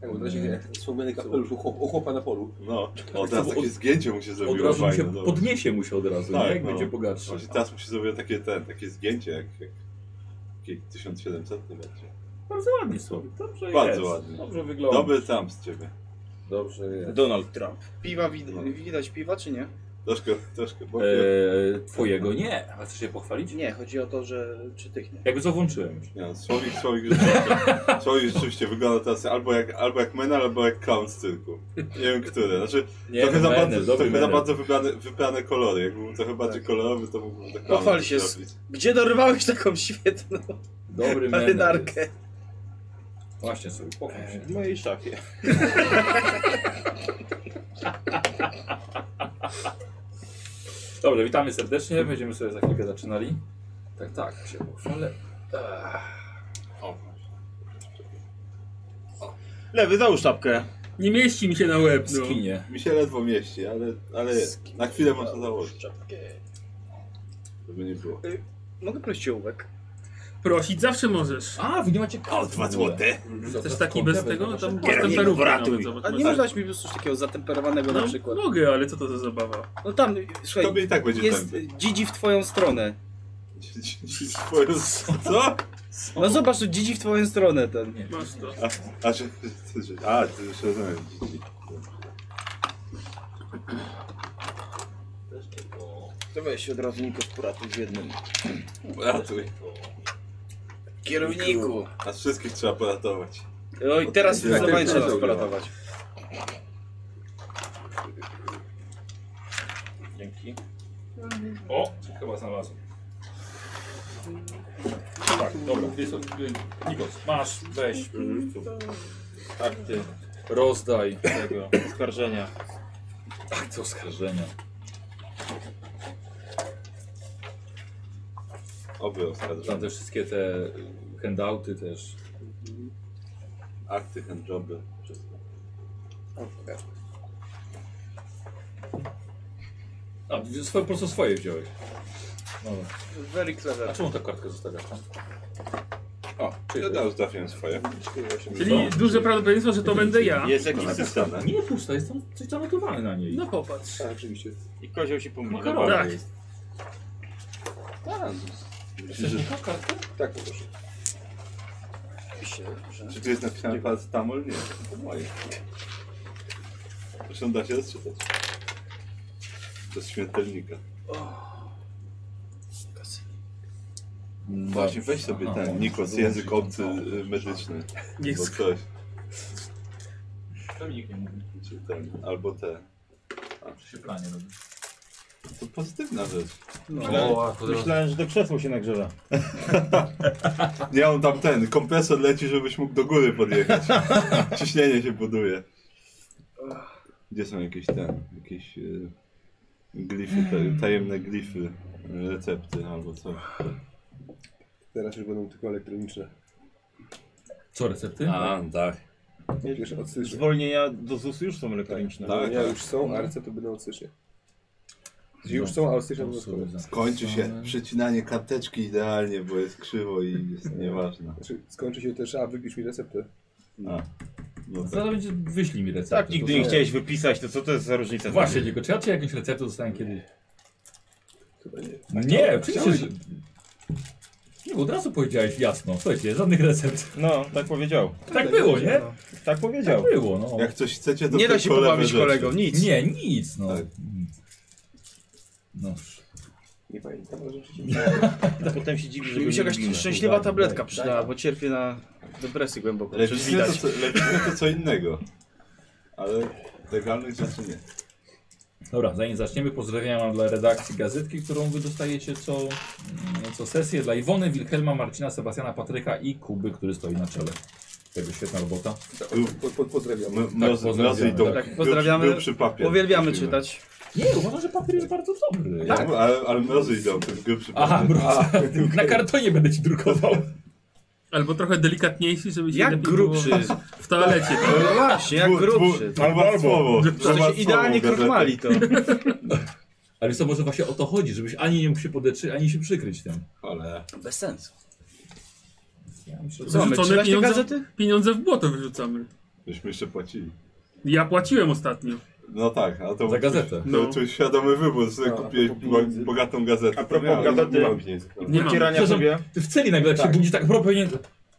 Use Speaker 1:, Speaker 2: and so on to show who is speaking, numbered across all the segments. Speaker 1: Tak, od razu jak wspomniany kapelusz u chłop- u chłopa na polu.
Speaker 2: No, o, teraz
Speaker 3: Od-
Speaker 2: takie zdjęcie mu się zrobiło
Speaker 3: Od razu mu
Speaker 2: fajne.
Speaker 3: się
Speaker 2: no.
Speaker 3: podniesie mu się od razu,
Speaker 2: Tak,
Speaker 3: nie? Jak
Speaker 2: no.
Speaker 3: będzie bogatszy.
Speaker 2: Właśnie teraz mu się zrobiło takie, ten, takie zdjęcie, jak, jak, jak 1700 będzie.
Speaker 3: Bardzo ładnie słowik. Dobrze
Speaker 2: Bardzo
Speaker 3: jest.
Speaker 2: ładnie.
Speaker 3: Dobrze wygląda.
Speaker 2: Dobry tam z ciebie.
Speaker 1: Dobrze jest.
Speaker 4: Donald Trump. No.
Speaker 5: Piwa wid- widać piwa, czy nie?
Speaker 2: Troszkę, troszkę. Bo...
Speaker 3: Eee, twojego nie. A chcesz się pochwalić?
Speaker 5: Nie, chodzi o to, że czy tych nie.
Speaker 3: Jakby co włączyłem już.
Speaker 2: Nie, no, Słowik, Słowik rzeczywiście, Słowik rzeczywiście wygląda teraz albo jak, albo jak Menel, albo jak clown z cyrku. Nie wiem, który. Znaczy,
Speaker 3: Nie,
Speaker 2: trochę za
Speaker 3: Menel,
Speaker 2: bardzo,
Speaker 3: dobry
Speaker 2: trochę za
Speaker 3: Menel.
Speaker 2: bardzo wybrane, wybrane kolory. Jakby był trochę bardziej kolorowy, to mógłbym tak
Speaker 5: Pochwal się z- Gdzie dorwałeś taką świetną
Speaker 3: Dobry menel.
Speaker 5: marynarkę?
Speaker 3: Właśnie sobie pochwal się.
Speaker 4: W mojej szafie.
Speaker 3: Dobrze, witamy serdecznie. Będziemy sobie za chwilkę zaczynali. Tak, tak, się pochwalę.
Speaker 2: O,
Speaker 4: Lewy, załóż szapkę.
Speaker 6: Nie mieści mi się na łeb, no.
Speaker 3: Skinie.
Speaker 2: mi się ledwo mieści, ale, ale jest. na chwilę można założyć,
Speaker 5: Czapkę.
Speaker 2: żeby nie było.
Speaker 5: Mogę prosić o łówek?
Speaker 6: Prosić zawsze możesz.
Speaker 3: A, wy nie macie
Speaker 2: O, dwa złote!
Speaker 6: Też taki bez tego, No tam bez
Speaker 4: Kierownik,
Speaker 6: temperówki
Speaker 4: ratuj.
Speaker 6: nawet, zobacz.
Speaker 5: A nie
Speaker 4: tak.
Speaker 5: można mieć mi po prostu takiego zatemperowanego na
Speaker 6: No,
Speaker 5: przykład.
Speaker 6: mogę, ale co to za zabawa?
Speaker 5: No tam, słuchaj,
Speaker 2: Tobie i tak będzie
Speaker 5: jest
Speaker 2: tępy.
Speaker 5: dzidzi w twoją stronę.
Speaker 2: Twoją- Co?
Speaker 5: No zobacz, to dzidzi w twoją stronę ten.
Speaker 6: Masz to.
Speaker 2: A, a, że, że, a ty już rozumiem. dzieci.
Speaker 4: To weź od razu Niko kuratu w jednym.
Speaker 2: Ratuj.
Speaker 5: Kierowniku.
Speaker 2: Nas wszystkich trzeba poratować.
Speaker 5: Oj, teraz
Speaker 2: Tak,
Speaker 5: zdecydowanie
Speaker 2: tak,
Speaker 5: trzeba
Speaker 2: tak,
Speaker 5: nas
Speaker 2: tak.
Speaker 5: poratować.
Speaker 3: Dzięki. O, chyba znalazłem. Tak, dobra, gdzie są? y, Nikos, masz, weź. Tak,
Speaker 4: Akty,
Speaker 3: Rozdaj.
Speaker 4: tego, oskarżenia.
Speaker 3: Ach, co oskarżenia.
Speaker 2: Oby
Speaker 3: Tam
Speaker 2: oskarżone.
Speaker 3: te wszystkie te y, handouty też.
Speaker 2: Akty, handjoby. wszystko.
Speaker 3: A, wzi- swoje, po prostu swoje wziąłeś. No, Dobra.
Speaker 5: Very
Speaker 3: A
Speaker 5: clever.
Speaker 3: czemu tą kartkę zostawiasz tam?
Speaker 2: O, czyli ja już trafiłem swoje.
Speaker 6: Czyli duże prawdopodobieństwo, że to będę ja.
Speaker 4: Jest jakiś system.
Speaker 2: Napisane.
Speaker 3: Nie, puszcza, jest tam coś zanotowane na niej.
Speaker 6: No popatrz.
Speaker 1: Tak, oczywiście.
Speaker 4: I kozioł się pomylił.
Speaker 3: Makaron.
Speaker 6: Tak.
Speaker 1: Tak,
Speaker 3: Chcesz tą kartkę?
Speaker 1: tak poproszę.
Speaker 5: Oczywiście, dobrze.
Speaker 2: Czy tu jest napisane paracetamol? Nie, to moje. Zresztą da się rozczytać. Przez śmiertelnika. Właśnie weź sobie
Speaker 3: No. Aha,
Speaker 2: ten,
Speaker 3: on
Speaker 2: Nikos,
Speaker 3: wyłączy
Speaker 2: język
Speaker 3: tą
Speaker 2: obcy
Speaker 3: tą.
Speaker 2: y, medyczny.
Speaker 6: Niech
Speaker 2: Bo
Speaker 6: sk-
Speaker 2: coś,
Speaker 3: To mi nikt nie mówi,
Speaker 2: czy ten, albo te.
Speaker 3: że się pranie robi.
Speaker 2: To pozytywna rzecz.
Speaker 5: No.
Speaker 4: Myślałem, że to krzesło się nagrzewa.
Speaker 2: Nie, on tam ten, kompresor leci, żebyś mógł do góry podjechać. Ciśnienie się buduje. Gdzie są jakieś ten, jakieś y, glify, ta- tajemne glify, y, recepty albo co?
Speaker 1: Teraz już będą tylko elektroniczne.
Speaker 3: Co, recepty?
Speaker 2: tak.
Speaker 1: Wiesz, od stycznia.
Speaker 4: Zwolnienia do ZUS już są elektroniczne.
Speaker 2: Tak.
Speaker 1: Ja już są, a recepty będą od stycznia. Czyli już są, a od stycznia będą
Speaker 3: Sobie
Speaker 1: skoro.
Speaker 3: zapisane.
Speaker 2: Kończy się przecinanie karteczki idealnie, bo jest krzywo i jest nieważne.
Speaker 1: Znaczy, skończy się też, a wypisz mi receptę.
Speaker 2: A, no tak.
Speaker 3: Zaraz będzie, wyślij mi receptę.
Speaker 4: Tak, nigdy
Speaker 3: To
Speaker 4: nie
Speaker 3: co?
Speaker 4: chciałeś wypisać, to co to jest za różnica?
Speaker 3: Właśnie, tylko czy ja ci jakąś receptę dostałem kiedyś?
Speaker 1: Chyba nie.
Speaker 3: Nie, oczywiście, że... Nie, bo od razu powiedziałeś jasno. Słuchajcie, żadnych recept.
Speaker 4: No, tak powiedział.
Speaker 3: Tak było, nie?
Speaker 4: Tak
Speaker 3: Tak
Speaker 4: powiedział.
Speaker 3: było, no.
Speaker 2: Jak coś chcecie, to
Speaker 5: Nie da
Speaker 2: tylko
Speaker 5: się
Speaker 2: lewe
Speaker 5: pobawić
Speaker 2: rzeczy.
Speaker 5: kolegą, nic.
Speaker 3: Nie, nic, no.
Speaker 2: Tak.
Speaker 3: Nic. No. Noż.
Speaker 1: Nie pamiętam, ale rzeczywiście.
Speaker 4: Potem się dziwi,
Speaker 5: Mi
Speaker 4: że
Speaker 5: się
Speaker 4: go nie Tak.
Speaker 5: jakaś
Speaker 4: lubimy.
Speaker 5: szczęśliwa
Speaker 3: Daj,
Speaker 5: tabletka
Speaker 3: daj,
Speaker 5: przydała, bo cierpię na depresję głęboko. Przecież
Speaker 2: Lewicy to, co-
Speaker 5: widać.
Speaker 2: lewicy to co innego. Ale legalnych rzeczy nie.
Speaker 3: Dobra, zanim zaczniemy, pozdrawiam wam dla redakcji gazetki, którą wy dostajecie co, mm, co sesję. Dla Iwony, Wilhelma, Marcina, Sebastiana, Patryka i Kuby, który stoi na czele. Tego świetna robota.
Speaker 1: Po, po, pozdrawiam.
Speaker 2: M- mrozy-
Speaker 3: pozdrawiamy.
Speaker 2: mrozy idą.
Speaker 5: Tak, pozdrawiamy.
Speaker 2: Był, był przy papier.
Speaker 5: Uwielbiamy
Speaker 2: Mówimy.
Speaker 5: czytać. Tak.
Speaker 3: Nie, uważam, że papier jest bardzo dobry.
Speaker 2: Ja, mówię, ale, ale mrozy idą, to jest grubszy
Speaker 3: Aha,
Speaker 2: papier.
Speaker 3: bro, na kartonie będę ci drukował.
Speaker 6: Albo trochę delikatniejszy, żeby się
Speaker 5: Jak
Speaker 6: lepiej
Speaker 5: grubszy.
Speaker 6: Było w toalecie. tak?
Speaker 5: No właśnie, jak
Speaker 2: Dwu- dwu-
Speaker 5: grubszy.
Speaker 2: dwa słowo.
Speaker 5: To
Speaker 2: Dwa
Speaker 5: się idealnie
Speaker 2: słowo
Speaker 5: krochmali to.
Speaker 3: Ale wiesz co, może właśnie o to chodzi, żebyś ani nie mógł się podetrzeć, ani się przykryć tym.
Speaker 2: gazety. Ale
Speaker 5: Bez sensu.
Speaker 3: Ja myślę, że...
Speaker 5: Co, mamy
Speaker 6: Wyrzucone
Speaker 5: czytać te
Speaker 6: pieniądze?
Speaker 5: gazety?
Speaker 6: Pieniądze w błoto wyrzucamy.
Speaker 2: Byśmy jeszcze płacili.
Speaker 6: Ja płaciłem ostatnio.
Speaker 2: No tak, a to
Speaker 3: Za gazetę.
Speaker 2: To,
Speaker 6: No.
Speaker 2: był świadomy wybór, że
Speaker 1: A, a
Speaker 2: kupiłeś
Speaker 1: propos
Speaker 2: bo,
Speaker 1: pieniędzy.
Speaker 2: bogatą gazetę.
Speaker 4: A propos
Speaker 2: To miałem-
Speaker 4: gazety.
Speaker 2: nie mam pieniędzy.
Speaker 5: Mhm.
Speaker 6: Nie mam.
Speaker 4: Podcierania
Speaker 3: Przepraszam.
Speaker 4: sobie,
Speaker 3: Ty w celi nagle jak
Speaker 1: Tak.
Speaker 3: się budzi tak propnie.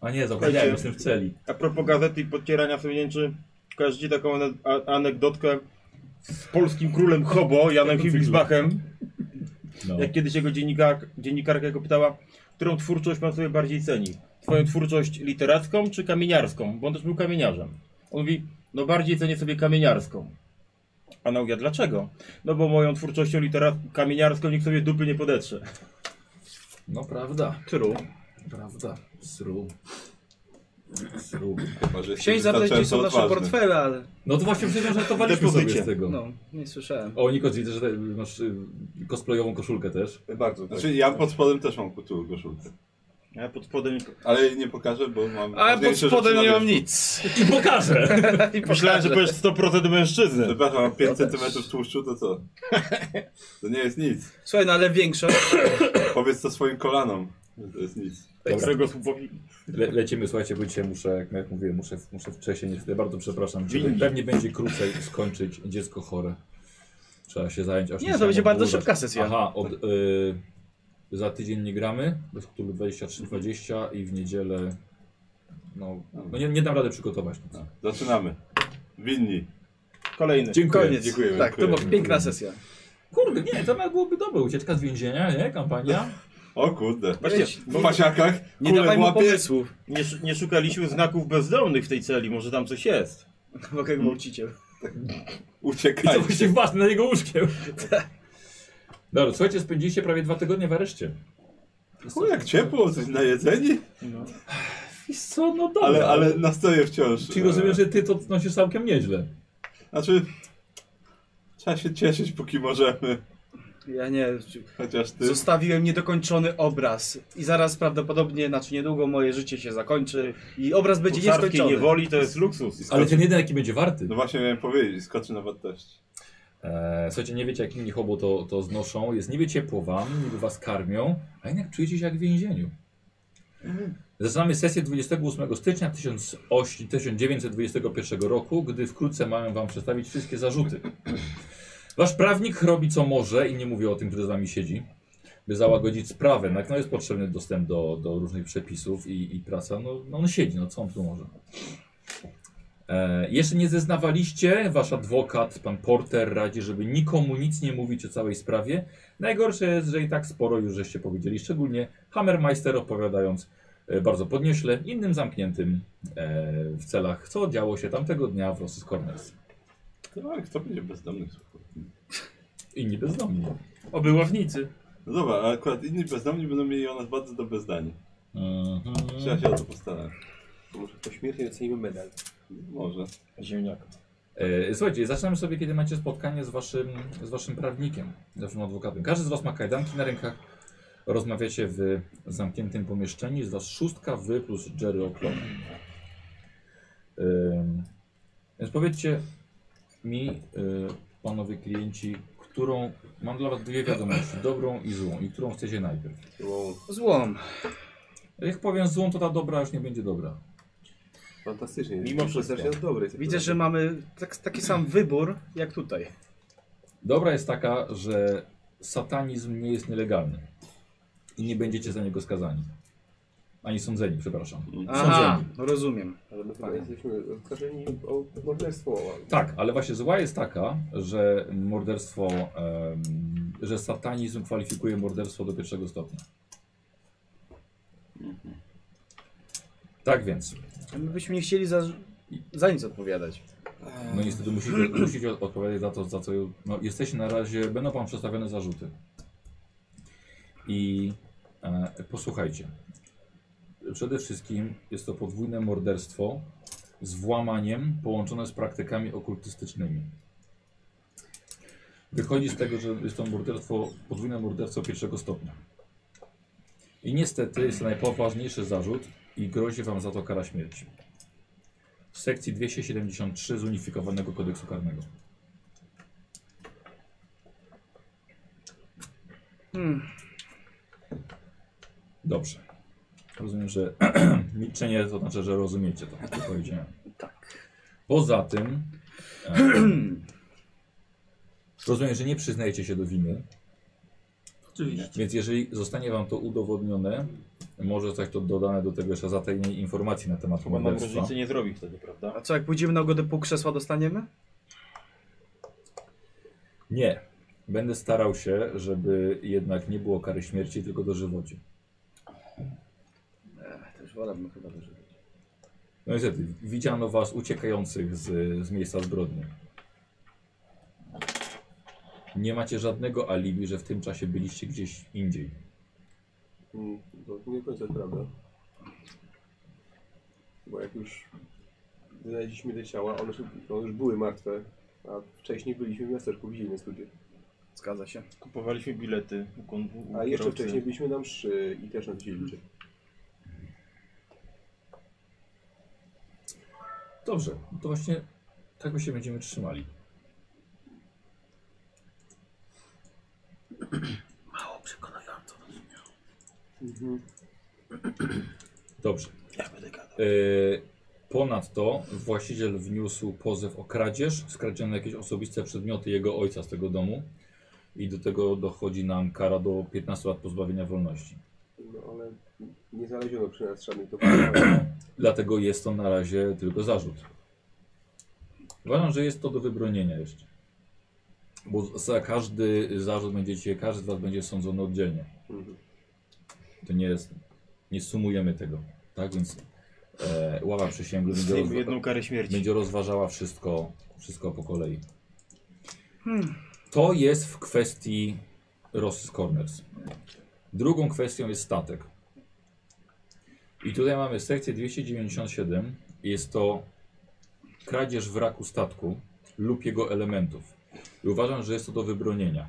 Speaker 3: A nie, zapomniałem,
Speaker 4: Słuchajcie.
Speaker 3: jestem w celi.
Speaker 4: a propos gazety i podcierania sobie jęczy, kojarzy ci taką ane- a- anegdotkę z polskim królem Hobo, Janem Hibisbachem,
Speaker 3: No.
Speaker 4: jak kiedyś jego dziennikarka, dziennikarka go pytała, którą twórczość pan sobie bardziej ceni? Twoją twórczość literacką czy kamieniarską? Bo on też był kamieniarzem. On mówi, no bardziej cenię sobie kamieniarską. A ona mówi, a dlaczego? No bo moją twórczością litera- kamieniarską nikt sobie dupy nie podetrze.
Speaker 3: No prawda. True. Prawda. Sru. Sru.
Speaker 2: Chyba, że tak.
Speaker 5: Chciałeś
Speaker 2: jesteś
Speaker 5: zapytać, gdzie są
Speaker 2: wystarczająco
Speaker 5: nasze
Speaker 2: odważny.
Speaker 5: portfele, ale
Speaker 3: No to właśnie przecież żartowaliśmy sobie
Speaker 4: Depozycie.
Speaker 3: z tego.
Speaker 5: no, nie słyszałem.
Speaker 3: O, Nikos, widzę, że te- masz y, cosplayową koszulkę też.
Speaker 1: Bardzo, tak.
Speaker 2: Znaczy ja pod spodem też mam kulturę koszulkę.
Speaker 4: Ja pod spodem...
Speaker 2: Ale nie pokażę, bo mam...
Speaker 5: A pod
Speaker 2: ważniejsze
Speaker 5: spodem
Speaker 2: rzeczy
Speaker 5: nie
Speaker 2: na
Speaker 5: mam
Speaker 2: wierzchu.
Speaker 5: nic.
Speaker 3: I pokażę!
Speaker 5: I
Speaker 4: Myślałem,
Speaker 5: pokażę.
Speaker 4: że powiesz 100% mężczyzny.
Speaker 2: Przepraszam, mam 5
Speaker 3: Ja też.
Speaker 2: cm tłuszczu, to co? To nie jest nic.
Speaker 5: Słuchaj, no ale większość.
Speaker 2: Powiedz to swoim kolanom. że To jest nic.
Speaker 3: Dobra.
Speaker 4: Tego słowowi-
Speaker 3: Le, lecimy, słuchajcie, bo dzisiaj muszę, jak, jak mówiłem, muszę, muszę wcześniej, niestety bardzo przepraszam.
Speaker 4: Dzięki.
Speaker 3: Pewnie będzie krócej skończyć dziecko chore. Trzeba się zająć aż
Speaker 5: Nie,
Speaker 3: mi
Speaker 5: to będzie
Speaker 3: samo
Speaker 5: bardzo
Speaker 3: odburzać.
Speaker 5: szybka sesja.
Speaker 3: Aha, od, y, za tydzień nie gramy, bez Cthulhu 23.20 i w niedzielę, no, no nie, nie dam rady przygotować. nic.
Speaker 2: No, Zaczynamy. Winni.
Speaker 4: Kolejny.
Speaker 3: Dziękuję.
Speaker 5: Koniec.
Speaker 2: dziękujemy,
Speaker 5: tak, to
Speaker 2: dziękujemy.
Speaker 5: była piękna sesja.
Speaker 3: Kurde, nie, to nawet byłoby dobre, ucieczka z więzienia, nie, kampania.
Speaker 2: O kurde.
Speaker 4: Właśnie,
Speaker 2: W pasiakach,
Speaker 5: Nie
Speaker 2: kule
Speaker 5: dawaj
Speaker 2: w
Speaker 5: mu
Speaker 2: łapie.
Speaker 5: pomysłów.
Speaker 4: nie, sz- nie szukaliśmy znaków bezdomnych w tej celi, może tam coś jest.
Speaker 5: Mogę gwałciciel.
Speaker 3: I to
Speaker 2: Uciekaj.
Speaker 3: właśnie ważne nad jego łóżkiem. Tak. Dobra, słuchajcie, spędziliście prawie dwa tygodnie w areszcie.
Speaker 2: O, jak ciepło, coś na jedzenie?
Speaker 3: I co, no dobra.
Speaker 2: Ale, ale nastroje wciąż.
Speaker 3: Czyli rozumiem, że ty to nosisz całkiem nieźle.
Speaker 2: Znaczy, trzeba się cieszyć, póki możemy.
Speaker 5: Ja nie.
Speaker 2: Chociaż ty.
Speaker 5: Zostawiłem niedokończony obraz. I zaraz prawdopodobnie, znaczy niedługo moje życie się zakończy. I obraz będzie
Speaker 4: Cesarskiej
Speaker 5: nieskończony.
Speaker 4: niewoli to jest luksus.
Speaker 3: Ale ten jeden jaki będzie warty.
Speaker 2: No właśnie miałem powiedzieć, skoczy na wartości.
Speaker 3: Eee, słuchajcie, nie wiecie jak inni hobo to, to znoszą. Jest niby ciepło wam, niby was karmią, a jednak czujecie się jak w więzieniu. Zaczynamy sesję 28 stycznia 1800 1921 roku, gdy wkrótce mają wam przedstawić wszystkie zarzuty. Wasz prawnik robi co może i nie mówię o tym, który z nami siedzi, by załagodzić sprawę. Na pewno jest potrzebny dostęp do, do różnych przepisów i, i praca. No, no on siedzi, no co on tu może? E, jeszcze nie zeznawaliście, wasz adwokat, pan Porter radzi, żeby nikomu nic nie mówić o całej sprawie. Najgorsze jest, że i tak sporo już żeście powiedzieli, szczególnie Hammermeister opowiadając e, bardzo podnieśle innym zamkniętym e, w celach, co działo się tamtego dnia w Rosy Corners.
Speaker 2: Tak, kto będzie bezdomny? słuchaj?
Speaker 3: Inni bezdomni.
Speaker 6: Oby ławnicy.
Speaker 2: No dobra, a akurat inni bezdomni będą mieli o nas bardzo dobre zdanie.
Speaker 3: Mhm.
Speaker 2: Trzeba się o to postarać.
Speaker 1: Może po śmierci docenimy medal.
Speaker 2: Może.
Speaker 4: Ziemniaka.
Speaker 3: E, Słuchajcie, zaczynamy sobie, kiedy macie spotkanie z waszym, z waszym prawnikiem, z waszym adwokatem. Każdy z was ma kajdanki na rękach. Rozmawiacie w zamkniętym pomieszczeniu. Jest was szóstka, wy plus Jerry O'Clock. Ym, Więc powiedzcie mi, y, panowie klienci, którą... Mam dla was dwie wiadomości, dobrą i złą. I którą chcecie najpierw?
Speaker 2: Wow,
Speaker 5: Złom.
Speaker 3: Jak powiem złą, to ta dobra już nie będzie dobra.
Speaker 1: Fantastycznie.
Speaker 4: Mimo wszystko.
Speaker 1: Strasznie dobre. jest
Speaker 5: Widzę,
Speaker 1: akurat.
Speaker 5: że mamy tak, taki sam wybór jak tutaj.
Speaker 3: Dobra jest taka, że satanizm nie jest nielegalny. I nie będziecie za niego skazani. Ani sądzeni, przepraszam.
Speaker 5: Aha, rozumiem.
Speaker 1: Ale my chyba jesteśmy oskarżeni o morderstwo.
Speaker 3: Tak, ale właśnie zła jest taka, że morderstwo, em, że satanizm kwalifikuje morderstwo do pierwszego stopnia. Tak więc,
Speaker 5: My byśmy nie chcieli za, za nic odpowiadać.
Speaker 3: no niestety musicie, musicie od- odpowiadać za to, za co no, jesteście na razie, będą wam przedstawione zarzuty. I e, posłuchajcie. Przede wszystkim jest to podwójne morderstwo z włamaniem połączone z praktykami okultystycznymi. Wychodzi z tego, że jest to morderstwo, podwójne morderstwo pierwszego stopnia. I niestety jest to najpoważniejszy zarzut i grozi wam za to kara śmierci w sekcji 273 zunifikowanego kodeksu karnego.
Speaker 5: Hmm.
Speaker 3: Dobrze. Rozumiem, że milczenie to znaczy, że rozumiecie to, co powiedziałem.
Speaker 5: Tak.
Speaker 3: Poza tym, e, rozumiem, że nie przyznajecie się do winy,
Speaker 6: Oczywiście.
Speaker 3: więc jeżeli zostanie wam to udowodnione, może zostać to dodane do tego jeszcze zatajnej informacji na temat
Speaker 4: Chyba nam
Speaker 3: morderstwa.
Speaker 4: rodzice nie zrobi wtedy, prawda?
Speaker 5: A co, jak pójdziemy na ogodę, pół krzesła dostaniemy?
Speaker 3: Nie. Będę starał się, żeby jednak nie było kary śmierci, tylko dożywocie.
Speaker 5: Też wolałbym chyba też.
Speaker 3: No niestety, widziano was uciekających z, z miejsca zbrodni. Nie macie żadnego alibi, że w tym czasie byliście gdzieś indziej.
Speaker 1: Mm, To nie do końca jest prawda. Bo jak już znaleźliśmy te ciała, one, się- one już były martwe, a wcześniej byliśmy w miasteczku, widzieli nas ludzie.
Speaker 5: Zgadza się.
Speaker 4: Kupowaliśmy bilety u konwu.
Speaker 1: A jeszcze wcześniej byliśmy na mszy i też nas widzieli ludzie.
Speaker 3: Dobrze, to właśnie tego się będziemy trzymali.
Speaker 6: Mało przekonująco.
Speaker 3: Dobrze. E, ponadto właściciel wniósł pozew o kradzież, skradziono jakieś osobiste przedmioty jego ojca z tego domu i do tego dochodzi nam kara do 15 lat pozbawienia wolności.
Speaker 1: No ale nie znaleziono przy nas żadnych towarów.
Speaker 3: Dlatego jest to na razie tylko zarzut. Uważam, że jest to do wybronienia jeszcze. Bo za każdy zarzut będziecie, każdy z was będzie sądzony oddzielnie.
Speaker 1: Mhm.
Speaker 3: To nie jest, nie sumujemy tego. Tak więc e, ława przysięgłych będzie,
Speaker 4: Zdejmę
Speaker 3: rozwa
Speaker 4: jedną karę śmierci.
Speaker 3: będzie rozważała wszystko, wszystko po kolei. To jest w kwestii Ross Corners. Drugą kwestią jest statek. I tutaj mamy sekcję 297. Jest to kradzież wraku statku lub jego elementów. I uważam, że jest to do wybronienia.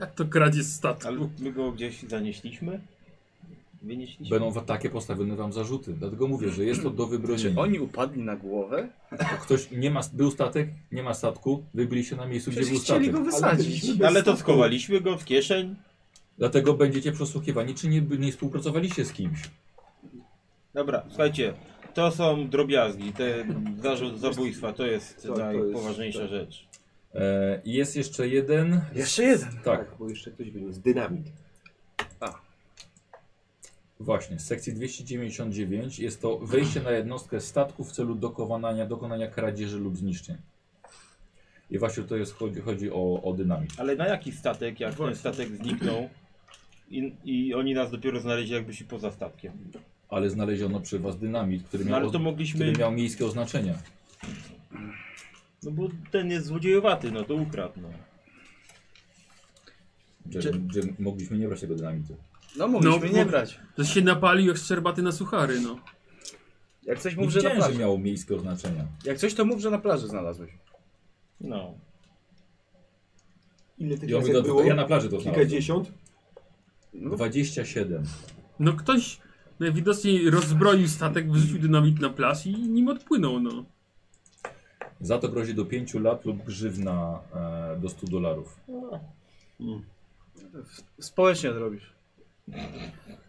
Speaker 6: Jak to kradzież statku?
Speaker 4: Ale my go gdzieś zanieśliśmy? Wynieśliśmy?
Speaker 3: Będą wa- takie postawione wam zarzuty. Dlatego mówię, że jest to do
Speaker 5: Czy
Speaker 3: wybronienia.
Speaker 5: Znaczy, oni upadli na głowę?
Speaker 3: Ktoś nie ma, był statek, nie ma statku, wy byliście na miejscu, gdzie był
Speaker 5: Przecież
Speaker 3: statek.
Speaker 5: chcieli go wysadzić.
Speaker 1: byliśmy-
Speaker 4: No Ale to skowaliśmy go w kieszeń.
Speaker 3: Dlatego będziecie przesłuchiwani, czy nie, nie współpracowaliście z kimś.
Speaker 4: Dobra, słuchajcie, to są drobiazgi. Ten zarzut zabójstwa to jest
Speaker 1: Tak, to jest-
Speaker 4: najpoważniejsza
Speaker 1: tak.
Speaker 4: rzecz.
Speaker 3: E, jest jeszcze jeden.
Speaker 5: Jeszcze jeden.
Speaker 3: Tak,
Speaker 1: bo jeszcze ktoś wyniósł dynamit.
Speaker 3: właśnie. Z sekcji 299 jest to wejście na jednostkę statku w celu dokonania, dokonania kradzieży lub zniszczeń. I właśnie to jest, chodzi, chodzi o, o dynamit.
Speaker 4: Ale na jaki statek, jak ten statek zniknął i, i oni nas dopiero znaleźli jakby się poza statkiem?
Speaker 3: Ale znaleziono przy was dynamit, który
Speaker 4: No
Speaker 3: miał,
Speaker 4: ale to
Speaker 3: który
Speaker 4: mogliśmy,
Speaker 3: miał miejskie oznaczenia.
Speaker 4: no bo ten jest złodziejowaty, no to ukradł. No.
Speaker 3: Że, że mogliśmy nie brać tego dynamitu.
Speaker 5: No mogliśmy
Speaker 6: No,
Speaker 5: nie
Speaker 6: bo-
Speaker 5: brać.
Speaker 6: Że się napalił jak szczerbaty na suchary, no.
Speaker 5: Jak coś
Speaker 3: Nie
Speaker 5: mów, że na
Speaker 3: wiedziałem, że
Speaker 5: plaży.
Speaker 3: miał miejskie oznaczenia.
Speaker 5: Jak coś to mów, że na plaży znalazłeś.
Speaker 4: no.
Speaker 1: Ile tych
Speaker 3: Ja,
Speaker 1: ja
Speaker 3: mówię,
Speaker 1: było?
Speaker 3: to, ja na plaży to znalazłem.
Speaker 1: Kilkadziesiąt?
Speaker 3: 27.
Speaker 6: No ktoś najwidoczniej rozbroił statek, wyrzucił dynamit na plaż i nim odpłynął, no.
Speaker 3: Za to grozi do 5 lat lub grzywna e, do 100 dolarów.
Speaker 5: Społecznie odrobisz.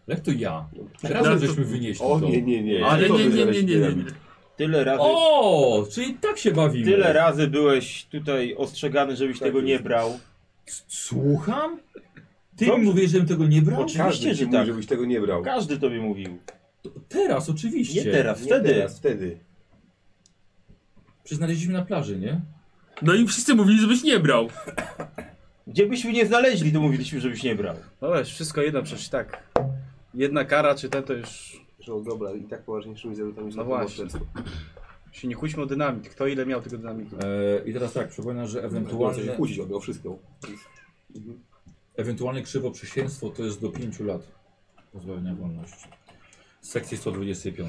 Speaker 3: Jak to ja? Razem
Speaker 6: Ale to-
Speaker 3: żeśmy wynieśli
Speaker 1: O
Speaker 3: to.
Speaker 1: nie, nie, nie.
Speaker 4: Ale
Speaker 6: Nie,
Speaker 1: To
Speaker 6: nie,
Speaker 1: wy
Speaker 6: nie, nie, nie, nie,
Speaker 1: znaleźliście.
Speaker 6: nie.
Speaker 4: Tyle razy,
Speaker 3: O, czyli tak się bawimy.
Speaker 4: tyle razy byłeś tutaj ostrzegany, żebyś
Speaker 1: Tak
Speaker 4: tego nie
Speaker 1: jest.
Speaker 4: brał.
Speaker 3: S- Słucham? Ty mi mówisz, żebym tego nie brał?
Speaker 4: Oczy-
Speaker 1: No, Każdy
Speaker 4: Oczywiście,
Speaker 1: ci
Speaker 4: że
Speaker 1: mówi,
Speaker 4: tak.
Speaker 1: żebyś tego nie brał.
Speaker 4: Każdy tobie mówił.
Speaker 3: To teraz, oczywiście.
Speaker 4: Nie teraz,
Speaker 1: Nie
Speaker 4: wtedy.
Speaker 1: Teraz, wtedy.
Speaker 3: Przyznaliśmy na plaży, nie?
Speaker 6: No i wszyscy mówili, żebyś nie brał.
Speaker 4: Gdzie byśmy nie znaleźli, to mówiliśmy, żebyś nie brał.
Speaker 5: No wiesz, wszystko jedno przecież tak. Jedna kara czy ten to już
Speaker 1: Że o dobra, i tak poważniejszymi zarzutami są
Speaker 5: No
Speaker 1: to
Speaker 5: właśnie.
Speaker 1: morderstwo.
Speaker 5: się nie kłóćmy o dynamit. Kto ile miał tego dynamitu?
Speaker 3: E, I teraz tak, przypominam, że
Speaker 1: Ewentualnie... Chcę się
Speaker 3: ewentualne,
Speaker 1: kłócić o o wszystko.
Speaker 3: ewentualne krzywoprzysięstwo to jest do 5 lat pozbawienia wolności. Z sekcji 125.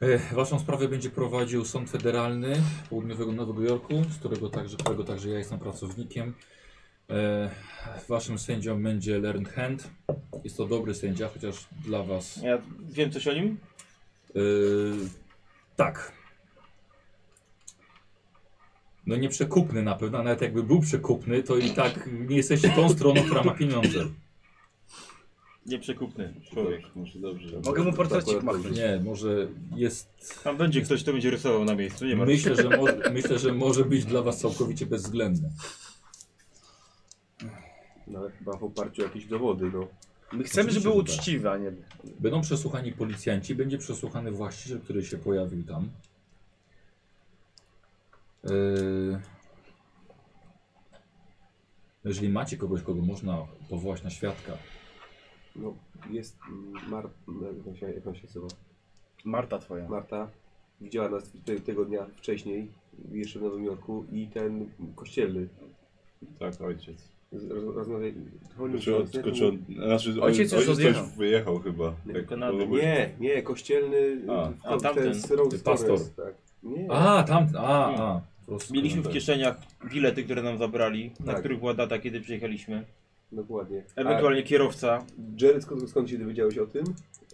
Speaker 3: E, Waszą sprawę będzie prowadził Sąd Federalny Południowego Nowego Jorku, z którego także, którego także ja jestem pracownikiem. E, waszym sędzią będzie Learned Hand. Jest to dobry sędzia, chociaż dla Was.
Speaker 4: Ja wiem coś o nim?
Speaker 3: E, tak. No nie przekupny na pewno, a nawet jakby był przekupny, to i tak nie jesteście tą stroną, która ma pieniądze.
Speaker 4: Nieprzekupny człowiek.
Speaker 2: Dobrze, może dobrze. że-
Speaker 5: Mogę mu portrecik
Speaker 1: Akurat
Speaker 5: machnąć.
Speaker 3: Nie, może jest...
Speaker 4: Tam będzie ktoś, kto będzie rysował na miejscu, nie martw się.
Speaker 3: Myślę że, może, myślę, że może być dla was całkowicie bezwzględne.
Speaker 1: No ale chyba w oparciu o jakieś dowody, no.
Speaker 5: My chcemy,
Speaker 3: Oczywiście,
Speaker 5: żeby był
Speaker 3: że tak.
Speaker 5: uczciwy, a nie...
Speaker 3: Będą przesłuchani policjanci, będzie przesłuchany właściciel, który się pojawił tam. Yy... Jeżeli macie kogoś, kogo można powołać na świadka,
Speaker 1: No, jest mm, Mar... no, jak on się- Jak on się nazywa?
Speaker 5: Marta twoja.
Speaker 1: Marta widziała nas te, tego dnia wcześniej, jeszcze w Nowym Jorku i ten kościelny.
Speaker 2: Tak, ojciec.
Speaker 1: Z- roz- Rozmawiali. dzwonił
Speaker 2: Czy on,
Speaker 1: do nas, nie?
Speaker 2: tylko czy on, znaczy,
Speaker 5: Ojciec
Speaker 2: ojciec,
Speaker 5: już
Speaker 2: ojciec
Speaker 5: odjechał.
Speaker 2: też wyjechał chyba. Tak,
Speaker 1: Nie,
Speaker 2: Jak
Speaker 4: Kanady.
Speaker 2: było-
Speaker 1: Nie, nie, kościelny.
Speaker 2: A,
Speaker 1: w-
Speaker 4: a tamten,
Speaker 1: ten z Rhodes
Speaker 3: ten pastor.
Speaker 1: Torres, Tak. Nie.
Speaker 3: A, tam, a, a. po prostu-
Speaker 4: Mieliśmy w kieszeniach bilety, które nam zabrali, na
Speaker 1: Tak.
Speaker 4: których była data, kiedy przyjechaliśmy.
Speaker 1: Dokładnie. A
Speaker 4: Ewentualnie kierowca.
Speaker 1: Jared, skąd, skąd się dowiedziałeś o tym?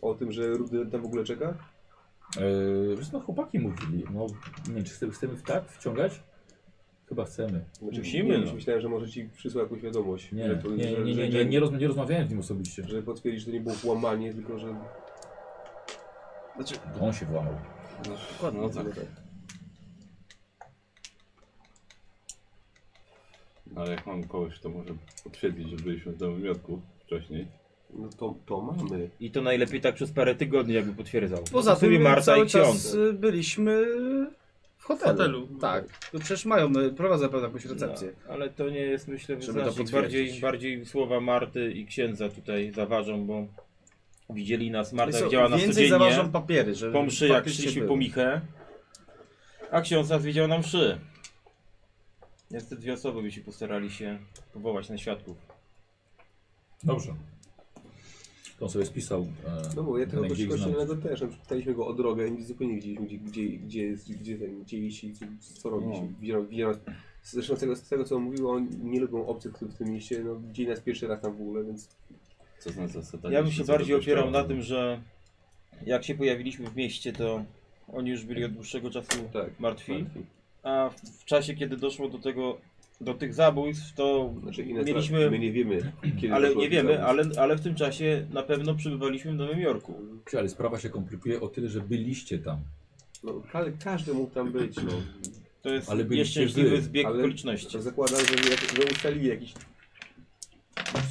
Speaker 1: O tym, że Rudy tam w ogóle czeka?
Speaker 3: Yy, wiesz, no chłopaki mówili, no nie wiem, czy chcemy, chcemy w tak wciągać? Chyba chcemy.
Speaker 1: Znaczy,
Speaker 4: Musimy,
Speaker 1: Nie,
Speaker 4: no.
Speaker 1: myślałem, że może ci przysłał jakąś wiadomość.
Speaker 3: Nie,
Speaker 1: że to-
Speaker 3: nie, nie,
Speaker 1: że-
Speaker 3: nie, nie,
Speaker 1: że-
Speaker 3: nie, nie, roz, nie rozmawiałem z nim osobiście.
Speaker 1: Że potwierdzi, że to nie było włamanie, tylko że.
Speaker 5: Znaczy,
Speaker 3: To On się włamał.
Speaker 2: No tak. Ale jak mam kogoś, to może potwierdzić, że byliśmy w Nowym Jorku wcześniej.
Speaker 1: No to, to mamy.
Speaker 4: I to najlepiej tak przez parę tygodni, jakby potwierdzał.
Speaker 5: Poza
Speaker 4: Sobie
Speaker 5: tym
Speaker 4: Marta i
Speaker 5: cały
Speaker 4: ksiądz.
Speaker 5: czas y, byliśmy w hotelu.
Speaker 6: W hotelu.
Speaker 5: Tak. No przecież mają, y, prowadzą pewnie jakąś recepcję.
Speaker 4: No, ale to nie jest, myślę,
Speaker 5: Żeby to
Speaker 4: wyznacznik. Bardziej,
Speaker 5: potwierdzić.
Speaker 4: bardziej słowa Marty i księdza tutaj zaważą, bo widzieli nas, Marta
Speaker 5: Wiesz co,
Speaker 4: widziała nas
Speaker 5: Więcej
Speaker 4: codziennie.
Speaker 5: zaważą papiery, żeby
Speaker 4: po mszy, jak
Speaker 5: faktycznie
Speaker 4: szliśmy
Speaker 5: było.
Speaker 4: po Michę, a ksiądz nas wiedział na mszy. Więc te dwie osoby by się postarali się powołać na świadków.
Speaker 3: Dobrze. To on sobie spisał. E,
Speaker 1: No bo ja tego
Speaker 3: ten
Speaker 1: gościa
Speaker 3: gdzieś znam.
Speaker 1: kościelnego też, na przykład pytaliśmy go o drogę i zupełnie nie wiedzieliśmy gdzie, gdzie, gdzie jest, gdzie, ten, gdzie iść i co, co robić.
Speaker 2: No.
Speaker 1: Widziałem, widziałem, zresztą z tego, z tego co on mówił, on nie lubią obcych w tym mieście, no widzieli nas pierwszy raz tam w ogóle, więc
Speaker 2: Co znaczy zasadanie?
Speaker 4: Ja bym się bardziej opierał na tym, że jak się pojawiliśmy w mieście, to oni już byli od dłuższego czasu
Speaker 1: Tak,
Speaker 4: martwi, a w, w czasie, kiedy doszło do tego, do tych zabójstw, to
Speaker 1: znaczy inaczej my
Speaker 4: mieliśmy,
Speaker 1: nie wiemy kiedy
Speaker 4: ale
Speaker 1: doszło
Speaker 4: nie
Speaker 1: do
Speaker 4: wiemy,
Speaker 1: zabójstw.
Speaker 4: ale, ale w tym czasie na pewno przybywaliśmy w Nowym Jorku.
Speaker 3: Kurczę, Ale sprawa się komplikuje o tyle, że byliście tam.
Speaker 1: No, ale każdy mógł tam być, no.
Speaker 4: To jest
Speaker 3: Ale byliście
Speaker 4: nieszczęśliwy
Speaker 3: wy,
Speaker 4: zbieg
Speaker 1: ale-
Speaker 4: okoliczności.
Speaker 1: To zakładam, że, jak, że ustalili jakiś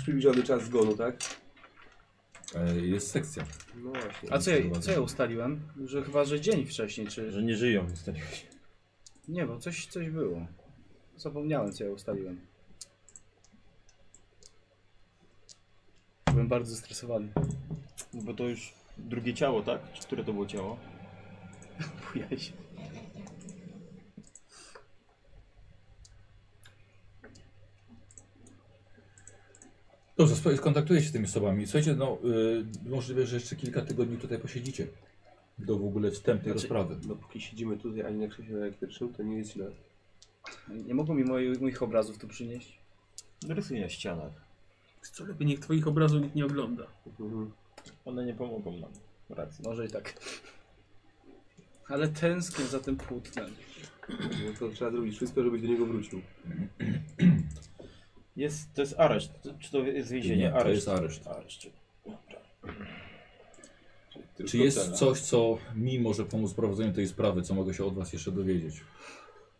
Speaker 1: przybliżony czas zgonu, tak?
Speaker 3: E, jest sekcja.
Speaker 1: No właśnie.
Speaker 5: A co ja, co ja ustaliłem? Że chyba, że dzień wcześniej, czy...
Speaker 4: Że nie żyją niestety.
Speaker 5: Nie, bo coś, coś było. Zapomniałem, co ja ustaliłem. Byłem bardzo stresowany.
Speaker 4: No Bo to już drugie ciało, tak? Czy które to było ciało?
Speaker 5: Bujaj się.
Speaker 3: Dobrze, spo- skontaktuję się z tymi osobami. Słuchajcie, no y, możliwe, że jeszcze kilka tygodni tutaj posiedzicie. Do w ogóle wstępnej
Speaker 5: Znaczy-
Speaker 3: rozprawy.
Speaker 1: No póki siedzimy tutaj, ani na krześle elektrycznym, to nie jest źle.
Speaker 5: Nie mogą mi moich, moich obrazów tu przynieść?
Speaker 4: Rysuj na ścianach.
Speaker 6: Co lepiej, niech twoich obrazów nikt nie ogląda.
Speaker 1: Mhm.
Speaker 4: One nie pomogą nam. Racji.
Speaker 5: Może i tak. Ale tęsknię za tym płótnem.
Speaker 1: No to trzeba zrobić wszystko, żebyś do niego wrócił.
Speaker 4: Jest, to jest areszt. To- Czy to jest więzienie?
Speaker 3: Nie, to
Speaker 4: areszt.
Speaker 3: jest areszt.
Speaker 4: areszt.
Speaker 3: Czy jest coś, co mi może pomóc w prowadzeniu tej sprawy, co mogę się od was jeszcze dowiedzieć?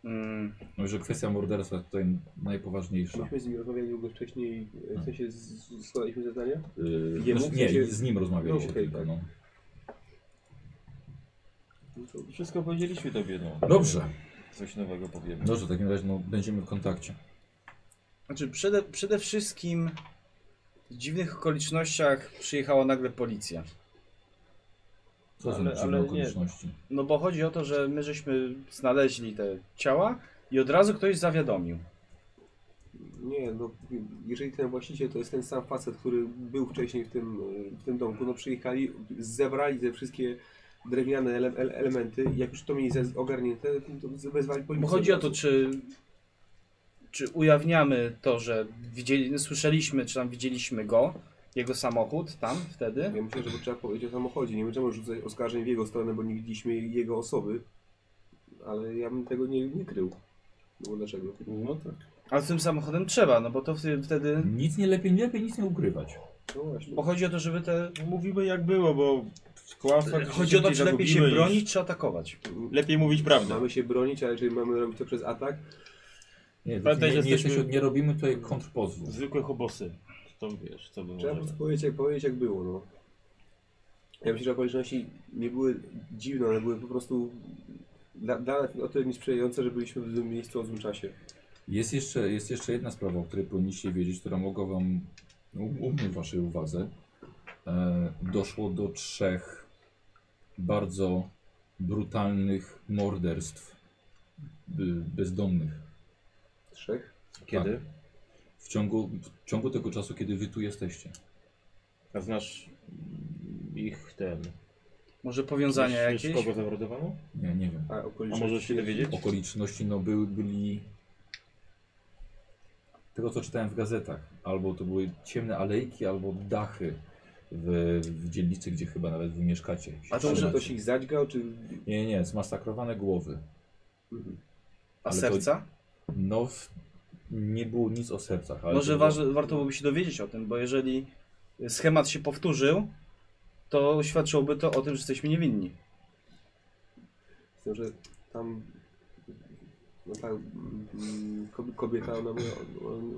Speaker 5: Mm,
Speaker 3: No, że kwestia morderstwa jest tutaj najpoważniejsza.
Speaker 1: Myśmy z nim rozmawiali długo wcześniej, e, w sensie z- z- składaliśmy zadania.
Speaker 3: Yy,
Speaker 1: Jemu?
Speaker 3: no, nie, z nim rozmawialiście
Speaker 1: No, okej,
Speaker 3: tylko.
Speaker 1: tak.
Speaker 3: No.
Speaker 1: No to
Speaker 4: Wszystko powiedzieliśmy tobie, no.
Speaker 3: Dobrze,
Speaker 4: Coś nowego powiemy.
Speaker 3: dobrze, w takim razie no, będziemy w kontakcie.
Speaker 5: znaczy, przede, przede wszystkim w dziwnych okolicznościach przyjechała nagle policja.
Speaker 3: Co są
Speaker 4: Ale-
Speaker 3: dziwne
Speaker 4: ale nie.
Speaker 3: okoliczności?
Speaker 5: No bo chodzi o to, że my żeśmy znaleźli te ciała i od razu ktoś zawiadomił.
Speaker 1: Nie, no jeżeli ten właściciel to jest ten sam facet, który był wcześniej w tym, e, w tym domku, no przyjechali, zebrali te wszystkie drewniane ele ele elementy i jak już to mieli ze- ogarnięte, to wezwali
Speaker 5: Bo
Speaker 1: policję.
Speaker 5: chodzi o to, czy, czy ujawniamy to, że widzieli, no słyszeliśmy, czy tam widzieliśmy go, jego samochód tam wtedy.
Speaker 1: Ja myślę, że trzeba powiedzieć o samochodzie. Nie będziemy rzucać oskarżeń w jego stronę, bo nie widzieliśmy jego osoby. Ale ja bym tego nie, nie krył. No bo dlaczego?
Speaker 2: No tak.
Speaker 5: Ale z tym samochodem trzeba, no bo to wtedy- wtedy
Speaker 3: Nic nie lepiej, nie lepiej nic nie ukrywać.
Speaker 1: No właśnie.
Speaker 5: Bo chodzi o to, żeby te...
Speaker 4: Mówimy jak było, bo w kłamstwach
Speaker 5: Chodzi o to, czy lepiej się
Speaker 4: zagubimy
Speaker 5: bronić,
Speaker 4: niż-
Speaker 5: czy atakować.
Speaker 4: Lepiej mówić prawdę.
Speaker 1: Mamy się bronić, ale jeżeli mamy robić to przez atak,
Speaker 3: Nie, nie,
Speaker 4: Pamiętaj,
Speaker 3: nie,
Speaker 4: że
Speaker 3: jesteśmy...
Speaker 4: jesteśmy-
Speaker 3: nie robimy tutaj kontrpozwu.
Speaker 4: Zwykłe hobosy. To wiesz, co by
Speaker 1: trzeba po prostu powiedzieć jak, powiedzieć jak było. No. Ja myślę, że okoliczności nie były dziwne, one były po prostu da- dane o tyle mi sprzyjające, że byliśmy w tym miejscu o złym czasie.
Speaker 3: Jest jeszcze, jest jeszcze jedna sprawa, o której powinniście wiedzieć, która mogła wam no, umknąć waszej uwadze. E, doszło do trzech bardzo brutalnych morderstw by, bezdomnych.
Speaker 1: Trzech?
Speaker 4: Kiedy?
Speaker 3: W ciągu, w ciągu tego czasu, kiedy wy tu jesteście.
Speaker 4: A znasz ich ten...
Speaker 5: Może powiązania
Speaker 4: Wiesz,
Speaker 5: jakieś?
Speaker 4: kogo zamordowano?
Speaker 3: Nie, nie wiem.
Speaker 1: A
Speaker 4: A
Speaker 1: okoliczności...
Speaker 4: może się dowiedzieć?
Speaker 3: Okoliczności no, były, byli tego, co czytałem w gazetach. Albo to były ciemne alejki, albo dachy w, w dzielnicy, gdzie chyba nawet wy mieszkacie.
Speaker 5: A
Speaker 1: To, że
Speaker 3: Trzymacie.
Speaker 1: ktoś ich zadźgał, czy...
Speaker 3: Nie, nie, zmasakrowane głowy.
Speaker 5: A
Speaker 3: Ale to-
Speaker 5: serca?
Speaker 3: No, w... nie było nic o sercach. Ale
Speaker 5: Może
Speaker 3: to było-
Speaker 5: waż, warto byłoby się dowiedzieć o tym, bo jeżeli schemat się powtórzył, to świadczyłoby to o tym, że jesteśmy niewinni.
Speaker 1: Z tym, że tam no ta mm, ko- kobieta, ona miała,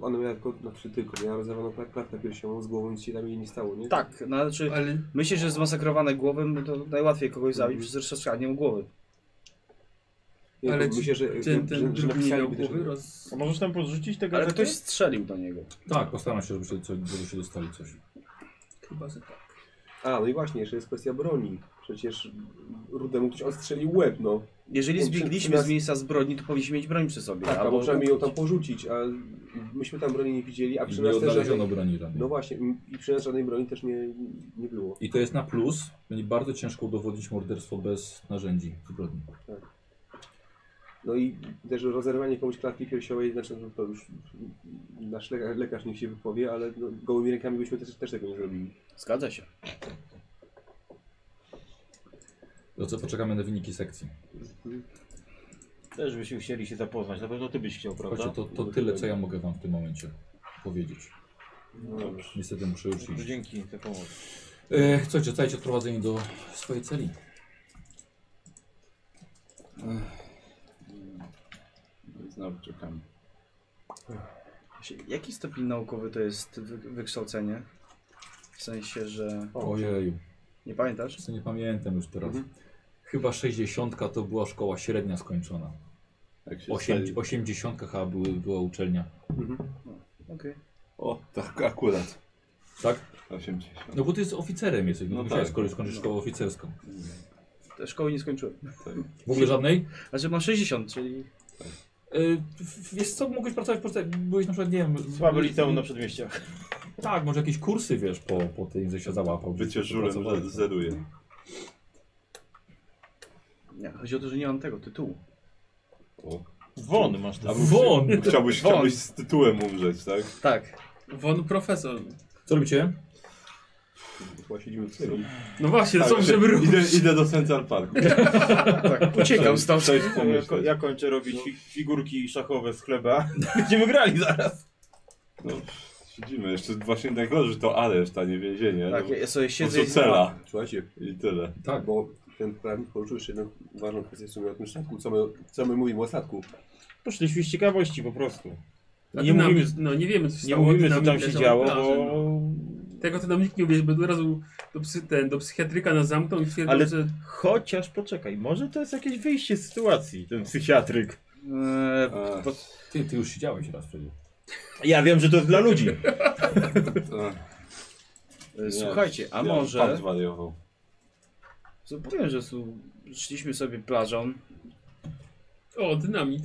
Speaker 1: ona miała tylko, znaczy tylko, miała rozerwaną klat- klatkę piersiową z głową, nic się tam jej nie stało, nie?
Speaker 5: Tak, no ale czy
Speaker 6: Ale
Speaker 5: myślisz, że zmasakrowane głowy, no to najłatwiej kogoś zabić
Speaker 1: Mhm.
Speaker 5: przez rozstrzeszkaniem głowy.
Speaker 1: nie,
Speaker 6: ale
Speaker 1: ale
Speaker 6: ci-
Speaker 1: myślę, że,
Speaker 6: ten,
Speaker 1: że,
Speaker 6: ten
Speaker 1: że
Speaker 6: drugi nie miał
Speaker 1: napisaliby też,
Speaker 6: głowy roz...
Speaker 4: A możesz tam podrzucić te
Speaker 5: Ale
Speaker 4: gazety?
Speaker 5: ktoś strzelił do niego.
Speaker 3: Tak, postaram się, żeby się, coś, żeby się dostali coś.
Speaker 6: Chyba, że tak.
Speaker 1: A, no i właśnie, jeszcze jest kwestia broni. Przecież Rudemu ktoś odstrzelił łeb, no.
Speaker 5: Jeżeli
Speaker 1: No, przy-
Speaker 5: zbiegliśmy
Speaker 1: przynas-
Speaker 5: z miejsca zbrodni, to powinniśmy mieć broń przy sobie.
Speaker 1: Tak, albo przynajmniej ją tam porzucić, a myśmy tam broni nie widzieli, a przy
Speaker 3: Nie
Speaker 1: nas też
Speaker 3: odnaleziono
Speaker 1: żadnej...
Speaker 3: broni rannej.
Speaker 1: Tak, No właśnie, i przy nas żadnej broni też nie, nie było.
Speaker 3: I to jest na plus. Będzie bardzo ciężko udowodnić morderstwo bez narzędzi zbrodni.
Speaker 1: No i też rozerwanie komuś klatki piersiowej, znaczy no to już nasz lekarz, lekarz niech się wypowie, ale no, gołymi rękami byśmy też, też tego nie zrobili.
Speaker 5: Zgadza się.
Speaker 3: To co, poczekamy na wyniki sekcji.
Speaker 4: Też byśmy chcieli się zapoznać. Na pewno ty byś chciał, prawda?
Speaker 3: Chodźcie, to, to tyle, co ja mogę wam w tym momencie powiedzieć.
Speaker 1: No dobrze.
Speaker 3: Niestety muszę już
Speaker 4: No,
Speaker 3: iść.
Speaker 4: Dzięki za pomoc.
Speaker 3: E, słuchajcie, zostajecie odprowadzeni do swojej celi.
Speaker 2: No Znowu czekamy.
Speaker 5: Właśnie, Jaki stopień naukowy to jest wy- wykształcenie? W sensie, że...
Speaker 3: Ojeju,
Speaker 5: Nie pamiętasz?
Speaker 3: co nie pamiętam już teraz.
Speaker 1: Mhm.
Speaker 3: Chyba 60 to była szkoła średnia skończona.
Speaker 2: Jak się
Speaker 3: Osiem,
Speaker 2: stali-
Speaker 3: 80 chyba były, była uczelnia.
Speaker 5: Okej.
Speaker 2: O, tak akurat.
Speaker 3: Tak?
Speaker 2: 80.
Speaker 3: No bo ty jest oficerem jesteś, no
Speaker 2: No
Speaker 3: musiałeś
Speaker 2: tak.
Speaker 3: skoro skończyć szkołę oficerską.
Speaker 5: Te szkoły nie skończyłem.
Speaker 3: W ogóle żadnej?
Speaker 5: Znaczy mam 60, czyli...
Speaker 3: Y, wiesz co, mogłeś pracować po prostu, byłeś na przykład, nie wiem...
Speaker 4: Słaby liceum na przedmieściach.
Speaker 3: Tak, może jakieś kursy, wiesz, po, po tym, że się załapał.
Speaker 2: Bycie żulem
Speaker 3: Pracowałeś,
Speaker 2: że
Speaker 3: no.
Speaker 2: zeruje.
Speaker 5: Nie, chodzi o to, że nie mam tego tytułu.
Speaker 2: O.
Speaker 4: Won masz tam.
Speaker 3: Won!
Speaker 2: Chciałbyś, chciałbyś z tytułem umrzeć, tak?
Speaker 5: Tak.
Speaker 6: Won profesor.
Speaker 3: Co robicie?
Speaker 1: Chyba siedzimy w celi.
Speaker 6: No właśnie,
Speaker 2: tak
Speaker 6: są żeby ruszyć.
Speaker 2: idę, idę do Central Parku.
Speaker 5: tak. Uciekał stąd.
Speaker 2: Cześć,
Speaker 4: Ja, ko-
Speaker 2: pomyśleć.
Speaker 4: ja kończę robić fi- figurki szachowe z chleba. Będziemy grali zaraz.
Speaker 2: No, siedzimy. Jeszcze właśnie najgorzej to areszt, a nie więzienie.
Speaker 5: Tak,
Speaker 2: no,
Speaker 5: ja sobie
Speaker 2: po
Speaker 5: siedzę
Speaker 2: co
Speaker 5: i...
Speaker 2: cela?
Speaker 1: Słuchajcie,
Speaker 2: I tyle.
Speaker 3: Tak,
Speaker 1: bo ten prawnik poruszył jeszcze jedną ważną kwestię w sumie o tym statku, co my, co my mówimy o statku.
Speaker 4: Poszliśmy z ciekawości po prostu.
Speaker 6: A
Speaker 4: Nie
Speaker 6: dynamit-
Speaker 4: mówimy,
Speaker 6: no nie wiemy, co się
Speaker 4: nie
Speaker 6: stało,
Speaker 4: mówimy co
Speaker 6: dynamit
Speaker 4: tam się
Speaker 6: leżał na
Speaker 4: działo,
Speaker 6: plaży,
Speaker 4: bo...
Speaker 6: no. Tego to nam nikt nie uwierzy, bo od razu do, psy, ten, do psychiatryka nas zamknął i stwierdzą,
Speaker 4: Ale-
Speaker 6: że
Speaker 4: Chociaż poczekaj, może to jest jakieś wyjście z sytuacji, ten psychiatryk.
Speaker 5: Eee,
Speaker 2: A,
Speaker 5: po-
Speaker 3: ty, ty już siedziałeś raz wtedy.
Speaker 4: Ja wiem, że to jest dla ludzi.
Speaker 2: a,
Speaker 5: e, Słuchajcie, a
Speaker 2: ja
Speaker 5: może...
Speaker 2: Pan zwariował.
Speaker 5: Co powiem, że tu szliśmy sobie plażą,
Speaker 6: o, dynamit.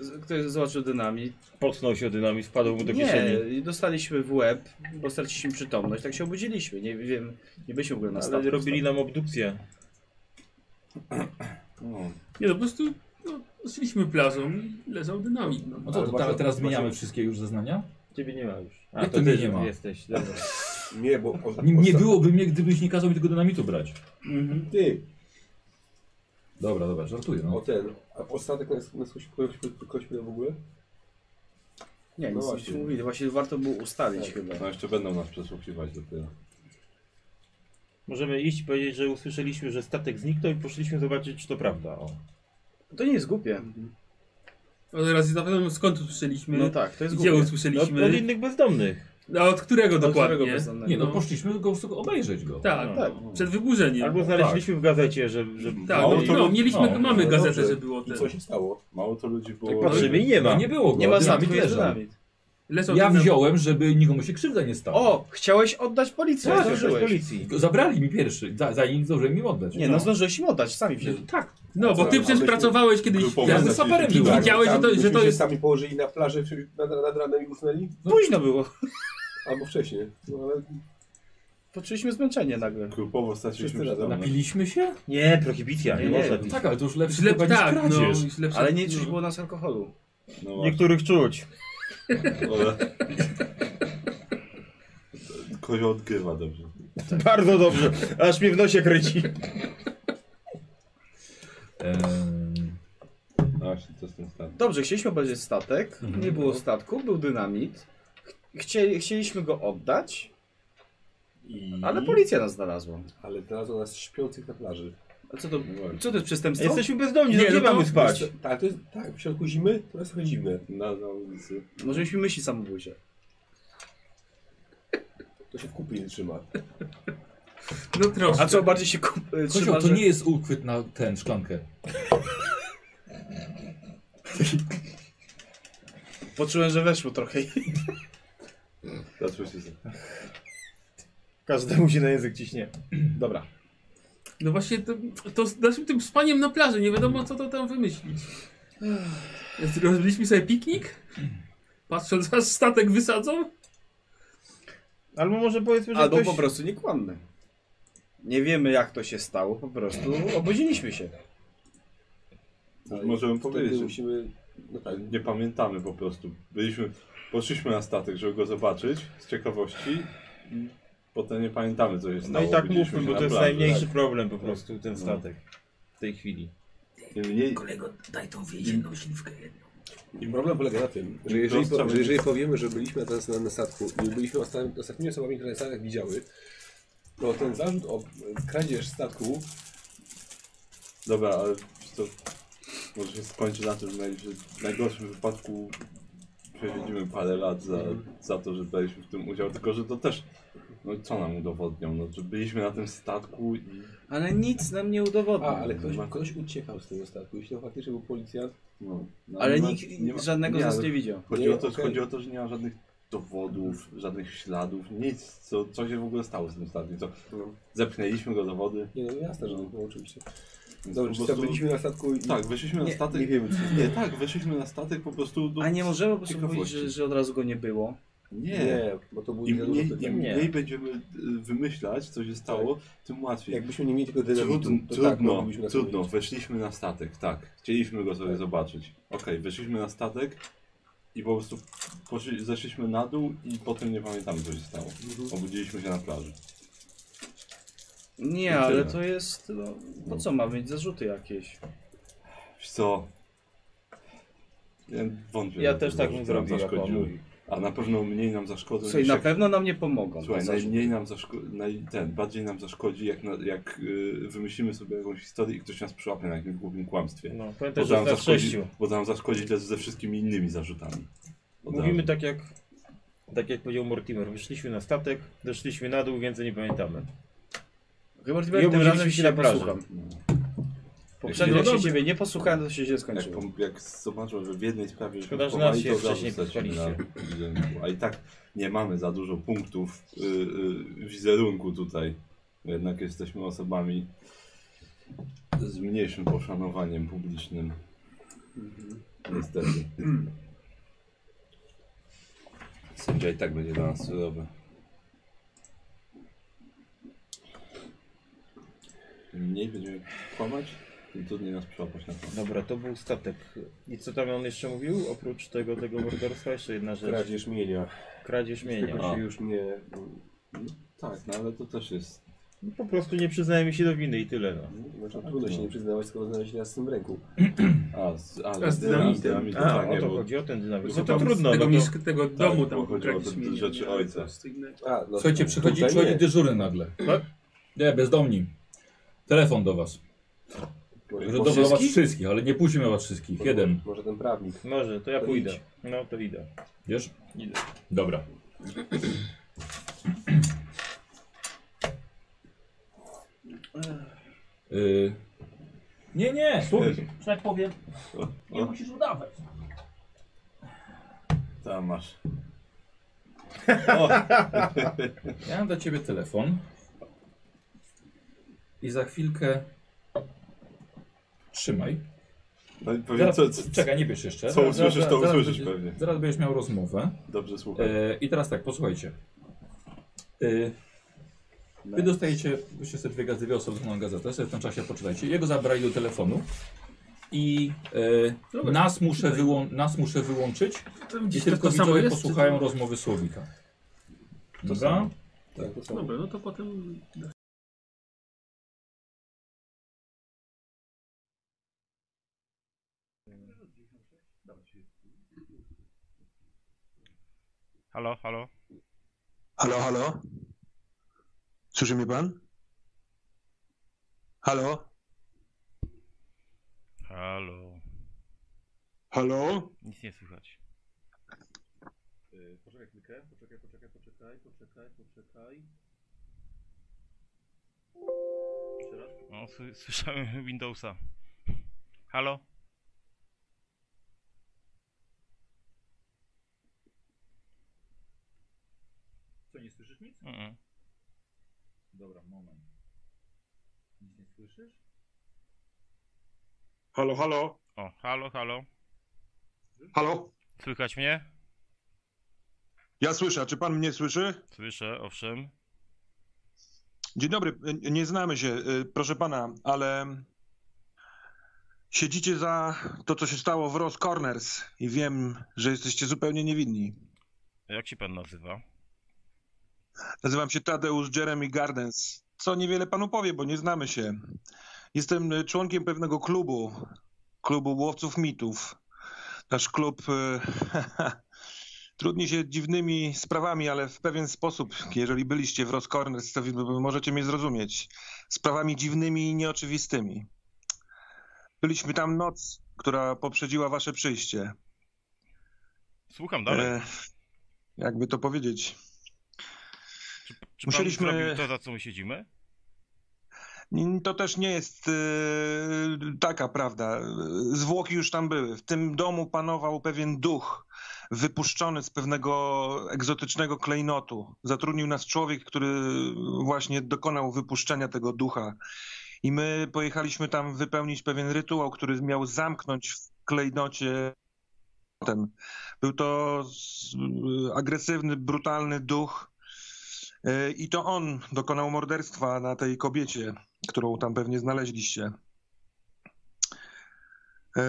Speaker 5: z- ktoś zobaczył dynamit.
Speaker 4: Potknął się o dynamit, wpadł mu do kieszeni.
Speaker 5: Nie, i dostaliśmy w łeb, bo straciliśmy przytomność, tak się obudziliśmy, nie wiem, nie byliśmy w ogóle na
Speaker 4: Ale
Speaker 5: statku.
Speaker 4: robili nam obdukcję.
Speaker 2: No,
Speaker 6: Nie no, po prostu no, szliśmy plażą i leżał dynamit. No.
Speaker 3: No co,
Speaker 1: Ale
Speaker 3: to
Speaker 1: właśnie-
Speaker 3: te- teraz zmieniamy
Speaker 1: właśnie-
Speaker 3: wszystkie już zeznania?
Speaker 4: Ciebie nie ma już.
Speaker 3: Jak to mnie nie ma?
Speaker 4: jesteś. Dobra.
Speaker 1: Nie, bo... O,
Speaker 3: Nie, nie
Speaker 1: o-
Speaker 3: byłoby mnie, gdybyś nie kazał mi tego dynamitu brać.
Speaker 1: Ty,
Speaker 3: Dobra, dobra, żartuję,
Speaker 1: o
Speaker 3: no.
Speaker 1: ten, a o statek nas, nas ktoś ktoś- ktoś pytał w ogóle?
Speaker 5: Nie,
Speaker 2: No
Speaker 5: nic
Speaker 2: właśnie.
Speaker 5: nie mówili. Właśnie warto było ustalić chyba.
Speaker 2: No jeszcze będą nas przesłuchiwać dopiero.
Speaker 4: Możemy iść i powiedzieć, że usłyszeliśmy, że statek zniknął i poszliśmy zobaczyć, czy to prawda. O. No,
Speaker 5: To nie jest głupie.
Speaker 6: Ale raz na pewno skąd usłyszeliśmy?
Speaker 5: No tak, to jest
Speaker 6: Gdzie
Speaker 5: głupie.
Speaker 6: usłyszeliśmy?
Speaker 4: No, od innych bezdomnych.
Speaker 6: A od którego
Speaker 5: Do
Speaker 6: dokładnie?
Speaker 5: którego bezdomnego?
Speaker 3: Nie no, poszliśmy tylko po prostu obejrzeć go.
Speaker 6: Tak,
Speaker 4: No,
Speaker 6: tak. Przed wyburzeniem.
Speaker 4: Albo znaleźliśmy w gazecie, że... że
Speaker 6: Tak,
Speaker 2: Mało
Speaker 6: no,
Speaker 2: to-
Speaker 6: no, mieliśmy,
Speaker 3: no,
Speaker 6: mamy
Speaker 2: no
Speaker 6: gazetę,
Speaker 2: dobrze.
Speaker 6: że było
Speaker 1: I
Speaker 6: te.
Speaker 1: co się stało?
Speaker 2: Mało to ludzi było.
Speaker 4: Tak patrzymy i nie
Speaker 3: No
Speaker 4: ma.
Speaker 3: nie było go.
Speaker 5: Nie ma
Speaker 3: dynamit
Speaker 5: znaku, jest
Speaker 3: leżał.
Speaker 5: dynamit.
Speaker 6: Leżą
Speaker 3: Ja
Speaker 6: inne-
Speaker 3: wziąłem, żeby nikomu się krzywda nie stała.
Speaker 5: O, chciałeś oddać policji,
Speaker 4: Tak, to jest
Speaker 5: zdążyłeś.
Speaker 4: policji.
Speaker 3: Zabrali mi pierwszy, za- zanim zdążyłem im oddać.
Speaker 5: Nie, no zdążyłeś im oddać, sami wzięli.
Speaker 3: Tak.
Speaker 6: No, bo
Speaker 2: Tak,
Speaker 6: ty przecież
Speaker 2: abyśmy
Speaker 6: pracowałeś kiedyś w
Speaker 2: grupowo
Speaker 3: Ja
Speaker 6: tym.
Speaker 3: ze
Speaker 2: zaczęli-
Speaker 3: saperem
Speaker 2: Tak,
Speaker 3: byłem.
Speaker 6: Widziałeś, że
Speaker 1: Tam
Speaker 6: to, że
Speaker 1: myśmy
Speaker 6: to
Speaker 1: się
Speaker 6: jest...
Speaker 1: sami położyli na plaży czy nad, nad ranem i usnęli?
Speaker 5: Późno było.
Speaker 1: Albo wcześniej. No ale
Speaker 5: Poczuliśmy zmęczenie nagle.
Speaker 2: Grupowo straciliśmy
Speaker 1: Wszyscy
Speaker 2: przed mną.
Speaker 3: Napiliśmy się?
Speaker 4: Nie, prohibicja, nie,
Speaker 5: Nie,
Speaker 4: można
Speaker 5: nie.
Speaker 4: pić.
Speaker 3: Tak, ale to już lepsze
Speaker 6: Źle,
Speaker 3: chyba niż
Speaker 6: tak, no,
Speaker 3: kradzież.
Speaker 6: źle,
Speaker 5: Ale nie czuć
Speaker 6: no.
Speaker 5: było nas alkoholu.
Speaker 2: No właśnie,
Speaker 4: Niektórych czuć.
Speaker 2: ale... Kozio odgrywa dobrze.
Speaker 4: Bardzo dobrze. Aż mnie w nosie kryci.
Speaker 3: Em,
Speaker 2: No właśnie, co z tym stanem?
Speaker 5: Dobrze, chcieliśmy obejrzeć statek,
Speaker 3: Mhm.
Speaker 5: nie było statku, był dynamit. Ch- Chcieli, chcieliśmy go oddać,
Speaker 2: I...
Speaker 5: ale policja nas znalazła.
Speaker 1: Ale znalazło nas śpiących na plaży.
Speaker 5: A co to,
Speaker 2: No właśnie.
Speaker 5: co to jest przestępstwo?
Speaker 4: Jesteśmy bezdomni,
Speaker 6: Nie,
Speaker 4: nie,
Speaker 6: no
Speaker 4: nie
Speaker 6: to-
Speaker 4: mamy spać.
Speaker 1: Wiesz co, Tak, to jest, tak, w środku zimy to jest trochę dziwne.
Speaker 2: Na, na ulicy.
Speaker 5: Może mieliśmy myśli samobójcze.
Speaker 1: To się w kupie nie trzyma.
Speaker 6: No troszkę.
Speaker 5: A co, bardziej się kup... y,
Speaker 3: Kozioł,
Speaker 5: trzyma,
Speaker 3: to
Speaker 5: że...
Speaker 3: nie jest uchwyt na tę szklankę.
Speaker 5: Poczułem, że weszło trochę.
Speaker 2: Teraz już jest...
Speaker 4: Każdemu się na język ciśnie.
Speaker 5: Dobra.
Speaker 6: No właśnie, to, to z naszym tym spaniem na plaży, nie wiadomo co to tam wymyślić. Więc Robiliśmy sobie piknik, patrząc aż statek wysadzą.
Speaker 4: Albo może powiedzmy, że
Speaker 5: Albo
Speaker 4: ktoś...
Speaker 5: po prostu nie kłammy. Nie wiemy jak to się stało, po prostu obudziliśmy się.
Speaker 1: Ale
Speaker 2: Możemy powiedzieć,
Speaker 1: Wtedy
Speaker 2: że
Speaker 1: musimy... No tak,
Speaker 2: nie pamiętamy po prostu. Byliśmy, poszliśmy na statek, żeby go zobaczyć z ciekawości. i Potem nie pamiętamy, co się
Speaker 4: No
Speaker 2: stało.
Speaker 4: i tak
Speaker 2: Budziliśmy się
Speaker 4: mówmy, bo
Speaker 2: na
Speaker 4: to jest
Speaker 2: plaży,
Speaker 4: najmniejszy
Speaker 2: tak.
Speaker 4: problem po prostu, ten statek. W tej chwili.
Speaker 2: Im mniej,
Speaker 6: Kolego, daj tą więzienną śliwkę jedną.
Speaker 1: I problem polega na tym, że jeżeli,
Speaker 2: Prosta
Speaker 1: po, że
Speaker 2: myśl.
Speaker 1: jeżeli powiemy, że byliśmy teraz na, na statku i byliśmy ostatnimi, ostatnimi osobami, które na statkach widziały, to ten zarzut o e, kradzież statku
Speaker 2: Dobra, ale to może się skończy na tym, że naj- że w najgorszym wypadku prześledzimy parę lat za, za to, że braliśmy w tym udział, tylko że to też, no co nam udowodnią, no, że byliśmy na tym statku i
Speaker 5: Ale nic nam nie udowodnił.
Speaker 1: A, ale ktoś, ktoś uciekał z tego statku. Jeśli to faktycznie był policjant,
Speaker 2: no, no,
Speaker 5: Ale
Speaker 2: nie ma-
Speaker 5: nikt
Speaker 2: nie ma-
Speaker 5: żadnego
Speaker 2: nie,
Speaker 5: z nas
Speaker 2: ale
Speaker 5: nie widział.
Speaker 2: Chodzi,
Speaker 1: Nie,
Speaker 2: o to,
Speaker 1: okej.
Speaker 2: chodzi o to, że nie ma żadnych dowodów, żadnych śladów, nic, co, co się w ogóle stało z tym statkiem, co
Speaker 1: no,
Speaker 2: zepchnęliśmy go do wody.
Speaker 1: nie no jasne, że no, oczywiście.
Speaker 2: więc
Speaker 1: Dobra,
Speaker 2: po
Speaker 1: czy
Speaker 2: prostu-
Speaker 1: byliśmy na statku i...
Speaker 2: Tak, weszliśmy na
Speaker 5: Nie,
Speaker 2: statek. Nie wiemy, Nie, tak, weszliśmy na statek po prostu do...
Speaker 5: A nie możemy po prostu
Speaker 2: Ciekawości.
Speaker 5: powiedzieć, że, że od razu go nie było.
Speaker 2: nie,
Speaker 1: Nie, bo to było
Speaker 2: Im mniej,
Speaker 1: nie,
Speaker 2: im
Speaker 1: nie.
Speaker 2: mniej będziemy y, wymyślać, co się stało, tym łatwiej.
Speaker 1: Jakbyśmy nie mieli tego dynamitu,
Speaker 2: Trudno,
Speaker 1: to tak,
Speaker 2: trudno,
Speaker 1: moglibyśmy na to
Speaker 2: trudno.
Speaker 1: mieć.
Speaker 2: Weszliśmy na statek, tak. Chcieliśmy go sobie zobaczyć. Okej, weszliśmy na statek i po prostu poszli, zeszliśmy na dół i potem nie pamiętamy, co się stało. Obudziliśmy się na plaży.
Speaker 5: Nie,
Speaker 2: Tyle.
Speaker 5: ale to jest... No, po co ma mieć zarzuty jakieś?
Speaker 2: Wiesz co? Ja wątpię.
Speaker 4: Ja
Speaker 2: że
Speaker 4: też
Speaker 2: to
Speaker 4: tak
Speaker 2: nam
Speaker 4: bym zrobił,
Speaker 2: zaszkodziło.
Speaker 4: Jakobu.
Speaker 2: A na pewno mniej nam zaszkodzą
Speaker 5: Słuchaj,
Speaker 2: niż
Speaker 5: na
Speaker 2: No jak-
Speaker 5: pewno nam nie pomogą. no
Speaker 2: Słuchaj, no
Speaker 5: te zarzuty.
Speaker 2: najmniej nam zaszkodzi, naj, ten, bardziej nam zaszkodzi, jak, na, jak y, wymyślimy sobie jakąś historię i ktoś nas przyłapie na jakimś głupim kłamstwie.
Speaker 4: No, pamiętaj,
Speaker 2: Bo to
Speaker 4: że
Speaker 2: nam
Speaker 4: jest nas
Speaker 2: zaszkodzi,
Speaker 4: sześciu.
Speaker 2: bo to nam zaszkodzi też ze wszystkimi innymi zarzutami. Od
Speaker 4: Mówimy
Speaker 2: razu.
Speaker 4: tak jak... Tak jak powiedział Mortimer, wyszliśmy na statek, doszliśmy na dół, więcej nie pamiętamy.
Speaker 5: Chyba że
Speaker 4: I
Speaker 5: tym razem
Speaker 4: obudziliśmy się
Speaker 5: się
Speaker 4: na
Speaker 5: nie
Speaker 4: plaży.
Speaker 5: posłucham.
Speaker 6: No
Speaker 5: Poprzednio jak się
Speaker 6: dobra.
Speaker 5: ciebie nie posłuchałem, to się źle
Speaker 2: Jak,
Speaker 5: skończyło.
Speaker 2: pom- jak zobaczą, że w jednej sprawie
Speaker 4: Szkoda, że
Speaker 2: żeśmy
Speaker 4: nas
Speaker 2: chowali,
Speaker 4: się
Speaker 2: to od razu
Speaker 4: wcześniej
Speaker 2: stracimy
Speaker 4: spotkaliście.
Speaker 2: na wizerunku. A i tak nie mamy za dużo punktów y, y, wizerunku tutaj. Jednak jesteśmy osobami z mniejszym poszanowaniem publicznym. Niestety. Sędzia i tak będzie dla nas surowy. Im mniej będziemy kłamać, tym trudniej nas przełapać na to.
Speaker 4: Dobra, to był statek. I co tam on jeszcze mówił? Oprócz tego, tego morderstwa jeszcze jedna rzecz.
Speaker 1: Kradzież mienia.
Speaker 4: Kradzież mienia.
Speaker 1: Tego
Speaker 2: A.
Speaker 1: się już nie...
Speaker 2: Tak, no ale to też jest
Speaker 4: No, po prostu nie przyznaje mi się do winy i tyle no.
Speaker 2: No,
Speaker 1: Znaczy, trudno się nie przyznawać, skoro znaleźli nas z tym w ręku.
Speaker 2: A, z, ale
Speaker 6: A z dynamitem.
Speaker 4: A,
Speaker 2: tak,
Speaker 4: o
Speaker 2: nie,
Speaker 4: to
Speaker 2: bo...
Speaker 4: chodzi o ten dynamit.
Speaker 6: Bo
Speaker 4: No to
Speaker 6: tam z
Speaker 4: trudno,
Speaker 6: tego,
Speaker 4: no to...
Speaker 6: mieszk- tego domu tam
Speaker 2: bo chodziło o te
Speaker 6: ukradliśmy, nie,
Speaker 2: rzeczy
Speaker 6: nie,
Speaker 2: ojca.
Speaker 6: coś innego.
Speaker 1: A, no,
Speaker 3: Słuchajcie, przychodzi
Speaker 1: tutaj
Speaker 3: człowiek
Speaker 1: nie.
Speaker 3: dyżury nagle.
Speaker 4: Tak?
Speaker 3: Nie, bezdomni. Telefon do was.
Speaker 1: Może, może,
Speaker 3: Że do do was
Speaker 6: wszystkich?
Speaker 3: wszystkich, ale nie puścimy was wszystkich. Jeden.
Speaker 1: może ten prawnik.
Speaker 4: Może, to ja
Speaker 1: To
Speaker 4: pójdę.
Speaker 1: idź.
Speaker 4: No, to idę.
Speaker 3: Wiesz?
Speaker 4: Idę.
Speaker 3: Dobra. Y... Nie, nie, słuchaj, że tak powiem,
Speaker 2: O,
Speaker 3: nie
Speaker 2: o,
Speaker 3: musisz udawać.
Speaker 2: tam masz.
Speaker 3: Ja mam do ciebie telefon. I za chwilkę. Trzymaj.
Speaker 2: No, i powiem,
Speaker 3: Zaraz,
Speaker 2: co, co,
Speaker 3: czekaj, nie bierz jeszcze.
Speaker 2: co
Speaker 3: Zaraz-
Speaker 2: usłyszysz,
Speaker 3: zaraz-
Speaker 2: to
Speaker 3: zaraz
Speaker 2: usłyszysz
Speaker 3: będziesz-
Speaker 2: pewnie.
Speaker 3: Zaraz będziesz miał rozmowę.
Speaker 2: Dobrze słucham.
Speaker 3: E, I teraz tak, posłuchajcie. E, wy dostajecie właśnie sobie dwie gazety, dwie osoby dostaną gazetę, sobie w tym czasie poczytajcie. Jego zabrali do telefonu i e,
Speaker 6: Dobra.
Speaker 3: nas, muszę wyłą- nas muszę wyłączyć
Speaker 6: To
Speaker 3: i
Speaker 6: gdzieś to,
Speaker 3: tylko
Speaker 6: to samo
Speaker 3: widzowie
Speaker 6: jest. czy to-
Speaker 3: posłuchają rozmowy słowika. Dobra?
Speaker 2: samo.
Speaker 1: Tak, to samo.
Speaker 6: Dobra, no to potem
Speaker 7: Halo, halo?
Speaker 8: Halo, halo? Słyszy mnie pan? Halo?
Speaker 7: Halo.
Speaker 8: Halo?
Speaker 7: Nic nie słychać.
Speaker 1: Y, Poczekaj chwilkę, poczekaj, poczekaj, poczekaj, poczekaj, poczekaj.
Speaker 7: No, sły- słyszałem Windowsa. Halo?
Speaker 3: Co, nie słyszysz nic?
Speaker 7: Mm.
Speaker 3: Dobra, moment. Nic nie słyszysz?
Speaker 8: Halo, halo?
Speaker 7: O, halo, halo.
Speaker 8: Halo?
Speaker 7: Słychać mnie?
Speaker 8: Ja słyszę, a czy pan mnie słyszy?
Speaker 7: Słyszę, owszem.
Speaker 8: Dzień dobry, y, nie znamy się, y, proszę pana, ale siedzicie za to, co się stało w Rose Corners i wiem, że jesteście zupełnie niewinni.
Speaker 7: Jak się pan nazywa?
Speaker 8: Nazywam się Tadeusz Jeremy Gardens, co niewiele panu powie, bo nie znamy się. Jestem y, członkiem pewnego klubu, klubu łowców mitów. Nasz klub y, trudni się dziwnymi sprawami, ale w pewien sposób, jeżeli byliście w Rose Corners, to wy- możecie mnie zrozumieć. Sprawami dziwnymi i nieoczywistymi. Byliśmy tam noc, która poprzedziła wasze przyjście.
Speaker 7: Słucham dalej.
Speaker 8: E, jakby to powiedzieć.
Speaker 7: czy, czy
Speaker 8: musieliśmy-
Speaker 7: pan zrobił to, za co my siedzimy?
Speaker 8: Mm, To też nie jest e, taka prawda. Zwłoki już tam były. W tym domu panował pewien duch wypuszczony z pewnego egzotycznego klejnotu. Zatrudnił nas człowiek, który właśnie dokonał wypuszczenia tego ducha. I my pojechaliśmy tam wypełnić pewien rytuał, który miał zamknąć w klejnocie. potem. Był to s- agresywny, brutalny duch. e, I to on dokonał morderstwa na tej kobiecie którą tam pewnie znaleźliście. E,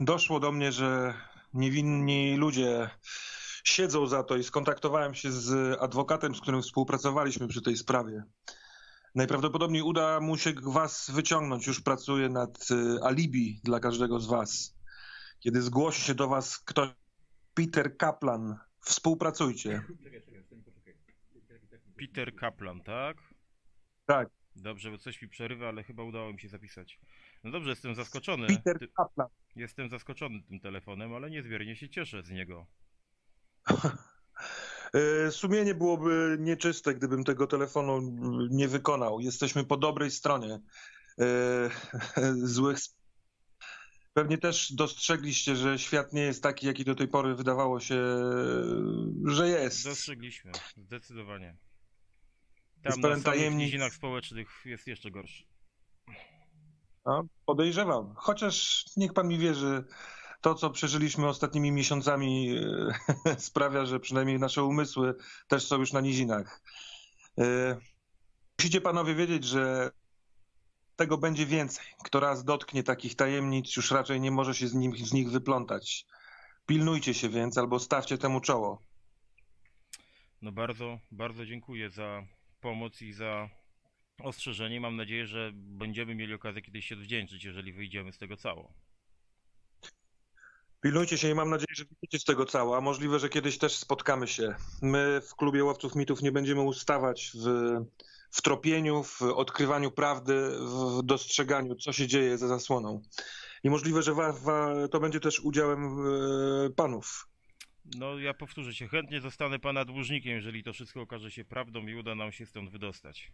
Speaker 8: Doszło do mnie, że niewinni ludzie siedzą za to i skontaktowałem się z adwokatem, z którym współpracowaliśmy przy tej sprawie. Najprawdopodobniej uda mu się was wyciągnąć. Już pracuje nad e, alibi dla każdego z was. Kiedy zgłosi się do was ktoś, Peter Kaplan, współpracujcie.
Speaker 7: Peter Kaplan, tak?
Speaker 8: Tak.
Speaker 7: Dobrze, bo coś mi przerywa, ale chyba udało mi się zapisać. No dobrze, jestem zaskoczony.
Speaker 8: Peter
Speaker 7: Ty,
Speaker 8: Kaplan.
Speaker 7: jestem zaskoczony tym telefonem, ale niezmiernie się cieszę z niego.
Speaker 8: E, Sumienie byłoby nieczyste, gdybym tego telefonu mm, nie wykonał. Jesteśmy po dobrej stronie e, złych. sp- Pewnie też dostrzegliście, że świat nie jest taki, jaki do tej pory wydawało się, e, że jest.
Speaker 7: Dostrzegliśmy, zdecydowanie.
Speaker 8: Jest
Speaker 7: Tam
Speaker 8: pełen
Speaker 7: na samych
Speaker 8: tajemnic.
Speaker 7: nizinach społecznych jest jeszcze gorszy.
Speaker 8: No, podejrzewam. Chociaż niech pan mi wierzy, to co przeżyliśmy ostatnimi miesiącami e, sprawia, że przynajmniej nasze umysły też są już na nizinach. E, Musicie panowie wiedzieć, że tego będzie więcej. Kto raz dotknie takich tajemnic, już raczej nie może się z, nim, z nich wyplątać. Pilnujcie się więc albo stawcie temu czoło.
Speaker 7: No bardzo, bardzo dziękuję za pomoc i za ostrzeżenie. Mam nadzieję, że będziemy mieli okazję kiedyś się wdzięczyć, jeżeli wyjdziemy z tego cało.
Speaker 8: Pilnujcie się i mam nadzieję, że wyjdziecie z tego cała. Możliwe, że kiedyś też spotkamy się. My w klubie łowców mitów nie będziemy ustawać w, w tropieniu, w odkrywaniu prawdy, w dostrzeganiu, co się dzieje za zasłoną. I możliwe, że wa, wa, to będzie też udziałem e, panów.
Speaker 7: No, ja powtórzę się, chętnie zostanę pana dłużnikiem, jeżeli to wszystko okaże się prawdą i uda nam się stąd wydostać.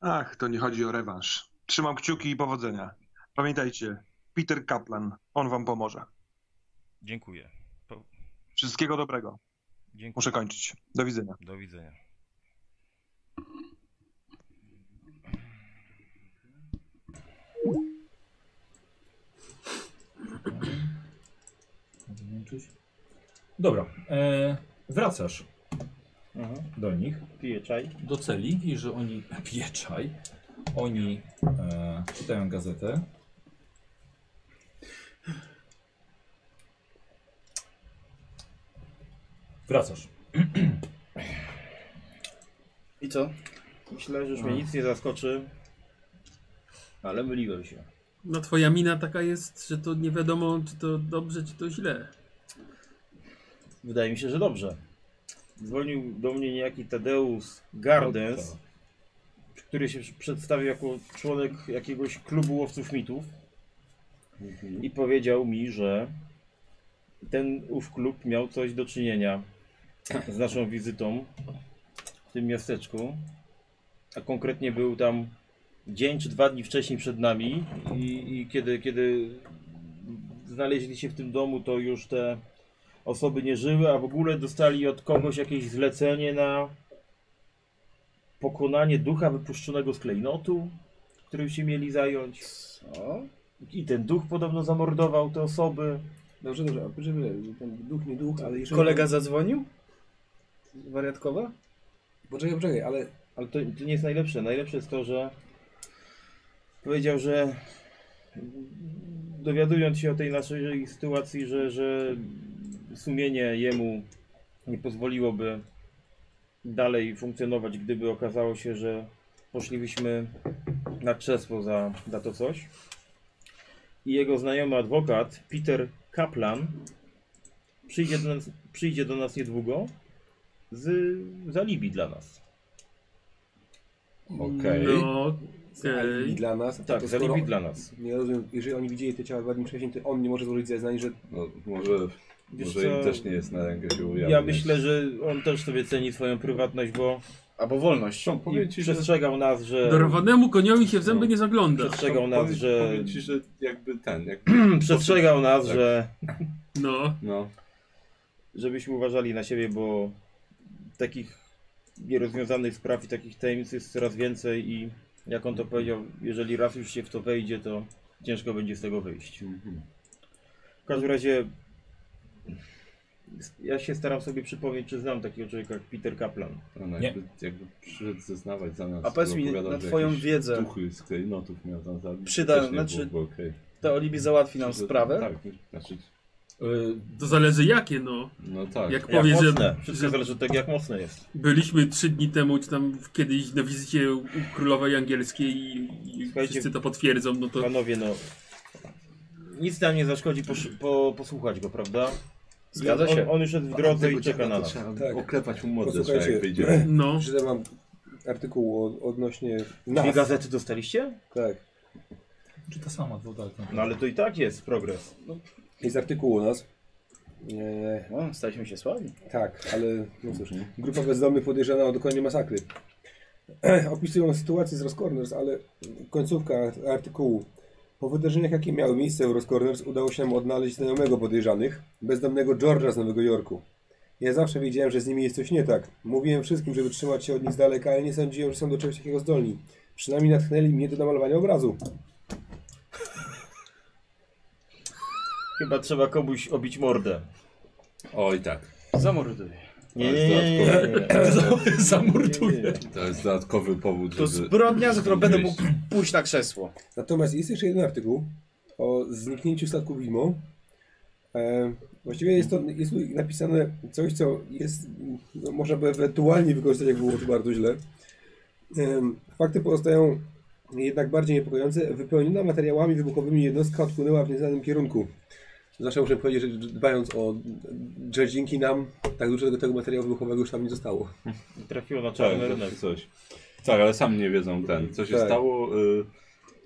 Speaker 8: Ach, to nie chodzi o rewanż. Trzymam kciuki i powodzenia. Pamiętajcie, Peter Kaplan, on wam pomoże.
Speaker 7: Dziękuję.
Speaker 8: Wszystkiego dobrego.
Speaker 7: Dziękuję.
Speaker 8: Muszę kończyć. Do widzenia.
Speaker 7: Do widzenia.
Speaker 3: Wyłączyć. Dobra, e, wracasz
Speaker 4: Mhm.
Speaker 3: do nich,
Speaker 4: Piję czaj.
Speaker 3: do celi, widzisz, że oni pije czaj, oni e, czytają gazetę. Wracasz.
Speaker 5: I co?
Speaker 4: Myślałem, że już mnie nic nie zaskoczy. Ale myliłem się.
Speaker 6: No twoja mina taka jest, że to nie wiadomo, czy to dobrze, czy to źle.
Speaker 4: Wydaje mi się, że dobrze. Dzwonił do mnie niejaki Tadeusz Gardens, który się przedstawił jako członek jakiegoś klubu łowców mitów i powiedział mi, że ten ów klub miał coś do czynienia z naszą wizytą w tym miasteczku, a konkretnie był tam dzień czy dwa dni wcześniej przed nami i, i kiedy, kiedy znaleźli się w tym domu, to już te osoby nie żyły, a w ogóle dostali od kogoś jakieś zlecenie na pokonanie ducha wypuszczonego z klejnotu, którym się mieli zająć.
Speaker 5: Co?
Speaker 4: I ten duch podobno zamordował te osoby.
Speaker 1: Dobrze, dobrze, a żeby ten duch, nie duch, ale jeżeli...
Speaker 5: Kolega zadzwonił? Wariatkowa?
Speaker 1: Poczekaj, poczekaj, ale
Speaker 3: Eee,
Speaker 4: Ale to, to nie jest najlepsze. Najlepsze jest to, że powiedział, że dowiadując się o tej naszej sytuacji, że, że sumienie jemu nie pozwoliłoby dalej funkcjonować, gdyby okazało się, że poszlibyśmy na krzesło za, za to coś. I jego znajomy adwokat, Peter Kaplan, przyjdzie do nas, przyjdzie do nas niedługo z zalibi dla nas.
Speaker 3: Okej.
Speaker 6: No,
Speaker 1: alibi
Speaker 6: okej.
Speaker 1: dla nas...
Speaker 4: Tak,
Speaker 1: to
Speaker 4: zalibi
Speaker 1: skoro-
Speaker 4: dla nas.
Speaker 1: Nie rozumiem, jeżeli oni widzieli te ciała dwa dni wcześniej, to on nie może złożyć zeznań, że
Speaker 2: No, może
Speaker 4: Wiesz
Speaker 2: może im
Speaker 4: co,
Speaker 2: też nie jest na rękę się ujawniać.
Speaker 4: ja myślę, że on też sobie ceni swoją prywatność, bo
Speaker 5: Albo wolność.
Speaker 2: Są, powiem
Speaker 4: i
Speaker 2: ci, że...
Speaker 4: przestrzegał nas, że
Speaker 6: Dorwanemu koniowi się w zęby nie zagląda.
Speaker 4: przestrzegał
Speaker 2: są-
Speaker 4: nas,
Speaker 2: No, powiem-
Speaker 4: że
Speaker 2: Powiem ci, że jakby ten, jak...
Speaker 4: przestrzegał nas,
Speaker 2: Tak.
Speaker 4: że
Speaker 6: No.
Speaker 2: No,
Speaker 4: żebyśmy uważali na siebie, bo takich nierozwiązanych spraw i takich tajemnic jest coraz więcej i jak on to powiedział, jeżeli raz już się w to wejdzie, to ciężko będzie z tego wyjść.
Speaker 2: Mhm.
Speaker 4: W każdym razie ja się staram sobie przypomnieć, czy znam takiego człowieka jak Peter Kaplan.
Speaker 2: no
Speaker 3: Nie.
Speaker 2: jakby, jakby przyszedł zeznawać za nas.
Speaker 5: A powiedz mi,
Speaker 2: opowiadał,
Speaker 5: na
Speaker 2: że
Speaker 5: twoją
Speaker 2: jakieś
Speaker 5: wiedzę.
Speaker 2: Duchy z klejnotów miał tam zabić.
Speaker 5: Przyda-
Speaker 2: też nie
Speaker 5: znaczy-
Speaker 2: było- było okej.
Speaker 5: To Olibi załatwi nam
Speaker 2: Że-
Speaker 5: sprawę.
Speaker 2: Tak, znaczy,
Speaker 3: Y,
Speaker 6: To zależy jakie, no.
Speaker 2: no tak.
Speaker 6: Jak
Speaker 4: Jak
Speaker 6: powie,
Speaker 4: mocne.
Speaker 6: że,
Speaker 4: Wszystko
Speaker 6: że
Speaker 4: zależy od tego, jak mocne jest.
Speaker 6: byliśmy trzy dni temu, czy tam kiedyś na wizycie u królowej angielskiej i, i
Speaker 4: Słuchajcie,
Speaker 6: wszyscy to potwierdzą, no to
Speaker 4: Panowie, no. Nic nam nie zaszkodzi posz- po, posłuchać go, prawda?
Speaker 5: Zgadza
Speaker 4: on,
Speaker 5: się.
Speaker 4: On już jest w drodze i czeka na nas.
Speaker 1: Tak.
Speaker 2: Tak. Oklepać mu mordę, trzeba,
Speaker 1: Posłuchajcie.
Speaker 2: jak wyjdziemy.
Speaker 6: no.
Speaker 1: Przeczytam wam artykuł o- odnośnie
Speaker 4: Dwie
Speaker 1: nas.
Speaker 4: gazety dostaliście?
Speaker 1: Tak.
Speaker 3: Czy ta sama woda? jak na-
Speaker 4: No ale to i tak jest progres.
Speaker 1: Jest artykuł o nas. E,
Speaker 5: No, staliśmy się sławni.
Speaker 1: tak, ale no cóż.
Speaker 4: Mhm.
Speaker 1: Grupa bezdomnych podejrzana o dokonanie masakry. Opisują sytuację z Roscorners, ale końcówka art- artykułu. Po wydarzeniach, jakie miały miejsce u Roscorners, udało się nam odnaleźć znajomego podejrzanych, bezdomnego George'a z Nowego Jorku. Ja zawsze wiedziałem, że z nimi jest coś nie tak. Mówiłem wszystkim, żeby trzymać się od nich z daleka, ale nie sądziłem, że są do czegoś takiego zdolni. Przynajmniej natchnęli mnie do namalowania obrazu.
Speaker 4: Chyba trzeba komuś obić mordę.
Speaker 2: Oj tak.
Speaker 5: Zamorduj.
Speaker 4: Nie,
Speaker 2: To
Speaker 4: nie,
Speaker 2: jest
Speaker 4: nie, nie, nie, nie.
Speaker 3: Zamorduję.
Speaker 2: To jest dodatkowy powód,
Speaker 5: To
Speaker 2: żeby...
Speaker 5: zbrodnia, za którą będę
Speaker 2: Gdzieś.
Speaker 5: mógł pójść na krzesło.
Speaker 1: Natomiast jest jeszcze jeden artykuł o zniknięciu statku Widmo. E, właściwie jest to jest tu napisane coś, co jest, no, można by ewentualnie wykorzystać, jakby było to bardzo źle. Em, Fakty pozostają jednak bardziej niepokojące. Wypełniona materiałami wybuchowymi jednostka odpłynęła w nieznanym kierunku. Zawsze muszę powiedzieć, że dbając o że dzięki nam tak dużo tego, tego materiału wybuchowego już tam nie zostało.
Speaker 4: Trafiło na czarny
Speaker 2: Tak,
Speaker 4: rynek.
Speaker 2: tak, coś. Tak, ale sam nie wiedzą ten, co się
Speaker 1: Tak.
Speaker 2: stało. Y,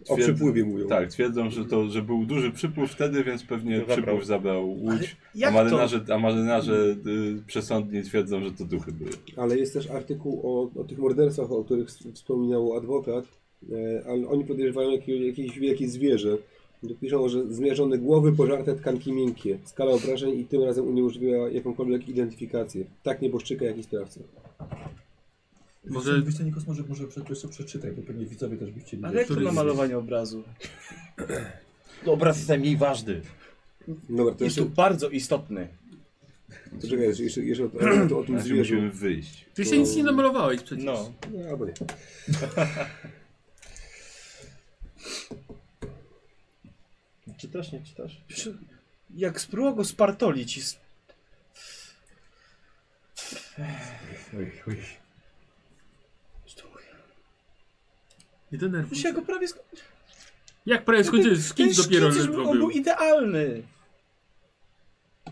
Speaker 1: O
Speaker 2: twierd-
Speaker 1: przypływie mówią.
Speaker 2: Tak, twierdzą, że, to, że był duży przypływ wtedy, więc pewnie
Speaker 4: To zabrał.
Speaker 2: przypływ zabrał łódź. A
Speaker 5: jak to?
Speaker 2: marynarze, a marynarze y, przesądnie twierdzą, że to duchy były.
Speaker 1: Ale jest też artykuł o, o tych morderstwach, o których s- wspominał adwokat, e, ale oni podejrzewają jakieś, jakieś wielkie zwierzę. Tu Piszą, że zmierzone głowy, pożarte tkanki miękkie. Skala obrażeń i tym razem uniemożliwiła jakąkolwiek identyfikację. Tak nieboszczyka, jak i sprawcy.
Speaker 6: Może-
Speaker 3: Wiesz co, Nikos, może, może prze- wiesz co, przeczytaj, bo pewnie widzowie też by chcieli.
Speaker 5: Ale
Speaker 3: wiedzieć,
Speaker 5: jak to
Speaker 3: który
Speaker 5: na
Speaker 3: z-
Speaker 5: malowanie obrazu?
Speaker 4: No, Obraz jest najmniej ważny.
Speaker 1: Dobra, to
Speaker 4: Jest
Speaker 1: jeszcze,
Speaker 4: tu bardzo istotny.
Speaker 1: to czekaj, jeszcze, jeszcze, jeszcze o, o, o tym
Speaker 2: Znaczy
Speaker 1: zwierzu.
Speaker 2: musimy wyjść.
Speaker 6: Ty się nic nie namalowałeś przecież.
Speaker 4: No.
Speaker 1: No, albo nie.
Speaker 4: Czytasz, nie czytasz?
Speaker 5: Przy- Jak spróbował go spartolić i s-
Speaker 3: Oj, oj.
Speaker 6: Nie denerwuj.
Speaker 5: się go prawie sko-
Speaker 6: Jak prawie skończyłeś, szkic
Speaker 5: Ten
Speaker 6: dopiero
Speaker 5: szkic już
Speaker 6: ledwo
Speaker 5: był- on
Speaker 6: był.
Speaker 5: był idealny.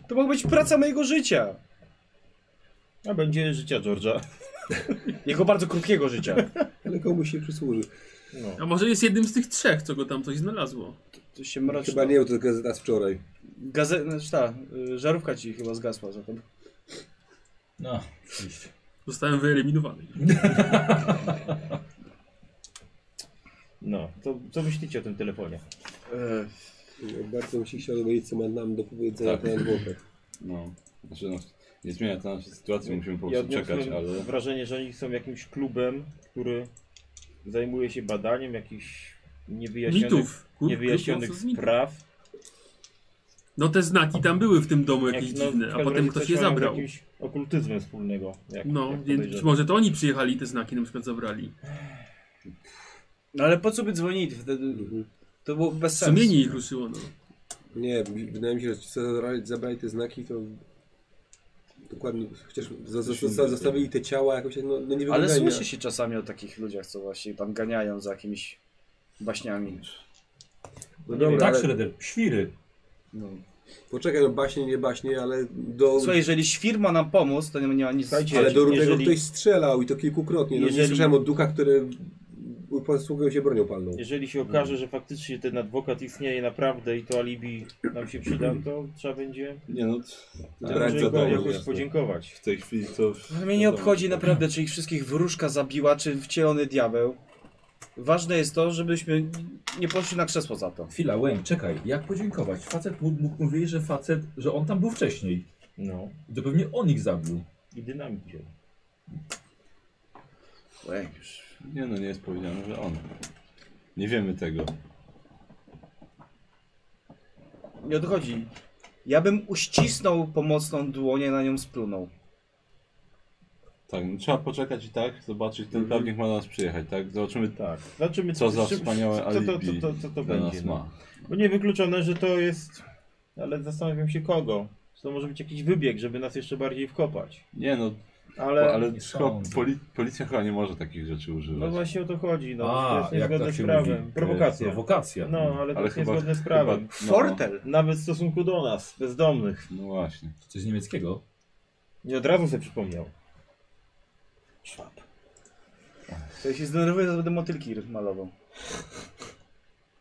Speaker 5: To mogła być praca mojego życia.
Speaker 4: A będzie życia George'a.
Speaker 5: Jego bardzo krótkiego życia.
Speaker 1: Ale komuś się przysłuży.
Speaker 4: No.
Speaker 6: A może jest jednym z tych trzech, co go tam coś znalazło.
Speaker 5: To się mroczy.
Speaker 1: Chyba nie był to gazeta z wczoraj.
Speaker 5: Gaze... Znaczy ta, y, żarówka ci chyba zgasła zatem.
Speaker 3: No, oczywiście.
Speaker 6: Zostałem wyeliminowany.
Speaker 4: no. To co myślicie o tym telefonie?
Speaker 5: E,
Speaker 1: Bardzo bym się chciał dowiedzieć, co ma nam do powiedzenia
Speaker 2: Tak.
Speaker 1: ten adwokat.
Speaker 2: No. Znaczy, no, nie zmienia to naszej sytuacji, musimy po
Speaker 4: Ja
Speaker 2: prostu
Speaker 4: odniosłem
Speaker 2: czekać, ale...
Speaker 4: wrażenie, że oni są jakimś klubem, który zajmuje się badaniem jakichś niewyjaśnionych,
Speaker 6: Mitów. Klub-
Speaker 4: niewyjaśnionych
Speaker 6: klub mocno z mitów.
Speaker 4: spraw.
Speaker 6: No te znaki tam były w tym domu
Speaker 4: Jak-
Speaker 6: jakieś
Speaker 4: no, w
Speaker 6: dziwne, a
Speaker 4: każdym
Speaker 6: potem
Speaker 4: razie
Speaker 6: ktoś
Speaker 4: coś
Speaker 6: je
Speaker 4: mają z
Speaker 6: zabrał.
Speaker 4: jakimś okultyzmem wspólnego. Jak,
Speaker 6: No,
Speaker 4: jak
Speaker 6: więc być
Speaker 4: podejrzewam.
Speaker 6: może to oni przyjechali i te znaki na przykład zabrali.
Speaker 5: No ale po co by dzwonili wtedy? To było bez sensu.
Speaker 6: Sumienie ich ruszyło, no.
Speaker 1: Nie, wydaje mi się, że ci, co zabrali, zabrali te znaki, to dokładnie, chociaż za, za, za, zostawili te ciała jakoś, no, no nie
Speaker 5: Ale
Speaker 1: wyglądają
Speaker 5: słyszy się czasami o takich ludziach, co właśnie tam ganiają za jakimiś baśniami.
Speaker 1: No dobra,
Speaker 3: tak,
Speaker 1: ale,
Speaker 3: Shredder, świry.
Speaker 1: poczekaj, no baśnie, nie baśnie, ale do,
Speaker 5: Słuchaj, jeżeli świr ma nam pomóc, to nie ma nic...
Speaker 4: Słuchajcie,
Speaker 1: ale do równego
Speaker 4: jeżeli-
Speaker 1: ktoś strzelał i to kilkukrotnie. No,
Speaker 4: Jeżeli-
Speaker 1: Nie słyszałem od ducha, który posługują się bronią palną.
Speaker 4: Jeżeli się okaże, że faktycznie ten adwokat istnieje naprawdę i to alibi nam się przyda, to trzeba będzie
Speaker 2: Nie no,
Speaker 1: Tak,
Speaker 4: temu
Speaker 1: to
Speaker 4: człowieku
Speaker 1: daje,
Speaker 4: jakoś
Speaker 2: jasne.
Speaker 4: podziękować.
Speaker 2: w tej chwili to...
Speaker 5: Ale mnie nie obchodzi naprawdę, czy ich wszystkich wróżka zabiła, czy wcielony diabeł. Ważne jest to, żebyśmy nie poszli na krzesło za to.
Speaker 3: Chwila, Łęk, czekaj. Jak podziękować? Facet mógł, mógł mówić, że facet, że on tam był wcześniej.
Speaker 4: No
Speaker 3: I To pewnie on ich zabił.
Speaker 4: i dynamit wziął.
Speaker 5: Ej, już.
Speaker 2: Nie no, nie jest powiedziane, że on. Nie wiemy tego.
Speaker 5: Nie odchodzi. Ja bym uścisnął pomocną dłonię, na nią splunął.
Speaker 2: Tak, no, trzeba poczekać i tak, zobaczyć,
Speaker 1: Mhm.
Speaker 2: ten prawnik ma do nas przyjechać, tak? Zobaczymy
Speaker 4: Tak. Zobaczymy,
Speaker 2: Co za
Speaker 4: czy-
Speaker 2: wspaniałe
Speaker 4: co, to-
Speaker 2: alibi
Speaker 4: Co to, co to
Speaker 2: dla
Speaker 4: będzie.
Speaker 2: nas
Speaker 4: no.
Speaker 2: ma.
Speaker 4: Bo nie wykluczone, że to jest. Ale zastanawiam się kogo. Czy to może być jakiś wybieg, żeby nas jeszcze bardziej wkopać.
Speaker 2: Nie no,
Speaker 4: Ale.
Speaker 2: ale, ale
Speaker 3: nie
Speaker 2: chyba
Speaker 3: sądzę.
Speaker 2: poli, policja chyba nie może takich rzeczy
Speaker 4: No
Speaker 2: używać.
Speaker 4: właśnie o to chodzi. No, to jest niezgodne
Speaker 2: tak
Speaker 4: z
Speaker 3: się
Speaker 4: prawem.
Speaker 3: mówi, e,
Speaker 4: Prowokacja.
Speaker 3: Prowokacja.
Speaker 4: No, ale to
Speaker 2: Ale
Speaker 4: jest
Speaker 2: chyba-
Speaker 4: niezgodne z
Speaker 2: chyba-
Speaker 4: prawem.
Speaker 2: no.
Speaker 5: Fortel!
Speaker 4: Nawet w stosunku do nas, bezdomnych.
Speaker 2: No właśnie.
Speaker 3: Coś z niemieckiego?
Speaker 4: Nie od razu sobie przypomniał. Szwab.
Speaker 5: To ja się zdenerwuję, to będę motylki malował.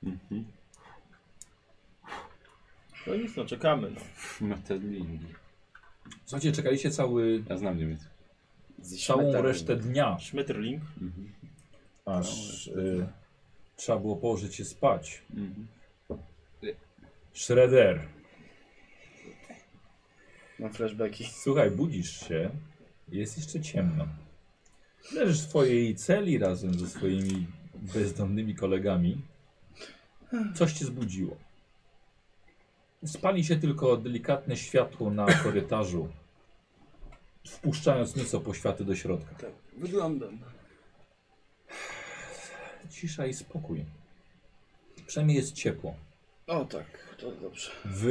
Speaker 2: Mhm.
Speaker 4: No nic, no czekamy. No.
Speaker 2: Metterlingi.
Speaker 3: Słuchajcie, czekaliście cały,
Speaker 2: Ja znam Niemiec.
Speaker 3: całą resztę dnia,
Speaker 4: Schmetterling.
Speaker 2: Mhm.
Speaker 3: aż y, trzeba było położyć się spać.
Speaker 2: Mhm.
Speaker 3: Shredder,
Speaker 5: Mam flashbacki.
Speaker 3: słuchaj, budzisz się, jest jeszcze ciemno. Leżysz w twojej celi razem ze swoimi bezdomnymi kolegami. Coś cię zbudziło. Spali się tylko delikatne światło na korytarzu, wpuszczając nieco poświaty do środka.
Speaker 5: Wyglądam.
Speaker 3: Cisza i spokój. Przynajmniej jest ciepło.
Speaker 5: O tak, to dobrze.
Speaker 3: W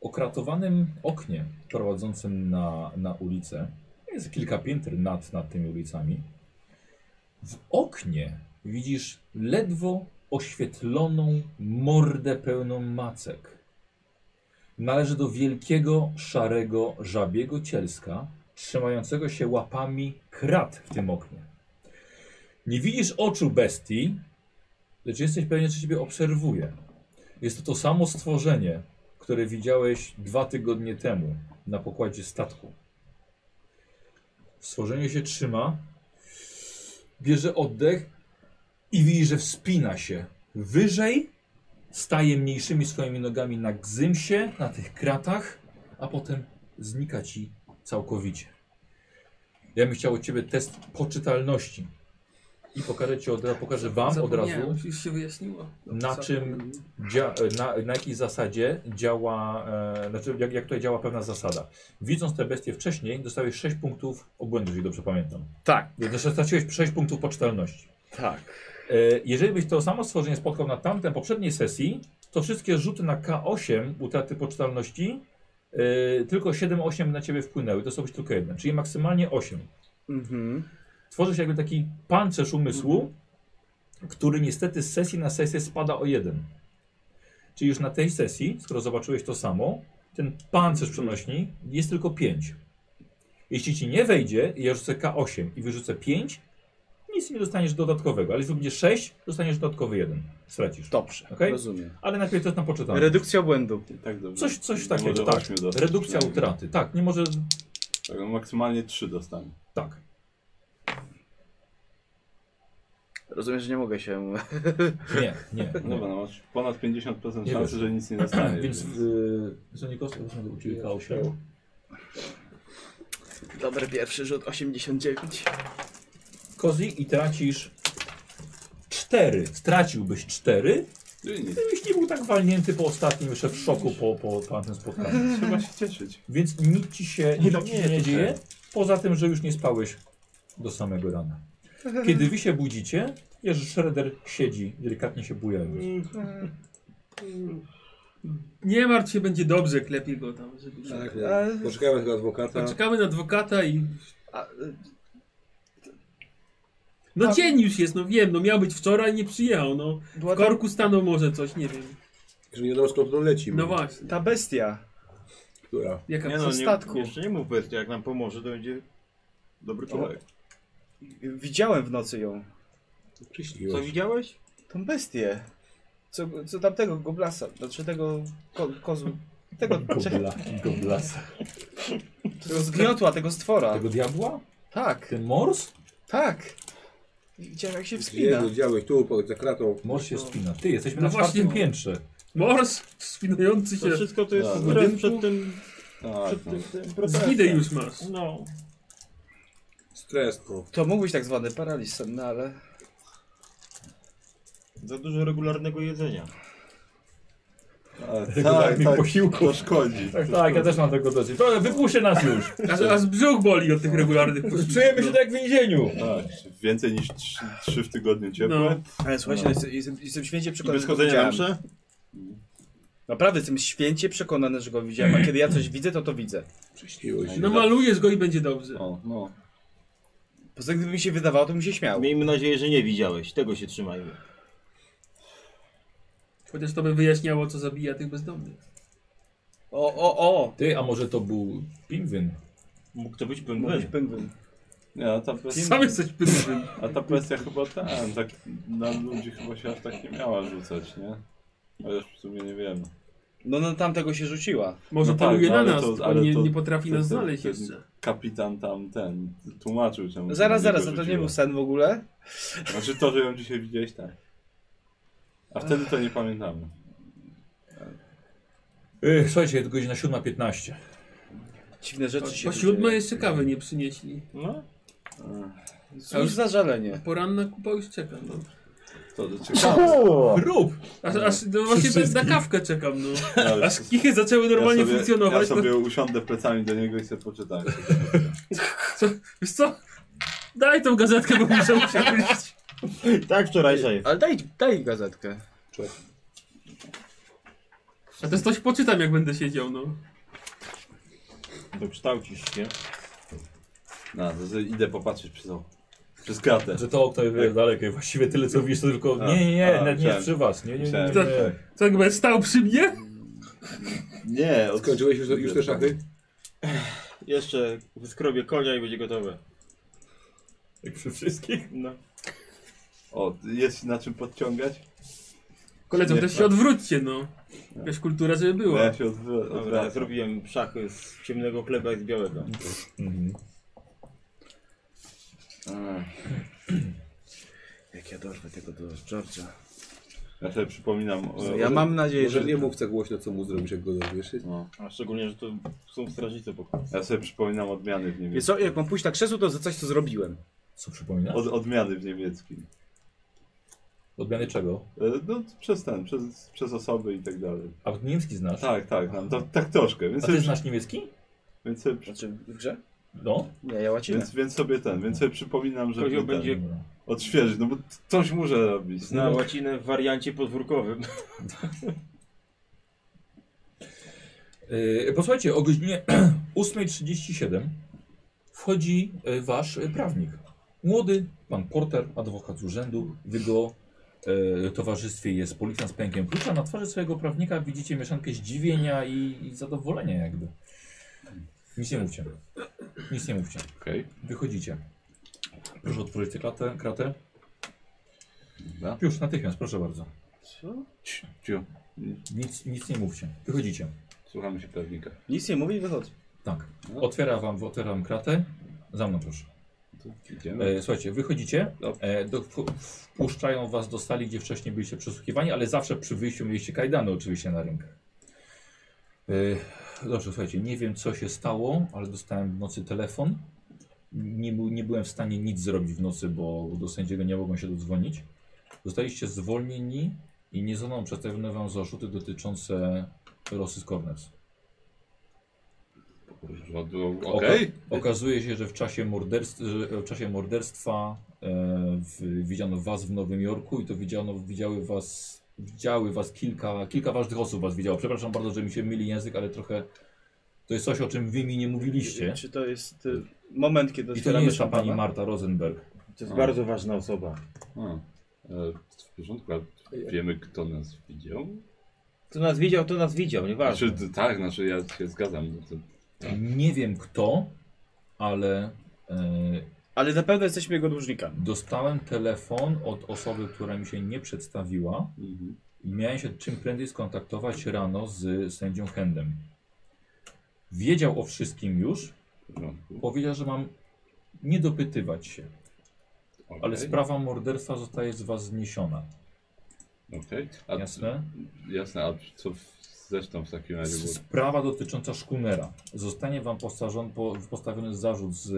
Speaker 3: okratowanym oknie prowadzącym na, na ulicę, jest kilka pięter nad, nad tymi ulicami, W oknie widzisz ledwo oświetloną mordę pełną macek. Należy do wielkiego, szarego, żabiego cielska, trzymającego się łapami krat w tym oknie. Nie widzisz oczu bestii, lecz jesteś pewien, że ciebie obserwuje. Jest to to samo stworzenie, które widziałeś dwa tygodnie temu na pokładzie statku. Stworzenie się trzyma, bierze oddech i widzi, że wspina się wyżej, staje mniejszymi swoimi nogami na gzymsie, na tych kratach, a potem znika ci całkowicie. Ja bym chciał od ciebie test poczytalności i pokażę, ci od, pokażę wam od razu
Speaker 6: Zapomniałem, Już się wyjaśniło.
Speaker 4: No,
Speaker 3: na czym, dzia, na, na jakiej zasadzie działa, e, znaczy jak, jak tutaj działa pewna zasada. Widząc te bestie wcześniej, dostałeś 6 punktów obłędu, jeżeli dobrze pamiętam.
Speaker 4: Tak.
Speaker 3: Znaczy straciłeś 6 punktów poczytalności.
Speaker 4: Tak.
Speaker 3: E, jeżeli byś to samo stworzenie spotkał na tamtej poprzedniej sesji, to wszystkie rzuty na K8 utraty poczytalności, e, tylko 7-8 na ciebie wpłynęły, to są być tylko jeden, czyli maksymalnie 8
Speaker 5: Mhm.
Speaker 3: tworzy się jakby taki pancerz umysłu, który niestety z sesji na sesję spada o jeden. Czyli już na tej sesji, skoro zobaczyłeś to samo, ten pancerz przenośni jest tylko 5. Jeśli ci nie wejdzie i ja rzucę K8 i wyrzucę 5, nic nie dostaniesz dodatkowego, ale jeśli będzie 6, dostaniesz dodatkowy jeden. Stracisz.
Speaker 5: Dobrze,
Speaker 3: Okej?
Speaker 5: rozumiem.
Speaker 3: Ale najpierw to jest na poczytanie.
Speaker 5: Redukcja błędu.
Speaker 2: Tak dobrze.
Speaker 3: Coś, coś
Speaker 2: Nie
Speaker 3: takiego,
Speaker 2: może
Speaker 3: tak.
Speaker 2: ośmiu dostać
Speaker 3: Redukcja
Speaker 2: przynajmniej.
Speaker 3: utraty, tak. Nie może,
Speaker 2: Tak, no maksymalnie trzy dostanie.
Speaker 3: tak.
Speaker 5: Rozumiem, że nie mogę się...
Speaker 3: Nie, nie.
Speaker 2: No Dobra, no masz ponad 50%
Speaker 3: Nie
Speaker 2: szansy,
Speaker 3: wiesz.
Speaker 2: że nic nie dostaniesz.
Speaker 3: Więc y,
Speaker 2: więc-
Speaker 3: w Zonikowsku byśmy uczyli
Speaker 2: no.
Speaker 3: K8.
Speaker 5: Dobry pierwszy rzut, 89.
Speaker 3: Kozi i tracisz 4. Straciłbyś 4,
Speaker 2: Czyli No nic.
Speaker 3: gdybyś nie był tak walnięty po ostatnim jeszcze w szoku po, po, po tym spotkaniu.
Speaker 2: Trzeba się cieszyć.
Speaker 3: Więc nic ci się nic ci się nie dzieje, poza tym, że już nie spałeś do samego rana. Kiedy wy się budzicie, Jerzy Schroeder siedzi, delikatnie się bujając.
Speaker 6: Nie martw się, będzie dobrze, klepie go tam. Żeby...
Speaker 1: Tak, no. Poczekamy tego adwokata.
Speaker 6: Czekamy na adwokata i...
Speaker 5: A, y,
Speaker 6: No
Speaker 5: A-
Speaker 6: dzień już jest, no wiem, no miał być wczoraj, nie przyjechał, no.
Speaker 5: była
Speaker 6: W
Speaker 5: ta,
Speaker 6: korku stanął może coś, nie wiem.
Speaker 1: Że nie wiadomo skąd on leci.
Speaker 6: No właśnie.
Speaker 5: ta bestia.
Speaker 1: Która?
Speaker 6: Jaka
Speaker 7: Nie no,
Speaker 5: ze
Speaker 7: nie,
Speaker 5: statku.
Speaker 7: jeszcze nie mów bestia, jak nam pomoże, to będzie dobry człowiek.
Speaker 5: Widziałem w nocy ją.
Speaker 1: Przyśniło
Speaker 7: Co
Speaker 1: się.
Speaker 7: widziałeś?
Speaker 5: Tą bestię. Co, co tamtego goblasa, znaczy tego ko, kozu. Tego, znaczy,
Speaker 3: Gobla,
Speaker 2: Mm.
Speaker 3: goblasa.
Speaker 5: tego zgniotła, tego stwora.
Speaker 3: Tego diabła?
Speaker 5: Tak,
Speaker 3: Ten mors?
Speaker 5: tak. Widziałem jak się wspina.
Speaker 1: Gdzie widziałeś tu pod- za kratą?
Speaker 3: Mors się spina. Ty, jesteśmy
Speaker 6: No
Speaker 3: na czwartym
Speaker 6: właśnie.
Speaker 3: piętrze.
Speaker 6: Mors wspinający się.
Speaker 7: To wszystko to jest
Speaker 2: Tak.
Speaker 7: stres przed tym,
Speaker 2: Tak,
Speaker 7: przed
Speaker 2: no.
Speaker 7: tym, tym procesem.
Speaker 6: Zgidę już masz.
Speaker 7: No.
Speaker 1: Stres, no.
Speaker 5: To mógł być tak zwany paraliż senny, ale...
Speaker 7: Za dużo regularnego jedzenia.
Speaker 2: A, tak,
Speaker 3: Regularnych
Speaker 2: tak,
Speaker 3: posiłków.
Speaker 2: To szkodzi.
Speaker 3: Tak, tak, ja też mam tego dosyć. To Wypuśćcie nas już.
Speaker 6: Aż, aż brzuch boli od tych regularnych posiłków. no.
Speaker 3: Czujemy się tak jak w więzieniu.
Speaker 2: Tak, więcej niż trzy, trzy w tygodniu ciepłe.
Speaker 5: Ale słuchajcie, no. jestem, jestem, jestem święcie
Speaker 7: I
Speaker 5: przekonany,
Speaker 7: bez
Speaker 5: że go
Speaker 7: chodzenia na
Speaker 5: widziałem.
Speaker 7: mszę?
Speaker 5: Naprawdę jestem święcie przekonany, że go widziałem, a kiedy ja coś widzę, to to widzę.
Speaker 1: Przyśniło się.
Speaker 6: No malujesz go i będzie dobrze.
Speaker 2: O, no.
Speaker 5: Poza tym, gdyby mi się wydawało, to bym się śmiał.
Speaker 7: Miejmy nadzieję, że nie widziałeś. Tego się trzymajmy.
Speaker 6: Chociaż to by wyjaśniało, co zabija tych bezdomnych.
Speaker 5: O, o, o!
Speaker 3: Ty, a może to był pingwin?
Speaker 7: Mógł to być
Speaker 5: Mógł być
Speaker 7: pęgwin.
Speaker 5: pingwin.
Speaker 2: Nie, a ta presja,
Speaker 6: Sam jesteś pyszny.
Speaker 2: a ta presja chyba tam, tak na ludzi chyba się aż tak nie miała rzucać, nie? Ale już w sumie nie wiemy.
Speaker 5: No na tamtego się rzuciła.
Speaker 6: Może
Speaker 2: No tak,
Speaker 6: poluje
Speaker 2: no
Speaker 6: na
Speaker 2: ale
Speaker 6: nas,
Speaker 2: to-
Speaker 6: tylko
Speaker 2: ale
Speaker 6: nie,
Speaker 2: to-
Speaker 6: nie potrafi
Speaker 2: to-
Speaker 6: nas
Speaker 2: to-
Speaker 6: znaleźć
Speaker 2: to-
Speaker 6: jeszcze.
Speaker 2: Kapitan tam ten tłumaczył czemu. się
Speaker 5: Zaraz,
Speaker 2: na
Speaker 5: zaraz,
Speaker 2: niego
Speaker 5: a to nie
Speaker 2: rzuciła.
Speaker 5: był sen w ogóle?
Speaker 2: Znaczy to, że ją dzisiaj widziałeś, tak. A wtedy to nie pamiętamy.
Speaker 3: Ech, słuchajcie, jest godzina 7.15.
Speaker 5: Dziwne rzeczy się
Speaker 6: Po
Speaker 5: tu
Speaker 6: siódmej
Speaker 5: dzieją.
Speaker 6: jeszcze kawy nie przynieśli.
Speaker 7: No.
Speaker 5: Cóż za żalenie.
Speaker 6: Poranna kupa już czeka. No.
Speaker 2: To do ciekawe.
Speaker 6: Rób! Aż, aż no właśnie to jest na kawkę czekam, no.
Speaker 2: Ale
Speaker 6: Aż kichy zaczęły normalnie
Speaker 2: ja sobie,
Speaker 6: funkcjonować.
Speaker 2: Ja sobie usiądę plecami do niego i sobie poczytam.
Speaker 6: no, co, wiesz co? Daj tą gazetkę, bo muszę usiąść.
Speaker 2: No.
Speaker 7: Tak wczorajsza jest.
Speaker 5: Ale daj, daj gazetkę.
Speaker 6: A to jest coś poczytam, jak będę siedział, no.
Speaker 7: To kształcisz się.
Speaker 2: No, to z- idę popatrzeć przez okno. Przez kratę.
Speaker 3: Że Znaczy, to okno jest dalekie. Właściwie tyle co widzisz, to tylko
Speaker 2: A,
Speaker 3: nie, nie, nie,
Speaker 2: a,
Speaker 3: nawet nie
Speaker 2: myślałem.
Speaker 3: przy was. Nie, nie, nie,
Speaker 2: Myślałem.
Speaker 3: nie.
Speaker 6: Co jakby stał przy mnie?
Speaker 2: Nie, od...
Speaker 1: Skończyłeś już, już te szachy?
Speaker 4: Jeszcze wyskrobię konia i będzie gotowe.
Speaker 3: Jak tak przy wszystkich.
Speaker 4: No.
Speaker 2: O, jest na czym podciągać?
Speaker 6: Koledzy,
Speaker 2: Nie,
Speaker 6: też się
Speaker 2: tak.
Speaker 6: odwróćcie, no. Jakaś kultura, żeby
Speaker 2: No
Speaker 6: była.
Speaker 2: ja się odwracam.
Speaker 4: Dobra, zrobiłem szachy z ciemnego chleba i z białego.
Speaker 3: Mhm.
Speaker 4: Jak ja dorwę tego do George'a.
Speaker 2: Ja sobie przypominam. o-
Speaker 5: Ja mam nadzieję,
Speaker 1: Może
Speaker 5: że...
Speaker 1: nie mów tak głośno, co mu zrobisz, jak go dowiesz.
Speaker 2: No.
Speaker 4: A szczególnie, że to są strażnicy po
Speaker 2: Ja sobie przypominam odmiany w
Speaker 5: Wiesz
Speaker 2: niemieckim.
Speaker 5: co, jak mam pójść na krzesło, to za coś, co zrobiłem.
Speaker 3: Co przypomina?
Speaker 2: Od, odmiany w niemieckim.
Speaker 3: Odmiany czego?
Speaker 2: E, No przez ten, przez, przez osoby i tak dalej.
Speaker 3: A niemiecki znasz?
Speaker 2: Tak, tak, tam, to, tak troszkę. Więc
Speaker 3: A
Speaker 2: sobie,
Speaker 3: ty znasz niemiecki?
Speaker 2: więc, sobie,
Speaker 5: Znaczy, w grze?
Speaker 3: No.
Speaker 5: Nie, ja łacinę.
Speaker 2: więc, więc sobie ten, więc sobie przypominam, że
Speaker 4: Kozioł będzie-
Speaker 2: ten, odświeżyć, no bo coś muszę robić.
Speaker 4: Na
Speaker 3: No.
Speaker 4: łacinę w wariancie podwórkowym.
Speaker 3: Yy, posłuchajcie, o godzinie 8.37 wchodzi e, wasz e, prawnik. Młody pan Porter, adwokat z urzędu. W jego e, towarzystwie jest policjant z pękiem klucza. Na twarzy swojego prawnika widzicie mieszankę zdziwienia i, i zadowolenia jakby. Nic nie mówcie. Nic nie mówcie.
Speaker 2: Okej.
Speaker 3: Wychodzicie. Proszę otworzyć tę kratę. kratę.
Speaker 2: Dobra.
Speaker 3: Już natychmiast, proszę bardzo.
Speaker 2: Ciu, ciu.
Speaker 3: Nic, nic nie mówcie. Wychodzicie.
Speaker 2: Słuchamy się prawnika.
Speaker 5: Nic nie mówi i wychodzi.
Speaker 3: Tak. Otwiera wam, otwieram kratę. Za mną proszę.
Speaker 2: Tu Idziemy.
Speaker 3: E, słuchajcie, wychodzicie,
Speaker 2: Dobrze.
Speaker 3: e, do, w- wpuszczają was do sali, gdzie wcześniej byliście przesłuchiwani, ale zawsze przy wyjściu mieliście kajdany oczywiście na rękach. E, dobrze, słuchajcie, nie wiem co się stało, ale dostałem w nocy telefon. Nie, był- nie byłem w stanie nic zrobić w nocy, bo do sędziego nie mogłem się dodzwonić. Zostaliście zwolnieni i nie zostaną przedstawione wam zarzuty dotyczące Rosy Corners.
Speaker 2: No, to Okej.
Speaker 3: Okazuje się, że w czasie morderstwa, w czasie morderstwa e, w, widziano was w Nowym Jorku i to widziano, widziały was, widziały was kilka, kilka ważnych osób was widziało. Przepraszam bardzo, że mi się myli język, ale trochę to jest coś, o czym wy mi nie mówiliście.
Speaker 5: Czy to jest y, moment, kiedy
Speaker 3: I to nie
Speaker 5: otwieramy
Speaker 3: jest ta pani
Speaker 5: szampana?
Speaker 3: Marta Rosenberg.
Speaker 4: To jest
Speaker 2: A.
Speaker 4: bardzo ważna osoba.
Speaker 2: A, e, W porządku, ale wiemy kto nas widział?
Speaker 4: Kto nas widział, to nas widział, nieważne.
Speaker 2: Znaczy, d- tak, znaczy ja się zgadzam. No to,
Speaker 5: Tak.
Speaker 3: Nie wiem kto, ale e,
Speaker 5: Ale na pewno jesteśmy jego dłużnikami.
Speaker 3: dostałem telefon od osoby, która mi się nie przedstawiła.
Speaker 2: mhm.
Speaker 3: i miałem się czym prędzej skontaktować rano z sędzią Hendem. Wiedział o wszystkim już,
Speaker 2: W porządku.
Speaker 3: powiedział, że mam nie dopytywać się,
Speaker 2: Okej,
Speaker 3: ale sprawa morderstwa zostaje z was zniesiona.
Speaker 2: okej. A
Speaker 3: Jasne?
Speaker 2: Jasne, a co w, zresztą w takim razie było?
Speaker 3: Sprawa dotycząca Szkunera. Zostanie wam postarzon- po- postawiony zarzut z,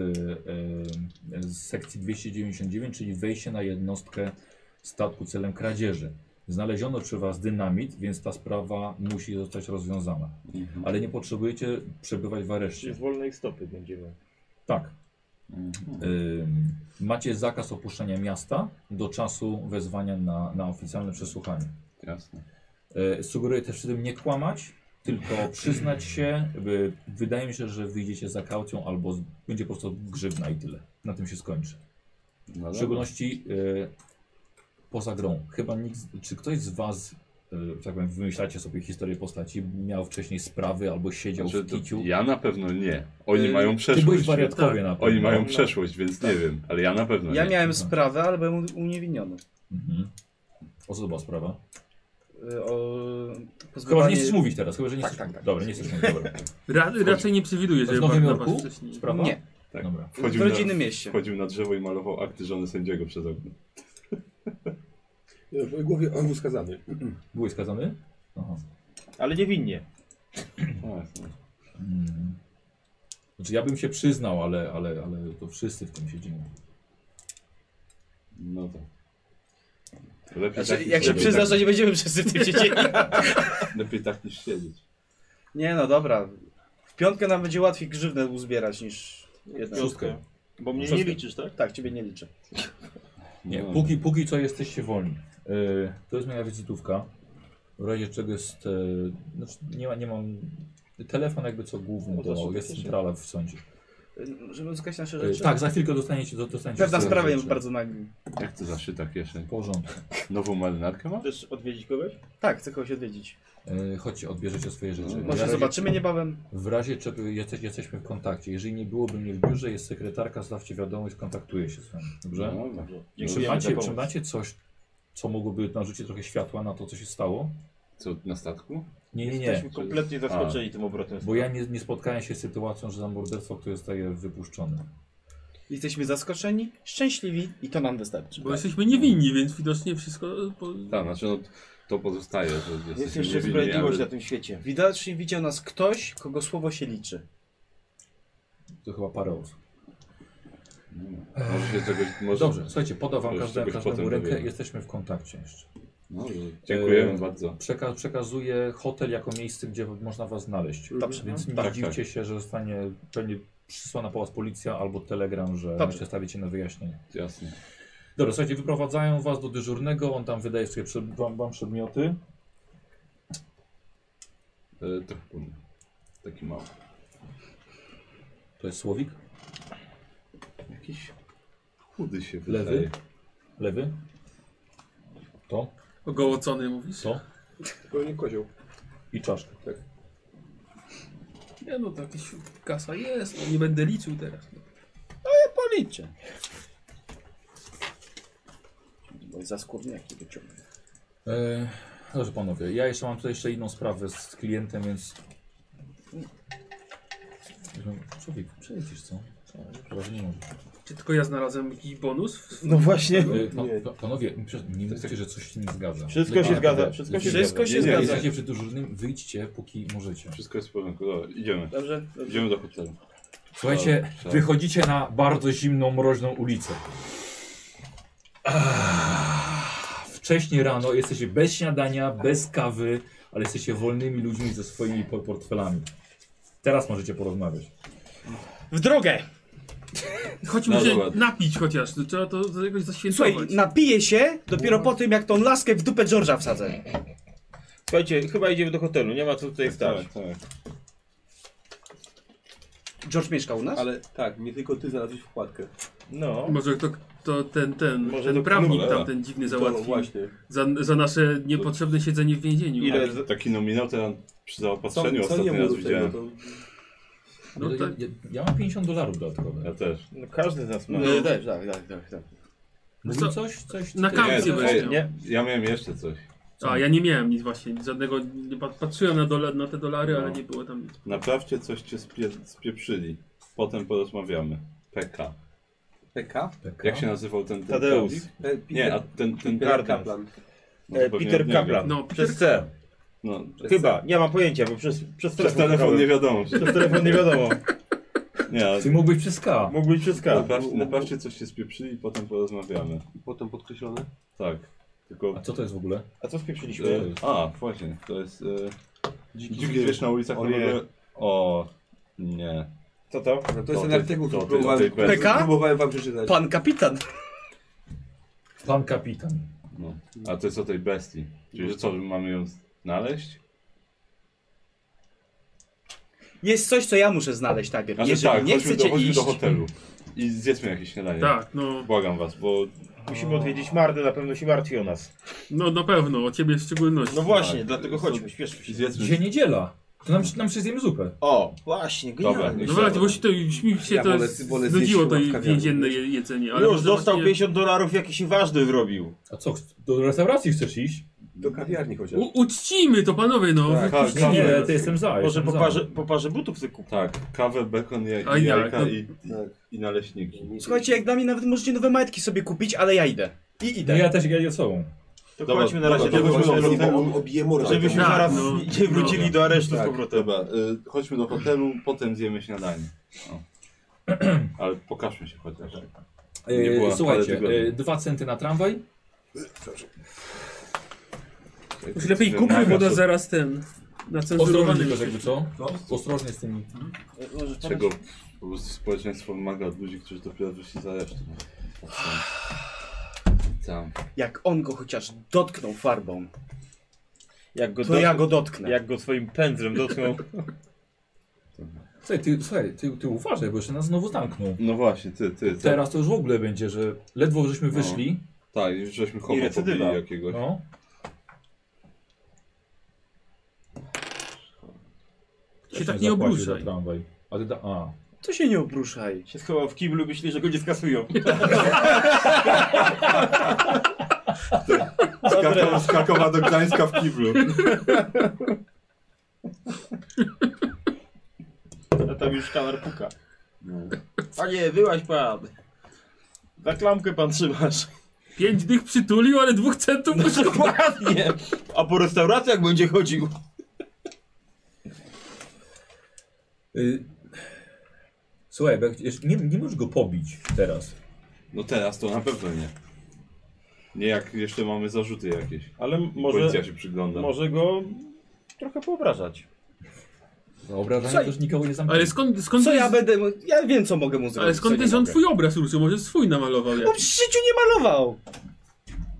Speaker 3: e, z sekcji 299, czyli wejście na jednostkę statku celem kradzieży. Znaleziono przy was dynamit, więc ta sprawa musi zostać rozwiązana.
Speaker 2: Mhm.
Speaker 3: Ale nie potrzebujecie przebywać w
Speaker 4: Czy
Speaker 3: areszcie.
Speaker 4: z wolnej stopy będziemy.
Speaker 3: Tak.
Speaker 2: Mhm.
Speaker 3: Ym, macie zakaz opuszczenia miasta do czasu wezwania na, na oficjalne przesłuchanie.
Speaker 2: Jasne.
Speaker 3: Yy, sugeruję też przy tym nie kłamać, tylko przyznać się. By, wydaje mi się, że wyjdziecie za kaucją albo z, będzie po prostu grzywna i tyle. Na tym się skończy.
Speaker 2: No
Speaker 3: W
Speaker 2: dobra.
Speaker 3: szczególności yy, poza grą. Chyba nikt, z- czy ktoś z Was, yy, tak powiem, wymyślacie sobie historię postaci, miał wcześniej sprawy albo siedział
Speaker 2: Znaczy,
Speaker 3: w
Speaker 2: to
Speaker 3: kiciu.
Speaker 2: ja na pewno nie. Oni
Speaker 3: Yy,
Speaker 2: mają
Speaker 3: Ty
Speaker 2: przeszłość. tak.
Speaker 3: byłeś wariatkowie na pewno.
Speaker 2: Oni mają przeszłość, więc nie wiem, ale ja na pewno
Speaker 5: Ja
Speaker 2: nie.
Speaker 5: miałem
Speaker 3: Mhm.
Speaker 5: sprawę, ale byłem uniewinniony.
Speaker 3: Mhm. O co to była sprawa?
Speaker 5: Y, O...
Speaker 3: Chyba, że
Speaker 5: pozbywanie-
Speaker 3: nie chcesz mówić teraz, chyba, że nie
Speaker 5: Tak,
Speaker 3: chcesz.
Speaker 5: tak, tak.
Speaker 3: Dobra, nie chcesz mówić. Dobra.
Speaker 6: Ra raczej nie przewiduję,
Speaker 3: W
Speaker 6: żeby
Speaker 3: Nowym
Speaker 6: na was
Speaker 3: Jorku?
Speaker 6: wcześniej-
Speaker 3: Sprawa?
Speaker 5: Nie,
Speaker 2: Tak.
Speaker 3: Dobra.
Speaker 5: w
Speaker 2: Wchodził na,
Speaker 5: rodzinnym mieście.
Speaker 2: wchodził na drzewo i malował akty żony sędziego przez okno.
Speaker 1: W mojej głowie on był skazany.
Speaker 3: Byłeś skazany? Aha.
Speaker 4: Ale niewinnie.
Speaker 2: Tak, no.
Speaker 3: Mm. Znaczy ja bym się przyznał, ale, ale, ale to wszyscy w tym siedzimy.
Speaker 2: No tak. Lepiej
Speaker 5: Znaczy,
Speaker 2: tak
Speaker 5: jak
Speaker 2: niż
Speaker 5: się
Speaker 2: lepiej
Speaker 5: przyznasz, że
Speaker 2: tak,
Speaker 5: nie będziemy wszyscy w tym siedzieli.
Speaker 2: Lepiej tak niż siedzieć.
Speaker 5: Nie no, dobra. W piątkę nam będzie łatwiej grzywnę uzbierać niż jednak.
Speaker 3: Szóstkę.
Speaker 4: Bo mnie nie
Speaker 5: Szóstkę.
Speaker 4: liczysz, tak?
Speaker 5: Tak, ciebie nie liczę.
Speaker 3: Nie,
Speaker 2: No.
Speaker 3: póki, póki co jesteście wolni. Yy, to jest moja wizytówka. W razie czego jest... e, Yy, znaczy nie, ma, nie mam... Telefon jakby co główny,
Speaker 4: No to
Speaker 3: to
Speaker 4: się
Speaker 3: jest
Speaker 4: cieszę.
Speaker 3: centrala w sądzie.
Speaker 5: y, Możemy uzyskać nasze
Speaker 3: E,
Speaker 5: rzeczy.
Speaker 3: Tak, za chwilkę dostaniecie, do- dostaniecie
Speaker 5: Pewna
Speaker 3: swoje
Speaker 5: sprawa jest
Speaker 3: rzeczy.
Speaker 5: bardzo nagli.
Speaker 2: Jak to zawsze tak jeszcze?
Speaker 3: W porządku.
Speaker 2: Nową marynarkę ma?
Speaker 4: Chcesz odwiedzić kogoś?
Speaker 5: Tak, chcę kogoś odwiedzić.
Speaker 3: E, Chodźcie, odbierzecie swoje rzeczy.
Speaker 2: No,
Speaker 3: W
Speaker 5: Może
Speaker 3: razie-
Speaker 5: zobaczymy niebawem.
Speaker 3: W razie czego jesteś, jesteśmy w kontakcie. Jeżeli nie byłoby mnie w biurze, jest sekretarka, stawcie wiadomość, kontaktuję się z wami. Dobrze?
Speaker 2: No, dobra.
Speaker 3: czy,
Speaker 4: Dziękujemy za
Speaker 3: macie,
Speaker 4: pomoc.
Speaker 3: czy macie coś, co mogłoby narzucić trochę światła na to, co się stało?
Speaker 2: Co, na statku?
Speaker 3: Nie, nie, nie.
Speaker 4: Jesteśmy kompletnie zaskoczeni tym obrotem.
Speaker 3: Bo ja nie, nie spotkałem się z sytuacją, że za morderstwo ktoś zostaje wypuszczony.
Speaker 5: Jesteśmy zaskoczeni, szczęśliwi i to nam wystarczy.
Speaker 6: Bo jesteśmy niewinni, więc widocznie wszystko... e, Po...
Speaker 2: Tak, znaczy no, to pozostaje, że
Speaker 4: Jest
Speaker 2: jesteśmy
Speaker 4: jeszcze
Speaker 2: niewinni,
Speaker 4: sprawiedliwość na
Speaker 2: ale-
Speaker 4: tym świecie.
Speaker 5: Widocznie widział nas ktoś, kogo słowo się liczy.
Speaker 3: To chyba parę osób.
Speaker 2: No, Może się czegoś... Może...
Speaker 3: Dobrze, słuchajcie, podam wam
Speaker 2: Już
Speaker 3: każdemu,
Speaker 2: czegoś
Speaker 3: każdemu
Speaker 2: potem
Speaker 3: rękę,
Speaker 2: dowiemy.
Speaker 3: jesteśmy w kontakcie jeszcze.
Speaker 2: No, dziękujemy
Speaker 3: E,
Speaker 2: bardzo.
Speaker 3: Przeka przekazuję hotel jako miejsce, gdzie można was znaleźć.
Speaker 1: Dobrze.
Speaker 3: Więc
Speaker 5: Mhm.
Speaker 3: nie
Speaker 2: Tak,
Speaker 3: dziwcie się, że zostanie pewnie przysłana po was policja albo telegram, że
Speaker 5: Dobrze.
Speaker 3: przestawicie na wyjaśnienie.
Speaker 2: Jasne.
Speaker 3: Dobra, słuchajcie, wyprowadzają was do dyżurnego, on tam wydaje sobie przed, wam, wam przedmioty.
Speaker 2: E, trochę płynny. Taki mały.
Speaker 3: To jest słowik,
Speaker 2: Jakiś chudy się
Speaker 3: Lewy?
Speaker 2: wydaje.
Speaker 3: lewy. To,
Speaker 6: Ogołocony mówisz?
Speaker 3: to
Speaker 1: Pewnie kozioł.
Speaker 3: i czaszka.
Speaker 6: Nie no, to jakaś kasa jest, no, nie będę liczył teraz.
Speaker 5: Policzę. Bo za skórniaki wyciągnę.
Speaker 3: E, dobrze panowie, ja jeszcze mam tutaj jeszcze inną sprawę z, z klientem, więc... Człowiek, przejdziesz co? Co? Chyba, że nie może.
Speaker 6: Czy tylko ja znalazłem jakiś bonus?
Speaker 4: No właśnie.
Speaker 3: E, Pa, pa, panowie, przecież nie mówcie, że coś się nie zgadza.
Speaker 4: Wszystko się
Speaker 3: Lepiej-
Speaker 4: zgadza, wszystko się
Speaker 5: Wszystko
Speaker 4: zgadza.
Speaker 2: Nie,
Speaker 5: się
Speaker 2: nie,
Speaker 5: zgadza.
Speaker 3: Jesteście przy dyżurnym, wyjdźcie póki możecie.
Speaker 2: Wszystko jest w porządku. Dobra, idziemy.
Speaker 5: Dobrze? Dobrze.
Speaker 2: Idziemy do hotelu.
Speaker 3: Słuchajcie,
Speaker 2: Dobrze.
Speaker 3: wychodzicie na bardzo zimną, mroźną ulicę. Ah, Wcześniej rano jesteście bez śniadania, bez kawy, ale jesteście wolnymi ludźmi ze swoimi po- portfelami. Teraz możecie porozmawiać.
Speaker 5: W drogę!
Speaker 6: Chodźmy
Speaker 2: No
Speaker 6: się
Speaker 2: dobra.
Speaker 6: napić chociaż, no, trzeba to jakoś zaświętować.
Speaker 5: Słuchaj, napiję się dopiero po tym, jak tą laskę w dupę George'a wsadzę.
Speaker 4: Słuchajcie, chyba idziemy do hotelu, nie ma co tutaj stać.
Speaker 2: Tak, tak.
Speaker 5: George mieszka u nas?
Speaker 1: Ale tak, nie tylko ty znalazłeś wkładkę.
Speaker 4: No.
Speaker 6: Może to, to ten, ten,
Speaker 4: Może
Speaker 6: ten
Speaker 4: to
Speaker 6: prawnik
Speaker 2: cholera.
Speaker 6: tam ten dziwny
Speaker 1: To
Speaker 6: załatwił
Speaker 1: właśnie.
Speaker 6: za, za nasze niepotrzebne siedzenie w więzieniu.
Speaker 4: Ile?
Speaker 2: Taki- Tak, Taki nominał teraz przy zaopatrzeniu
Speaker 1: nie
Speaker 2: ostatni
Speaker 1: było
Speaker 2: raz
Speaker 1: do tego,
Speaker 2: widziałem.
Speaker 1: to
Speaker 6: No
Speaker 3: ja,
Speaker 6: tak.
Speaker 3: ja, ja mam 50 dolarów dodatkowych.
Speaker 2: Ja też.
Speaker 4: No każdy z nas ma.
Speaker 6: No.
Speaker 4: tak, tak, tak, tak, tak.
Speaker 3: Mówi
Speaker 6: Co?
Speaker 3: coś? coś
Speaker 6: Na
Speaker 3: ty-
Speaker 6: kawę
Speaker 2: Nie,
Speaker 6: się
Speaker 2: to-
Speaker 6: weźmie.
Speaker 4: Nie?
Speaker 2: Ja miałem jeszcze coś.
Speaker 6: A ja nie miałem nic właśnie, żadnego, nie pat- patrzyłem na, dola, na te dolary, ale
Speaker 2: No.
Speaker 6: nie było tam nic.
Speaker 2: Naprawcie coś cię spie spieprzyli. Potem porozmawiamy. PK.
Speaker 1: PK?
Speaker 3: Taka.
Speaker 2: Jak się nazywał ten, ten
Speaker 4: Tadeusz.
Speaker 2: prawnik?
Speaker 1: P-
Speaker 2: Nie, a ten, ten
Speaker 1: Peter
Speaker 2: Kaplan.
Speaker 1: Kaplan.
Speaker 2: No,
Speaker 4: E,
Speaker 2: pewnie
Speaker 4: Peter
Speaker 2: od niego.
Speaker 4: Kaplan.
Speaker 6: No, Peter-
Speaker 4: Przez C.
Speaker 2: No,
Speaker 4: Chyba, nie mam pojęcia, bo przez,
Speaker 2: przez
Speaker 4: przez telefon,
Speaker 2: telefon nie wiadomo. że-
Speaker 4: Przez telefon nie wiadomo.
Speaker 2: Nie, ale
Speaker 3: Ty mógłbyś przez K.
Speaker 4: Mógł być przez K.
Speaker 2: naprawcie, naprawcie coś cię spieprzyli, potem porozmawiamy.
Speaker 1: I potem podkreślone.
Speaker 2: Tak. Tylko...
Speaker 3: A co to jest w ogóle?
Speaker 4: A co
Speaker 2: E,
Speaker 4: spieprzyliśmy?
Speaker 2: a, właśnie, to jest... E,
Speaker 1: Dziki,
Speaker 2: dziki zwierz na ulicach
Speaker 1: O
Speaker 2: Nowego...
Speaker 1: nie.
Speaker 2: O, nie.
Speaker 4: Co to?
Speaker 1: No to jest
Speaker 2: To
Speaker 1: ten
Speaker 2: ty-
Speaker 1: artykuł,
Speaker 2: to
Speaker 1: który
Speaker 2: ty- to
Speaker 1: próbowałem,
Speaker 2: ty powiedz.
Speaker 5: PK?
Speaker 1: próbowałem wam przeczytać.
Speaker 5: Pan kapitan.
Speaker 3: Pan kapitan.
Speaker 2: No. A to jest o tej bestii. Czyli że co, że mamy ją znaleźć?
Speaker 5: Jest coś, co ja muszę znaleźć najpierw.
Speaker 2: Znaczy
Speaker 5: Jeżeli
Speaker 2: tak,
Speaker 5: nie
Speaker 2: chodźmy, do,
Speaker 5: chcecie
Speaker 2: chodźmy
Speaker 5: iść...
Speaker 2: do hotelu. I zjedzmy jakieś śniadanie.
Speaker 6: Tak, no,
Speaker 2: Błagam was, bo
Speaker 4: Musimy odwiedzić Mardę, na pewno się martwi o nas.
Speaker 6: no na pewno, o ciebie w szczególności.
Speaker 4: No właśnie,
Speaker 2: Tak.
Speaker 4: dlatego chodźmy, śpieszmy się.
Speaker 2: zjedzmy...
Speaker 3: Dzisiaj niedziela. To nam, nam się zjemy zupę.
Speaker 4: O, właśnie,
Speaker 2: Dobra,
Speaker 4: genialnie.
Speaker 2: niech
Speaker 6: No
Speaker 2: się-
Speaker 6: właśnie, bo się to już mi się
Speaker 1: Ja
Speaker 6: to
Speaker 1: wolę- wolę zjeść
Speaker 6: znudziło to
Speaker 1: chyba w kawiarni.
Speaker 6: więzienne je- jedzenie. Ale
Speaker 4: Już
Speaker 6: może
Speaker 4: dostał
Speaker 6: właśnie
Speaker 4: 50 dolarów, jakiś ważny zrobił.
Speaker 3: A co, do restauracji chcesz iść?
Speaker 1: Do kawiarni chociaż.
Speaker 6: U, uczcijmy to panowie, no.
Speaker 1: Tak,
Speaker 2: tak,
Speaker 3: Nie,
Speaker 2: Dobra,
Speaker 3: nie,
Speaker 2: racja.
Speaker 3: to jestem za.
Speaker 4: Może
Speaker 3: jestem
Speaker 4: po
Speaker 3: za.
Speaker 4: parze, po parze butów sobie kupił.
Speaker 2: Tak, kawę, bekon, jaj,
Speaker 6: A i tak,
Speaker 2: jajka
Speaker 6: no.
Speaker 2: i, i,
Speaker 1: Tak.
Speaker 2: i naleśniki.
Speaker 5: Słuchajcie, jak dla mnie nawet możecie nowe majtki sobie kupić, ale ja idę. I
Speaker 3: No
Speaker 5: idę.
Speaker 3: ja też jadę sobą.
Speaker 4: To
Speaker 2: Dobra,
Speaker 4: chodźmy na razie
Speaker 2: dobra,
Speaker 4: do
Speaker 2: dobra,
Speaker 4: hotelu,
Speaker 2: dobra,
Speaker 4: żeby-
Speaker 1: Obije morze.
Speaker 4: żebyśmy
Speaker 6: Tak,
Speaker 4: zaraz
Speaker 6: no.
Speaker 4: nie wrócili do aresztu z
Speaker 2: Tak,
Speaker 4: powrotem.
Speaker 2: dobra, y, chodźmy do hotelu, potem zjemy śniadanie. O. Ale pokażmy się chociaż.
Speaker 4: Tak.
Speaker 2: Nie
Speaker 3: E,
Speaker 2: była
Speaker 3: słuchajcie,
Speaker 2: parę tygodni.
Speaker 3: e, dwa centy na tramwaj.
Speaker 6: Już
Speaker 2: Znaczy,
Speaker 6: lepiej kupuj, bo to zaraz ten, na
Speaker 3: Ostrożnie
Speaker 6: cenzurowanym.
Speaker 3: tylko, jakby co? Ostrożnie z tymi.
Speaker 2: Czego po prostu społeczeństwo wymaga od ludzi, którzy dopiero wyszli z aresztu. Tam.
Speaker 5: Jak on go chociaż dotknął farbą,
Speaker 4: Jak go
Speaker 5: to ja
Speaker 4: dotknął-
Speaker 5: go dotknę.
Speaker 4: jak go swoim pędzlem dotknął.
Speaker 3: Słuchaj, ty, słuchaj, ty, ty uważaj, bo jeszcze nas znowu zamknął.
Speaker 2: No właśnie, ty, ty. ty.
Speaker 3: Teraz to już w ogóle będzie, że ledwo żeśmy
Speaker 2: No.
Speaker 3: wyszli.
Speaker 2: Tak, już żeśmy
Speaker 4: I
Speaker 2: chowa
Speaker 4: recydywa.
Speaker 2: pobili jakiegoś.
Speaker 3: No.
Speaker 6: Się tak nie
Speaker 3: zapłacił
Speaker 6: obruszaj.
Speaker 3: za tramwaj. A ty da... A.
Speaker 5: To się nie obruszaj.
Speaker 4: Się schował w kiblu, myśli, że go nie skasują.
Speaker 2: Z Krakowa- Z Krakowa do Gdańska w kiblu.
Speaker 4: A tam już kanar puka.
Speaker 2: No.
Speaker 4: Panie, wyłaź pan. Za klamkę pan trzymasz.
Speaker 6: Pięć dych przytulił, ale dwóch centów uszkodził.
Speaker 4: Dokładnie. A po restauracjach będzie chodził.
Speaker 3: Y... Słuchaj, bo jak- jeszcze nie, nie możesz go pobić teraz.
Speaker 2: No teraz to na pewno nie. Nie jak jeszcze mamy zarzuty jakieś.
Speaker 4: Ale
Speaker 2: Policja
Speaker 4: może,
Speaker 2: się przygląda.
Speaker 4: może go trochę poobrażać.
Speaker 3: Za obrażanie
Speaker 5: Słuchaj,
Speaker 3: też nikogo nie zamknął.
Speaker 6: Ale skąd, skąd
Speaker 5: Co
Speaker 6: ty-
Speaker 5: ja będę. mu- Ja wiem, co mogę mu zrobić.
Speaker 6: Ale skąd
Speaker 5: co
Speaker 6: wiesz,
Speaker 5: nie
Speaker 6: że on
Speaker 5: mogę.
Speaker 6: twój obraz ruszył? Może swój namalował
Speaker 5: No
Speaker 6: jakiś.
Speaker 5: w życiu nie malował!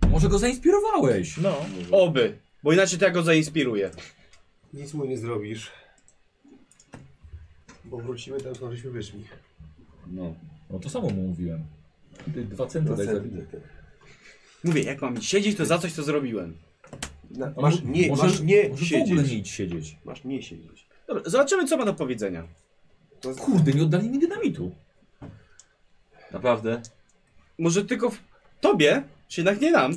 Speaker 3: Może go zainspirowałeś.
Speaker 4: No.
Speaker 5: Oby. Bo inaczej to ja go zainspiruję.
Speaker 1: Nic mu nie zrobisz. Bo wrócimy tam, skąd żeśmy wyszli.
Speaker 2: No.
Speaker 3: No to samo mu mówiłem. Ty dwa centy daj za
Speaker 5: Mówię, jak mam siedzieć, to za coś to zrobiłem.
Speaker 1: Na,
Speaker 3: A
Speaker 1: masz
Speaker 3: może-
Speaker 1: nie,
Speaker 3: może,
Speaker 1: masz nie
Speaker 3: może w ogóle
Speaker 1: siedzieć.
Speaker 3: nie idź siedzieć.
Speaker 1: Masz nie siedzieć.
Speaker 5: Dobra, zobaczymy, co ma do powiedzenia.
Speaker 1: To z...
Speaker 3: Kurde, nie oddali mi dynamitu.
Speaker 2: Naprawdę?
Speaker 5: Może tylko w... tobie, czy jednak nie nam.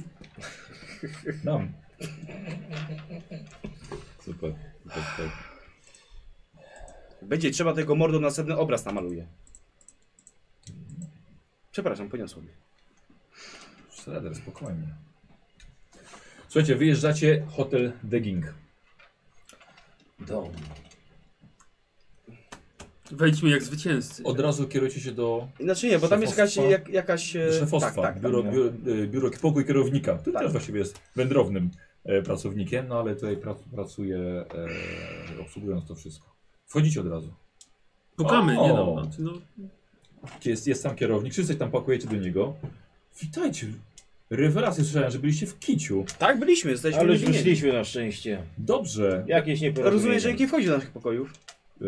Speaker 3: Dam.
Speaker 2: Super. Super, super.
Speaker 5: Będzie trzeba tego mordą następny obraz namaluje. Przepraszam, poniosło mnie.
Speaker 3: Shredder, spokojnie. Słuchajcie, wyjeżdżacie hotel Degging.
Speaker 5: Dom.
Speaker 6: Wejdźmy jak zwycięzcy.
Speaker 3: Od razu kierujecie się do
Speaker 5: Znaczy nie, bo tam jest jakaś,
Speaker 3: Szefostwo?
Speaker 5: jak, jakaś... e,
Speaker 3: szefostwa,
Speaker 5: Tak, tak.
Speaker 3: biuro,
Speaker 5: tam,
Speaker 3: biuro, y, biuro pokój kierownika, który
Speaker 5: Tak.
Speaker 3: też właściwie jest wędrownym e, pracownikiem, no ale tutaj prac, pracuje e, obsługując to wszystko. Wchodzicie od razu.
Speaker 6: Pukamy, nie
Speaker 3: O.
Speaker 6: no. Znaczy, no.
Speaker 3: Gdzie Jest, jest sam kierownik, wszyscy tam pakujecie do niego. Witajcie. Rewelacje słyszałem, że byliście w kiciu.
Speaker 5: Tak, byliśmy, jesteśmy
Speaker 4: Ale już
Speaker 5: niewinni.
Speaker 4: wyszliśmy na szczęście.
Speaker 3: Dobrze.
Speaker 4: Jakieś nieporozumienie.
Speaker 5: Rozumiem, że nikt nie wchodzi do naszych pokojów.
Speaker 3: E,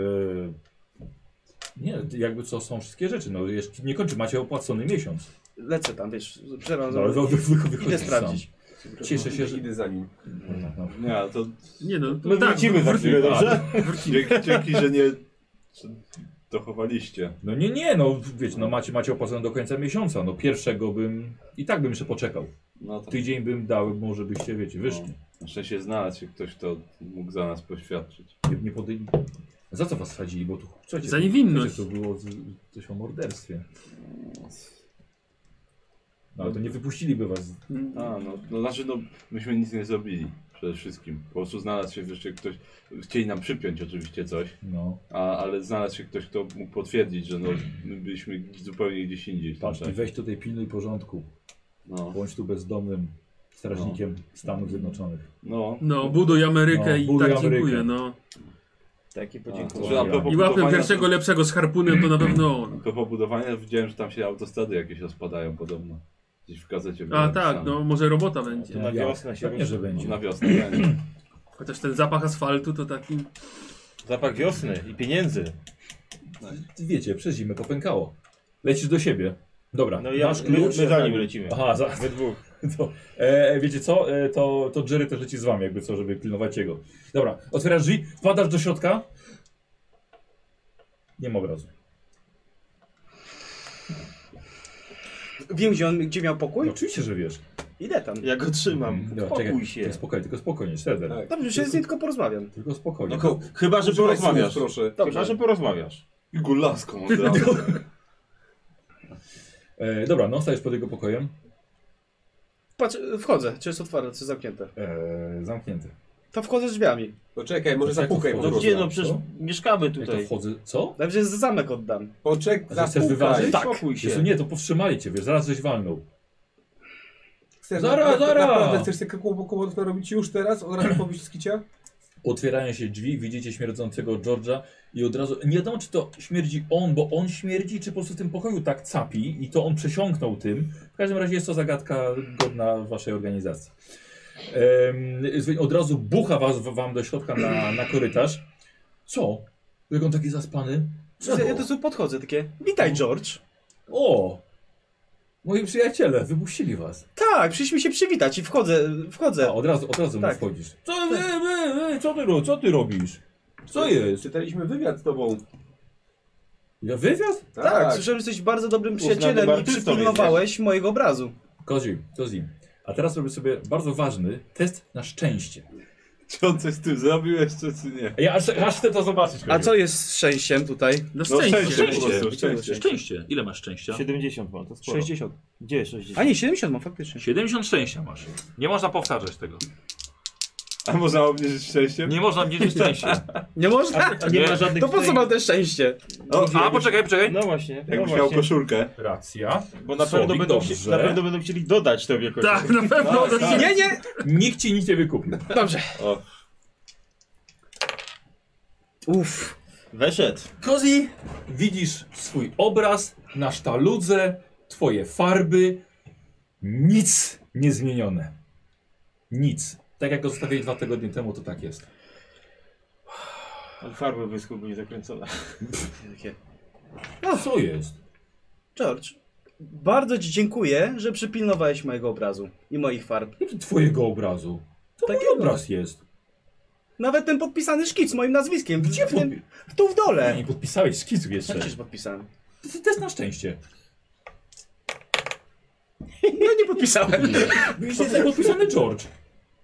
Speaker 3: nie, jakby co są wszystkie rzeczy. No, jeszcze nie kończy, macie opłacony miesiąc.
Speaker 5: Lecę tam, wiesz, przerwam.
Speaker 3: No, ale wy, wy, wy, wychodzisz
Speaker 5: sprawdzić.
Speaker 3: Cieszę się, że-
Speaker 1: Idę za nim.
Speaker 3: sam. No,
Speaker 2: Nie, ale to
Speaker 6: Nie no,
Speaker 4: My
Speaker 6: no tak,
Speaker 4: wrócimy za
Speaker 6: wró-
Speaker 4: chwilę, dobrze?
Speaker 2: dzięki, dzięki że nie dochowaliście.
Speaker 3: no nie, nie, no wiecie, no macie, macie opłacone do końca miesiąca. No pierwszego bym, i tak bym jeszcze poczekał.
Speaker 2: No tak.
Speaker 3: Tydzień bym dał, może byście, wiecie, wyszli.
Speaker 2: Muszę się znalazł się ktoś, kto mógł za nas poświadczyć.
Speaker 4: No.
Speaker 3: Nie, nie podej... Za co was sadzili? Bo tu, słuchajcie,
Speaker 6: Za
Speaker 3: tu-
Speaker 6: niewinność.
Speaker 3: słuchajcie, To było z, coś o morderstwie. No, ale to nie wypuściliby was.
Speaker 2: A, no, no znaczy, no, myśmy nic nie zrobili. Przede wszystkim. Po prostu znalazł się wreszcie ktoś. Chcieli nam przypiąć oczywiście coś,
Speaker 3: No,
Speaker 2: a, ale znalazł się ktoś, kto mógł potwierdzić, że no, my byliśmy zupełnie gdzieś indziej. w tym
Speaker 3: patrz, ty
Speaker 2: czasie.
Speaker 3: weź tutaj pilnuj porządku.
Speaker 2: No,
Speaker 3: Bądź tu bezdomnym strażnikiem Stanów Zjednoczonych.
Speaker 2: no.
Speaker 6: No, buduj Amerykę
Speaker 3: No,
Speaker 6: i
Speaker 3: buduj
Speaker 6: tak dziękuję,
Speaker 3: Amerykę.
Speaker 6: no.
Speaker 4: Takie
Speaker 2: A, to,
Speaker 4: podziękowanie.
Speaker 2: że a propos
Speaker 6: I łapę
Speaker 2: budowania-
Speaker 6: pierwszego lepszego z harpunem, to na pewno on.
Speaker 2: A propos budowania, widziałem, że tam się autostrady jakieś rozpadają podobno. Gdzieś w gazecie było
Speaker 6: A
Speaker 2: napisane.
Speaker 6: tak, no może robota będzie.
Speaker 4: Na wiosnę się
Speaker 3: Pewnie, że
Speaker 4: ruszy.
Speaker 3: będzie.
Speaker 2: Na wiosnę będzie.
Speaker 6: Chociaż ten zapach asfaltu to taki...
Speaker 4: Zapach wiosny i pieniędzy.
Speaker 3: Wiecie, przez zimę popękało. Lecisz do siebie. Dobra,
Speaker 4: No i ja,
Speaker 3: masz
Speaker 4: my, my
Speaker 3: klucz.
Speaker 4: za nim lecimy.
Speaker 3: Aha, za,
Speaker 4: We dwóch.
Speaker 3: to, e, wiecie co? E, to, to Jerry też leci z wami, jakby co, żeby pilnować jego. Dobra, otwierasz drzwi, wpadasz do środka. Nie ma obrazu.
Speaker 5: Wiem, gdzie on, gdzie miał
Speaker 3: No,
Speaker 5: pokój?
Speaker 3: oczywiście, że wiesz.
Speaker 5: Idę tam.
Speaker 4: Ja go trzymam.
Speaker 3: Dobra,
Speaker 4: Pokój się.
Speaker 3: Tylko spokojnie, tylko spokojnie, Shredder.
Speaker 1: Tak.
Speaker 5: Dobrze, się z nim tylko porozmawiam.
Speaker 3: Tylko spokojnie.
Speaker 2: No, ko-
Speaker 4: Chyba, że
Speaker 1: Używaj słów,
Speaker 4: porozmawiasz.
Speaker 1: proszę.
Speaker 4: Chyba, że porozmawiasz.
Speaker 2: I gulaską od razu.
Speaker 3: E, dobra, no stajesz pod jego pokojem.
Speaker 5: Patrz, wchodzę. Czy jest otwarte, czy zamknięte?
Speaker 3: E, zamknięty.
Speaker 5: To wchodzę z drzwiami.
Speaker 1: Poczekaj, może
Speaker 3: Poczekaj,
Speaker 1: zapukaj po
Speaker 3: otworzę.
Speaker 4: No
Speaker 1: prostu.
Speaker 4: gdzie, no przecież
Speaker 3: Co?
Speaker 4: mieszkamy
Speaker 3: Jak to
Speaker 4: tutaj.
Speaker 3: wchodzę, co?
Speaker 5: Najpierw zamek oddam.
Speaker 1: Poczekaj,
Speaker 3: A ty chcesz
Speaker 1: zapukaj.
Speaker 3: wyważyć?
Speaker 4: Tak. Spokój
Speaker 3: Jezu,
Speaker 4: się.
Speaker 3: nie, to powstrzymali cię, wiesz, zaraz żeś walnął.
Speaker 1: Chcesz,
Speaker 3: Zara,
Speaker 1: na- na-
Speaker 3: zara!
Speaker 1: Naprawdę chcesz te kół- kłopotów narobić już teraz? Od razu pobić z kicia?
Speaker 3: Otwierają się drzwi, widzicie śmierdzącego George'a i od razu, nie wiadomo czy to śmierdzi on, bo on śmierdzi, czy po prostu w tym pokoju tak capi i to on przesiąknął tym. W każdym razie jest to zagadka godna waszej organizacji. Em, z- od razu bucha was, wam do środka na, na korytarz. Co? Jak on taki zaspany?
Speaker 5: Ja, ja do tu podchodzę, takie, witaj George.
Speaker 3: O! Moi przyjaciele, wypuścili was.
Speaker 5: Tak, przyszliśmy się przywitać i wchodzę,
Speaker 3: A,
Speaker 5: wchodzę.
Speaker 3: od razu, od razu mu
Speaker 5: Tak.
Speaker 3: wchodzisz. Co, wy, wy, wy, co, ty, ro- co ty robisz? Co jest?
Speaker 1: Czytaliśmy wywiad z tobą.
Speaker 3: Ja wywiad?
Speaker 5: tak, słyszałem, że jesteś bardzo dobrym przyjacielem i
Speaker 2: artystą
Speaker 5: przypilnowałeś mojego obrazu.
Speaker 3: Kozi, to z nim. A teraz robię sobie bardzo ważny test na szczęście.
Speaker 2: Czy on coś z tym zrobił jeszcze, czy nie?
Speaker 3: Ja aż, aż chcę to zobaczyć.
Speaker 5: A co jest z szczęściem tutaj?
Speaker 6: No
Speaker 2: No
Speaker 6: szczęście.
Speaker 2: szczęście, po
Speaker 3: Szczęście.
Speaker 2: prostu, szczęście.
Speaker 3: Szczęście. Ile masz szczęścia?
Speaker 4: 70 mam, to sporo.
Speaker 5: 60.
Speaker 4: Gdzie 60?
Speaker 5: A nie, 70 mam faktycznie.
Speaker 3: 70 szczęścia masz. Nie można powtarzać tego.
Speaker 2: A można obniżyć szczęściem?
Speaker 3: Nie można mierzyć szczęścia.
Speaker 5: Nie można?
Speaker 3: Nie.
Speaker 4: ma żadnych
Speaker 5: To po co
Speaker 4: tej-
Speaker 5: mam te szczęście?
Speaker 2: O,
Speaker 3: A, poczekaj, poczekaj.
Speaker 4: No właśnie, no
Speaker 2: Jakbyś miał
Speaker 4: właśnie.
Speaker 2: koszulkę.
Speaker 3: Racja.
Speaker 4: Bo na
Speaker 3: Słowik,
Speaker 4: pewno, będą,
Speaker 3: dobrze.
Speaker 4: chci- na pewno będą chcieli dodać tobie kogoś.
Speaker 6: Tak, na pewno.
Speaker 5: Nie, nie!
Speaker 3: Nikt ci nic nie wykupił.
Speaker 5: Dobrze.
Speaker 2: O.
Speaker 5: Uff.
Speaker 4: Weszedł.
Speaker 3: Kozi, widzisz swój obraz na sztaludze, twoje farby, nic niezmienione. Nic. Tak jak go zostawiłeś dwa tygodnie temu, to tak jest.
Speaker 4: Ale farby wyschły, były zakręcone.
Speaker 3: No co jest?
Speaker 5: George, bardzo ci dziękuję, że przypilnowałeś mojego obrazu i moich farb.
Speaker 3: Jaki twojego obrazu? To
Speaker 5: Takiego.
Speaker 3: mój obraz jest.
Speaker 5: Nawet ten podpisany szkic moim nazwiskiem.
Speaker 3: Gdzie
Speaker 5: w tym,
Speaker 3: podpi-
Speaker 5: Tu w
Speaker 3: Nie,
Speaker 5: dole.
Speaker 3: nie podpisałeś skicu jeszcze.
Speaker 5: Przecież podpisałem.
Speaker 3: To jest test na szczęście.
Speaker 5: No nie podpisałem.
Speaker 3: Widzisz, jest podpisany George.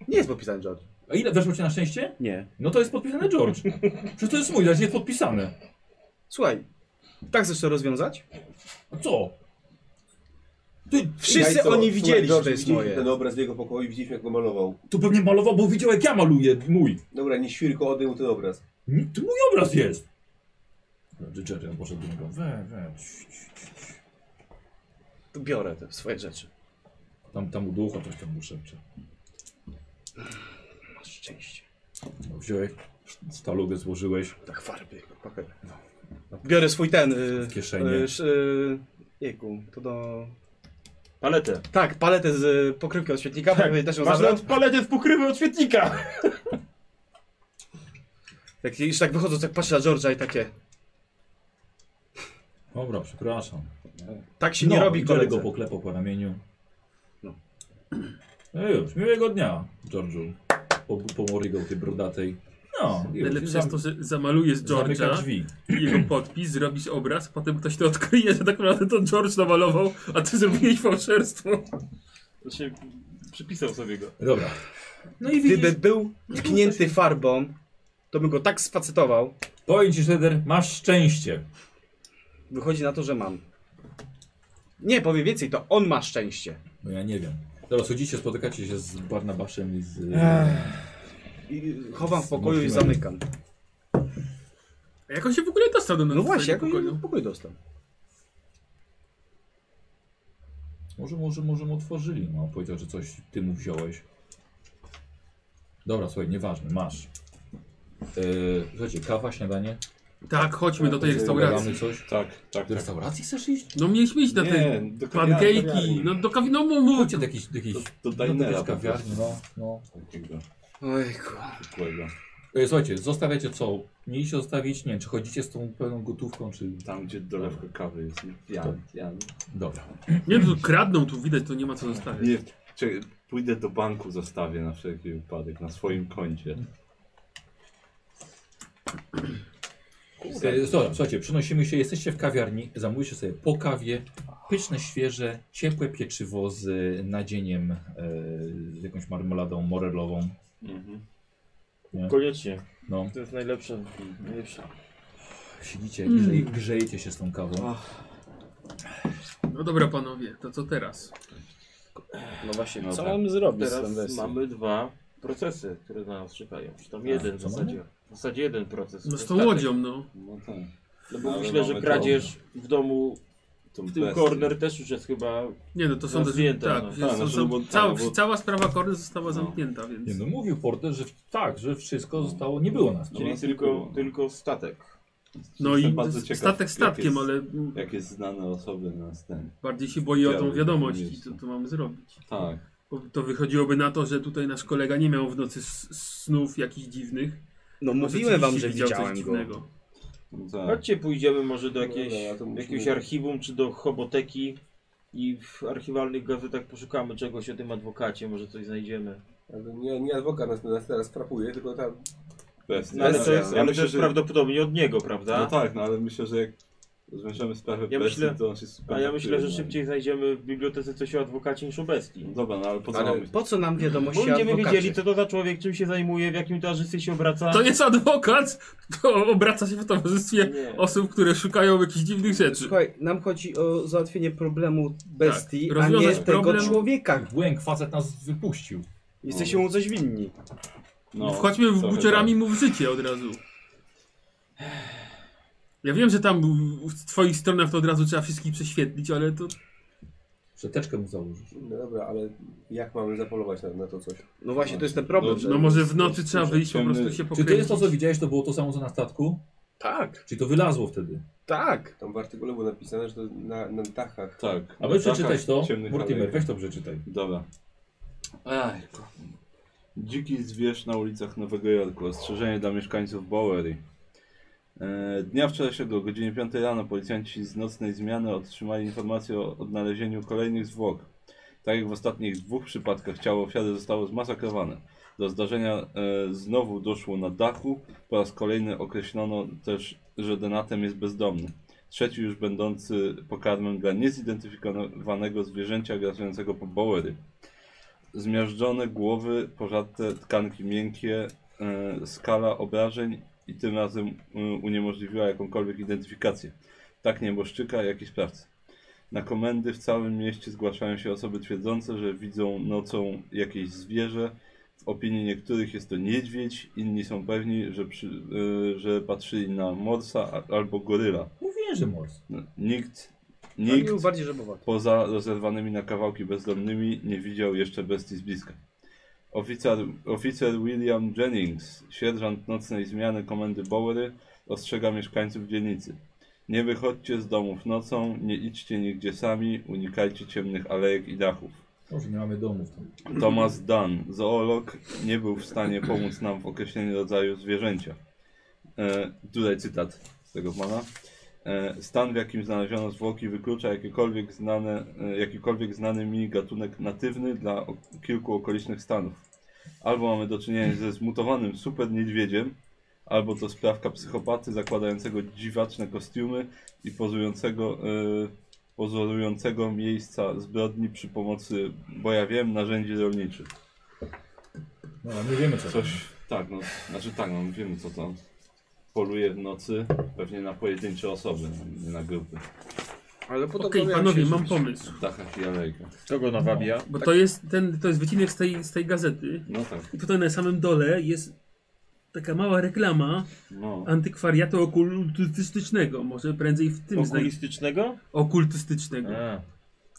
Speaker 5: Nie jest podpisany George.
Speaker 3: A ile weszło cię na szczęście?
Speaker 5: Nie.
Speaker 3: No to jest podpisane George. Przecież to jest mój, raczej jest podpisane.
Speaker 5: Słuchaj, tak chcesz to rozwiązać?
Speaker 3: A co? Ty,
Speaker 5: Wszyscy
Speaker 1: co,
Speaker 5: oni widzieli, No,
Speaker 1: słuchaj,
Speaker 5: że to jest
Speaker 1: widzieliśmy
Speaker 5: moje.
Speaker 1: ten obraz w jego pokoju, widzieliśmy jak go malował.
Speaker 3: to pewnie malował, bo widział jak ja maluję mój.
Speaker 1: Dobra, nie świrko, odejmł ten obraz.
Speaker 3: Mm, To mój obraz jest. Jerry, No, Jerry on poszedł do niego. We, we. ć, ć, ć.
Speaker 5: To biorę te swoje rzeczy.
Speaker 3: Tam, tam u ducha coś tam mu szepcze.
Speaker 5: Masz szczęście.
Speaker 3: No, Wziąłeś stalugę, złożyłeś.
Speaker 5: Tak farby. Pakaj. Biorę swój ten... Y,
Speaker 3: W kieszenie.
Speaker 5: Y, sz- y, jejku, to do...
Speaker 4: Paletę.
Speaker 5: Tak, paletę z y, pokrywki od świetnika, bo też ją
Speaker 4: Tak. Masz
Speaker 5: zabrał.
Speaker 4: nawet paletę w pokrywy od świetnika.
Speaker 5: Tak, już tak wychodzą, tak patrzę na George'a i takie...
Speaker 3: Dobra, przepraszam.
Speaker 5: Tak się nie robi
Speaker 3: No, i Jerry go
Speaker 5: kolego.
Speaker 3: poklepał po ramieniu.
Speaker 5: No.
Speaker 3: No już, miłego dnia, George'u. Po, pomorygał tej brodatej. No, i już, i
Speaker 6: Najlepsze
Speaker 3: zam-
Speaker 6: jest to, że zamalujesz
Speaker 3: zamyka
Speaker 6: George'a
Speaker 3: drzwi.
Speaker 6: i jego podpis, zrobisz obraz, potem ktoś to odkryje, że tak naprawdę to George namalował, a ty zrobiłeś fałszerstwo.
Speaker 4: Znaczy, przypisał sobie go.
Speaker 3: Dobra. No i widzisz,
Speaker 5: Gdyby był tknięty farbą, to bym go tak sfacetował.
Speaker 3: powiem ci, Shredder, masz szczęście.
Speaker 5: Wychodzi na to, że mam. Nie, powiem więcej, to on ma szczęście.
Speaker 3: No ja nie wiem. Dobra, chodzicie, spotykacie się z Barnabaszem i z...
Speaker 5: I chowam w pokoju i zamykam.
Speaker 6: A jak on się w ogóle dostał do
Speaker 5: No właśnie, jak
Speaker 6: pokoju?
Speaker 5: on pokój dostał.
Speaker 3: Może, może, może mu otworzyli. No, powiedział, że coś ty mu wziąłeś. Dobra, słuchaj, nieważne, masz. Yy, słuchajcie, kawa, śniadanie?
Speaker 6: Tak, chodźmy do tej restauracji.
Speaker 3: Gadamy coś?
Speaker 2: Tak, tak,
Speaker 3: Do
Speaker 2: tak.
Speaker 3: restauracji chcesz iść?
Speaker 6: No mieliśmy iść na
Speaker 2: Nie,
Speaker 6: te
Speaker 2: do kawiarni,
Speaker 6: pancake'i,
Speaker 2: kawiarni.
Speaker 6: no do kawi... no mów.
Speaker 3: Chodźcie do jakiejś, do jakiejś,
Speaker 2: Do, do
Speaker 3: do jakiejś
Speaker 2: dinera po
Speaker 3: No kawiarni,
Speaker 2: prostu.
Speaker 3: no. no.
Speaker 2: Takiego
Speaker 5: Ojku.
Speaker 2: zwykłego.
Speaker 3: Yy, słuchajcie, zostawiacie co? Mieliście zostawić? Nie wiem, czy chodzicie z tą pełną gotówką, czy...
Speaker 2: Tam, gdzie dolewka kawy jest. nie? Jan, Jan.
Speaker 3: Dobra.
Speaker 6: Nie, no tu kradną, tu widać, to nie ma co zostawić.
Speaker 2: Nie, czekaj, pójdę do banku, zostawię na wszelki wypadek, na swoim koncie.
Speaker 3: Yy, dobra, słuchajcie, przenosimy się, jesteście w kawiarni, zamówiliście sobie po kawie, pyszne, świeże, ciepłe pieczywo z nadzieniem, e, z jakąś marmoladą morelową.
Speaker 2: Mhm.
Speaker 3: Nie?
Speaker 4: Koniecznie.
Speaker 3: No,
Speaker 4: To jest najlepsze. najlepsze.
Speaker 3: siedzicie, grzeje, grzejecie się z tą kawą.
Speaker 6: No dobra panowie, to co teraz?
Speaker 4: No właśnie,
Speaker 2: No
Speaker 4: co
Speaker 2: tak.
Speaker 4: mamy zrobić
Speaker 5: Teraz
Speaker 4: z tym
Speaker 5: mamy
Speaker 4: mamy dwa procesy, które na nas czekają. Czy tam
Speaker 3: jeden
Speaker 4: jeden
Speaker 3: w
Speaker 4: w
Speaker 3: co zasadzie.
Speaker 4: zasadzie. W zasadzie jeden proces.
Speaker 6: No z tą łodzią, no.
Speaker 2: No tak.
Speaker 4: No bo
Speaker 2: Ale
Speaker 4: myślę,
Speaker 2: mamy
Speaker 4: że kradzież w domu,
Speaker 2: Tą
Speaker 4: w tym
Speaker 2: bestię.
Speaker 4: corner też już jest chyba...
Speaker 6: Nie no, to są...
Speaker 4: Rozwinięte,
Speaker 6: tak,
Speaker 4: no.
Speaker 6: jest-
Speaker 2: Tak,
Speaker 6: są,
Speaker 2: znaczy,
Speaker 6: są,
Speaker 2: bo-
Speaker 6: cała,
Speaker 2: bo-
Speaker 6: cała sprawa Korny została
Speaker 2: No.
Speaker 6: zamknięta, więc...
Speaker 3: Nie, no mówił Porter, że w- tak, że wszystko zostało, nie było nas.
Speaker 2: No
Speaker 4: Czyli
Speaker 2: nas nie było,
Speaker 4: tylko,
Speaker 2: no.
Speaker 4: tylko statek.
Speaker 6: No
Speaker 2: Jestem
Speaker 6: i
Speaker 2: bardzo ciekaw,
Speaker 6: statek
Speaker 2: jak
Speaker 6: statkiem,
Speaker 2: jest-
Speaker 6: ale mm,
Speaker 2: Jakie znane osoby nas ten.
Speaker 6: bardziej się boi o tą
Speaker 2: Chciałbym
Speaker 6: wiadomość i
Speaker 2: mieć.
Speaker 6: co tu mamy zrobić.
Speaker 2: Tak.
Speaker 6: Bo to wychodziłoby na to, że tutaj nasz kolega nie miał w nocy s- snów jakichś dziwnych.
Speaker 5: No
Speaker 6: a
Speaker 5: mówiłem wam,
Speaker 6: rzeczywiście
Speaker 5: że
Speaker 6: widział
Speaker 5: widziałem go.
Speaker 6: dziwnego.
Speaker 2: No tak.
Speaker 4: Chodźcie, pójdziemy może do
Speaker 1: No
Speaker 4: jakiejś,
Speaker 1: dobra, to musimy-
Speaker 4: jakiegoś archiwum, czy do choboteki i w archiwalnych gazetach poszukamy czegoś o tym adwokacie, może coś znajdziemy.
Speaker 1: Ale nie, nie adwokat nas, nas teraz frapuje, tylko ta
Speaker 2: Kwestia.
Speaker 4: No, ale to jest,
Speaker 2: ja
Speaker 4: ale
Speaker 2: myślę,
Speaker 4: też
Speaker 2: że...
Speaker 4: prawdopodobnie od niego, prawda?
Speaker 2: No tak, no ale myślę, że jak rozwiążemy sprawę
Speaker 4: Ja
Speaker 2: bestii,
Speaker 4: myślę-
Speaker 2: to on się super
Speaker 4: A ja myślę, że
Speaker 2: no.
Speaker 4: szybciej znajdziemy w bibliotece coś o adwokacie niż o bestii.
Speaker 2: No Dobra, no ale po co
Speaker 1: Ale-
Speaker 2: mamy...
Speaker 5: Po co nam wiadomości
Speaker 4: Bo będziemy
Speaker 5: adwokacie?
Speaker 4: wiedzieli, co to za człowiek, czym się zajmuje, w jakim towarzystwie się obraca.
Speaker 6: To jest adwokat, to obraca się w towarzystwie
Speaker 4: Nie.
Speaker 6: osób, które szukają jakichś dziwnych rzeczy.
Speaker 5: Słuchaj, nam chodzi o załatwienie problemu bestii, a nie
Speaker 6: Tak. rozwiązać
Speaker 5: tego
Speaker 6: problem- No.
Speaker 5: człowieka.
Speaker 3: Błęk facet nas wypuścił.
Speaker 5: Jesteśmy mu coś winni.
Speaker 2: No,
Speaker 6: Wchodźmy w
Speaker 2: trochę
Speaker 6: buciorami mu w życie od razu. Ja wiem, że tam w twoich stronach to od razu trzeba wszystkich prześwietlić, ale to no
Speaker 3: Przeteczkę mu założyć.
Speaker 1: No dobra, ale jak mamy zapolować na, na to coś?
Speaker 5: No właśnie, to jest ten problem.
Speaker 2: Dobrze.
Speaker 6: no może w nocy trzeba wyjść po prostu się
Speaker 3: Czy to jest to,
Speaker 6: pokręcić.
Speaker 3: co widziałeś, to było to samo, co na statku?
Speaker 5: Tak,
Speaker 3: Czyli to wylazło wtedy.
Speaker 5: tak.
Speaker 1: Tam w artykule było napisane, że to na, na dachach.
Speaker 2: Tak.
Speaker 3: Aby przeczytać to,
Speaker 2: Ciemnych
Speaker 3: Mortimer,
Speaker 2: alejek.
Speaker 3: weź to przeczytaj.
Speaker 2: Dobra. Aj, kurwa. Dziki zwierz na ulicach Nowego Jorku. Ostrzeżenie dla mieszkańców Bowery. E, Dnia wczorajszego, o godzinie 5 rano, policjanci z nocnej zmiany otrzymali informację o odnalezieniu kolejnych zwłok. Tak jak w ostatnich dwóch przypadkach ciało ofiary zostało zmasakrowane. Do zdarzenia e, znowu doszło na dachu. Po raz kolejny określono też, że denatem jest bezdomny. Trzeci już będący pokarmem dla niezidentyfikowanego zwierzęcia grasującego po Bowery. Zmiażdżone głowy, pożarte tkanki miękkie, e, skala obrażeń i tym razem e, uniemożliwiła jakąkolwiek identyfikację. Tak nieboszczyka, jak i sprawcy. Na komendy w całym mieście zgłaszają się osoby twierdzące, że widzą nocą jakieś zwierzę. W opinii niektórych jest to niedźwiedź, inni są pewni, że, przy, e, że patrzyli na morsa a- albo goryla.
Speaker 3: Mówiłem, że mors.
Speaker 2: No, Nikt,
Speaker 5: No
Speaker 2: nikt
Speaker 5: i bardziej żabowa.
Speaker 2: Poza rozerwanymi na kawałki bezdomnymi nie widział jeszcze bestii z bliska. Oficer, oficer William Jennings, sierżant nocnej zmiany komendy Bowery, ostrzega mieszkańców dzielnicy. Nie wychodźcie z domów nocą, nie idźcie nigdzie sami, unikajcie ciemnych alejek i dachów.
Speaker 3: Może nie mamy domów tam.
Speaker 2: Thomas Dunn, zoolog, nie był w stanie pomóc nam w określeniu rodzaju zwierzęcia. E, tutaj cytat z tego pana. E, stan, w jakim znaleziono zwłoki, wyklucza jakiekolwiek znane, e, jakikolwiek znany mi gatunek natywny dla o, kilku okolicznych stanów. Albo mamy do czynienia ze zmutowanym super niedźwiedziem, albo to sprawka psychopaty zakładającego dziwaczne kostiumy i pozującego e, pozorującego miejsca zbrodni przy pomocy, bo ja wiem, narzędzi rolniczych.
Speaker 3: No, ale nie wiemy co.
Speaker 2: Coś, tak, no, znaczy tak, no wiemy co tam poluje w nocy, pewnie na pojedyncze osoby, nie na grupy.
Speaker 5: Ale podobno
Speaker 6: Okej,
Speaker 5: miałem
Speaker 6: panowie,
Speaker 5: się
Speaker 6: mam
Speaker 5: żyć.
Speaker 6: pomysł.
Speaker 2: W dachach i alejkach.
Speaker 4: Kogo nawabia?
Speaker 6: Bo to jest ten, to jest wycinek z tej, z tej gazety.
Speaker 2: No tak,
Speaker 6: I tutaj na samym dole jest taka mała reklama
Speaker 2: no.
Speaker 6: antykwariatu okultystycznego. Może prędzej w tym znajdziemy.
Speaker 4: Okulistycznego?
Speaker 6: Okultystycznego.
Speaker 4: A.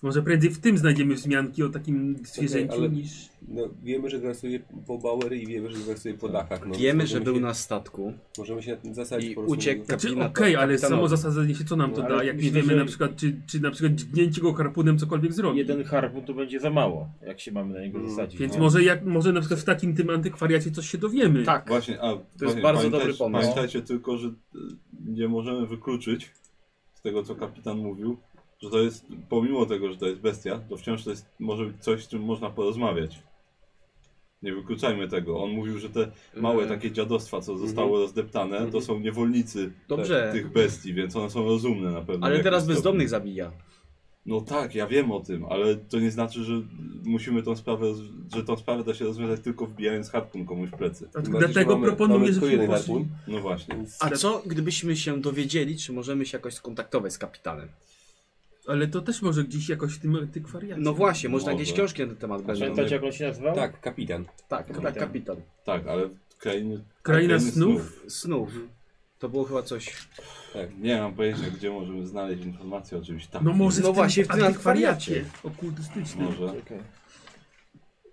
Speaker 6: Może prędzej w tym znajdziemy wzmianki o takim zwierzęciu
Speaker 1: ale-
Speaker 6: niż.
Speaker 1: No, wiemy, że grasuje po Bowery i wiemy, że grasuje po dachach. No,
Speaker 5: Wiemy, że
Speaker 1: Możemy
Speaker 5: był
Speaker 1: się-
Speaker 5: na statku.
Speaker 1: Możemy się na tym zasadzić
Speaker 5: i
Speaker 1: po prostu.
Speaker 5: uciekł.
Speaker 6: Znaczy, okej,
Speaker 5: Kapitana-
Speaker 6: ale samo
Speaker 5: kapitanowi.
Speaker 6: zasadzenie się co nam to
Speaker 4: No,
Speaker 6: da,
Speaker 4: ale
Speaker 6: jak nie
Speaker 4: myślę,
Speaker 6: wiemy
Speaker 4: że-
Speaker 6: na przykład, czy, czy na przykład dźgnięcie go harpunem cokolwiek zrobi.
Speaker 4: Jeden harpun to będzie za mało, jak się mamy na niego
Speaker 1: Mm,
Speaker 4: zasadzić.
Speaker 6: Więc
Speaker 4: no.
Speaker 6: może, jak, może na przykład w takim tym antykwariacie coś się dowiemy.
Speaker 5: Tak.
Speaker 2: Właśnie, a, to
Speaker 5: jest bardzo dobry pomysł.
Speaker 2: Pamiętajcie tylko, że y, nie możemy wykluczyć z tego, co kapitan mówił, że to jest, pomimo tego, że to jest bestia, to wciąż to jest, może być coś, z czym można porozmawiać. Nie wykluczajmy tego. On mówił, że te
Speaker 6: Mm.
Speaker 2: małe takie dziadostwa, co
Speaker 6: Mhm.
Speaker 2: zostały rozdeptane, to są niewolnicy te-
Speaker 5: Dobrze.
Speaker 2: tych bestii, więc one są rozumne na pewno. w
Speaker 5: Ale
Speaker 2: jakimś
Speaker 5: teraz
Speaker 2: No stopniu.
Speaker 5: bezdomnych zabija.
Speaker 2: No tak, ja wiem o tym, ale to nie znaczy, że musimy tą sprawę, że tą sprawę da się rozwiązać tylko wbijając harpun komuś w plecy.
Speaker 6: A
Speaker 1: Tym bardziej,
Speaker 6: Dlatego
Speaker 1: że mamy- mamy
Speaker 6: proponuję,
Speaker 1: tylko
Speaker 6: żebyśmy
Speaker 1: jeden
Speaker 6: poszli.
Speaker 1: harpun,
Speaker 2: No właśnie.
Speaker 1: więc-
Speaker 5: A co, gdybyśmy się dowiedzieli, czy możemy się jakoś skontaktować z kapitanem?
Speaker 6: Ale to też może gdzieś jakoś w tym antykwariacie.
Speaker 5: No właśnie, można
Speaker 2: Może.
Speaker 5: jakieś książki na ten temat będą.
Speaker 4: Pamiętacie, jak on się nazywał?
Speaker 1: Tak, kapitan.
Speaker 5: Tak,
Speaker 4: Kapitan.
Speaker 5: tak, kapitan.
Speaker 2: Tak, ale krainy.
Speaker 6: Kraina
Speaker 2: krainy
Speaker 6: snów?
Speaker 5: Snów. To było chyba coś.
Speaker 2: Tak, nie mam pojęcia, gdzie możemy znaleźć informacje o czymś tam.
Speaker 6: No może
Speaker 5: No
Speaker 6: w tym
Speaker 5: właśnie, w tym
Speaker 6: antykwariacie
Speaker 5: antykwariacie.
Speaker 6: okultystycznym.
Speaker 2: Może.
Speaker 4: Czekaj.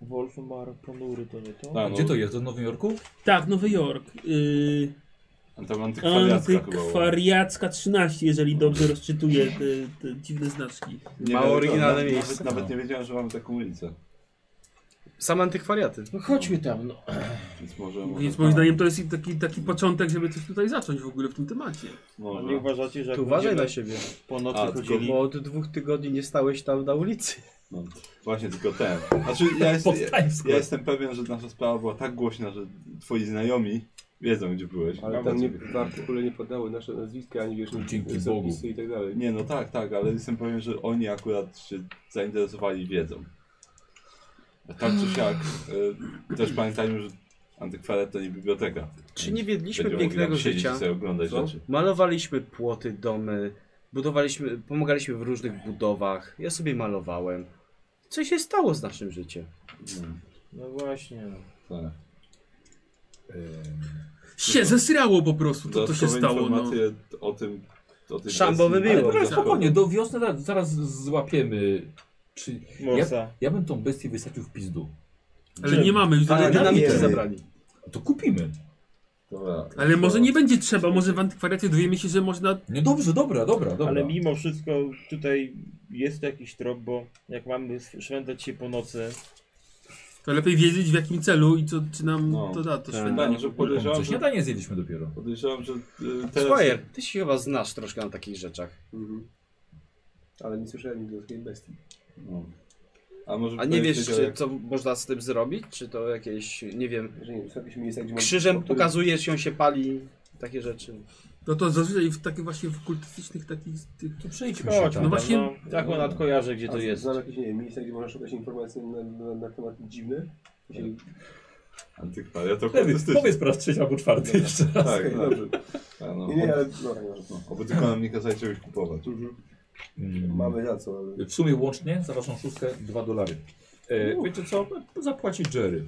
Speaker 4: Wolfmar ponury to nie to?
Speaker 2: Tak, no,
Speaker 3: Gdzie to jest? To w Nowym Jorku?
Speaker 6: Tak, Nowy Jork. Yy,
Speaker 2: Tam antykwariacka chyba. była.
Speaker 6: antykwariacka 13, jeżeli dobrze rozczytuję te, te dziwne znaczki.
Speaker 2: Nie,
Speaker 5: Mało
Speaker 2: nawet-
Speaker 5: oryginalne
Speaker 2: nawet-
Speaker 5: miejsce. no.
Speaker 2: Nawet, nawet nie wiedziałem, że mamy taką ulicę.
Speaker 5: Same antykwariaty.
Speaker 4: No chodźmy tam, no.
Speaker 2: Więc może. może
Speaker 6: Więc
Speaker 2: tak.
Speaker 6: moim zdaniem to jest taki, taki początek, żeby coś tutaj zacząć w ogóle w tym temacie.
Speaker 4: A nie
Speaker 2: Może.
Speaker 4: uważacie, że jak
Speaker 5: Tu uważaj
Speaker 4: będziemy
Speaker 5: na siebie,
Speaker 4: po nocy
Speaker 2: A, tylko-
Speaker 4: chodzili...
Speaker 5: bo od dwóch tygodni nie stałeś tam na ulicy.
Speaker 2: No, właśnie tylko ten. Znaczy, ja, jest,
Speaker 3: Pod
Speaker 2: ja,
Speaker 3: Times
Speaker 2: ja
Speaker 3: Square.
Speaker 2: jestem pewien, że nasza sprawa była tak głośna, że twoi znajomi wiedzą, gdzie byłeś.
Speaker 1: Ale tam nie, No, w artykule nie padały nasze nazwiska, ani wiesz,
Speaker 3: Dzięki
Speaker 1: zapisy
Speaker 3: Bogu.
Speaker 1: i tak dalej.
Speaker 2: Nie, no tak, tak, ale jestem pewien, że oni akurat się zainteresowali wiedzą. A tak
Speaker 5: Mm.
Speaker 2: czy siak, y, też pamiętajmy, że antykwariat to nie biblioteka.
Speaker 5: Czy nie wiedliśmy
Speaker 2: Będziemy mogli
Speaker 5: pięknego
Speaker 2: tam siedzieć
Speaker 5: życia?
Speaker 2: i sobie oglądać
Speaker 1: Co?
Speaker 2: rzeczy.
Speaker 5: Malowaliśmy płoty, domy, budowaliśmy, pomagaliśmy w różnych budowach. Ja sobie malowałem. Co się stało z naszym życiem?
Speaker 4: No właśnie.
Speaker 2: Tak.
Speaker 6: Się zesrało po prostu, to, to się
Speaker 2: Mhm. Dodatkowe
Speaker 6: stało. No.
Speaker 2: informacje o tym, o tym
Speaker 5: Szambo wybiło.
Speaker 2: Ale
Speaker 3: Dobra, Ehm, spokojnie, do wiosny zaraz, zaraz złapiemy. Czy...
Speaker 4: Morsa.
Speaker 3: Ja bym tą bestię wysadził w pizdu.
Speaker 6: Ale nie mamy już
Speaker 5: Ale
Speaker 1: nie
Speaker 6: ale,
Speaker 5: dynamiki
Speaker 1: wiemy.
Speaker 5: zabrali.
Speaker 3: To kupimy.
Speaker 2: Dobra.
Speaker 6: ale może nie będzie trzeba, może w antykwariacie dowiemy się, że można...
Speaker 3: Nie, No dobrze, dobra, dobra, dobra.
Speaker 4: Ale mimo wszystko tutaj jest jakiś trop, bo jak mamy szwendać się po nocy,
Speaker 6: To lepiej wiedzieć w jakim celu i co, czy nam
Speaker 2: No,
Speaker 6: to da,
Speaker 5: tak.
Speaker 6: to
Speaker 2: Panie,
Speaker 6: świętanie.
Speaker 2: że
Speaker 3: Co
Speaker 2: podejrzewam, że, No,
Speaker 3: śniadanie zjedliśmy dopiero.
Speaker 2: podejrzewam, że y, teraz...
Speaker 5: Squire, ty się chyba znasz troszkę na takich rzeczach.
Speaker 1: Mhm. Ale nie słyszałem nigdy o takiej bestii.
Speaker 2: No. A, może
Speaker 5: A nie wiesz,
Speaker 2: powiedzcie, że
Speaker 5: czy,
Speaker 2: jak-
Speaker 5: co można z tym zrobić? Czy to jakieś, nie wiem,
Speaker 1: Że nie wiem, są jakieś miejsca, gdzie mam-
Speaker 5: krzyżem
Speaker 1: po których-
Speaker 5: pokazuje się, się pali, takie rzeczy.
Speaker 6: No to zazwyczaj w takich właśnie w kultystycznych takich... Tych...
Speaker 3: To przejdźmy się
Speaker 4: chodź,
Speaker 3: tam.
Speaker 6: No
Speaker 4: no
Speaker 6: właśnie-
Speaker 4: właśnie, no, jak ona kojarzy, gdzie
Speaker 1: A
Speaker 4: to jest.
Speaker 1: Znam jakieś, nie wiem, miejsca, gdzie można szukać informacji na, na, na temat dziwne. Czyli...
Speaker 2: Antykwariat to
Speaker 3: Lewy,
Speaker 2: kultystyczny.
Speaker 3: powiedz po raz trzeci albo czwarty jeszcze.
Speaker 2: Tak,
Speaker 1: Okej,
Speaker 2: no.
Speaker 1: dobrze.
Speaker 2: A, no,
Speaker 1: Nie, nie,
Speaker 2: oby-
Speaker 1: ale no, no, no.
Speaker 2: Oby tylko nam nie kazali czegoś kupować.
Speaker 1: Mhm.
Speaker 3: Mm.
Speaker 1: Mamy za co, ale...
Speaker 3: W sumie łącznie za waszą szóstkę 2 dolary. E, wiecie co? Zapłaci Jerry.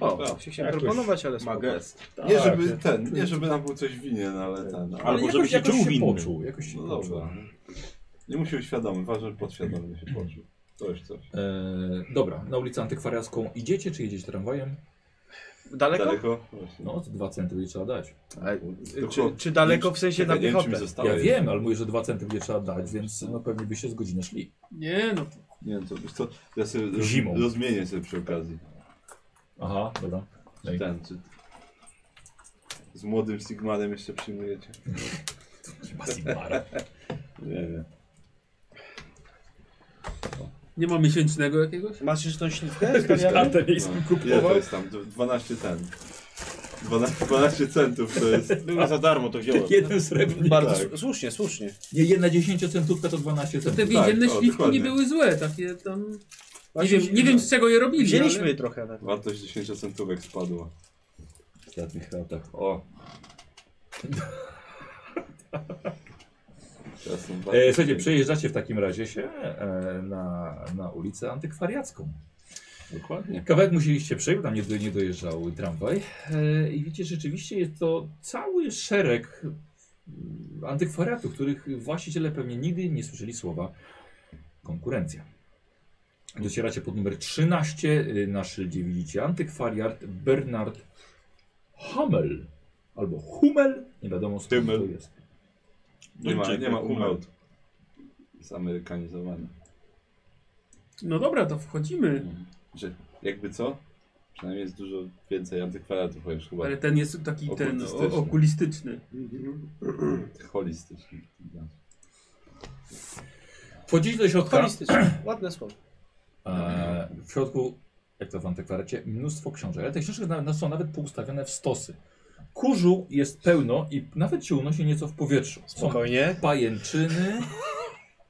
Speaker 5: O, się chciałem proponować, ale
Speaker 2: Ma
Speaker 5: spoko.
Speaker 2: gest. Nie żeby ten, nie żeby nam był coś winien, ale ten.
Speaker 3: Ale
Speaker 2: Ale
Speaker 4: Albo
Speaker 3: jakoś,
Speaker 4: żeby się
Speaker 3: jakoś
Speaker 4: czuł
Speaker 3: się
Speaker 4: winny.
Speaker 3: poczuł. Jakoś się
Speaker 2: no
Speaker 3: poczuł.
Speaker 2: dobra. Nie musiał świadomy, ważne, że podświadomie się poczuł. To już coś.
Speaker 3: E, dobra, na ulicę Antykwariacką idziecie, czy jedziecie tramwajem?
Speaker 5: Daleko?
Speaker 2: Daleko? Właśnie.
Speaker 3: No, to 2 centy będzie trzeba dać.
Speaker 5: Ale,
Speaker 2: To
Speaker 5: czy,
Speaker 2: chłop-
Speaker 5: czy daleko w sensie na
Speaker 2: Czekaj, nie wiem, czy mi
Speaker 5: piechotę?
Speaker 4: Tak
Speaker 2: zostało.
Speaker 3: ja
Speaker 2: jeszcze.
Speaker 3: wiem, ale mówię, że 2 centy będzie trzeba dać, więc no, pewnie by się z godziny szli.
Speaker 6: Nie no,
Speaker 2: Nie wiem, to, wiesz co, ja sobie roz-
Speaker 3: Zimą.
Speaker 2: rozmienię sobie przy okazji.
Speaker 3: Aha, dobra. Ej.
Speaker 2: Ten, czy... Z młodym Sigmarem jeszcze przyjmujecie?
Speaker 3: Chyba Sigmara.
Speaker 2: Nie wiem.
Speaker 6: nie ma miesięcznego jakiegoś?
Speaker 5: Masz już tą śliwkę?
Speaker 3: Kartę miejską
Speaker 2: No, Ile to
Speaker 3: kupował.
Speaker 2: jest tam? D- 12 ten. 12, 12 centów to jest.
Speaker 4: Były za darmo, to wziąłem.
Speaker 3: Jeden srebrny.
Speaker 5: Bardzo
Speaker 2: Tak.
Speaker 5: słu- słusznie, słusznie.
Speaker 3: Nie, jedna 10 centówka to 12
Speaker 6: Te
Speaker 3: centów.
Speaker 6: więzienne
Speaker 2: o,
Speaker 6: śliwki
Speaker 2: dokładnie.
Speaker 6: nie były złe, takie tam... Nie
Speaker 5: Właśnie
Speaker 6: wiem, nie wiem z czego je robili, no,
Speaker 5: Wzięliśmy
Speaker 6: ale...
Speaker 5: je trochę. nawet.
Speaker 2: Wartość 10 centówek spadła.
Speaker 3: W ostatnich latach.
Speaker 2: O. Teraz są bardzo-
Speaker 3: E, słuchajcie, przejeżdżacie w takim razie się e, na, na ulicę Antykwariacką.
Speaker 2: Dokładnie.
Speaker 3: Kawałek musieliście przejść, tam nie, do- nie dojeżdżał tramwaj. E, I widzicie, rzeczywiście jest to cały szereg mm, antykwariatów, których właściciele pewnie nigdy nie słyszeli słowa konkurencja. Docieracie pod numer 13. y, Na szyldzie widzicie antykwariat Bernard Hummel. Albo Hummel, nie wiadomo skąd
Speaker 2: Hummel.
Speaker 3: to jest.
Speaker 2: Nie ma, nie ma
Speaker 4: Duńczyk,
Speaker 2: umlaut. Zamerykanizowany.
Speaker 6: No dobra, to wchodzimy.
Speaker 2: Że jakby co? Przynajmniej jest dużo więcej antykwaratów, chociaż chyba
Speaker 6: Ale ten jest taki ten o,
Speaker 2: Okultystyczny.
Speaker 6: okulistyczny.
Speaker 2: tych holistycznych.
Speaker 3: Wchodzicie do środka.
Speaker 5: Holistycznie, ładne słowo.
Speaker 3: E, w środku, jak to w antykwariacie, mnóstwo książek. Ale te książki na- na- są nawet poustawione w stosy. Kurzu jest pełno i nawet się unosi nieco w powietrzu. Są
Speaker 5: Spokojnie.
Speaker 3: pajęczyny.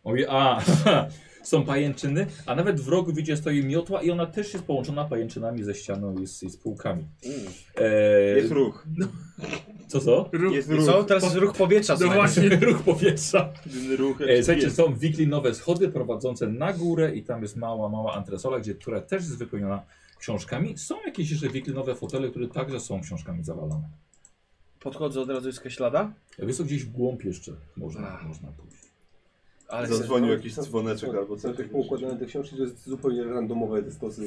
Speaker 3: Oj, a, są pajęczyny, a nawet w rogu widzicie stoi miotła i ona też jest połączona pajęczynami ze ścianą i z, i z półkami.
Speaker 4: Jest
Speaker 3: E,
Speaker 4: ruch.
Speaker 3: co co?
Speaker 6: Ruch.
Speaker 4: Jest
Speaker 5: I
Speaker 4: ruch.
Speaker 5: co? Teraz jest ruch powietrza.
Speaker 6: No
Speaker 5: słuchaj.
Speaker 6: właśnie.
Speaker 3: Ruch powietrza.
Speaker 4: Jedyny ruch.
Speaker 3: E, słuchajcie, są wiklinowe schody prowadzące na górę i tam jest mała, mała antresola, gdzie, która też jest wypełniona książkami. Są jakieś jeszcze wiklinowe fotele, które także są książkami zawalane.
Speaker 5: Podchodzę od razu jest jakaś ślada.
Speaker 3: Wiesz co, gdzieś w głąb jeszcze można,
Speaker 5: Ach.
Speaker 3: można pójść.
Speaker 5: Ale
Speaker 2: Zadzwonił
Speaker 1: No,
Speaker 2: jakiś
Speaker 1: są-
Speaker 2: dzwoneczek
Speaker 1: są-
Speaker 2: albo
Speaker 1: Są
Speaker 2: coś.
Speaker 1: jakieś poukładane te książki, to jest zupełnie randomowe te stosy.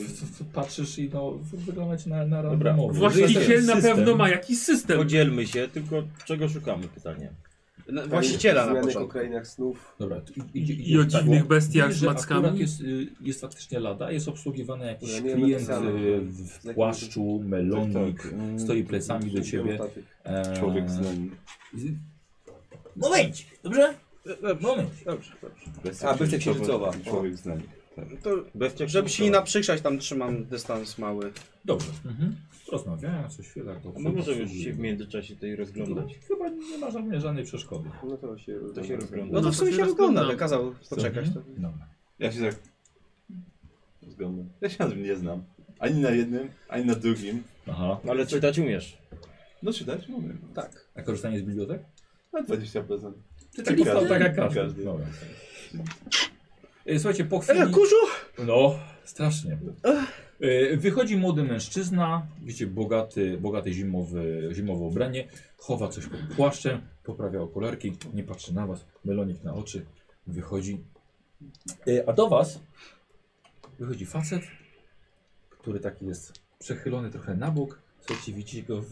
Speaker 3: Patrzysz i no, wyglądać na, na
Speaker 4: Dobra.
Speaker 3: randomowy.
Speaker 6: Właściciel
Speaker 3: System.
Speaker 6: na pewno ma jakiś system.
Speaker 4: Podzielmy się, tylko czego szukamy pytanie.
Speaker 5: Na- Właściciela na
Speaker 1: Zmianek o
Speaker 5: początku.
Speaker 1: krainach snów.
Speaker 3: Dobra, tu idzie,
Speaker 6: I o dziwnych bestiach
Speaker 3: Widzisz,
Speaker 6: z
Speaker 3: tak, że
Speaker 6: mackami.
Speaker 3: akurat Jest, y, jest faktycznie lada, jest obsługiwany jakiś
Speaker 1: Ja miałem
Speaker 3: klient
Speaker 1: napisane.
Speaker 3: y, w płaszczu, melonik,
Speaker 1: Tak,
Speaker 2: mm,
Speaker 3: stoi plecami do ciebie. e,
Speaker 2: Człowiek z nami.
Speaker 3: z- Moment, dobrze? Moment.
Speaker 5: Dobrze, dobrze.
Speaker 2: Bestia
Speaker 1: A, bestia księżycowa.
Speaker 2: Człowiek z nami. Tak.
Speaker 5: To,
Speaker 4: Bestia
Speaker 5: żeby się nie naprzykrzać, tam trzymam dystans mały.
Speaker 3: Dobrze. Mhm. Rozmawiałem coś chwilę. to
Speaker 4: A My możemy No już
Speaker 3: obsługi-
Speaker 4: się w międzyczasie tej
Speaker 3: No,
Speaker 4: rozglądać.
Speaker 3: Chyba nie ma żadnej, żadnej przeszkody.
Speaker 1: No to się,
Speaker 4: To się rozgląda.
Speaker 5: No to w sumie
Speaker 6: to
Speaker 5: się
Speaker 6: się
Speaker 5: rozgląda,
Speaker 6: rozglądam.
Speaker 5: by kazał poczekać. To.
Speaker 3: Mhm. Dobra.
Speaker 2: Ja się tak zgodny. Ja się na tym nie znam. Ani na jednym, ani na drugim.
Speaker 3: Aha.
Speaker 4: Ale czytać umiesz.
Speaker 2: No czytać mówię.
Speaker 5: Tak.
Speaker 3: A korzystanie z bibliotek?
Speaker 2: Na 20%.
Speaker 3: Czy
Speaker 2: Czyli każdy.
Speaker 3: tak jak każdy.
Speaker 2: Każdy.
Speaker 3: Dobra. E, Słuchajcie, po chwili...
Speaker 5: E, kurzu!
Speaker 3: No, strasznie. E, Wychodzi młody mężczyzna, wiecie, bogaty, bogaty zimowy, zimowe ubranie, chowa coś pod płaszczem, poprawia okularki, nie patrzy na was, melonik na oczy, wychodzi. E, A do was wychodzi facet, który taki jest przechylony trochę na bok, słuchajcie, widzicie go w,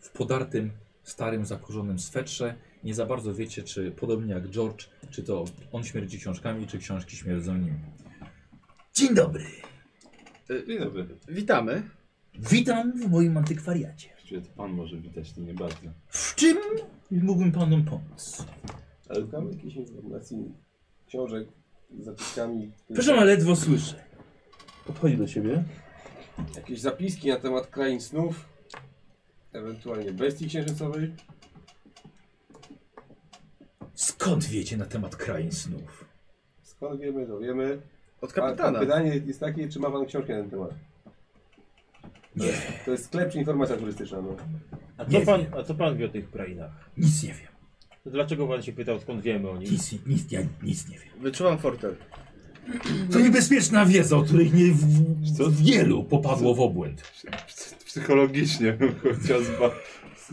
Speaker 3: w podartym, starym, zakurzonym swetrze. Nie za bardzo wiecie, czy podobnie jak George, czy to on śmierdzi książkami, czy książki śmierdzą nim. Dzień dobry.
Speaker 2: Dzień dobry.
Speaker 5: Witamy.
Speaker 3: Witam w moim antykwariacie.
Speaker 2: Właściwie to pan może widać, to nie bardzo.
Speaker 3: W czym mógłbym panom pomóc?
Speaker 1: Ale szukamy jakiejś informacji, książek z zapiskami.
Speaker 3: Przepraszam, ale ledwo słyszę. Podchodzi do ciebie.
Speaker 1: Jakieś zapiski na temat krain snów, ewentualnie bestii księżycowej.
Speaker 3: Skąd wiecie na temat krain snów?
Speaker 1: Skąd wiemy, to wiemy.
Speaker 5: Od
Speaker 1: A
Speaker 5: kapitana.
Speaker 1: pytanie jest takie, czy ma pan książkę na ten temat? To
Speaker 3: Nie.
Speaker 1: jest, to jest sklep czy informacja turystyczna? No.
Speaker 4: A
Speaker 3: Nie
Speaker 4: co, pan, a co pan wie o tych krainach?
Speaker 3: Nic nie wiem.
Speaker 4: To Dlaczego pan się pytał, skąd wiemy o nich?
Speaker 3: Nic, nic, ja nic nie wiem.
Speaker 5: Wyczuwam fortel.
Speaker 3: To niebezpieczna wiedza, o której nie w, w wielu popadło w obłęd.
Speaker 2: Psy- Psychologicznie bym go chciał zba-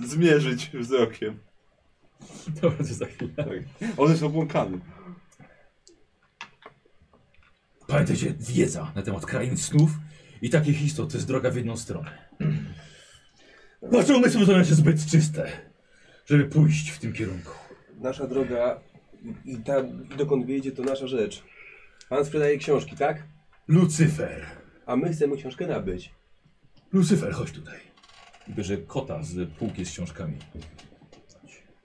Speaker 2: zmierzyć wzrokiem.
Speaker 3: Dobra, to za chwilę.
Speaker 2: Tak. On jest obłąkany.
Speaker 3: Pamiętajcie, wiedza na temat krain snów i takich istot to jest droga w jedną stronę. Wasze umysły są jeszcze zbyt czyste, żeby pójść w tym kierunku.
Speaker 1: Nasza droga i- i tam, i dokąd wyjedzie, to nasza rzecz. Pan sprzedaje książki, tak?
Speaker 3: Lucyfer.
Speaker 1: A my chcemy książkę nabyć.
Speaker 3: Lucyfer, chodź tutaj. I bierze kota z półki z książkami.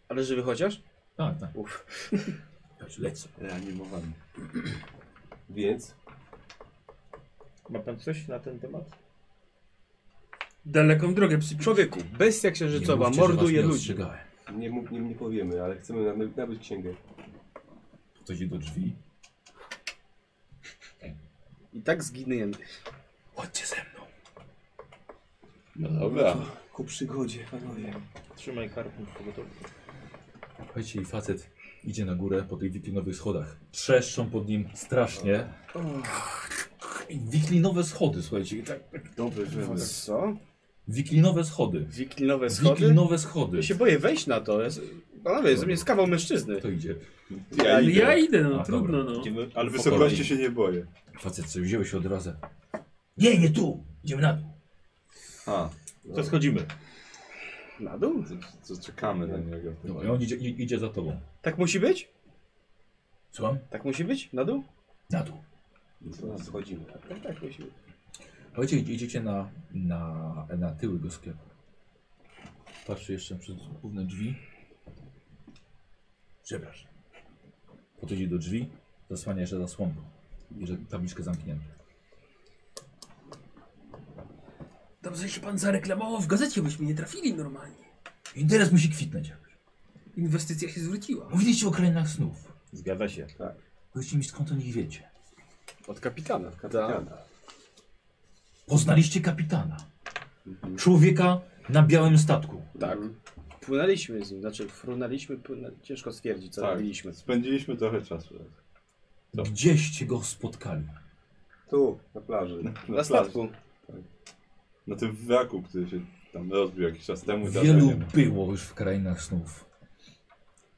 Speaker 5: Ale żywy chociaż?
Speaker 3: Tak, tak.
Speaker 5: Uf.
Speaker 3: Chodź, lec.
Speaker 2: Reanimowany.
Speaker 1: Więc
Speaker 4: Ma pan coś na ten temat?
Speaker 6: Daleką drogę przy
Speaker 5: Człowieku, bestia
Speaker 3: Nie
Speaker 5: księżycowa
Speaker 3: mówcie, że
Speaker 5: morduje
Speaker 3: was nie
Speaker 5: ludzi.
Speaker 3: ostrzegałem.
Speaker 1: nie, mów- nie, nie powiemy, ale chcemy naby- nabyć księgę.
Speaker 3: Ktoś idzie do drzwi.
Speaker 5: I tak zginiemy.
Speaker 3: Chodźcie ze mną.
Speaker 2: No dobra.
Speaker 1: Ku przygodzie, panowie.
Speaker 4: Trzymaj karpę gotowy.
Speaker 3: Słuchajcie, i facet idzie na górę po tych wiklinowych schodach. Trzeszczą pod nim strasznie. I Wiklinowe schody, słuchajcie. i Tak,
Speaker 2: Dobry, wiemy.
Speaker 5: Co?
Speaker 3: wiklinowe schody.
Speaker 5: Wiklinowe schody?
Speaker 3: Wiklinowe schody.
Speaker 5: Ja się boję wejść na to. Ja... z- Panowie, ze mnie jest kawał mężczyzny.
Speaker 3: To idzie.
Speaker 2: Ja
Speaker 6: Ale
Speaker 2: idę.
Speaker 6: ja idę, no
Speaker 3: A,
Speaker 6: trudno no.
Speaker 4: Idziemy,
Speaker 2: Ale
Speaker 4: ale
Speaker 2: wysokości się nie boję.
Speaker 3: Facet co wzięły się od razu. Nie, nie tu. Idziemy na dół.
Speaker 2: A,
Speaker 4: To schodzimy.
Speaker 5: Na dół?
Speaker 2: to, to czekamy na niego.
Speaker 3: Dobra, i on idzie, i- idzie za tobą.
Speaker 5: Tak musi być?
Speaker 3: Słucham?
Speaker 5: Tak musi być? Na dół?
Speaker 3: Na dół.
Speaker 1: Co, Schodzimy.
Speaker 5: Tak, tak musi być.
Speaker 3: Chodźcie, idzie- idziecie na, na, na tyły do sklepu. Patrzę jeszcze przez główne drzwi. Przepraszam. Podchodzi do drzwi, zasłania jeszcze zasłonką. Bierze tabliczkę zamkniętą.
Speaker 6: Dobrze się pan zareklamował w gazecie, byśmy nie trafili normalnie.
Speaker 3: Interes musi kwitnąć jakoś.
Speaker 6: Inwestycja się zwróciła.
Speaker 3: Mówiliście o krainach snów.
Speaker 4: Zgadza się.
Speaker 3: Powiedzcie mi skąd o nich wiecie.
Speaker 5: Od kapitana. Tak.
Speaker 1: Kapitana.
Speaker 3: Poznaliście kapitana. Człowieka na białym statku.
Speaker 5: Tak. Płynęliśmy z nim, znaczy frunęliśmy, płynę... ciężko stwierdzić co
Speaker 2: Tak.
Speaker 5: robiliśmy.
Speaker 2: Spędziliśmy trochę czasu. Co?
Speaker 3: Gdzieście go spotkali.
Speaker 1: Tu, na plaży.
Speaker 5: Na statku.
Speaker 2: Na tym wraku, który się tam rozbił jakiś czas temu. teraz
Speaker 3: Wielu
Speaker 2: nie ma.
Speaker 3: było już w krainach snów.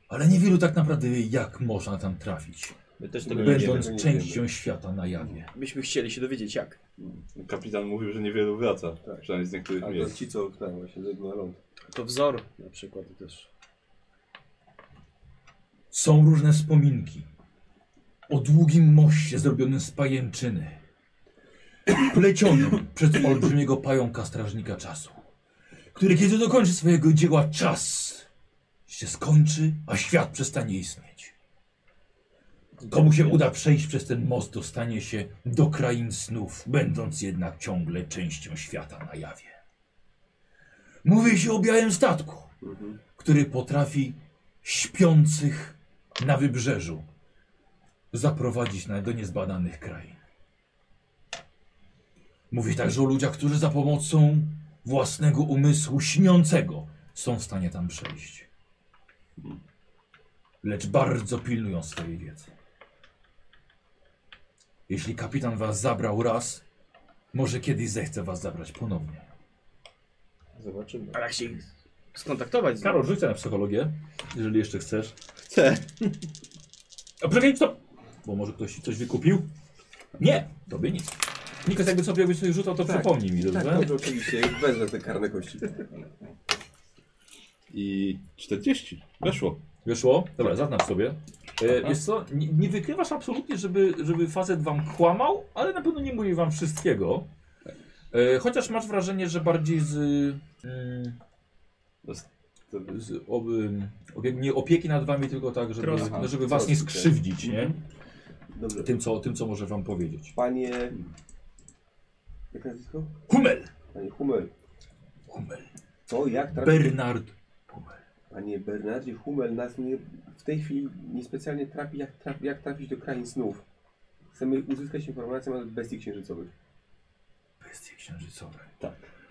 Speaker 3: Ale niewielu tak naprawdę wie, jak można tam trafić.
Speaker 4: My też tego nie wiemy.
Speaker 3: Będąc
Speaker 1: wiemy.
Speaker 3: częścią świata na jawie.
Speaker 5: Byśmy chcieli się dowiedzieć jak.
Speaker 2: No, Kapitan mówił, że niewielu wraca.
Speaker 1: Tak.
Speaker 2: Przynajmniej z niektórych
Speaker 1: Ale to
Speaker 2: miejsc.
Speaker 1: ci, co tak, właśnie, na ląd.
Speaker 5: To wzor na przykład też.
Speaker 3: Są różne wspominki o długim moście zrobionym z pajęczyny, plecionym przez olbrzymiego pająka strażnika czasu, który kiedy dokończy swojego dzieła czas się skończy, a świat przestanie istnieć. Komu się uda przejść przez ten most, dostanie się do krain snów, będąc jednak ciągle częścią świata na jawie. Mówi się o białym statku, który potrafi śpiących na wybrzeżu zaprowadzić na- do niezbadanych krain. Mówi także o ludziach, którzy za pomocą własnego umysłu śniącego są w stanie tam przejść. Lecz bardzo pilnują swojej wiedzy. Jeśli kapitan was zabrał raz, może kiedyś zechce was zabrać ponownie.
Speaker 5: A jak się skontaktować z
Speaker 3: Karol, rzuć na psychologię, jeżeli jeszcze chcesz.
Speaker 2: Chcę.
Speaker 3: A poczekaj, stop! Bo może ktoś ci coś wykupił? Nie, tobie nic. Nikos, jakby sobie, jakbyś sobie rzucał, to przypomnij mi, dobrze?
Speaker 1: Tak, dobrze, oczywiście, wezmę te karne kości.
Speaker 2: I 40. Weszło.
Speaker 3: Wyszło? Dobra, zaznacz sobie. E, wiesz co, nie, nie wykrywasz absolutnie, żeby, żeby facet wam kłamał, ale na pewno nie mówi wam wszystkiego. E, chociaż masz wrażenie, że bardziej z... Mm, z ob, opie, nie opieki nad wami, tylko tak, żeby,
Speaker 6: Troski.
Speaker 3: no, żeby was nie
Speaker 1: Troski, tak.
Speaker 3: skrzywdzić, nie?
Speaker 1: Dobrze.
Speaker 3: Tym co, tym, co może wam powiedzieć.
Speaker 1: Panie... Jak nazwisko?
Speaker 3: Hummel!
Speaker 1: Panie Hummel.
Speaker 3: Hummel.
Speaker 1: Co, jak trafi...
Speaker 3: Bernard Hummel.
Speaker 1: Panie Bernardzie, Hummel nas nie, w tej chwili niespecjalnie trapi, jak, traf, jak trafić do krain snów. Chcemy uzyskać informację o bestii księżycowych.
Speaker 3: Bestie księżycowe.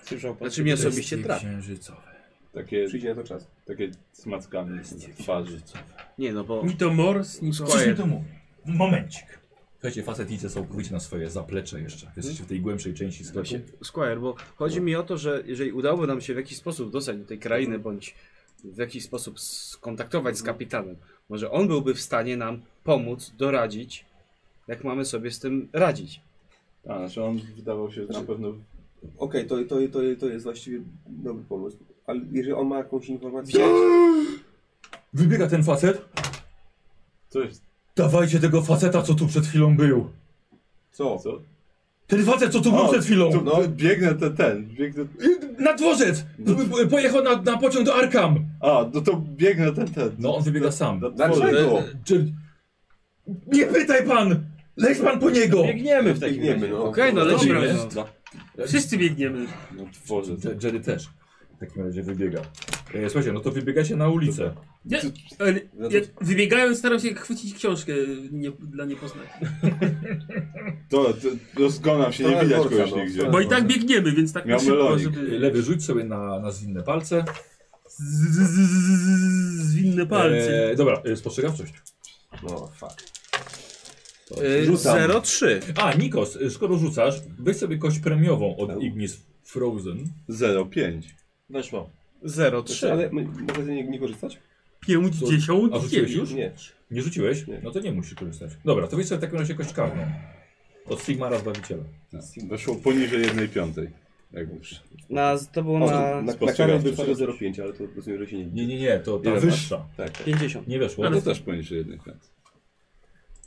Speaker 4: Słyszał pan.
Speaker 5: Znaczy mnie osobiście
Speaker 3: Bestie
Speaker 5: trafi.
Speaker 3: księżycowe.
Speaker 2: Takie,
Speaker 1: Przyjdzie na to czas.
Speaker 2: takie smackamy
Speaker 3: Bestie
Speaker 2: w twarzy.
Speaker 3: księżycowe.
Speaker 5: Nie no, bo
Speaker 6: Ni to Morse, ni
Speaker 3: Coś mi
Speaker 6: Quiet.
Speaker 3: to mówi. Momencik. Słuchajcie, facetice są całkowicie na swoje zaplecze jeszcze. Jesteście w tej głębszej części sklepu.
Speaker 5: Squire, bo chodzi mi o to, że jeżeli udałoby nam się w jakiś sposób dostać do tej krainy, bądź w jakiś sposób skontaktować z kapitanem, może on byłby w stanie nam pomóc, doradzić, jak mamy sobie z tym radzić.
Speaker 2: A, znaczy on wydawał się na pewno...
Speaker 1: Okej, to, to, to, to jest właściwie dobry pomysł. Ale jeżeli on ma jakąś informację...
Speaker 3: Wybiega ten facet.
Speaker 2: Co jest?
Speaker 3: Dawajcie tego faceta, co tu przed chwilą był.
Speaker 2: Co? Co?
Speaker 3: Ten facet, co tu był
Speaker 2: O,
Speaker 3: przed chwilą.
Speaker 2: Tu, no, biegnę ten, ten. Biegnę...
Speaker 3: Na dworzec! Po- Pojechał na, na pociąg do Arkam.
Speaker 2: A, no to biegnę ten, ten.
Speaker 3: No, on wybiega sam.
Speaker 2: Na
Speaker 1: Dlaczego?
Speaker 2: Dlaczego?
Speaker 3: Czy... Nie pytaj pan! Leć pan po niego!
Speaker 4: Biegniemy w takim
Speaker 1: Biegniemy,
Speaker 4: razie.
Speaker 1: no.
Speaker 5: Okej, no
Speaker 6: Dobra,
Speaker 5: lecimy.
Speaker 6: no. Wszyscy biegniemy.
Speaker 2: No tworzę.
Speaker 3: Je- Jerry też w takim razie wybiega. E, słuchajcie, no to wybiegacie na ulicę.
Speaker 6: Ja, ale
Speaker 1: No
Speaker 6: ja wybiegając staram się chwycić książkę nie, dla niepoznanych.
Speaker 2: To, to rozgonam się, nie
Speaker 1: Trochę
Speaker 2: widać
Speaker 1: dworca,
Speaker 2: kogoś
Speaker 1: no.
Speaker 2: nigdzie.
Speaker 6: Bo i tak biegniemy, więc tak
Speaker 2: Miał
Speaker 6: na szybko,
Speaker 2: melonik.
Speaker 6: żeby...
Speaker 3: Lewy rzuć sobie na, na zwinne palce.
Speaker 6: z- z- z- z- Zwinne palce.
Speaker 3: E, dobra, e, spostrzegawczość.
Speaker 1: No, fuck.
Speaker 5: Y, 03.
Speaker 3: A, Nikos, e, skoro rzucasz, weź sobie kość premiową od
Speaker 1: Tak.
Speaker 3: Ignis Frozen.
Speaker 2: 05.
Speaker 4: Weszło.
Speaker 5: 03.
Speaker 1: Ale m- mogę z niej nie korzystać?
Speaker 6: Pięćdziesiąt
Speaker 3: A rzuciłeś już?
Speaker 1: Nie.
Speaker 3: Nie rzuciłeś?
Speaker 1: Nie.
Speaker 3: No to nie musisz korzystać. Dobra, to weź sobie w takim razie kość karną. Od Sigmara Zbawiciela.
Speaker 2: No, Weszło poniżej 1,5. Jak już.
Speaker 5: Na, to było
Speaker 1: O,
Speaker 5: na
Speaker 1: na na karę
Speaker 2: spostrzegawczość.
Speaker 1: wypadło 05, ale to rozumiem, że się nie widzi.
Speaker 3: Nie, nie, nie, to ta
Speaker 2: Ile
Speaker 3: wyższa.
Speaker 5: 50.
Speaker 3: Nie weszło.
Speaker 2: No to też poniżej 1,5.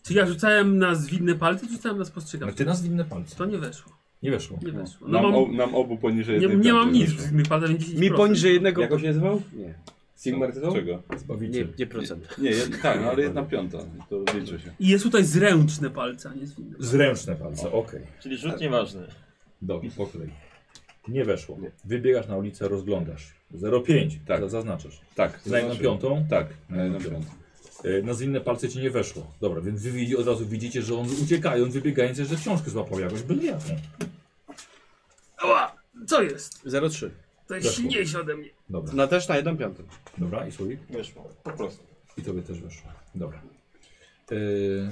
Speaker 6: Czy ja rzucałem na zwinne palce, czy rzucałem na
Speaker 3: Ale
Speaker 6: spostrzegawcze?
Speaker 3: ty na zwinne palce.
Speaker 6: To nie weszło.
Speaker 3: Nie weszło.
Speaker 6: Nie weszło. No
Speaker 2: Nam, o,
Speaker 6: mam,
Speaker 2: nam obu poniżej
Speaker 6: nie,
Speaker 2: 1,5.
Speaker 6: nie mam nic w
Speaker 2: weszło.
Speaker 6: zwinnych palcach, 10%.
Speaker 5: Mi poniżej jednego.
Speaker 1: Jak on się nazywał?
Speaker 5: Nie.
Speaker 1: Sigmar
Speaker 2: Co?
Speaker 1: to?
Speaker 2: Czego?
Speaker 5: Nie,
Speaker 3: Zbawiciel.
Speaker 5: nie procent.
Speaker 2: Nie, jed... tak, no, ale jedna piąta. To liczy się.
Speaker 6: I jest tutaj zręczne palce, a nie zwinne.
Speaker 3: Zręczne palce, okej.
Speaker 4: Czyli rzut nieważny.
Speaker 3: Dobra, po kolei. Nie weszło. Wybiegasz na ulicę, rozglądasz. 05,
Speaker 2: Tak.
Speaker 3: tak. zaznaczasz.
Speaker 2: Tak.
Speaker 3: Na jedną
Speaker 2: znaczy-
Speaker 3: piątą?
Speaker 2: Tak, na jedną piątą.
Speaker 3: E, Na zwinne palce ci nie weszło. Dobra, więc wy widzi- od razu widzicie, że on uciekając, wybiegając, że książkę złapał jakoś byle jaką.
Speaker 6: Ała! Co jest?
Speaker 5: 03.
Speaker 6: To jest
Speaker 3: Weszło.
Speaker 6: silniejsze ode mnie.
Speaker 3: Dobra,
Speaker 5: Na też na jedną piątą.
Speaker 3: dobra, i słoik?
Speaker 4: Weszło.
Speaker 1: Po prostu.
Speaker 3: I tobie też weszło. Dobra. Yy,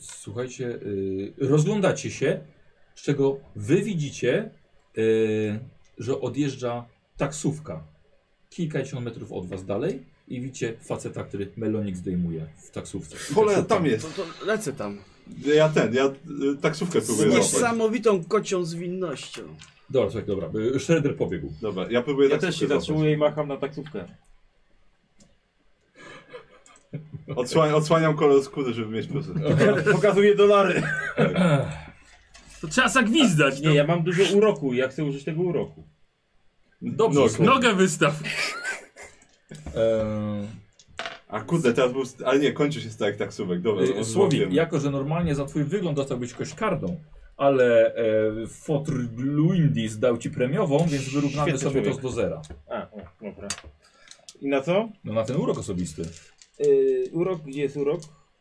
Speaker 3: słuchajcie, yy, rozglądacie się, z czego wy widzicie, yy, że odjeżdża taksówka kilkadziesiąt metrów od was dalej i widzicie faceta, który melonik zdejmuje w taksówce. I
Speaker 2: Cholera,
Speaker 3: taksówka-
Speaker 2: tam
Speaker 5: To,
Speaker 2: jest.
Speaker 5: No to lecę tam.
Speaker 2: Ja ten, ja y, taksówkę
Speaker 5: Z
Speaker 2: próbuję złapać.
Speaker 5: niesamowitą kocią zwinnością.
Speaker 3: Dobra, słuchaj, dobra. Yy, Shredder pobiegł.
Speaker 2: Dobra, ja próbuję
Speaker 4: Ja też się
Speaker 2: taksówkę złapać.
Speaker 4: zatrzymuję i macham na taksówkę.
Speaker 2: Odsłania, odsłaniam kolor skóry, żeby mieć plus.
Speaker 4: Pokazuję dolary.
Speaker 6: To trzeba zagwizdać.
Speaker 4: Nie,
Speaker 6: Nie,
Speaker 4: ja mam dużo uroku. Ja chcę użyć tego uroku.
Speaker 3: Dobrze,
Speaker 2: No,
Speaker 3: słuchaj.
Speaker 6: Nogę wystaw.
Speaker 3: Eee,
Speaker 2: A kurde, teraz był... Ale nie, kończy się tak taksówek. Dobra,
Speaker 3: Yy, Słowik,
Speaker 2: odmówiłem.
Speaker 3: jako że normalnie za twój wygląd dostałbyś kogoś kardą, ale e, Fotr Luindis dał ci premiową, więc wyrównamy
Speaker 4: Świetny
Speaker 3: sobie to
Speaker 4: człowiek.
Speaker 3: do zera.
Speaker 4: A, o, dobra. I na co?
Speaker 3: No na ten urok osobisty.
Speaker 4: Yy, urok, gdzie jest urok?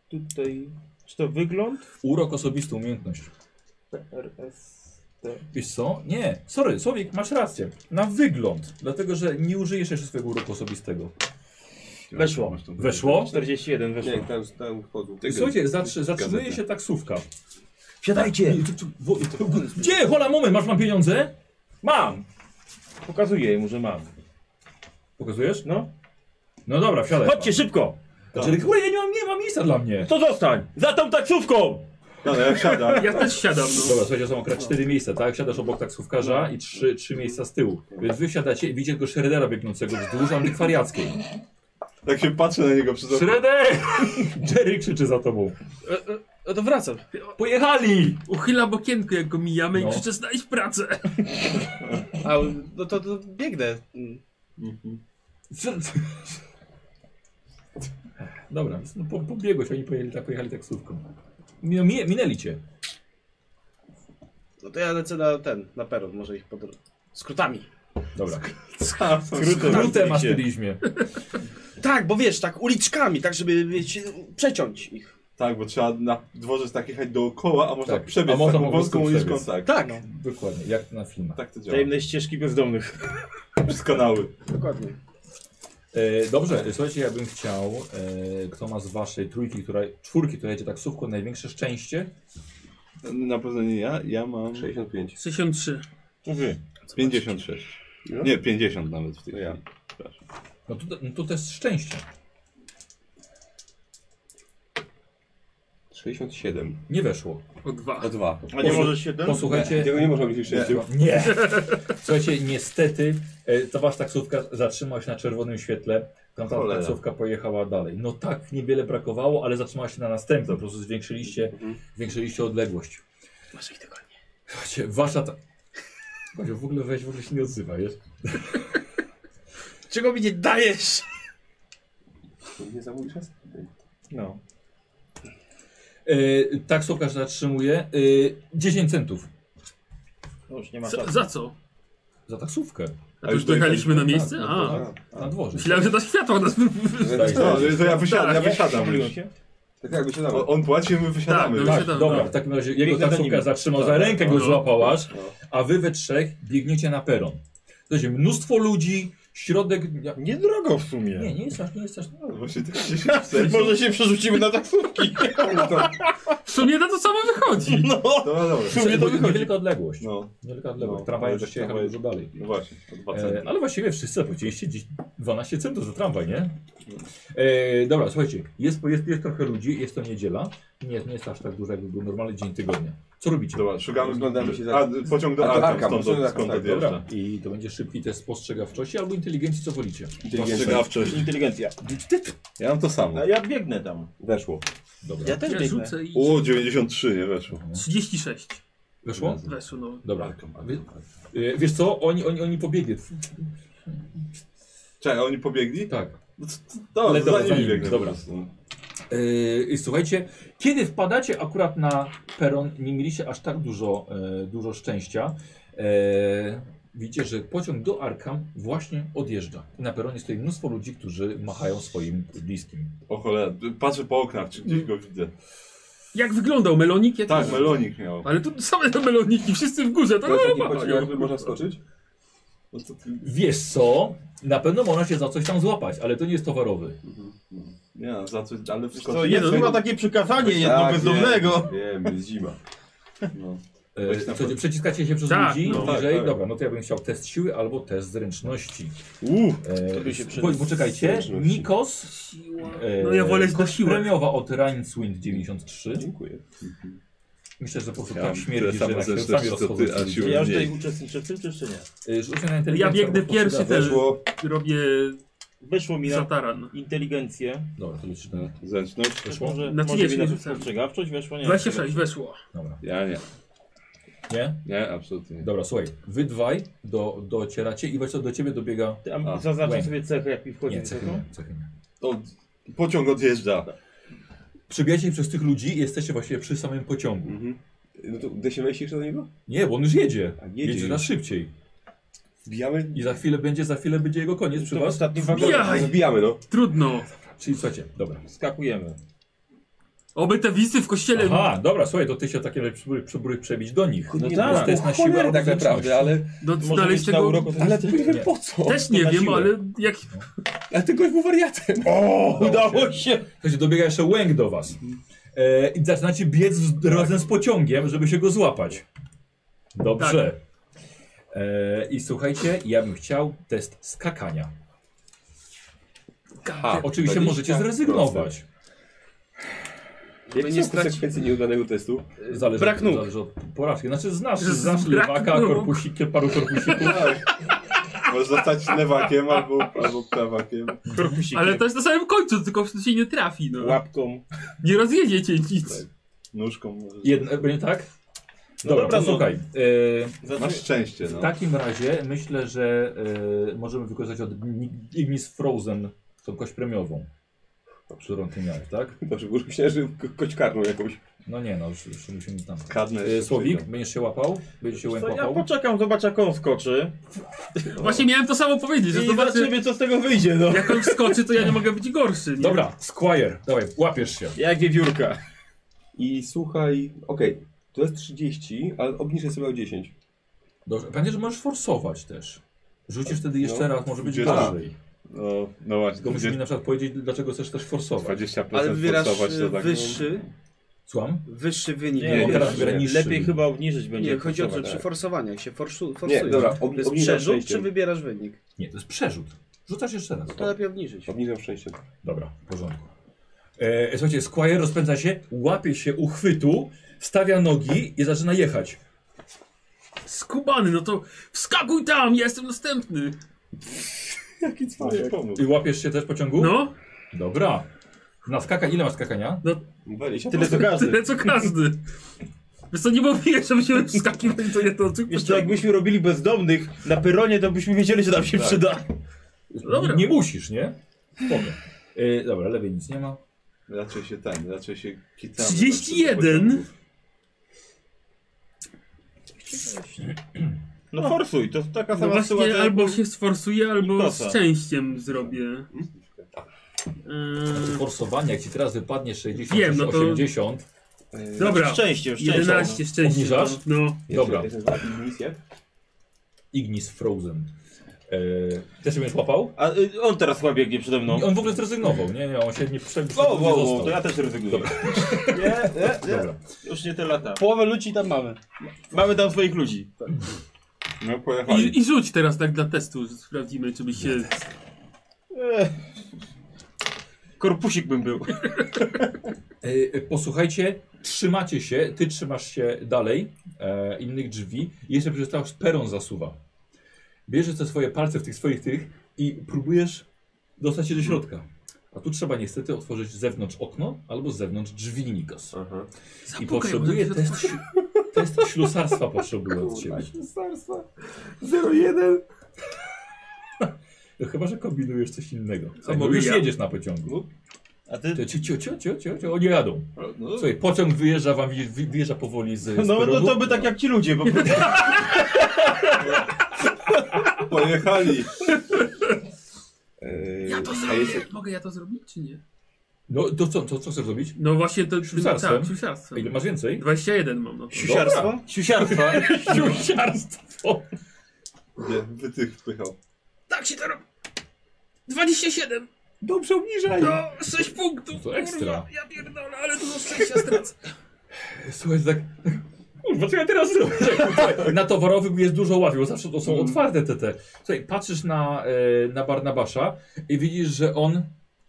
Speaker 4: Tutaj. Czy to wygląd?
Speaker 3: Urok osobisty, umiejętność.
Speaker 4: PRS.
Speaker 3: Wiesz co? Nie, sorry, Słowik, masz rację. Na wygląd, dlatego że nie użyjesz jeszcze swojego uroku osobistego.
Speaker 4: Weszło.
Speaker 2: Masz tą-
Speaker 3: Weszło?
Speaker 4: 41 weszło.
Speaker 1: Nie, tam, tam wchodzą.
Speaker 3: Słuchajcie, zatrzy, zatrzymuje się taksówka.
Speaker 4: Siadajcie!
Speaker 3: I tu- tu- wo- tu- Gdzie? Hola, moment, masz mam pieniądze?
Speaker 4: Mam! Pokazuję mu, że mam.
Speaker 3: Pokazujesz?
Speaker 4: No.
Speaker 3: No dobra, wsiadaj.
Speaker 4: Chodźcie szybko!
Speaker 3: Znaczy, kurde, ja nie mam, nie mam miejsca dla mnie.
Speaker 4: To zostań! Za tą taksówką!
Speaker 2: Dobra, ja wsiadam.
Speaker 6: Ja też siadam. No.
Speaker 3: Dobra, słuchajcie, są akurat cztery miejsca, tak? Siadasz obok taksówkarza i trzy, trzy miejsca z tyłu. Więc wy siadacie i widzicie tylko Shreddera biegnącego wzdłuż antykwariackiej.
Speaker 2: Tak się patrzę na niego przez okno.
Speaker 3: Shredder! Jerry krzyczy za tobą.
Speaker 5: No to wracam.
Speaker 3: Pojechali!
Speaker 6: Uchyla bokienko, jak go mijamy
Speaker 3: No.
Speaker 6: i krzyczę, znajdź pracę.
Speaker 5: A, no to, to biegnę. Mm.
Speaker 3: Dobra, więc no, po, pobiegłeś, oni pojechali, tak, pojechali taksówką. No, mi- minęli cię.
Speaker 5: No to ja lecę na ten, na peron, może ich podro... Skrótami.
Speaker 3: Dobra.
Speaker 4: Skrótem.
Speaker 3: Krute masz stylizmie.
Speaker 5: Tak, bo wiesz, tak uliczkami, tak żeby wiecie, przeciąć ich.
Speaker 2: Tak, bo trzeba na dworzec tak jechać dookoła, a można
Speaker 3: Tak,
Speaker 2: przebiec
Speaker 3: a można
Speaker 2: taką
Speaker 3: po prostu
Speaker 2: wąską uliczką.
Speaker 3: przebiec.
Speaker 2: Tak.
Speaker 5: Tak,
Speaker 3: Dokładnie, jak na filmach.
Speaker 2: tak to działa.
Speaker 4: Tajemne ścieżki bezdomnych.
Speaker 2: Przez kanały.
Speaker 5: dokładnie.
Speaker 3: E, dobrze, słuchajcie, ja bym chciał, e, kto ma z waszej trójki, która, czwórki, która jedzie taksówką, największe szczęście?
Speaker 2: Na pewno nie ja. Ja mam
Speaker 1: 65.
Speaker 6: 63.
Speaker 4: To wy.
Speaker 2: 56. Nie, 50 nawet w tej
Speaker 1: Ja.
Speaker 2: chwili.
Speaker 3: No to, no to też szczęście.
Speaker 1: 67.
Speaker 3: Nie weszło.
Speaker 6: O dwa.
Speaker 1: O dwa.
Speaker 4: A nie możesz się ten?
Speaker 3: Posłuchajcie.
Speaker 1: Tego nie można być szczęściem.
Speaker 3: Nie. Słuchajcie, niestety e, to wasz taksówka zatrzymała się na czerwonym świetle. Tamta
Speaker 2: Cholera.
Speaker 3: taksówka pojechała dalej. No tak, niewiele brakowało, ale zatrzymała się na następne. Po prostu zwiększyliście,
Speaker 4: Mhm.
Speaker 3: zwiększyliście odległość.
Speaker 6: Może ich tego nie.
Speaker 3: Słuchajcie, wasza ta... Kozio, w ogóle weź, w ogóle się nie odzywa, wiesz?
Speaker 5: Czego mi nie dajesz?
Speaker 1: Nie za mój czas.
Speaker 4: No.
Speaker 3: E, taksówkarz zatrzymuje e, 10 centów
Speaker 4: No już nie ma
Speaker 6: Za,
Speaker 4: czasu.
Speaker 6: za co?
Speaker 3: za taksówkę
Speaker 2: A
Speaker 6: A to
Speaker 2: już
Speaker 6: już dojechaliśmy na
Speaker 3: Tak,
Speaker 6: miejsce? A,
Speaker 3: na, na dworze.
Speaker 6: myślałem, że ta światła nas...
Speaker 3: Tak,
Speaker 2: No,
Speaker 3: tak.
Speaker 2: to ja wysiadam, ja
Speaker 4: Nie?
Speaker 2: wysiadam
Speaker 4: Pomyliłem
Speaker 2: już.
Speaker 4: się?
Speaker 1: Tak jakby się
Speaker 2: O-
Speaker 1: dało.
Speaker 2: On płaci, my wysiadamy.
Speaker 6: Tak,
Speaker 2: już.
Speaker 6: no
Speaker 3: Tak,
Speaker 6: Siadamy.
Speaker 3: dobra, w takim razie jego
Speaker 4: Biegnę za
Speaker 3: taksówka
Speaker 4: nim. Tak,
Speaker 3: zatrzymał za rękę, go
Speaker 6: No.
Speaker 3: złapałaś, a wy we trzech biegniecie na peron. Słuchajcie, mnóstwo ludzi, środek... ja-
Speaker 4: Nie drogo w sumie.
Speaker 3: Nie, nie jest aż, nie jest aż...
Speaker 2: No, Właśnie tak się chce.
Speaker 4: Może się przerzucimy na taksówki.
Speaker 6: W sumie na to samo wychodzi.
Speaker 4: No.
Speaker 2: Dobra, dobra.
Speaker 4: sumie to
Speaker 3: Bo
Speaker 4: wychodzi.
Speaker 3: Niewielka odległość.
Speaker 2: No,
Speaker 3: Niewielka odległość.
Speaker 2: No,
Speaker 3: Tramwajem
Speaker 2: ale
Speaker 3: też
Speaker 2: tak
Speaker 3: się jechał
Speaker 2: tramwaj-
Speaker 3: dużo dalej.
Speaker 2: no właśnie, o 2
Speaker 3: E,
Speaker 2: centy.
Speaker 3: ale właściwie wszyscy zapłaciliście gdzieś 12 centów za tramwaj, nie? E, dobra, słuchajcie, jest, jest, jest trochę ludzi, jest to niedziela. Nie, nie jest aż tak dużo, jakby był normalny dzień tygodnia. Co robicie?
Speaker 2: Dobra, szukamy,
Speaker 1: Rozglądamy się za-
Speaker 2: A, pociąg
Speaker 1: A,
Speaker 2: do
Speaker 1: to
Speaker 2: Arkham,
Speaker 1: Arkham, pociąg
Speaker 2: skąd,
Speaker 1: do
Speaker 2: skąd, skąd
Speaker 1: Arkham, tak,
Speaker 2: odjeżdża.
Speaker 3: I to będzie szybki test spostrzegawczości albo inteligencji, co wolicie.
Speaker 2: Postrzegawczość.
Speaker 4: Inteligencja.
Speaker 2: Ja mam to samo.
Speaker 4: A No, ja biegnę tam.
Speaker 2: Weszło.
Speaker 3: Dobra.
Speaker 5: Ja też
Speaker 6: Ja
Speaker 5: biegnę.
Speaker 6: rzucę i...
Speaker 2: O, 93 nie weszło.
Speaker 6: 36.
Speaker 3: Wyszło?
Speaker 6: Weszło, no.
Speaker 3: Dobra. Wy- y, Wiesz co, oni, oni, oni pobiegli.
Speaker 2: Czekaj, oni pobiegli?
Speaker 3: Tak.
Speaker 2: No, c- c- dobra,
Speaker 3: Ale
Speaker 2: to
Speaker 3: dobra,
Speaker 2: za
Speaker 3: za
Speaker 2: nimi
Speaker 3: nimi,
Speaker 2: biegnę.
Speaker 3: dobra.
Speaker 2: po prostu.
Speaker 3: Yy, i słuchajcie, kiedy wpadacie akurat na peron, nie mieliście aż tak dużo, e, dużo szczęścia. E, widzicie, że pociąg do Arkham właśnie odjeżdża. I na peronie stoi mnóstwo ludzi, którzy machają swoim bliskim.
Speaker 2: O cholera, patrzę po oknach, czy gdzieś go widzę.
Speaker 6: Jak wyglądał melonik? Jak
Speaker 2: Tak, melonik miał.
Speaker 6: Ale tu same te meloniki, wszyscy w górze. To,
Speaker 1: To jest
Speaker 6: no,
Speaker 1: taki
Speaker 6: ma-
Speaker 1: pociąg, jakby można skoczyć?
Speaker 2: No to ty...
Speaker 3: Wiesz co? Na pewno można się za coś tam złapać, ale to nie jest towarowy. Yy,
Speaker 2: Nie, no, za coś, ale wszystko...
Speaker 4: To jest no chyba takie przykazanie jedno
Speaker 1: Tak,
Speaker 4: bezdomnego.
Speaker 1: wiem, Wiem, jest zima.
Speaker 2: No.
Speaker 3: E,
Speaker 2: Weź na
Speaker 3: słuchajcie, przeciskacie się przez
Speaker 6: Tak,
Speaker 3: ludzi
Speaker 6: no.
Speaker 3: bliżej.
Speaker 2: Tak, tak.
Speaker 3: Dobra, no to ja bym chciał test siły albo test zręczności.
Speaker 4: Uuu.
Speaker 3: E,
Speaker 4: To by się przydał.
Speaker 3: bo- Poczekajcie, Nikos
Speaker 6: Siła.
Speaker 3: E,
Speaker 6: No ja wolę na
Speaker 3: kość
Speaker 6: siłę.
Speaker 3: Premiowa od Rainswind 93.
Speaker 2: Dziękuję.
Speaker 3: Myślę, że po prostu
Speaker 2: Ja
Speaker 3: tak
Speaker 2: mam
Speaker 3: śmierdzi,
Speaker 2: tyle
Speaker 3: że
Speaker 2: samo
Speaker 3: na chwilę
Speaker 2: zręczności,
Speaker 3: sami
Speaker 2: co ty,
Speaker 3: odchodzą.
Speaker 2: Asiu.
Speaker 4: Czy ja już
Speaker 2: Mniej.
Speaker 4: tutaj uczestniczę w tym, czy jeszcze nie?
Speaker 3: E, y, Rzucę na inteligencję.
Speaker 6: Ja biegnę
Speaker 3: albo
Speaker 6: pierwszy
Speaker 3: spostrzegawczość.
Speaker 6: też.
Speaker 2: Weszło.
Speaker 6: Robię
Speaker 4: Wyszło mi
Speaker 6: Za
Speaker 4: na
Speaker 6: taran.
Speaker 4: inteligencję.
Speaker 3: Dobra, to liczy
Speaker 2: No,
Speaker 3: na...
Speaker 2: Zręczność?
Speaker 3: Weszło?
Speaker 4: Może,
Speaker 6: Na
Speaker 4: może
Speaker 6: 30
Speaker 4: mi na
Speaker 6: rzucałem.
Speaker 4: spostrzegawczość weszło? Nie.
Speaker 6: 26 weszło.
Speaker 3: Dobra.
Speaker 2: Ja nie.
Speaker 3: Nie?
Speaker 2: Nie, absolutnie nie.
Speaker 3: Dobra, słuchaj. Wy dwaj do, docieracie i właśnie do ciebie dobiega...
Speaker 4: Ty, a
Speaker 2: A,
Speaker 4: Zaznaczam
Speaker 3: Wayne.
Speaker 4: sobie cechę, jak mi wchodzi.
Speaker 3: Nie,
Speaker 4: do
Speaker 3: cechy
Speaker 4: tego?
Speaker 3: nie, cechy nie.
Speaker 2: To pociąg odjeżdża.
Speaker 3: Tak. Przebijacie przez tych ludzi i jesteście właściwie przy samym pociągu.
Speaker 1: Mhm. No to desimałeś jeszcze do niego?
Speaker 3: Nie, bo on już jedzie.
Speaker 1: A,
Speaker 3: Jedzie,
Speaker 1: jedzie
Speaker 3: jedzie
Speaker 1: już.
Speaker 3: na szybciej.
Speaker 1: Wbijamy?
Speaker 3: I za chwilę będzie, za chwilę będzie jego koniec przy
Speaker 4: To
Speaker 3: was.
Speaker 4: ostatni wagon.
Speaker 1: Dobra,
Speaker 6: Jaj!
Speaker 1: Zabijamy, no.
Speaker 6: Trudno.
Speaker 3: Czyli słuchajcie, dobra.
Speaker 4: Skakujemy.
Speaker 6: Oby te wizy w kościele.
Speaker 3: Aha, dobra, słuchaj, to ty się takie przybój, przybój przebić do nich.
Speaker 1: No
Speaker 4: No
Speaker 1: nie,
Speaker 4: tak.
Speaker 1: tak, to jest na siłę tak
Speaker 3: obezpieczności.
Speaker 1: naprawdę, ale,
Speaker 6: Do
Speaker 4: Może
Speaker 6: No, znaleźć
Speaker 4: być na
Speaker 6: tego.
Speaker 4: uroku
Speaker 1: ale
Speaker 4: to
Speaker 1: nie wiem
Speaker 3: Nie.
Speaker 1: po co.
Speaker 6: Też nie
Speaker 4: na
Speaker 6: wiem,
Speaker 4: siłę.
Speaker 6: ale jak.
Speaker 1: Ale ten gość był wariatem.
Speaker 3: O,
Speaker 4: Udało się!
Speaker 3: Słuchajcie, dobiega jeszcze łęk do was. E, I zaczynacie biec z, razem z pociągiem, żeby się go złapać. Dobrze. E, I słuchajcie, ja bym chciał test skakania.
Speaker 2: A,
Speaker 3: Oczywiście możecie zrezygnować.
Speaker 1: Jakie
Speaker 5: nie
Speaker 1: są konsekwencje nieudanego testu?
Speaker 3: Zależy,
Speaker 5: Brak nóg.
Speaker 3: zależy od porażki. Znaczy znasz,
Speaker 6: Z-
Speaker 3: znasz
Speaker 6: brak
Speaker 3: lewaka,
Speaker 6: nóg.
Speaker 3: korpusik, paru korpusików.
Speaker 2: Możesz zostać lewakiem albo, albo prawakiem.
Speaker 4: Korpusikiem,
Speaker 6: Ale to jest na samym końcu, tylko w się nie trafi. No.
Speaker 4: łapką.
Speaker 6: Nie rozjedziecie nic.
Speaker 2: Nóżką możesz.
Speaker 3: Jedne, będzie tak?
Speaker 4: No
Speaker 3: Dobra,
Speaker 4: dobra, no.
Speaker 3: posłuchaj. E,
Speaker 4: Zaczy...
Speaker 2: Masz szczęście, no.
Speaker 3: W takim razie myślę, że e, możemy wykorzystać od Igni- Ignis Frozen tą kość premiową, którą ty miałeś, tak?
Speaker 1: Dobrze, bo już myślałem, że ko- koćkarną jakąś.
Speaker 3: No nie, no już, już musimy tam.
Speaker 2: Kadnę
Speaker 3: E,
Speaker 2: jeszcze
Speaker 3: Słowik,
Speaker 2: przyjdą.
Speaker 3: będziesz się łapał? Będziesz się
Speaker 4: To ja
Speaker 3: łapał?
Speaker 4: poczekam, zobaczę jak on skoczy.
Speaker 6: Właśnie miałem to samo powiedzieć, że
Speaker 4: Tak. I
Speaker 6: zobaczymy.
Speaker 4: zobaczymy co z tego wyjdzie, no.
Speaker 6: Jak on wskoczy, to ja nie mogę być gorszy. Nie?
Speaker 3: Dobra, Squire, dawaj, łapiesz się.
Speaker 4: Jak wiewiórka.
Speaker 1: I słuchaj, okej, to jest 30, ale obniżę sobie o 10.
Speaker 3: Dobrze. Pamiętaj, że możesz forsować też. Rzucisz wtedy jeszcze
Speaker 2: No,
Speaker 3: raz, może być
Speaker 2: 20.
Speaker 3: gorzej.
Speaker 2: No, no właśnie,
Speaker 3: Tylko musisz mi na przykład powiedzieć, dlaczego chcesz też forsować.
Speaker 2: 20%
Speaker 5: Ale wybierasz
Speaker 2: forsować to
Speaker 5: e,
Speaker 2: tak.
Speaker 5: wyższy,
Speaker 3: Słucham?
Speaker 5: wyższy wynik.
Speaker 4: Nie,
Speaker 3: Nie,
Speaker 4: nie,
Speaker 3: teraz
Speaker 4: nie.
Speaker 3: wybiera niższy.
Speaker 4: Lepiej chyba obniżyć będzie.
Speaker 5: Nie, chodzi o to, że
Speaker 4: tak.
Speaker 5: przy forsowaniu, jak się forsu, forsuje.
Speaker 1: Nie, dobra,
Speaker 5: to
Speaker 1: ob,
Speaker 5: jest
Speaker 1: obniżam
Speaker 5: przerzut, czy
Speaker 1: szczęściem.
Speaker 5: wybierasz wynik?
Speaker 3: Nie, to jest przerzut. Rzucasz jeszcze raz.
Speaker 5: To lepiej obniżyć.
Speaker 1: Obniżam szczęściem.
Speaker 3: Dobra, w porządku. E, słuchajcie, Squire rozpędza się, łapie się uchwytu, stawia nogi i zaczyna jechać.
Speaker 6: Skubany, no to wskakuj tam, ja jestem następny.
Speaker 1: Jaki
Speaker 2: Masz
Speaker 1: cwaniak.
Speaker 2: pomysł.
Speaker 3: I łapiesz się też pociągu?
Speaker 6: No,
Speaker 3: Dobra. Na skaka, ile masz skakania?
Speaker 1: 20.
Speaker 4: Tyle co każdy.
Speaker 6: tyle co każdy. Wiesz co, nie mówiłeś, że musimy wskakiwać to nie to tak.
Speaker 4: Jeszcze jakbyśmy robili bezdomnych na pyronie, to byśmy wiedzieli, że nam się przyda.
Speaker 6: No Dobra.
Speaker 3: Nie musisz, nie? Spoko. E, dobra, lepiej nic nie ma.
Speaker 2: Raczej się ten, raczej się kitamy. zawsze do
Speaker 6: 31.
Speaker 2: pociągów.
Speaker 4: No forsuj, to taka
Speaker 6: No
Speaker 4: sama
Speaker 6: właśnie,
Speaker 4: sytuacja.
Speaker 6: albo się sforsuję, albo
Speaker 4: Nikosa.
Speaker 6: z szczęściem zrobię.
Speaker 4: Hmm?
Speaker 6: Eee,
Speaker 3: Forsowanie, jak ci teraz wypadnie 60
Speaker 6: Wiem,
Speaker 3: czy
Speaker 6: no to-
Speaker 3: 80.
Speaker 6: dobra,
Speaker 4: Szczęściem, szczęściem.
Speaker 6: 11 szczęście.
Speaker 3: Obniżasz?
Speaker 6: No,
Speaker 3: Dobra,
Speaker 1: Misja?
Speaker 3: Ignis Frozen. E, też się będziesz łapał?
Speaker 4: A y, on teraz chyba biegnie przede mną.
Speaker 3: I on w ogóle zrezygnował, nie? nie on się nie przebił.
Speaker 4: O,
Speaker 3: nie
Speaker 4: wow,
Speaker 3: został.
Speaker 4: wow, to ja też rezygnuję. Nie, nie, nie.
Speaker 3: Dobra.
Speaker 4: Już nie te lata.
Speaker 5: Połowę ludzi tam mamy.
Speaker 4: Mamy tam swoich ludzi.
Speaker 2: No pojechali.
Speaker 6: I, I rzuć teraz tak dla testu, sprawdzimy, czy by się.
Speaker 4: Ech. Korpusik bym był.
Speaker 3: E, e, Posłuchajcie, trzymacie się, ty trzymasz się dalej e, innych drzwi i jeszcze przeczytasz peron zasuwa. Bierzesz te swoje palce w tych swoich tych i próbujesz dostać się do środka. A tu trzeba niestety otworzyć z zewnątrz okno albo z zewnątrz drzwi Nikos.
Speaker 1: Aha.
Speaker 3: I
Speaker 6: Zapukaj,
Speaker 3: potrzebuje
Speaker 6: bo
Speaker 3: test, test ślusarstwa potrzebuje od ciebie.
Speaker 1: Sarstwa. 01.
Speaker 3: No Chyba, że kombinujesz coś innego. Słuchaj, no
Speaker 6: mogę
Speaker 3: już
Speaker 6: ja?
Speaker 3: jedziesz na pociągu.
Speaker 4: A ty?
Speaker 3: Cio, cio, cio, cio, cio, cio, oni jadą.
Speaker 2: No,
Speaker 3: Słuchaj, pociąg wyjeżdża wam, wi- wi- wyjeżdża powoli z, z
Speaker 4: No, no
Speaker 3: peronu.
Speaker 4: to by tak jak ci ludzie, bo
Speaker 2: pojechali.
Speaker 1: Eee,
Speaker 6: Ja to
Speaker 1: a jest,
Speaker 6: zrobię. Mogę ja to zrobić, czy nie?
Speaker 3: No to co, to co chcesz zrobić?
Speaker 6: No właśnie, to
Speaker 3: Ślusarstwem?
Speaker 6: tak, ślusarstwem.
Speaker 3: Ile masz więcej?
Speaker 6: 21 mam. No.
Speaker 4: Siusiarstwo? Siusiarstwo.
Speaker 3: Siusiarstwo.
Speaker 2: Gdzie wytych wpychał.
Speaker 6: Tak się to robi. 27!
Speaker 1: Dobrze obniżaj.
Speaker 6: No, 6 punktów!
Speaker 3: To ekstra.
Speaker 6: Kurwa, ja pierdolę, ale dużo szczęścia stracę.
Speaker 3: Słuchaj, tak... Kurwa, co ja teraz zrobię? Mm. Słuchaj, Na towarowym jest dużo łatwiej, bo zawsze to są otwarte te te. Słuchaj, patrzysz na, e, na Barnabasza i widzisz, że on...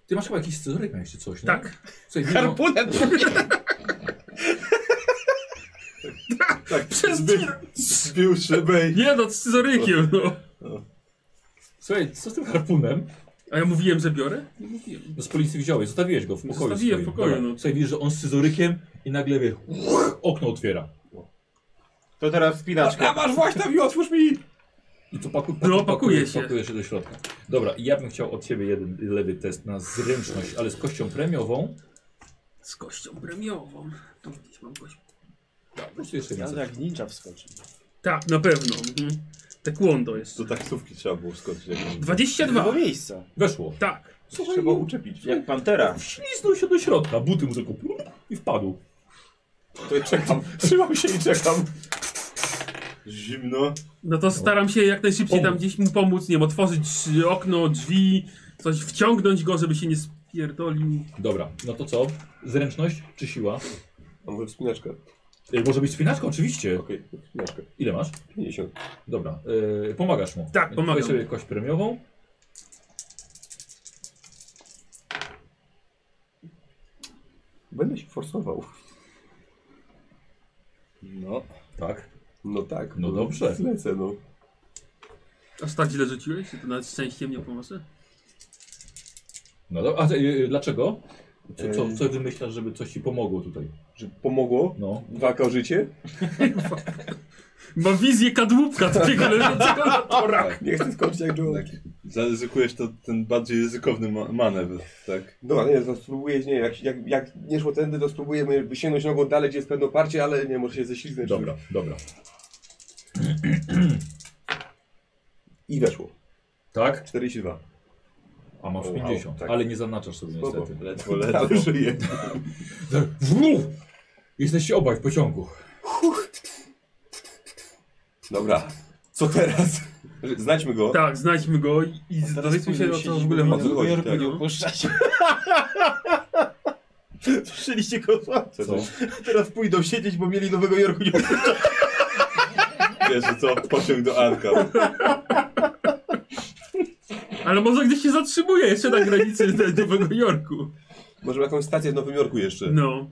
Speaker 3: Ty masz chyba jakiś scyzoryk miałeś czy coś, nie?
Speaker 6: Tak.
Speaker 3: Słuchaj, widzisz, on-
Speaker 4: Harpunem.
Speaker 2: Tak,
Speaker 6: Przez
Speaker 2: zbił, zbił szybę i...
Speaker 6: Nie no, z scyzorykiem, no.
Speaker 3: Słuchaj, co z tym harpunem?
Speaker 6: A ja mówiłem, że biorę?
Speaker 3: No z policji wziąłeś, zostawiłeś go w pokoju.
Speaker 6: Zostawiłem w
Speaker 3: swoim.
Speaker 6: pokoju,
Speaker 3: Dobra.
Speaker 6: no.
Speaker 3: Słuchaj, widzisz, że on z scyzorykiem i nagle wie, okno otwiera.
Speaker 4: To teraz wspinaczka.
Speaker 3: masz właśnie tam i otwórz mi! I to paku, paku,
Speaker 6: No, pakuje
Speaker 3: pakujesz-
Speaker 6: się.
Speaker 3: pakujesz się do środka. Dobra, i ja bym chciał od ciebie jeden lewy test na zręczność, ale z kością premiową.
Speaker 6: Z kością premiową. Tam gdzieś mam kość.
Speaker 3: Tak, po prostu jeszcze więcej.
Speaker 9: Ale jak ninja wskoczy.
Speaker 6: Tak, na pewno. Mhm. Te kłondo jest.
Speaker 2: Do taksówki trzeba było skoczyć. jak on-
Speaker 6: 22.
Speaker 9: Dwa miejsca.
Speaker 3: Weszło.
Speaker 6: Tak.
Speaker 3: Słuchaj,
Speaker 4: Trzeba uczepić, jak pantera.
Speaker 3: wśliznął się do środka, buty mu tylko plum i wpadł.
Speaker 9: To ja czekam. Trzymam się i czekam.
Speaker 2: Zimno.
Speaker 6: No to staram się jak najszybciej tam
Speaker 3: Pomóc.
Speaker 6: gdzieś mu pomóc, nie wiem, otworzyć y, okno, drzwi, coś wciągnąć go, żeby się nie spierdolił.
Speaker 3: Dobra, no to co? Zręczność czy siła?
Speaker 1: A może wspinaczka?
Speaker 3: E, Może być spinaczką, oczywiście.
Speaker 1: Okej, wspinaczka.
Speaker 3: Ile masz?
Speaker 1: 50.
Speaker 3: Dobra, e, pomagasz mu.
Speaker 6: Tak, pomagam.
Speaker 3: Weź sobie kość premiową.
Speaker 1: Będę się forsował.
Speaker 9: No.
Speaker 3: Tak.
Speaker 1: No tak.
Speaker 3: No dobrze.
Speaker 1: Lecę, no.
Speaker 6: Aż tak źle rzuciłeś? To nawet szczęściem nie pomoże?
Speaker 3: No dobra, a e, e, dlaczego? Co, co, co wymyślasz, żeby coś ci pomogło tutaj?
Speaker 1: Że pomogło?
Speaker 3: No.
Speaker 1: Dwa życie?
Speaker 6: Ma wizję kadłubka takiego leżącego na torach.
Speaker 1: Tak. Nie chcę skończyć jak Joe.
Speaker 2: Tak. Zaryzykujesz to ten bardziej ryzykowny ma manewr, tak?
Speaker 1: No nie, to spróbuję, nie, jak, jak, jak nie szło tędy, to spróbuję mnie sięgnąć nogą dalej, gdzie jest pewne oparcie, ale nie, może się ześlizgnąć.
Speaker 3: Dobra, dobra.
Speaker 1: I weszło.
Speaker 3: Tak?
Speaker 1: 42.
Speaker 3: A masz
Speaker 1: Wow,
Speaker 3: 50,
Speaker 1: tak.
Speaker 3: ale nie zaznaczasz sobie
Speaker 1: Spoko.
Speaker 3: niestety.
Speaker 2: Ledwo, ledwo.
Speaker 1: żyję.
Speaker 3: Wruf! Jesteście obaj w pociągu.
Speaker 1: Dobra. Co teraz? Znajdźmy go.
Speaker 6: Tak, znajdźmy go i, i dowiedzmy się, o co w ogóle
Speaker 1: powinien
Speaker 6: ma.
Speaker 1: siedzieć w
Speaker 9: Tylko
Speaker 1: chodzi,
Speaker 9: Jerby
Speaker 1: tak.
Speaker 9: nie opuszczać.
Speaker 4: Słyszeliście go
Speaker 2: Co
Speaker 3: Co?
Speaker 2: to?
Speaker 4: Teraz pójdą siedzieć, bo mieli Nowego Jorku nie
Speaker 2: Wiesz, że co? Pociąg do Arka.
Speaker 6: Ale może gdzieś się zatrzymuje jeszcze na granicy do- do Nowego Jorku.
Speaker 1: Może jakąś stację w Nowym Jorku jeszcze.
Speaker 6: No.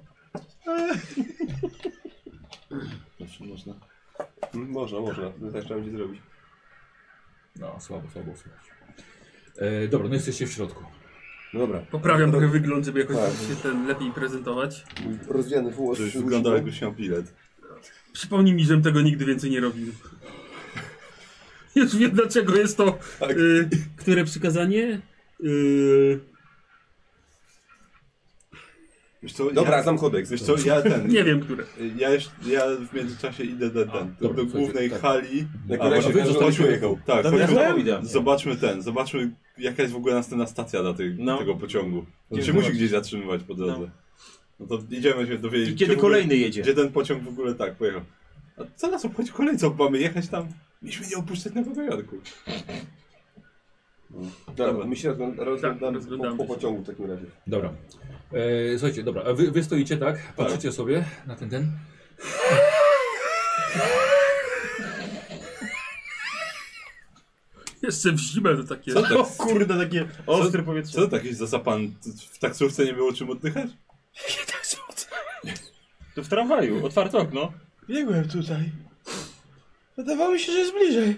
Speaker 2: Znaczy, można.
Speaker 1: Mm, Można, można. To tak trzeba będzie zrobić.
Speaker 3: No, słabo, słabo słychać. E, dobra, no jesteście w środku.
Speaker 1: No dobra.
Speaker 6: Poprawiam trochę wygląd, żeby jakoś
Speaker 1: Tak.
Speaker 6: się ten lepiej prezentować.
Speaker 1: Mój rozwiany włos.
Speaker 2: Żebyś wyglądał jakbyś miał bilet.
Speaker 6: Przypomnij mi, żebym tego nigdy więcej nie robił. Już wiem dlaczego jest to.
Speaker 2: Tak.
Speaker 6: y, które przykazanie? Y,
Speaker 2: Wiesz co,
Speaker 1: Dobra,
Speaker 2: ja,
Speaker 1: znam kodeks.
Speaker 2: Wiesz co, ja ten...
Speaker 6: nie wiem, które.
Speaker 2: Ja, jeszcze, ja w międzyczasie idę do, ten, do,
Speaker 3: dobra,
Speaker 2: głównej
Speaker 3: tak.
Speaker 2: hali.
Speaker 1: Na
Speaker 2: A,
Speaker 1: której
Speaker 2: właśnie,
Speaker 1: się
Speaker 3: wy-
Speaker 2: chodźmy-
Speaker 1: pojechał.
Speaker 2: Tak,
Speaker 4: Dobra,
Speaker 2: chodźmy-
Speaker 4: ja idę.
Speaker 2: zobaczmy ten, zobaczmy jaka jest w ogóle następna stacja dla tej,
Speaker 4: No.
Speaker 2: tego pociągu. On
Speaker 4: Idziemy
Speaker 2: się musi
Speaker 4: zobaczyć.
Speaker 2: gdzieś zatrzymywać po drodze. No, to idziemy się dowiedzieć.
Speaker 4: I
Speaker 2: gdzie w
Speaker 4: kiedy
Speaker 2: ogóle-
Speaker 4: kolejny jedzie?
Speaker 2: Gdzie ten pociąg w ogóle tak pojechał. A co nas obchodzi kolej, co mamy jechać tam? Mieliśmy nie opuszczać Nowego Jorku.
Speaker 1: Dobra, my się rozgląda- rozglądamy
Speaker 6: Tak, rozglądamy
Speaker 1: po,
Speaker 6: się.
Speaker 1: po pociągu w takim razie.
Speaker 3: Dobra. E, słuchajcie, dobra, a wy, wy stoicie, tak? Patrzycie sobie na ten ten.
Speaker 6: Jeszcze w zimę to takie.
Speaker 2: Co
Speaker 4: O
Speaker 2: tak,
Speaker 4: kurde, takie ostre
Speaker 2: co
Speaker 4: powietrze.
Speaker 2: to taki zasapan? W taksówce nie było czym oddychać?
Speaker 4: To w tramwaju, otwarte okno.
Speaker 9: Biegłem tutaj. Wydawało mi się, że jest bliżej.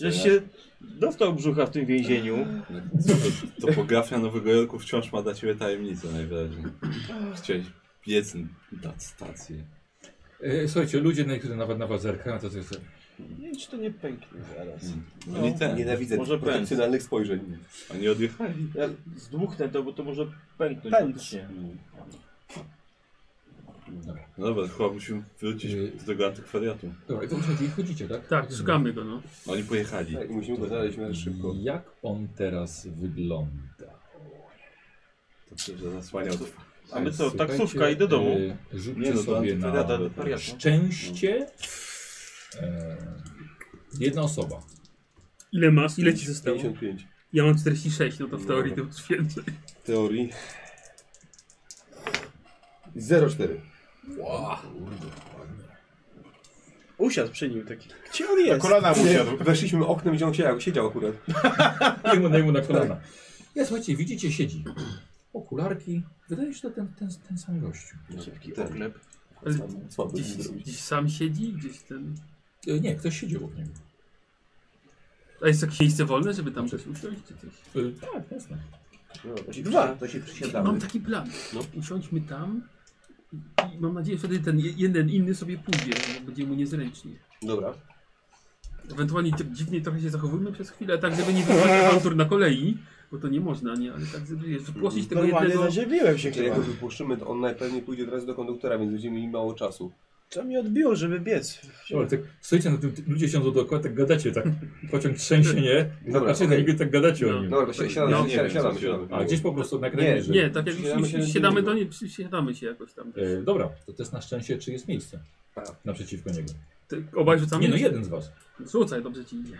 Speaker 4: Żeś się dostał brzucha w tym więzieniu.
Speaker 2: No, To Topografia Nowego Jorku wciąż ma dla ciebie tajemnicę najwyraźniej. Chciałeś biec na stację.
Speaker 3: E, słuchajcie, ludzie, niektórzy nawet na was zerkają, to, to jest.
Speaker 9: Nie wiem, czy to nie pęknie zaraz.
Speaker 2: Oni ten,
Speaker 1: No, Nienawidzę
Speaker 4: może
Speaker 1: protekcjonalnych spojrzeń.
Speaker 2: oni odjechali.
Speaker 4: Ja zdmuchnę to, bo to może pęknąć.
Speaker 9: Pęcznie.
Speaker 3: Dobra.
Speaker 2: No dobra, chyba musimy wrócić do tego antykwariatu.
Speaker 3: Dobra, i to słuchajcie, i chodzicie, tak?
Speaker 6: Tak, szukamy go, no.
Speaker 2: Oni pojechali.
Speaker 1: Tak, i musimy go znaleźć ale szybko.
Speaker 3: Jak on teraz wygląda?
Speaker 2: Dobrze, że zasłaniał.
Speaker 4: A my co,
Speaker 3: Słuchajcie,
Speaker 4: taksówka i do domu.
Speaker 3: e, Rzućcie
Speaker 2: Nie no, to
Speaker 3: sobie na
Speaker 2: antykwariat, antykwariat, no.
Speaker 3: szczęście. E, jedna osoba.
Speaker 6: Ile masz? Ile ci zostało?
Speaker 1: 55.
Speaker 6: Ja mam 46, no to w
Speaker 1: No.
Speaker 6: teorii to już więcej.
Speaker 1: W teorii. 0,4.
Speaker 9: Usiadł przy nim taki. Gdzie on jest?
Speaker 2: Kolana
Speaker 1: Nie, Weszliśmy oknem, gdzie on siedział, siedział akurat.
Speaker 3: Jemu, daj mu na kolana. Ja słuchajcie, widzicie, siedzi. Okularki. Wydaje się, że to ten, ten, ten sam gościu.
Speaker 9: Szybki oklep.
Speaker 6: Ale
Speaker 1: Słabo, Słabo
Speaker 6: gdzieś,
Speaker 1: zrobić.
Speaker 6: gdzieś sam siedzi, gdzieś ten.
Speaker 3: E, Nie, ktoś siedzi obok niego.
Speaker 6: A A jest jakieś miejsce wolne, żeby tam coś usiąść czy coś?
Speaker 3: Y, tak, jasne.
Speaker 10: No, to się,
Speaker 9: Dwa.
Speaker 10: To się
Speaker 6: Mam tak-
Speaker 10: przysiadamy.
Speaker 6: taki plan. Usiądźmy tam i- i mam nadzieję, że wtedy ten je- jeden inny sobie pójdzie, bo będzie mu niezręcznie.
Speaker 10: Dobra.
Speaker 6: Ewentualnie tak dziwnie trochę się zachowujmy przez chwilę, tak żeby nie wywołać awantur na kolei, bo to nie można, nie? Ale tak żeby wiesz, płosić tego
Speaker 9: Normalnie
Speaker 6: jednego...
Speaker 9: zaziębiłem się
Speaker 1: Czyli jak
Speaker 9: chyba.
Speaker 1: go wypuszczymy, to on najpewniej pójdzie od razu do konduktora, więc będziemy mieli mało czasu.
Speaker 9: Co mi odbiło, żeby biec?
Speaker 3: Dobra, tak stoicie na tym, ty- ludzie siedzą dookoła, tak gadacie, tak pociąg trzęsie, nie?
Speaker 2: No
Speaker 3: Zapraszcie na
Speaker 1: okej.
Speaker 3: niego i tak gadacie
Speaker 6: No.
Speaker 3: o nim.
Speaker 1: Dobra, si- siadamy,
Speaker 6: No,
Speaker 1: no,
Speaker 6: nie
Speaker 1: siadamy,
Speaker 2: wiem,
Speaker 1: siadamy,
Speaker 2: co
Speaker 1: siadamy.
Speaker 3: A gdzieś po prostu na
Speaker 1: Nie,
Speaker 3: kręgu.
Speaker 6: Nie, tak jak
Speaker 1: Przysiadamy
Speaker 6: już
Speaker 1: się
Speaker 6: już
Speaker 1: do
Speaker 6: siadamy
Speaker 1: niego.
Speaker 6: do niej, przysiadamy się jakoś tam.
Speaker 3: E, dobra, to test na szczęście, czy jest miejsce
Speaker 6: Tak.
Speaker 3: naprzeciwko niego.
Speaker 6: Ty, Tak, obaj rzucamy?
Speaker 3: Nie no, jeden z was.
Speaker 6: Rzucaj, dobrze ci idzie.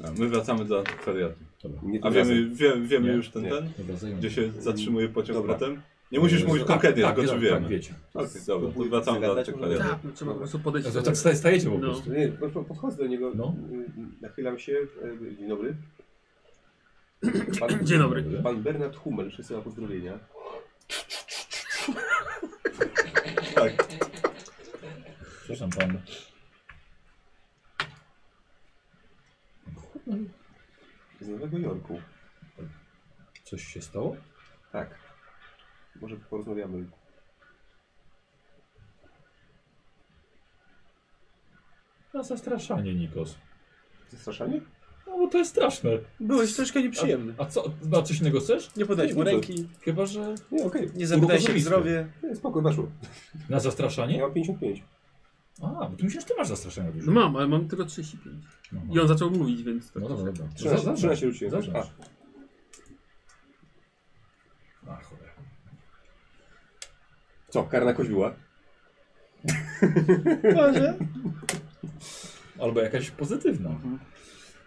Speaker 2: A, Tak, my wracamy do antykwariatu.
Speaker 3: Dobra,
Speaker 1: Nie
Speaker 2: A
Speaker 1: tym razem.
Speaker 2: wiemy, wie, wiemy
Speaker 3: Nie.
Speaker 2: już ten
Speaker 1: Nie. Mm,
Speaker 2: ten?
Speaker 3: dobra zajmę.
Speaker 2: Gdzie się zatrzymuje pociąg
Speaker 1: Dobra. Yy,
Speaker 2: potem? Nie musisz mówić konkretnie,
Speaker 3: tak,
Speaker 2: tylko
Speaker 3: tak,
Speaker 2: czy wiemy.
Speaker 3: Tak, wiecie.
Speaker 2: Okej, dobra, to
Speaker 1: Spróbuj
Speaker 2: wracamy do
Speaker 1: zagadać, może
Speaker 2: antykwariatu.
Speaker 1: Dobra.
Speaker 6: Tak, no, trzeba po prostu podejść.
Speaker 3: No, to tak staje- stajecie po
Speaker 6: No.
Speaker 3: prostu.
Speaker 1: Nie, po prostu podchodzę do niego,
Speaker 3: No.
Speaker 1: y, nachylam się. y, Dzień dobry.
Speaker 6: Dzień dobry.
Speaker 1: Pan Bernard Hummel przesyła pozdrowienia.
Speaker 2: Tak.
Speaker 3: Przepraszam pan.
Speaker 1: Z Nowego Jorku.
Speaker 3: Coś się stało?
Speaker 1: Tak. Może porozmawiamy.
Speaker 3: Na zastraszanie, Nikos.
Speaker 1: Zastraszanie?
Speaker 3: No bo to jest straszne.
Speaker 9: Byłeś troszkę nieprzyjemny.
Speaker 3: A co, na coś innego chcesz?
Speaker 9: Nie podałeś mu ręki,
Speaker 3: Chyba, że
Speaker 1: Nie, okej.
Speaker 9: nie zapytałeś się o
Speaker 3: Uruchomiłeś
Speaker 9: zdrowie.
Speaker 1: Nie, Spoko, weszło.
Speaker 3: na
Speaker 1: Ja
Speaker 3: zastraszanie?
Speaker 1: mam 55.
Speaker 3: A, bo ty myślisz, że ty masz zastraszenie dużo.
Speaker 6: No mam, ale mam tylko 35.
Speaker 3: No, no.
Speaker 6: I on zaczął mówić, więc...
Speaker 3: No dobra, dobra.
Speaker 1: 13, 13 rzuciłem.
Speaker 3: Zaznacz.
Speaker 1: A,
Speaker 3: A, cholera.
Speaker 1: co, karna koźbiła?
Speaker 9: Może?
Speaker 3: Albo jakaś pozytywna.
Speaker 1: Mhm.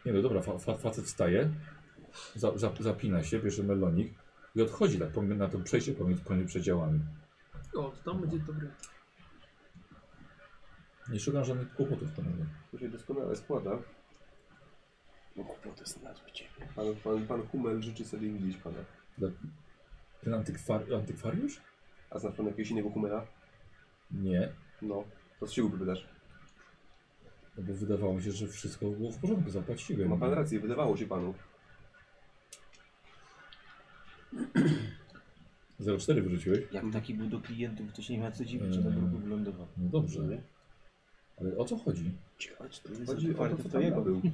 Speaker 3: Nie no dobra, fa fa facet wstaje, za za zapina się, bierze melonik i odchodzi tak pomi- na to przejście pomiędzy, pomiędzy przedziałami.
Speaker 6: O, to tam będzie dobre.
Speaker 3: Nie szukam żadnych kłopotów panowie.
Speaker 1: To się doskonale składa. No kłopoty znalazły ciebie. Pan, pan, pan Hummel życzy sobie widzieć pana.
Speaker 3: Ten antykwar antykwariusz?
Speaker 1: A znasz pan jakiegoś innego Hummela?
Speaker 3: Nie,
Speaker 1: No. To z czego wydasz?
Speaker 3: no bo wydawało mi się, że wszystko było w porządku, zapłaciłem.
Speaker 1: Ma pan rację, wydawało się panu.
Speaker 3: 04 wyrzuciłeś?
Speaker 10: Jak taki był do klientów, to się nie ma co dziwić, że na
Speaker 3: Mm.
Speaker 10: bruku wylądował.
Speaker 3: No dobrze. Ale o co chodzi?
Speaker 10: Ciekawe, czy to jest
Speaker 1: Chodzi o to,
Speaker 10: antykwariat,
Speaker 1: co
Speaker 10: to
Speaker 1: to jego
Speaker 10: był.
Speaker 1: był.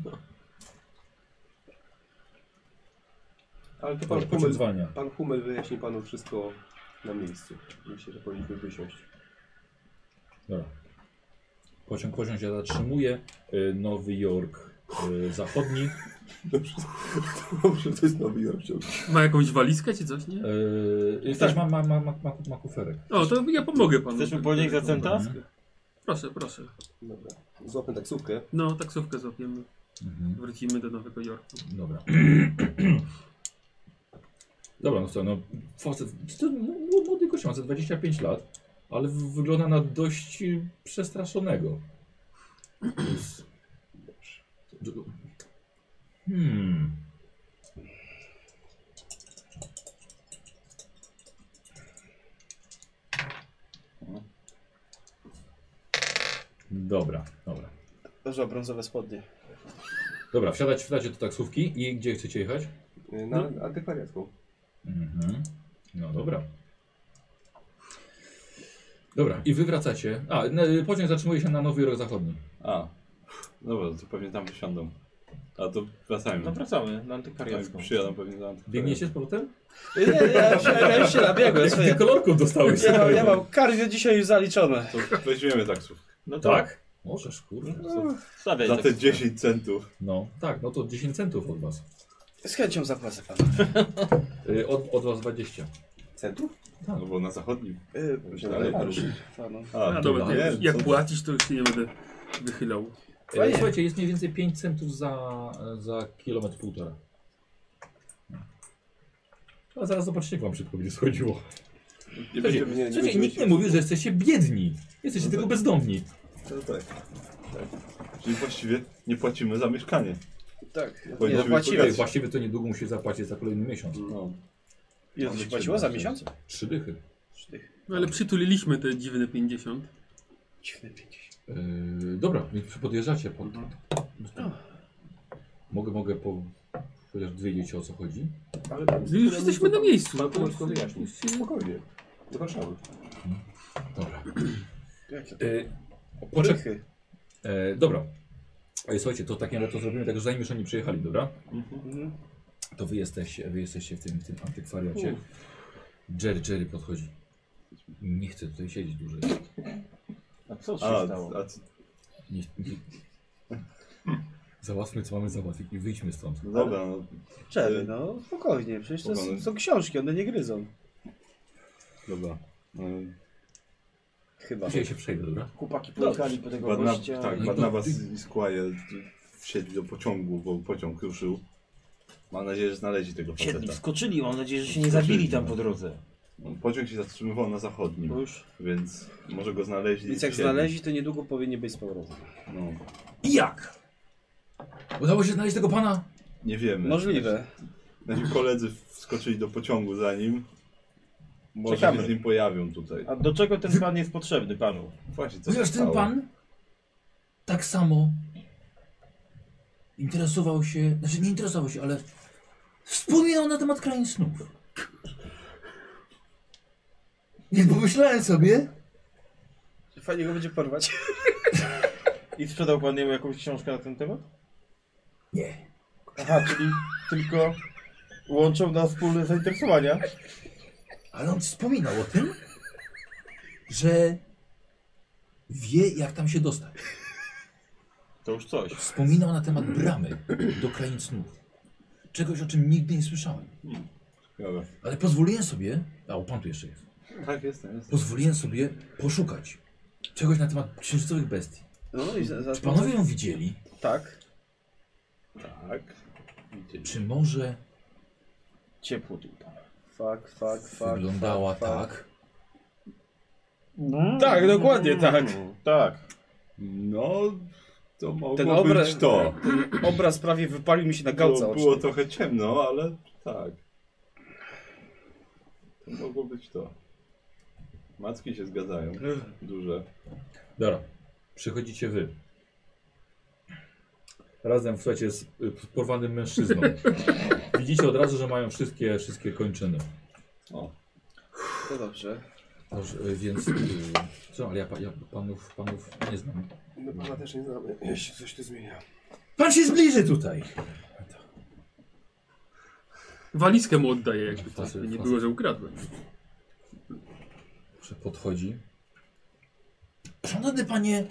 Speaker 1: Ale to pan
Speaker 3: Dobra, pociąg
Speaker 1: Hummel,
Speaker 3: zwalnia.
Speaker 1: pan Hummel wyjaśni panu wszystko na miejscu. Myślę, że powinniśmy wysiąść.
Speaker 3: Dobra. Pociąg, pociąg się zatrzymuje. Y, Nowy Jork y, Zachodni.
Speaker 1: Dobrze, to jest Nowy Jork.
Speaker 6: Ma jakąś walizkę czy coś, nie?
Speaker 1: Tak.
Speaker 3: Yy, Też ma, ma, ma, ma, ma, ma kuferek.
Speaker 6: O, to ja pomogę panu.
Speaker 4: Chcesz mi powiedzieć za centa?
Speaker 6: Proszę, proszę.
Speaker 1: Dobra. Złapmy taksówkę.
Speaker 6: No, taksówkę złapiemy.
Speaker 3: Mhm.
Speaker 6: Wrócimy do Nowego Jorku.
Speaker 3: Dobra. Dobra, no co, no facet, to m- m- młody gość, ma ze 25 lat, ale w- wygląda na dość y, przestraszonego. Więc- Hmm. Dobra, dobra.
Speaker 9: Dobrze, brązowe spodnie.
Speaker 3: Dobra, wsiadać, wsiadacie do taksówki i gdzie chcecie jechać?
Speaker 1: y, Na no. antykwariacką.
Speaker 3: Mhm. No dobra. Dobra, i wy wracacie. A, n- pociąg zatrzymuje się na Nowy Jork Zachodni.
Speaker 2: A. Dobra, to pewnie tam wysiądą. A to wracajmy.
Speaker 4: No wracamy na antykwariacką.
Speaker 2: Tak, Przyjadą pewnie do antykwariatu.
Speaker 4: Tak.
Speaker 3: Biegniecie z powrotem?
Speaker 9: Nie, nie, ja już, ja już się nabiegłem,
Speaker 3: Jak ty
Speaker 9: słuchaj.
Speaker 3: kolorką dostałeś?
Speaker 9: Ja mam,
Speaker 3: słuchaj.
Speaker 9: ja mam kardio dzisiaj już zaliczone.
Speaker 2: To weźmiemy taksówkę.
Speaker 4: No to
Speaker 3: Tak? Możesz, kurde.
Speaker 4: Stawiaj
Speaker 2: Za
Speaker 4: tak
Speaker 2: te
Speaker 4: sobie.
Speaker 2: 10 centów.
Speaker 3: No, tak, no to 10 centów od was.
Speaker 9: Z chęcią zapłacę panu.
Speaker 3: Y, od, od was 20.
Speaker 1: Centów?
Speaker 2: No bo na zachodnim.
Speaker 9: Y,
Speaker 2: Myślałem,
Speaker 1: ale-
Speaker 2: że-
Speaker 9: panu.
Speaker 2: A,
Speaker 6: A dobra, to
Speaker 2: nie,
Speaker 6: jak, jak
Speaker 2: co-
Speaker 6: płacisz, to już się nie będę wychylał.
Speaker 3: E, słuchajcie, jest mniej więcej 5 centów za, za kilometr półtora. A zaraz zobaczcie, jak wam szybko będzie schodziło.
Speaker 2: Nie
Speaker 3: Słuchajcie,
Speaker 2: będziemy...
Speaker 1: nie
Speaker 3: słuchajcie,
Speaker 1: będziemy
Speaker 3: nikt nie
Speaker 1: się-
Speaker 3: mówił, że jesteście biedni. Jesteście
Speaker 4: tak.
Speaker 3: tylko bezdomni.
Speaker 2: No tak. tak. Czyli właściwie nie płacimy za mieszkanie.
Speaker 9: Tak.
Speaker 2: Powinniśmy
Speaker 9: Nie, płacimy.
Speaker 2: pogadać.
Speaker 3: Właściwie to niedługo musisz zapłacić za kolejny miesiąc.
Speaker 2: No.
Speaker 9: Ile to się płaciło za miesiąc?
Speaker 3: Trzy dychy.
Speaker 6: No ale przytuliliśmy te dziwne No, 50.
Speaker 9: Dziwne pięć.
Speaker 3: Yy, dobra, więc podjeżdżacie pod... Mo- Mogę, mogę po... chociaż wiedzieć o co chodzi?
Speaker 1: Ale
Speaker 6: Już jesteśmy na miejscu.
Speaker 1: Pan
Speaker 6: To-
Speaker 1: Tomasz to wyjaśni.
Speaker 6: już się-
Speaker 1: Spokojnie. Do Warszawy.
Speaker 3: Dobra.
Speaker 9: Jakie to?
Speaker 3: Y, poczek-
Speaker 9: Porychy.
Speaker 3: e, dobra. E, słuchajcie, to takie to zrobimy tak, że zanim już oni przyjechali, dobra? To wy jesteście, wy jesteście w tym, w tym antykwariacie. Jerry, Jerry podchodzi. Nie chcę tutaj siedzieć dłużej.
Speaker 10: A co się
Speaker 2: A,
Speaker 10: stało?
Speaker 2: a, c-
Speaker 3: Nie, nie. Załatwmy co mamy załatwić i wyjdźmy stąd.
Speaker 2: no dobra, no.
Speaker 9: Czerny, no spokojnie, przecież to są,
Speaker 2: Spokojnie.
Speaker 9: są książki, one nie gryzą.
Speaker 2: Dobra. Y,
Speaker 9: Chyba.
Speaker 3: Dzisiaj się przejdę, dobra?
Speaker 10: Chłopaki pojechali po tego
Speaker 2: Badna,
Speaker 10: gościa.
Speaker 2: tak,
Speaker 3: No
Speaker 2: Badnawas
Speaker 3: to-
Speaker 2: i Squire wsiedli do pociągu, bo pociąg ruszył. Mam nadzieję, że znaleźli tego
Speaker 10: Siedli,
Speaker 2: faceta.
Speaker 10: skoczyli, mam nadzieję, że się nie
Speaker 2: tak. Wskoczyli,
Speaker 10: zabili tam
Speaker 2: no.
Speaker 10: po drodze.
Speaker 2: No, Pociąg się zatrzymywał na zachodnim,
Speaker 10: Bo już
Speaker 2: więc może go znaleźli.
Speaker 5: Więc
Speaker 2: i
Speaker 5: jak
Speaker 2: wsiedli.
Speaker 5: znaleźli, to niedługo powinni być z powrotem.
Speaker 2: No,
Speaker 3: I jak? Udało się znaleźć tego pana?
Speaker 2: nie wiemy.
Speaker 5: Możliwe.
Speaker 2: Nasi koledzy wskoczyli do pociągu za nim. Może
Speaker 4: Czekamy.
Speaker 2: się z nim pojawią tutaj.
Speaker 4: A do czego ten pan jest potrzebny panu?
Speaker 2: Właśnie, co się
Speaker 3: Chociaż ten
Speaker 2: stało?
Speaker 3: pan tak samo interesował się, znaczy nie interesował się, ale wspominał na temat krain snów. Więc pomyślałem sobie,
Speaker 9: Fajnie go będzie porwać.
Speaker 4: I sprzedał pan jemu jakąś książkę na ten temat?
Speaker 3: nie,
Speaker 4: Aha, czyli tylko łączą nas wspólne zainteresowania.
Speaker 3: ale on wspominał o tym, że wie jak tam się dostać.
Speaker 4: To już coś.
Speaker 3: Wspominał na temat bramy do krain snów. Czegoś o czym nigdy nie słyszałem.
Speaker 2: Dobra.
Speaker 3: Ale pozwoliłem sobie, a o, pan tu jeszcze jest,
Speaker 2: Tak, jestem, jestem.
Speaker 3: pozwoliłem sobie poszukać czegoś na temat księżycowych bestii.
Speaker 9: No i za, za,
Speaker 3: Czy panowie ją widzieli?
Speaker 9: Tak.
Speaker 2: Tak. Widzieli.
Speaker 3: Czy może
Speaker 4: Ciepło tu pan.
Speaker 9: Fuck,
Speaker 1: Tak,
Speaker 9: fuck, fuck.
Speaker 3: wyglądała
Speaker 9: fuck, fuck.
Speaker 3: tak?
Speaker 9: Tak, dokładnie tak.
Speaker 4: Tak.
Speaker 2: No, to mogło
Speaker 9: Ten
Speaker 2: obraz...
Speaker 9: obraz,
Speaker 2: być to.
Speaker 9: ten obraz prawie wypalił mi się na gałce
Speaker 2: Było, było
Speaker 9: ocznej.
Speaker 2: trochę ciemno, ale tak. To mogło być to. Macki się zgadzają. Duże.
Speaker 3: Dobra, przychodzicie wy. Razem, słuchajcie, z y, z porwanym mężczyzną. Widzicie od razu, że mają wszystkie, wszystkie kończyny.
Speaker 2: O,
Speaker 9: To dobrze.
Speaker 3: Dobrze, y, więc... y, Co, ale ja, pa- ja panów, panów nie znam.
Speaker 1: No pana też nie znamy, jeśli coś tu zmienia.
Speaker 3: Pan się zbliży tutaj!
Speaker 6: Walizkę mu oddaję, jakby to
Speaker 9: No,
Speaker 3: Fasy,
Speaker 6: nie
Speaker 3: fasy.
Speaker 6: było, że ukradłem.
Speaker 3: Że podchodzi. Szanowny panie...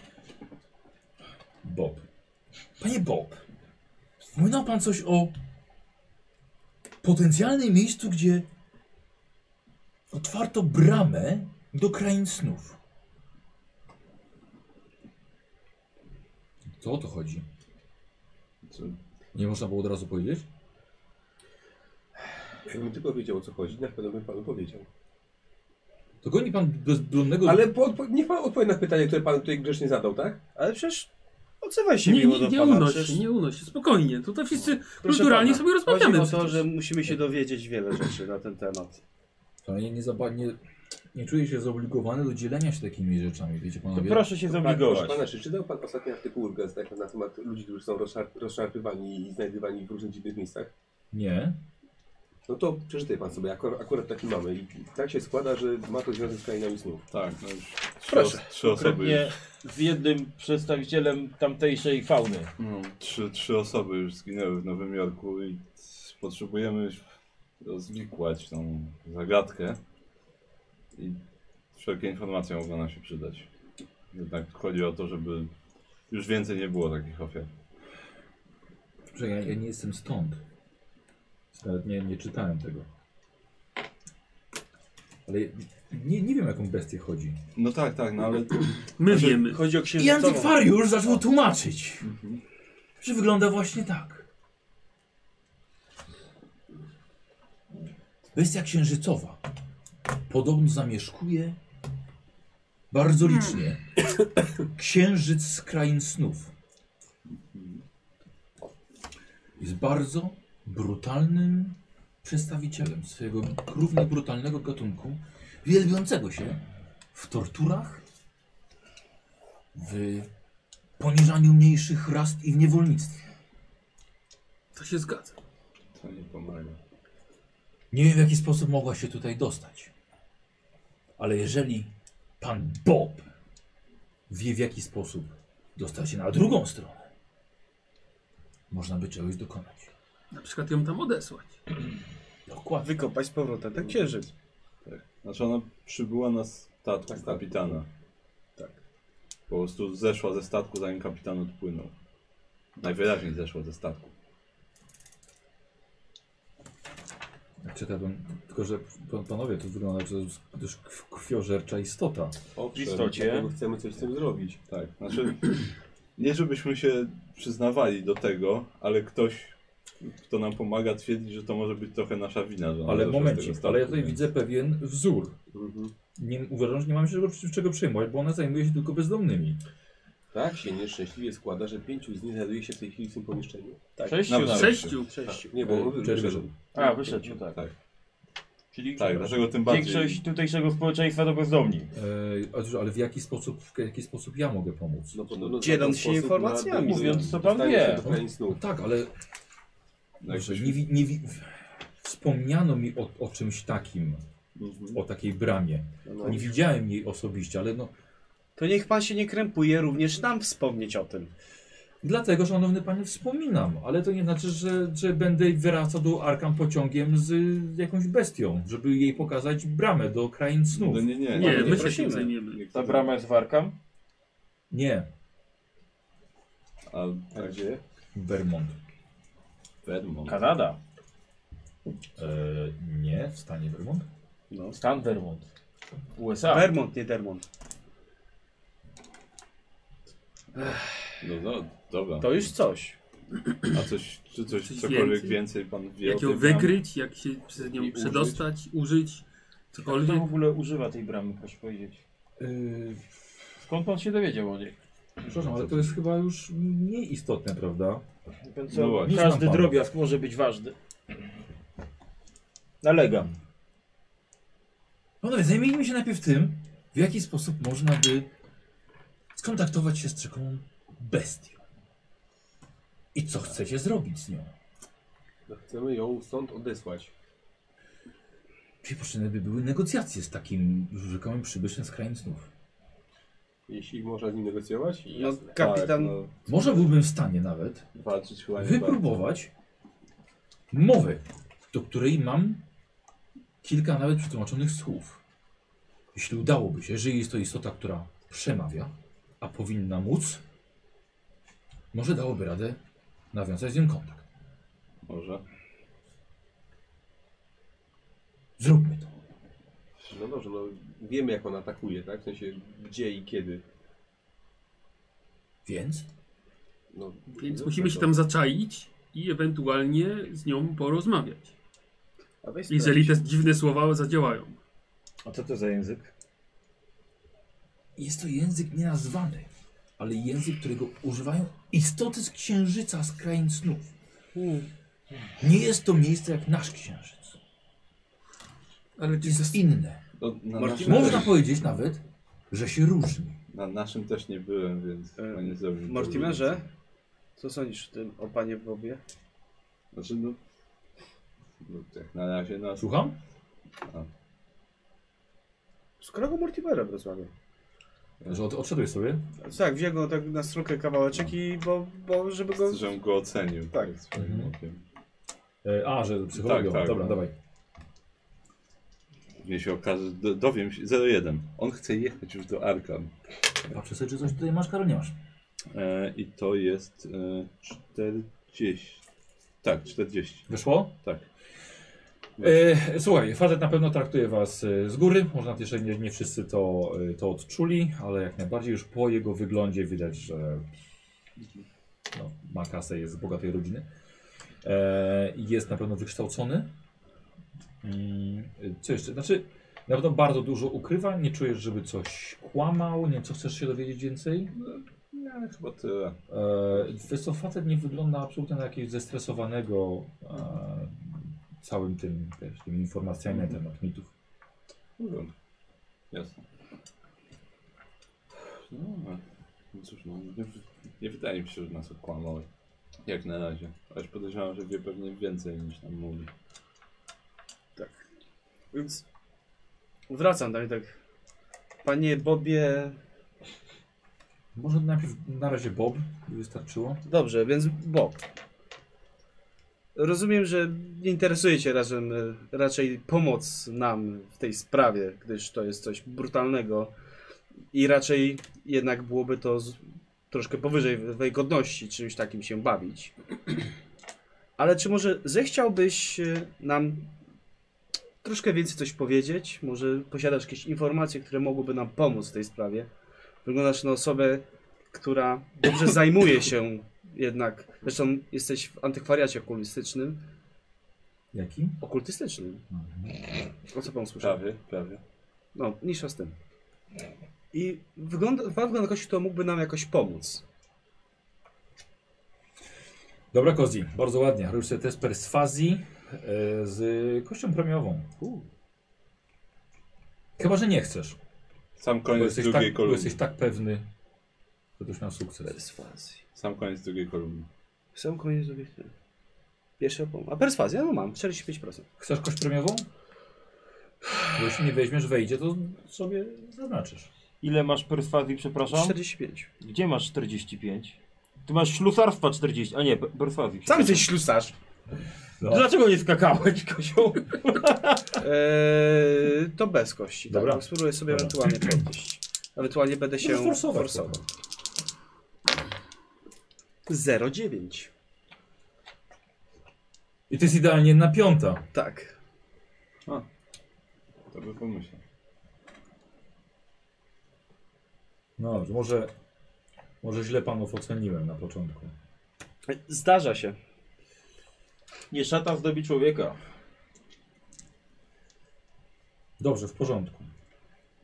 Speaker 3: Bob. Panie Bob. Wspominał pan coś o potencjalnym miejscu, gdzie otwarto bramę do krain snów. Co o to chodzi?
Speaker 2: co?
Speaker 3: Nie można było od razu powiedzieć?
Speaker 1: Jakbym tylko wiedział o co chodzi, na pewno bym panu powiedział.
Speaker 3: To goni pan bezbronnego...
Speaker 1: Ale po, po, niech pan odpowie na pytanie, które pan tutaj grzecznie zadał, tak?
Speaker 9: Ale przecież odzywaj się
Speaker 6: Nie,
Speaker 9: miło
Speaker 6: nie,
Speaker 9: do
Speaker 6: nie
Speaker 9: pana.
Speaker 6: unoś
Speaker 9: przecież-
Speaker 6: się, nie unoś się. Spokojnie, tutaj wszyscy
Speaker 9: Proszę
Speaker 6: kulturalnie
Speaker 9: pana,
Speaker 6: sobie rozmawiamy.
Speaker 9: Chodzi o to,
Speaker 6: przecież.
Speaker 9: że musimy się dowiedzieć wiele rzeczy na ten temat.
Speaker 3: To nie, nie, zaba- nie, nie czuję się zobligowany do dzielenia się takimi rzeczami, wiecie
Speaker 4: To
Speaker 3: panowie?
Speaker 4: proszę się
Speaker 1: proszę
Speaker 4: zobligować.
Speaker 1: pana, czy czytał pan ostatni artykuł Urgens tak, na temat ludzi, którzy są rozszar rozszarpywani i znajdywani w różnych dziwnych miejscach?
Speaker 3: Nie.
Speaker 1: No to przeczytaj pan sobie, akor akurat taki mamy. I tak się składa, że ma to związek z krainami snów.
Speaker 2: Tak, no już trzy,
Speaker 9: Proszę.
Speaker 2: os- trzy osoby już.
Speaker 4: Konkretnie z jednym przedstawicielem tamtejszej fauny.
Speaker 2: No, trzy, trzy osoby już zginęły w Nowym Jorku i potrzebujemy już rozwikłać tą zagadkę. I wszelkie informacje mogą nam się przydać. Jednak chodzi o to, żeby już więcej nie było takich ofiar.
Speaker 3: Że ja, ja nie jestem stąd. Nawet nie, nie czytałem tego. Ale nie, nie wiem, jaką bestię chodzi.
Speaker 2: No tak, tak, no ale
Speaker 6: My
Speaker 2: Znaczy,
Speaker 6: wiemy.
Speaker 9: Chodzi o
Speaker 3: I
Speaker 9: księżycową.
Speaker 3: antykwariusz zaczął tłumaczyć, że wygląda właśnie tak. Bestia księżycowa podobno zamieszkuje bardzo licznie księżyc z krain snów. Jest bardzo brutalnym przedstawicielem swojego równie brutalnego gatunku, wielbiącego się w torturach w poniżaniu mniejszych rast i w niewolnictwie.
Speaker 6: To się zgadza.
Speaker 2: To nie pomaga.
Speaker 3: Nie wiem, w jaki sposób mogła się tutaj dostać. Ale jeżeli pan Bob wie, w jaki sposób dostać się na drugą stronę, można by czegoś dokonać.
Speaker 6: Na przykład ją tam odesłać.
Speaker 3: Dokładnie.
Speaker 5: Wykopać z powrotem ten księżyc.
Speaker 2: Znaczy ona przybyła na statku kapitana.
Speaker 1: Tak.
Speaker 2: Po prostu zeszła ze statku, zanim kapitan odpłynął. Najwyraźniej zeszła ze statku.
Speaker 3: Jak czytałem, tylko że pan- panowie, to wygląda, że to jest dość kw- krwiożercza istota.
Speaker 1: Owszem,
Speaker 7: W istocie.
Speaker 1: dlatego chcemy coś z tym zrobić.
Speaker 2: Tak, znaczy nie żebyśmy się przyznawali do tego, ale ktoś, kto nam pomaga twierdzi, że to może być trochę nasza wina,
Speaker 1: No,
Speaker 2: że ona
Speaker 3: Ale
Speaker 2: zeszła z
Speaker 3: momencik,
Speaker 2: tego statku,
Speaker 3: ale
Speaker 1: tak,
Speaker 3: ja tutaj
Speaker 2: więc-
Speaker 3: widzę pewien wzór.
Speaker 1: Mhm.
Speaker 3: Nie, uważam, że nie mamy się czego, czego przejmować, bo ona zajmuje się tylko bezdomnymi.
Speaker 1: Tak się nieszczęśliwie składa, że pięciu z nich znajduje się w tej chwili w tym pomieszczeniu.
Speaker 2: Tak,
Speaker 4: Sześciu
Speaker 2: nawet
Speaker 4: nawet.
Speaker 6: Sześciu.
Speaker 1: Sześciu. Nie, bo
Speaker 3: E, czerwień.
Speaker 1: wyszedł.
Speaker 4: A, wyszedł, tak.
Speaker 2: Tak.
Speaker 4: Czyli
Speaker 2: Tak, dlatego tym bardziej.
Speaker 4: większość tutejszego społeczeństwa to bezdomni.
Speaker 3: E, ale- ale w jaki sposób, w jaki sposób ja mogę pomóc?
Speaker 1: No, podobno w
Speaker 5: Dzieląc
Speaker 1: taki
Speaker 5: się
Speaker 1: sposób
Speaker 5: informacjami.
Speaker 1: na-
Speaker 4: Mówiąc, co pan
Speaker 1: dostanie
Speaker 4: wie.
Speaker 1: się do krain
Speaker 3: No
Speaker 1: snu.
Speaker 3: tak, ale
Speaker 2: No,
Speaker 3: Dobrze,
Speaker 2: jakoś-
Speaker 3: nie, wi- nie, wi- wspomniano mi o, o czymś takim,
Speaker 2: Mhm.
Speaker 3: o takiej bramie.
Speaker 1: No,
Speaker 3: Nie widziałem jej osobiście, ale no.
Speaker 5: To niech pan się nie krępuje, również nam wspomnieć o tym.
Speaker 3: Dlatego, szanowny panie, wspominam, ale to nie znaczy, że, że będę wracał do Arkam pociągiem z y, jakąś bestią, żeby jej pokazać bramę do krain snów.
Speaker 2: No nie, nie.
Speaker 6: Nie,
Speaker 5: nie
Speaker 6: my się
Speaker 5: prosimy.
Speaker 6: tym zajmiemy.
Speaker 4: Ta brama jest warkam.
Speaker 3: Nie,
Speaker 2: A,
Speaker 1: A
Speaker 2: tak,
Speaker 1: gdzie?
Speaker 3: Vermont.
Speaker 2: Vermont.
Speaker 4: Kanada.
Speaker 3: E, nie, w stanie Vermont.
Speaker 4: Stan Vermont.
Speaker 9: Tak.
Speaker 4: USA.
Speaker 5: Vermont, nie Dermont.
Speaker 2: No, no, dobra.
Speaker 5: To już coś.
Speaker 2: A coś, czy coś,
Speaker 6: Coś
Speaker 2: cokolwiek
Speaker 6: więcej?
Speaker 2: więcej pan wie
Speaker 6: Jak
Speaker 2: o
Speaker 6: ją
Speaker 2: tej bramie?
Speaker 6: wykryć, jak się przez nią
Speaker 2: I
Speaker 6: przedostać, użyć,
Speaker 4: Kto w
Speaker 9: No,
Speaker 6: cokolwiek.
Speaker 4: ogóle używa tej bramy, proszę powiedzieć?
Speaker 3: E,
Speaker 4: Yy, Skąd pan się dowiedział o niej?
Speaker 3: przepraszam, ale to jest chyba już mniej istotne, prawda?
Speaker 2: No właśnie.
Speaker 4: Każdy
Speaker 3: Znam pana.
Speaker 4: drobiazg może być ważny. Nalegam.
Speaker 3: Panowie, zajmijmy się najpierw tym, w jaki sposób można by skontaktować się z taką bestią. I co chcecie zrobić z nią?
Speaker 1: No, Chcemy ją stąd odesłać.
Speaker 3: Czyli potrzebne by były negocjacje z takim rzekomym przybyszem z krain snów.
Speaker 1: Jeśli można z nim negocjować?
Speaker 5: No,
Speaker 2: Tak,
Speaker 5: kapitan
Speaker 2: no,
Speaker 3: Może byłbym w stanie nawet
Speaker 2: walczyć chyba nie warto.
Speaker 3: wypróbować mowę, do której mam kilka nawet przetłumaczonych słów. Jeśli udałoby się, że jest to istota, która przemawia, a powinna móc, może dałoby radę nawiązać z nią kontakt.
Speaker 2: Może.
Speaker 3: Zróbmy to.
Speaker 1: No dobrze, no wiemy jak on atakuje, tak? W sensie gdzie i kiedy.
Speaker 3: Więc
Speaker 1: No,
Speaker 6: Więc
Speaker 1: no,
Speaker 6: musimy
Speaker 1: to-
Speaker 6: się tam zaczaić i ewentualnie z nią porozmawiać.
Speaker 5: A weź
Speaker 6: Jeżeli te dziwne słowa zadziałają.
Speaker 4: A co to za język?
Speaker 3: jest to język nienazwany, ale język, którego używają istoty z księżyca z krain snów. Nie jest to miejsce jak nasz księżyc.
Speaker 6: Ale czy
Speaker 3: Jest inne.
Speaker 2: No, na,
Speaker 5: Marcin,
Speaker 2: naszym
Speaker 3: Można
Speaker 2: też,
Speaker 3: powiedzieć nawet, że się różni.
Speaker 2: na naszym też nie byłem, więc
Speaker 5: E,
Speaker 2: chyba nie zrobił.
Speaker 5: Mortimerze, co sądzisz o tym, o panie Bobie?
Speaker 2: Znaczy no, no tak na razie nas...
Speaker 3: Słucham?
Speaker 5: Z kolegą Mortimera w Wrocławiu.
Speaker 3: Że od, odszedłeś sobie?
Speaker 5: Tak, wziął go tak na stronkę kawałeczek i bo, bo żeby go...
Speaker 2: Żebym go ocenił.
Speaker 5: Tak.
Speaker 2: tak swoim
Speaker 3: Mhm.
Speaker 2: okiem.
Speaker 3: E, a, że psychologią.
Speaker 2: Tak, tak.
Speaker 3: Dobra, dawaj.
Speaker 2: Mnie się okaże, do, dowiem się, 01. On chce jechać już do Arkam.
Speaker 3: Patrzę sobie, czy coś tutaj masz, Karol, nie masz.
Speaker 2: E, I to jest e, 40. Tak, 40.
Speaker 3: Wyszło?
Speaker 2: Tak.
Speaker 3: E, słuchaj, facet na pewno traktuje was e, z góry. Można jeszcze nie, nie wszyscy to, e, to odczuli, ale jak najbardziej już po jego wyglądzie widać, że no, ma kasę, jest z bogatej rodziny. E, i jest na pewno wykształcony. Mm, co jeszcze? Znaczy, na pewno bardzo dużo ukrywa. Nie czujesz, żeby coś kłamał. Nie wiem, co chcesz się dowiedzieć więcej?
Speaker 2: Nie, chyba tyle.
Speaker 3: E, Wiesz co, facet nie wygląda absolutnie na jakiegoś zestresowanego e, całym tym, wiesz, tymi informacjami na temat mitów.
Speaker 2: Mówią. Jasne. No, no cóż, no, nie, nie wydaje mi się, że nas okłamał. Jak na razie. Aż podejrzewam, że wie pewnie więcej niż nam mówi.
Speaker 5: Więc wracam tam i tak. Panie Bobie.
Speaker 3: Może najpierw na razie Bob by wystarczyło.
Speaker 5: Dobrze, więc Bob. Rozumiem, że nie interesuje Cię razem, e, raczej pomoc nam w tej sprawie, gdyż to jest coś brutalnego i raczej jednak byłoby to z, troszkę powyżej Twojej godności czymś takim się bawić. Ale czy może zechciałbyś e, nam troszkę więcej coś powiedzieć? Może posiadasz jakieś informacje, które mogłyby nam pomóc w tej sprawie? Wyglądasz na osobę, która dobrze zajmuje się jednak. Zresztą jesteś w antykwariacie okultystycznym.
Speaker 3: Jaki?
Speaker 5: Okultystycznym. O co pan słyszał?
Speaker 2: Prawie, prawie.
Speaker 5: No, mniejsza z tym. I wygląda, pan wygląda na kogoś, kto mógłby nam jakoś pomóc.
Speaker 3: Dobra Kozi, bardzo ładnie. Robisz sobie test perswazji e, z kością premiową. Chyba, że nie chcesz.
Speaker 2: Sam
Speaker 3: Bo
Speaker 2: koniec
Speaker 3: jesteś,
Speaker 2: drugiej
Speaker 3: tak, bo
Speaker 2: kolumny.
Speaker 3: jesteś tak pewny, że to już miał sukces.
Speaker 5: Perswazji.
Speaker 2: Sam koniec drugiej kolumny.
Speaker 5: Sam koniec obiektu. Pierwsza pom- A perswazja? No mam, 45%.
Speaker 3: Chcesz kość premiową? Bo jeśli nie weźmiesz, wejdzie, to sobie zaznaczysz.
Speaker 4: Ile masz perswazji, przepraszam?
Speaker 5: 45.
Speaker 4: Gdzie masz 45? Ty masz ślusarstwa 40, a nie, pe- perswazji.
Speaker 5: Sam jesteś ślusarz.
Speaker 3: No.
Speaker 4: Dlaczego nie skakałeś, kozioł?
Speaker 5: Eee, to bez kości.
Speaker 3: Dobra.
Speaker 5: Tak. Spróbuję sobie
Speaker 3: Dobra.
Speaker 5: ewentualnie podnieść. Ewentualnie będę się
Speaker 3: Możesz forsować.
Speaker 5: forsował. 0,9.
Speaker 3: I to jest idealnie na piąta.
Speaker 5: Tak.
Speaker 2: To by pomyślał.
Speaker 3: No dobrze, może, może źle panów oceniłem na początku.
Speaker 5: Zdarza się.
Speaker 4: Nie szata zdobi człowieka.
Speaker 3: Dobrze, w porządku.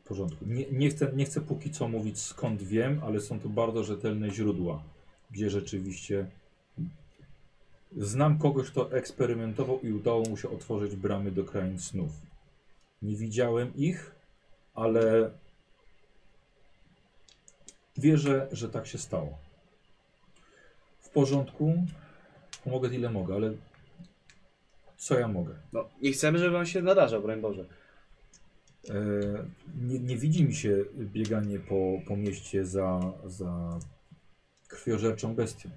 Speaker 3: W porządku. Nie, nie, chcę, nie chcę póki co mówić skąd wiem, ale są to bardzo rzetelne źródła, gdzie rzeczywiście znam kogoś, kto eksperymentował i udało mu się otworzyć bramy do krain snów. Nie widziałem ich, ale wierzę, że tak się stało. W porządku. Pomogę ile mogę, ale co ja mogę?
Speaker 5: No, nie chcemy, żeby on się narażał, broń Boże.
Speaker 3: E, nie, nie widzi mi się bieganie po, po mieście za, za krwiożerczą bestią.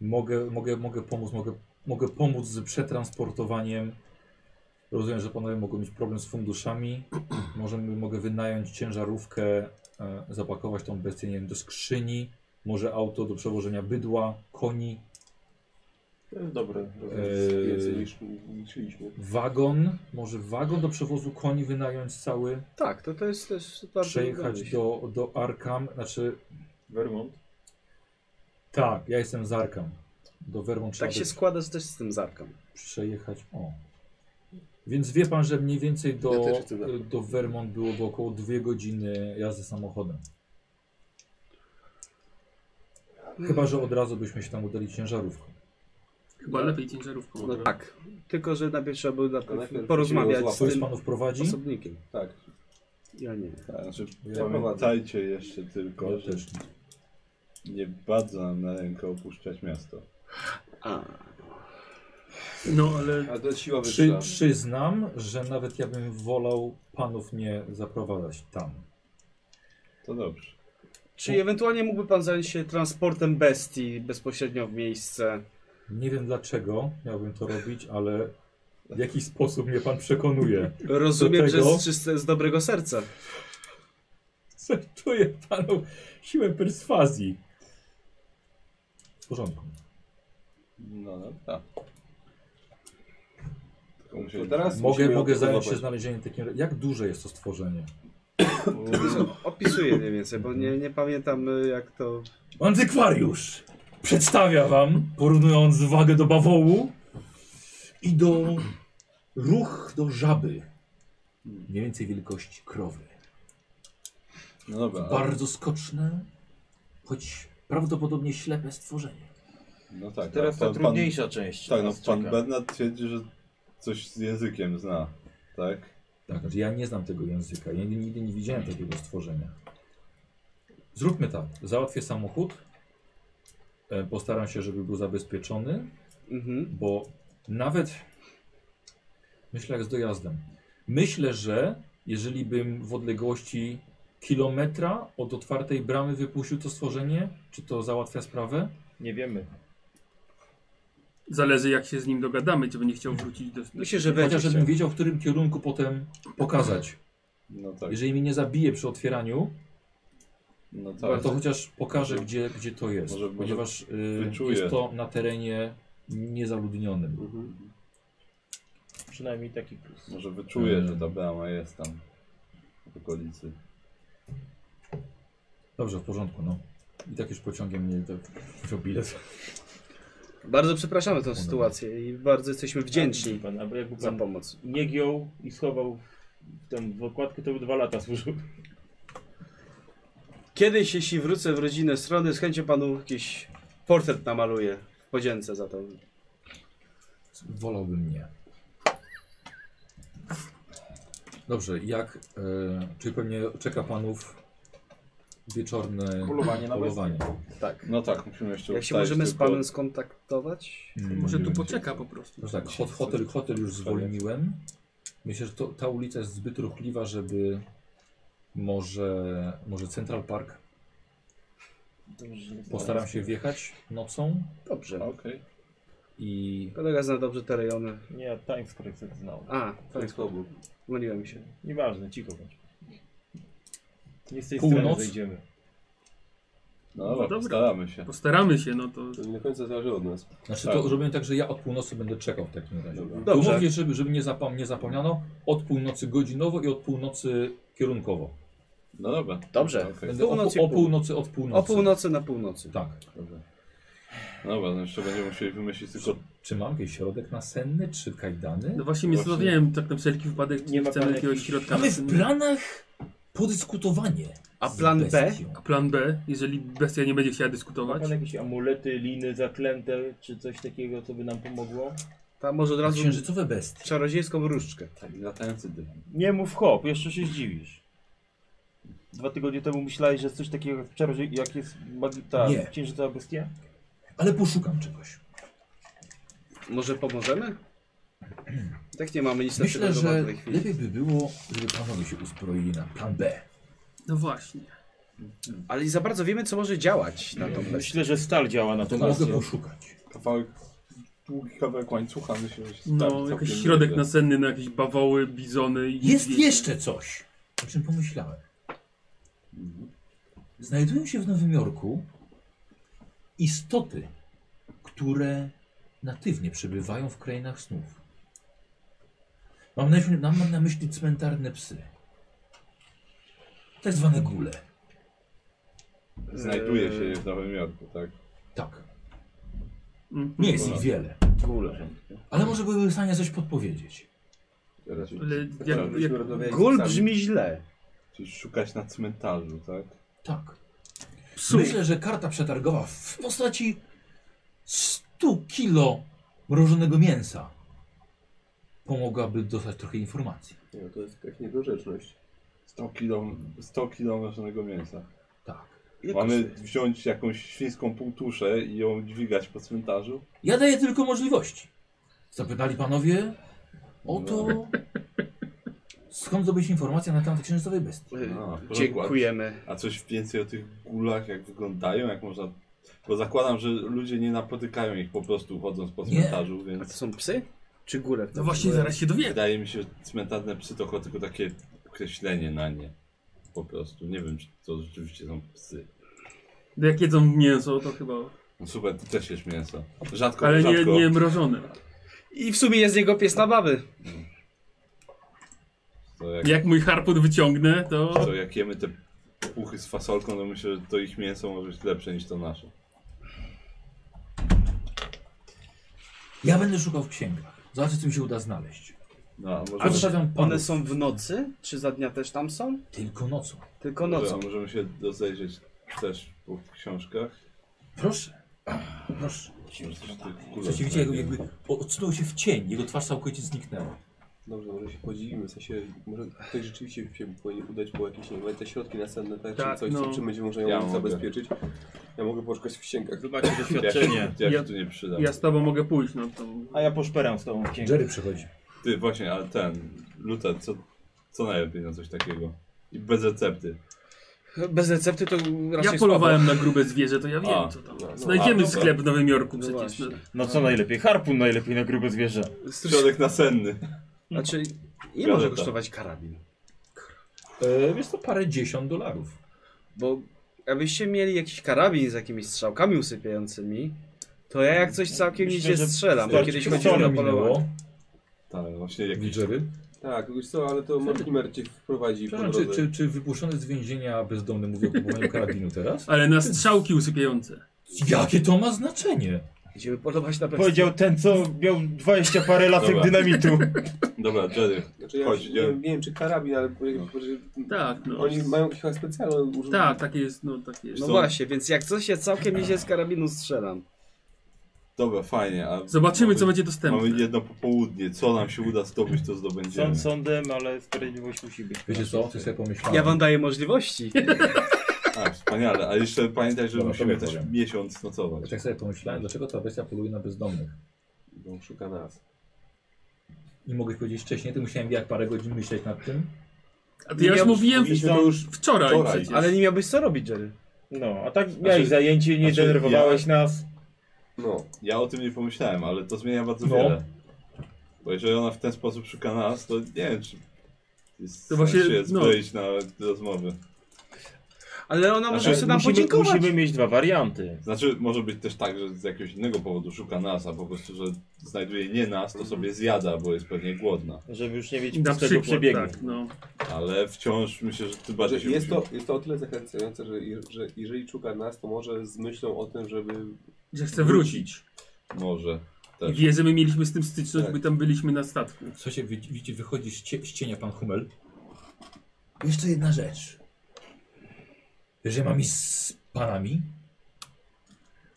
Speaker 3: Mogę, mogę, mogę pomóc, mogę, mogę pomóc z przetransportowaniem. Rozumiem, że panowie mogą mieć problem z funduszami. Może m- mogę wynająć ciężarówkę, e, zapakować tą bestię nie wiem, do skrzyni, może auto do przewożenia bydła, koni,
Speaker 7: To jest dobre.
Speaker 3: Eee.
Speaker 1: Więcej niż liczyliśmy.
Speaker 3: wagon. Może wagon do przewozu koni wynająć cały,
Speaker 5: Tak, to, to jest też bardzo
Speaker 3: przejechać do, do Arkham, znaczy
Speaker 4: Vermont.
Speaker 3: Tak, ja jestem z Arkam. Do Vermont trzeba
Speaker 5: Tak się
Speaker 3: by
Speaker 5: składa że też z tym zarkiem.
Speaker 3: przejechać. O. Więc wie pan, że mniej więcej do,
Speaker 1: Ja też chcę do Arkham.
Speaker 3: do Vermont byłoby około dwie godziny jazdy samochodem. Chyba, że od razu byśmy się tam udali ciężarówką.
Speaker 6: Chyba
Speaker 9: Tak.
Speaker 6: lepiej ciężarówką.
Speaker 5: No tak. Tylko, że najpierw trzeba było najpierw
Speaker 1: najpierw
Speaker 5: porozmawiać
Speaker 1: musimy
Speaker 5: z
Speaker 3: Kto z
Speaker 5: tym
Speaker 3: panów prowadzi?
Speaker 5: osobnikiem.
Speaker 1: Tak.
Speaker 5: Ja nie.
Speaker 2: Tak, Znaczy,
Speaker 3: Ja
Speaker 2: pamiętajcie jeszcze tylko,
Speaker 3: Ja
Speaker 2: że
Speaker 3: też.
Speaker 2: nie bardzo nam na rękę opuszczać miasto.
Speaker 5: A,
Speaker 6: No ale
Speaker 1: A to jest siła
Speaker 3: Przy,
Speaker 1: wyższa.
Speaker 3: przyznam, że nawet ja bym wolał panów nie zaprowadzać tam.
Speaker 2: To dobrze.
Speaker 5: Czy ewentualnie mógłby pan zająć się transportem bestii bezpośrednio w miejsce?
Speaker 3: Nie wiem dlaczego miałbym to robić, ale w jakiś sposób mnie pan przekonuje.
Speaker 5: Rozumiem, że
Speaker 3: tego-
Speaker 5: z, czyste, z dobrego serca.
Speaker 3: Sertuję panu siłę perswazji. W porządku.
Speaker 2: No dobra.
Speaker 1: To
Speaker 2: Tylko musieli...
Speaker 1: teraz
Speaker 3: Mogę,
Speaker 1: musimy
Speaker 3: mogę
Speaker 1: ją
Speaker 3: zająć się
Speaker 1: złapać.
Speaker 3: znalezieniem takim. Jak duże jest to stworzenie?
Speaker 5: Opisuję mniej więcej, bo nie, nie pamiętam y, jak to...
Speaker 3: Antykwariusz przedstawia wam, porównując wagę do bawołu i do ruch do żaby. Mniej więcej wielkości krowy.
Speaker 1: Tak.
Speaker 2: No dobra. ale-
Speaker 3: Bardzo skoczne, choć prawdopodobnie ślepe stworzenie.
Speaker 2: No tak.
Speaker 10: Teraz
Speaker 2: a
Speaker 10: ta
Speaker 2: pan- pan-
Speaker 10: trudniejsza część.
Speaker 2: Tak, no
Speaker 10: nas
Speaker 2: pan
Speaker 10: czeka.
Speaker 2: Bernard twierdzi, że coś z językiem zna, tak?
Speaker 3: Tak, znaczy ja nie znam tego języka. Ja nigdy nie widziałem takiego stworzenia. Zróbmy tak. Załatwię samochód. E, Postaram się, żeby był zabezpieczony,
Speaker 5: Mhm.
Speaker 3: bo nawet myślę jak z dojazdem. Myślę, że jeżeli bym w odległości kilometra od otwartej bramy wypuścił to stworzenie, czy to załatwia sprawę?
Speaker 4: Nie wiemy.
Speaker 6: Zależy jak się z nim dogadamy, czy będzie chciał wrócić do... do...
Speaker 5: Myślę, że będzie
Speaker 3: Chociaż
Speaker 5: chciał.
Speaker 3: żebym wiedział, w którym kierunku potem pokazać.
Speaker 2: No tak,
Speaker 3: Jeżeli mnie nie zabije przy otwieraniu,
Speaker 2: no tak.
Speaker 3: to chociaż pokażę, gdzie, gdzie to jest.
Speaker 2: Może- może
Speaker 3: ponieważ y,
Speaker 2: wyczuję. Mhm.
Speaker 3: jest to na terenie niezaludnionym.
Speaker 4: Przynajmniej taki plus.
Speaker 2: Może wyczuję, że ta brama jest tam w okolicy.
Speaker 3: Dobrze, w porządku, no. I tak już pociągiem mnie to wziął bilet.
Speaker 5: Bardzo przepraszamy tą sytuację i bardzo jesteśmy wdzięczni
Speaker 4: Pan, albo jakby
Speaker 5: za
Speaker 4: pan
Speaker 5: pomoc.
Speaker 4: nie giął i schował w, ten, w okładkę, to by dwa lata służył.
Speaker 5: Kiedyś, jeśli wrócę w rodzinę strony, z chęcią panu jakiś portret namaluję w podzięce za to.
Speaker 3: Wolałbym nie. Dobrze, jak. E, czyli pewnie czeka panów wieczorne
Speaker 10: Polowanie na
Speaker 3: polowanie.
Speaker 2: Tak. No tak, musimy jeszcze
Speaker 5: Jak się
Speaker 2: ustalić
Speaker 5: możemy z
Speaker 2: tylko-
Speaker 5: panem skontaktować?
Speaker 3: Mm,
Speaker 6: Może
Speaker 3: nie
Speaker 6: tu
Speaker 3: wiem,
Speaker 6: poczeka po prostu.
Speaker 3: No tak, hot, hotel, hotel już zwolniłem. Myślę, że to, ta ulica jest zbyt ruchliwa, żeby może, może Central Park. Postaram się wjechać nocą
Speaker 5: Dobrze.
Speaker 2: Okej.
Speaker 3: i
Speaker 5: Kolega zna dobrze te rejony.
Speaker 4: Nie, Times Square znał.
Speaker 5: A,
Speaker 2: To jest obóz.
Speaker 5: myliłem się.
Speaker 4: Nieważne, cicho bądź. Nie z tej
Speaker 3: Północ?
Speaker 4: strony zejdziemy.
Speaker 2: No,
Speaker 6: No
Speaker 2: dobra,
Speaker 6: dobra.
Speaker 2: staramy się.
Speaker 6: Postaramy się, no to...
Speaker 2: To nie do końca zależy od nas.
Speaker 3: Znaczy
Speaker 2: Tak.
Speaker 3: to robimy tak, że ja od północy będę czekał w takim razie.
Speaker 2: Dobra.
Speaker 5: Dobrze.
Speaker 3: Mówię, żeby, żeby nie, zapom nie zapomniano, od północy godzinowo i od północy kierunkowo.
Speaker 2: No dobra.
Speaker 5: Dobrze.
Speaker 2: Okej.
Speaker 3: Będę o,
Speaker 5: Północ i
Speaker 3: pół- o
Speaker 5: pół-
Speaker 3: północy od północy.
Speaker 5: O północy na północy.
Speaker 3: Tak.
Speaker 2: Dobra. Dobra, no jeszcze będziemy musieli wymyślić tylko...
Speaker 3: Czy mam jakiś środek nasenny, czy kajdany?
Speaker 6: No właśnie mnie
Speaker 2: Właśnie.
Speaker 6: zastanawiałem tak na wszelki wypadek, czy
Speaker 4: Nie
Speaker 6: nie
Speaker 4: ma
Speaker 6: chcemy
Speaker 4: pan
Speaker 6: jakiegoś
Speaker 4: jakichś-
Speaker 6: środka
Speaker 3: Mamy
Speaker 6: na
Speaker 3: w planach podyskutowanie.
Speaker 5: A
Speaker 3: z
Speaker 5: plan B?
Speaker 3: bestią.
Speaker 6: plan B, jeżeli bestia nie będzie chciała
Speaker 4: Ma
Speaker 6: dyskutować.
Speaker 4: pan jakieś amulety, liny zaklęte, czy coś takiego, co by nam pomogło?
Speaker 5: Tam może od razu
Speaker 3: Księżycowe bestie.
Speaker 5: czarodziejską różdżkę.
Speaker 2: Tak, latający dywan.
Speaker 4: Nie mów hop, jeszcze się zdziwisz. Dwa tygodnie temu myślałeś, że jest coś takiego jak czarodziej, jak jest magita
Speaker 3: Nie.
Speaker 4: księżyca bestia?
Speaker 3: Ale poszukam czegoś.
Speaker 5: Może pomożemy? Tak nie mamy nic na
Speaker 3: Myślę,
Speaker 5: tyle
Speaker 3: że
Speaker 5: do tej chwili.
Speaker 3: lepiej by było, żeby panowie się uzbroili na plan B.
Speaker 6: No właśnie.
Speaker 5: Ale i za bardzo wiemy, co może działać na tą bestii.
Speaker 4: Myślę, że stal działa na
Speaker 3: To
Speaker 4: to
Speaker 3: mogę poszukać.
Speaker 2: Kawałek, długi kawałek łańcucha, myślę, że się sprawdzi
Speaker 6: No,
Speaker 2: całkiem
Speaker 6: jakiś środek
Speaker 2: nieźle.
Speaker 6: nasenny na jakieś bawoły, bizony i...
Speaker 3: Jest
Speaker 6: niedźwiedzie.
Speaker 3: jeszcze coś, o czym pomyślałem. Znajdują się w Nowym Jorku istoty, które natywnie przebywają w krainach snów. Mam na, myśli- mam na myśli cmentarne psy. Tak zwane gule.
Speaker 2: Znajduje się w Nowym Jorku, tak?
Speaker 3: Tak.
Speaker 6: Mhm.
Speaker 3: Nie jest ich wiele. Ale może byłyby w stanie coś podpowiedzieć.
Speaker 2: Teraz tak
Speaker 6: Ale jak, jak,
Speaker 1: Byśmy rozmawiali
Speaker 5: Gól
Speaker 1: z psami.
Speaker 5: brzmi źle.
Speaker 2: czyli szukać na cmentarzu, tak?
Speaker 3: Tak.
Speaker 6: Psów.
Speaker 3: Myślę, że karta przetargowa w postaci 100 kilo mrożonego mięsa pomogłaby dostać trochę informacji.
Speaker 1: Nie, no to jest jakaś niedorzeczność.
Speaker 2: 100 kilo, 100 kilo mrożonego mięsa.
Speaker 3: Tak.
Speaker 2: Mamy wziąć jakąś świńską półtuszę i ją dźwigać po cmentarzu?
Speaker 3: Ja daję tylko możliwości. Zapytali panowie o to, skąd zdobyć informację na temat księżycowej bestii.
Speaker 5: Y,
Speaker 2: A, porządku.
Speaker 5: Dziękujemy.
Speaker 2: A coś więcej o tych gulach, jak wyglądają, jak można... Bo zakładam, że ludzie nie napotykają ich po prostu chodząc po
Speaker 3: Nie.
Speaker 2: cmentarzu,
Speaker 5: A
Speaker 2: więc...
Speaker 5: to są psy? Czy góle?
Speaker 6: no właśnie, zaraz się dowiemy.
Speaker 2: Wydaje mi się, że cmentarne psy to chyba tylko takie określenie na nie. Po prostu. Nie wiem, czy to rzeczywiście są psy.
Speaker 6: No Jak jedzą mięso, to chyba...
Speaker 2: No super, ty też jesz mięso. Rzadko,
Speaker 6: Ale nie,
Speaker 2: rzadko.
Speaker 6: nie mrożone.
Speaker 5: I w sumie jest z niego pies na baby.
Speaker 2: To jak,
Speaker 6: Jak mój harpun wyciągnę, to...
Speaker 2: to jak jemy te puchy z fasolką, to myślę, że to ich mięso może być lepsze niż to nasze.
Speaker 3: Ja będę szukał w księgach. Zobaczę, co mi się uda znaleźć.
Speaker 2: No, a może...
Speaker 3: A zostawiam
Speaker 5: One
Speaker 3: panów
Speaker 5: są w nocy? Czy za dnia też tam są?
Speaker 3: tylko nocą.
Speaker 5: Tylko
Speaker 2: Dobrze,
Speaker 5: nocą.
Speaker 2: a możemy się rozejrzeć też po książkach.
Speaker 3: Proszę. Proszę.
Speaker 2: Może coś tych kulek
Speaker 3: Przeciwnie, jakby,
Speaker 2: znajdziemy.
Speaker 3: jakby odsunął się w cień. Jego twarz całkowicie zniknęła.
Speaker 1: Dobrze, może się podzielimy, w sensie może ktoś rzeczywiście się powinien udać po jakieś nie wiem, te środki następne, tak,
Speaker 6: Tak,
Speaker 1: czy coś,
Speaker 6: no.
Speaker 1: co, czym będzie można ją
Speaker 2: Ja mogę.
Speaker 1: zabezpieczyć. Ja mogę poszukać w księgach.
Speaker 4: Zobaczcie doświadczenie.
Speaker 2: Ja się
Speaker 6: Ja-
Speaker 2: tu Znaczy, nie przydam.
Speaker 6: Ja z tobą mogę pójść, no to...
Speaker 4: A ja poszperam z tą księgą.
Speaker 3: Jerry przychodzi.
Speaker 2: Ty właśnie, ale ten, Luther, co, co najlepiej na coś takiego? I bez recepty.
Speaker 5: Bez recepty to raczej
Speaker 6: Ja polowałem na grube zwierzę, to ja wiem
Speaker 2: A,
Speaker 6: co tam.
Speaker 2: no, no,
Speaker 6: Znajdziemy
Speaker 2: a, dobra.
Speaker 6: sklep w Nowym Jorku
Speaker 5: No
Speaker 6: przecież. No
Speaker 5: właśnie.
Speaker 4: No co najlepiej? Harpun najlepiej na grube zwierzę.
Speaker 2: Środek nasenny.
Speaker 6: no.
Speaker 5: Słabo. Znaczy, nie
Speaker 2: Biorę
Speaker 5: może
Speaker 2: to.
Speaker 5: kosztować karabin.
Speaker 3: E, wiesz to parę dziesiąt dolarów.
Speaker 5: Bo jakbyście mieli jakiś karabin z jakimiś strzałkami usypiającymi, to ja jak coś całkiem
Speaker 4: Myślę,
Speaker 5: nieźle
Speaker 4: że
Speaker 5: strzelam, bo
Speaker 4: starczy-
Speaker 5: kiedyś
Speaker 4: starczy-
Speaker 5: chodziłem
Speaker 4: starczy-
Speaker 5: na polowanie.
Speaker 3: Minęło.
Speaker 2: Tak, właśnie jakiś...
Speaker 3: Jerry.
Speaker 1: Tak, wiesz co, ale to
Speaker 6: Znaczy-
Speaker 1: Mortimer cię wprowadzi po
Speaker 3: Przepraszam, czy,
Speaker 1: drodze.
Speaker 3: czy, czy wypuszczony z więzienia bezdomny mówi o kupowaniu karabinu teraz?
Speaker 6: Ale na strzałki usypiające.
Speaker 3: Jakie to ma znaczenie?
Speaker 5: Będziemy polować na bestię.
Speaker 4: Powiedział ten, co miał 20 parę latek
Speaker 2: Dobra.
Speaker 4: dynamitu.
Speaker 2: Dobra, Jerry,
Speaker 1: Znaczy, ja
Speaker 2: chodź,
Speaker 1: nie,
Speaker 2: idziemy.
Speaker 1: wiem, nie wiem czy karabin, ale no.
Speaker 6: Tak, no.
Speaker 1: oni mają chyba specjalne używanie.
Speaker 6: Tak, takie jest, no takie jest.
Speaker 5: No
Speaker 2: co?
Speaker 5: właśnie, więc jak coś ja całkiem nieźle z karabinu strzelam.
Speaker 2: Dobra, fajnie. A
Speaker 6: Zobaczymy
Speaker 2: mamy,
Speaker 6: co będzie
Speaker 2: Mamy
Speaker 6: dostępne.
Speaker 2: jedno popołudnie. Co nam się uda zdobyć, to zdobędziemy.
Speaker 4: Sąd sądem, ale sprawiedliwość musi być.
Speaker 3: Wiecie co, ty sobie
Speaker 4: Tak.
Speaker 3: pomyślałem.
Speaker 5: Ja wam daję możliwości.
Speaker 2: A, wspaniale. A jeszcze pamiętaj, że
Speaker 3: Dobra,
Speaker 2: musimy
Speaker 3: tobie
Speaker 2: też
Speaker 3: powiem.
Speaker 2: miesiąc nocować.
Speaker 3: Ja tak sobie pomyślałem, dlaczego ta bestia poluje na bezdomnych.
Speaker 1: Bo szuka nas.
Speaker 3: I mogłeś powiedzieć wcześniej, ty musiałem jak parę godzin myśleć nad tym.
Speaker 6: A ty ja już mówiłem
Speaker 1: Mówiliśmy to już
Speaker 6: wczoraj,
Speaker 2: wczoraj.
Speaker 6: przecież.
Speaker 5: Ale nie miałbyś co robić, Jerry.
Speaker 4: No, a tak miałeś
Speaker 2: Znaczy-
Speaker 4: zajęcie, nie
Speaker 2: znaczy
Speaker 4: denerwowałeś nas.
Speaker 1: No.
Speaker 2: Ja o tym nie pomyślałem, ale to zmienia bardzo
Speaker 3: No.
Speaker 2: wiele. Bo jeżeli ona w ten sposób szuka nas, to nie wiem, czy jest
Speaker 6: To
Speaker 2: to
Speaker 6: właśnie,
Speaker 2: właśnie, jest
Speaker 6: no.
Speaker 2: wejść na rozmowy.
Speaker 5: Ale ona może
Speaker 2: Znaczy,
Speaker 5: jeszcze nam
Speaker 4: musimy,
Speaker 5: podziękować.
Speaker 4: musimy mieć dwa warianty.
Speaker 2: Znaczy, może być też tak, że z jakiegoś innego powodu szuka nas, a po prostu, że znajduje nie nas, to sobie zjada, bo jest pewnie głodna.
Speaker 4: Żeby już nie mieć
Speaker 6: Na
Speaker 4: pustego
Speaker 6: przykład,
Speaker 4: przebiegu.
Speaker 6: tak, no.
Speaker 2: Ale wciąż myślę, że ty bardziej
Speaker 1: Że
Speaker 2: się
Speaker 1: jest, to,
Speaker 2: musimy-
Speaker 1: jest to o tyle zachęcające, że, je- że jeżeli szuka nas, to może z myślą o tym, żeby
Speaker 6: Że chcę wrócić.
Speaker 2: Może.
Speaker 6: I
Speaker 2: Też.
Speaker 6: wie, że my mieliśmy z tym styczność,
Speaker 1: Tak.
Speaker 6: bo tam byliśmy na statku.
Speaker 3: Słuchajcie, wi- widzicie, wychodzi z, cie, z cienia pan Hummel. Jeszcze jedna rzecz. Jeżeli mam iść z panami,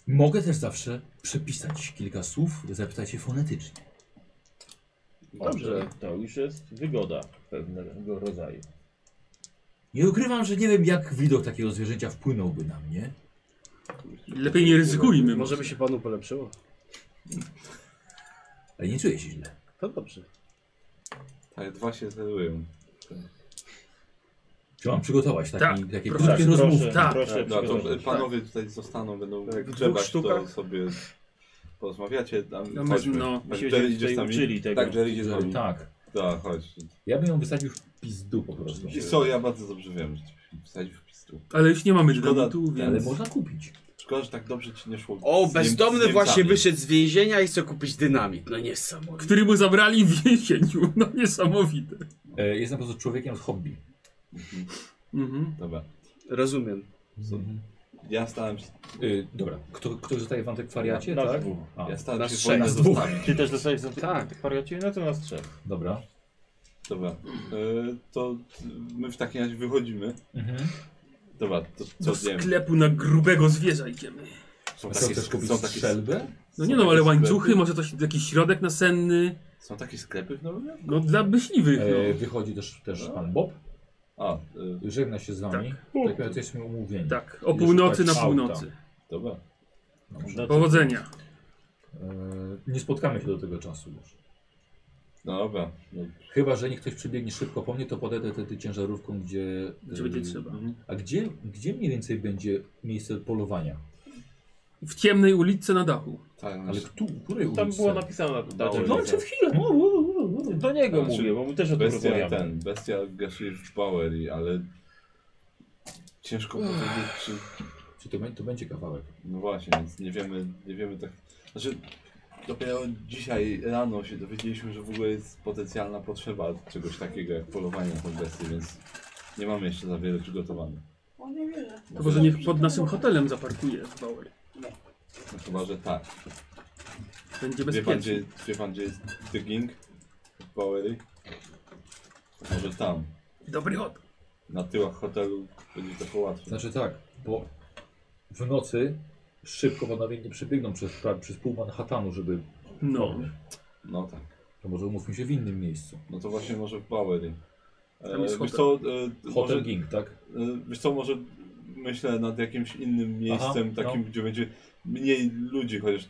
Speaker 3: mogę też zawsze przepisać kilka słów, zapytać się fonetycznie.
Speaker 4: Dobrze, to już jest wygoda pewnego rodzaju.
Speaker 3: Nie ukrywam, że nie wiem, jak widok takiego zwierzęcia wpłynąłby na mnie.
Speaker 6: Lepiej nie ryzykujmy.
Speaker 5: Może by się panu polepszyło.
Speaker 3: Ale nie czuję się źle.
Speaker 5: To dobrze.
Speaker 2: Tak, dwa się zerują.
Speaker 3: Czy mam przygotować taki,
Speaker 6: Tak,
Speaker 3: takie
Speaker 6: proszę,
Speaker 3: krótkie
Speaker 4: proszę,
Speaker 3: rozmówki?
Speaker 6: tak.
Speaker 4: proszę
Speaker 2: No, to
Speaker 4: przygotować.
Speaker 2: panowie tutaj zostaną, będą
Speaker 1: Tak, w
Speaker 2: grzebać,
Speaker 5: dwóch
Speaker 2: to
Speaker 5: sztukach.
Speaker 2: sobie porozmawiacie. Tam,
Speaker 6: No,
Speaker 2: chodźmy. Tak,
Speaker 6: no,
Speaker 4: Myśmy
Speaker 2: Jerry,
Speaker 4: się tutaj uczyli tego.
Speaker 1: tak, że idzie z nami.
Speaker 3: Tak.
Speaker 2: Tak, chodź.
Speaker 3: Ja bym ją wysadził w pizdu po prostu.
Speaker 2: I co, ja bardzo dobrze wiem, że ci się wsadzi w pistu.
Speaker 6: Ale już nie mamy
Speaker 2: Szkoda,
Speaker 6: dynamitu, więc...
Speaker 3: Ale można kupić.
Speaker 2: Szkoda, że tak dobrze ci nie szło.
Speaker 5: O,
Speaker 2: z Niem- z
Speaker 5: bezdomny
Speaker 2: Niemcami.
Speaker 5: właśnie wyszedł z więzienia i chce kupić dynamit. No niesamowite.
Speaker 6: Który mu zabrali w więzieniu. No niesamowite.
Speaker 3: E, Jestem po prostu człowiekiem z hobby.
Speaker 6: Mhm.
Speaker 2: Dobra,
Speaker 5: Rozumiem.
Speaker 2: ja stałem się,
Speaker 3: Y, dobra, kto, ktoś zostaje w antykwariacie,
Speaker 4: Nas
Speaker 3: tak?
Speaker 4: dwóch.
Speaker 3: A,
Speaker 2: ja stałem
Speaker 5: nas
Speaker 2: się
Speaker 5: trzech,
Speaker 2: wolny
Speaker 5: nas
Speaker 2: zostawić.
Speaker 4: Ty też dostajesz za
Speaker 5: Tak.
Speaker 4: wariacie? No to nas trzech.
Speaker 3: dobra.
Speaker 2: Dobra, e, to my w takim razie wychodzimy. Dobra, to
Speaker 6: Do
Speaker 2: co zjemy?
Speaker 6: sklepu na grubego zwierza idziemy.
Speaker 2: Są
Speaker 3: A co, chcesz kupić
Speaker 2: są takie,
Speaker 3: strzelbę?
Speaker 6: No
Speaker 2: są
Speaker 6: nie no,
Speaker 2: takie
Speaker 6: ale
Speaker 2: sklepy-
Speaker 6: łańcuchy, może coś, jakiś środek nasenny.
Speaker 2: Są takie sklepy w Nowym Jorku?
Speaker 6: No dla myśliwych,
Speaker 2: Mhm.
Speaker 3: E,
Speaker 6: no.
Speaker 3: wychodzi też, też
Speaker 2: No.
Speaker 3: pan Bob.
Speaker 2: A, e,
Speaker 3: Żegna się z wami. Tak, jak jesteśmy umówieni.
Speaker 6: Tak, o północy na północy.
Speaker 2: dobra.
Speaker 3: Dobrze.
Speaker 4: No to-
Speaker 6: Powodzenia.
Speaker 3: E, nie spotkamy się do tego czasu już.
Speaker 2: No dobra. No,
Speaker 3: Chyba, że niech ktoś przybiegnie szybko po mnie, to podejdę wtedy ciężarówką, gdzie...
Speaker 6: Gdzie
Speaker 3: e,
Speaker 2: Mhm.
Speaker 6: będzie trzeba.
Speaker 3: A gdzie, gdzie mniej więcej będzie miejsce polowania?
Speaker 6: W ciemnej ulicy na dachu.
Speaker 2: tak,
Speaker 3: Ale
Speaker 2: znaczy,
Speaker 3: tu, której ulicy?
Speaker 4: Tam było napisane ta
Speaker 2: Mało
Speaker 3: No
Speaker 4: no,
Speaker 3: przed chwilą. u, u, u, u.
Speaker 4: Do niego
Speaker 2: Znaczy,
Speaker 4: mówię, bo mu też o tym
Speaker 2: bestia
Speaker 4: rozmawiamy.
Speaker 2: ten, bestia Gershwin Bowery, ale ciężko powiedzieć, czy...
Speaker 3: Czy to, będzie- to będzie kawałek?
Speaker 2: No właśnie, więc nie wiemy, nie wiemy tak... Znaczy, dopiero dzisiaj rano się dowiedzieliśmy, że w ogóle jest potencjalna potrzeba czegoś takiego jak polowanie na tę bestię, więc nie mamy jeszcze za wiele przygotowane.
Speaker 6: To może niech pod naszym hotelem zaparkuje w Bauer.
Speaker 2: No, chyba, że tak.
Speaker 6: Będzie
Speaker 2: Wie pan, gdzie,
Speaker 6: bezpiecznie.
Speaker 2: wie pan, gdzie jest digging w Bowery? Może tam.
Speaker 6: Dobry hot.
Speaker 2: Na tyłach hotelu będzie trochę łatwiej.
Speaker 3: Znaczy tak, bo w nocy szybko panowie nie przebiegną przez, pra- przez pół Manhattanu, żeby...
Speaker 6: No.
Speaker 2: No tak.
Speaker 3: To może umówmy się w innym miejscu.
Speaker 2: No to właśnie może w Bowery.
Speaker 1: Tam jest
Speaker 2: E, wiesz
Speaker 1: hotel.
Speaker 2: co, e,
Speaker 3: Hotel
Speaker 2: może,
Speaker 3: Ging, tak?
Speaker 2: e, wiesz co, może myślę nad jakimś innym miejscem,
Speaker 3: no.
Speaker 2: takim, gdzie będzie mniej ludzi, chociaż...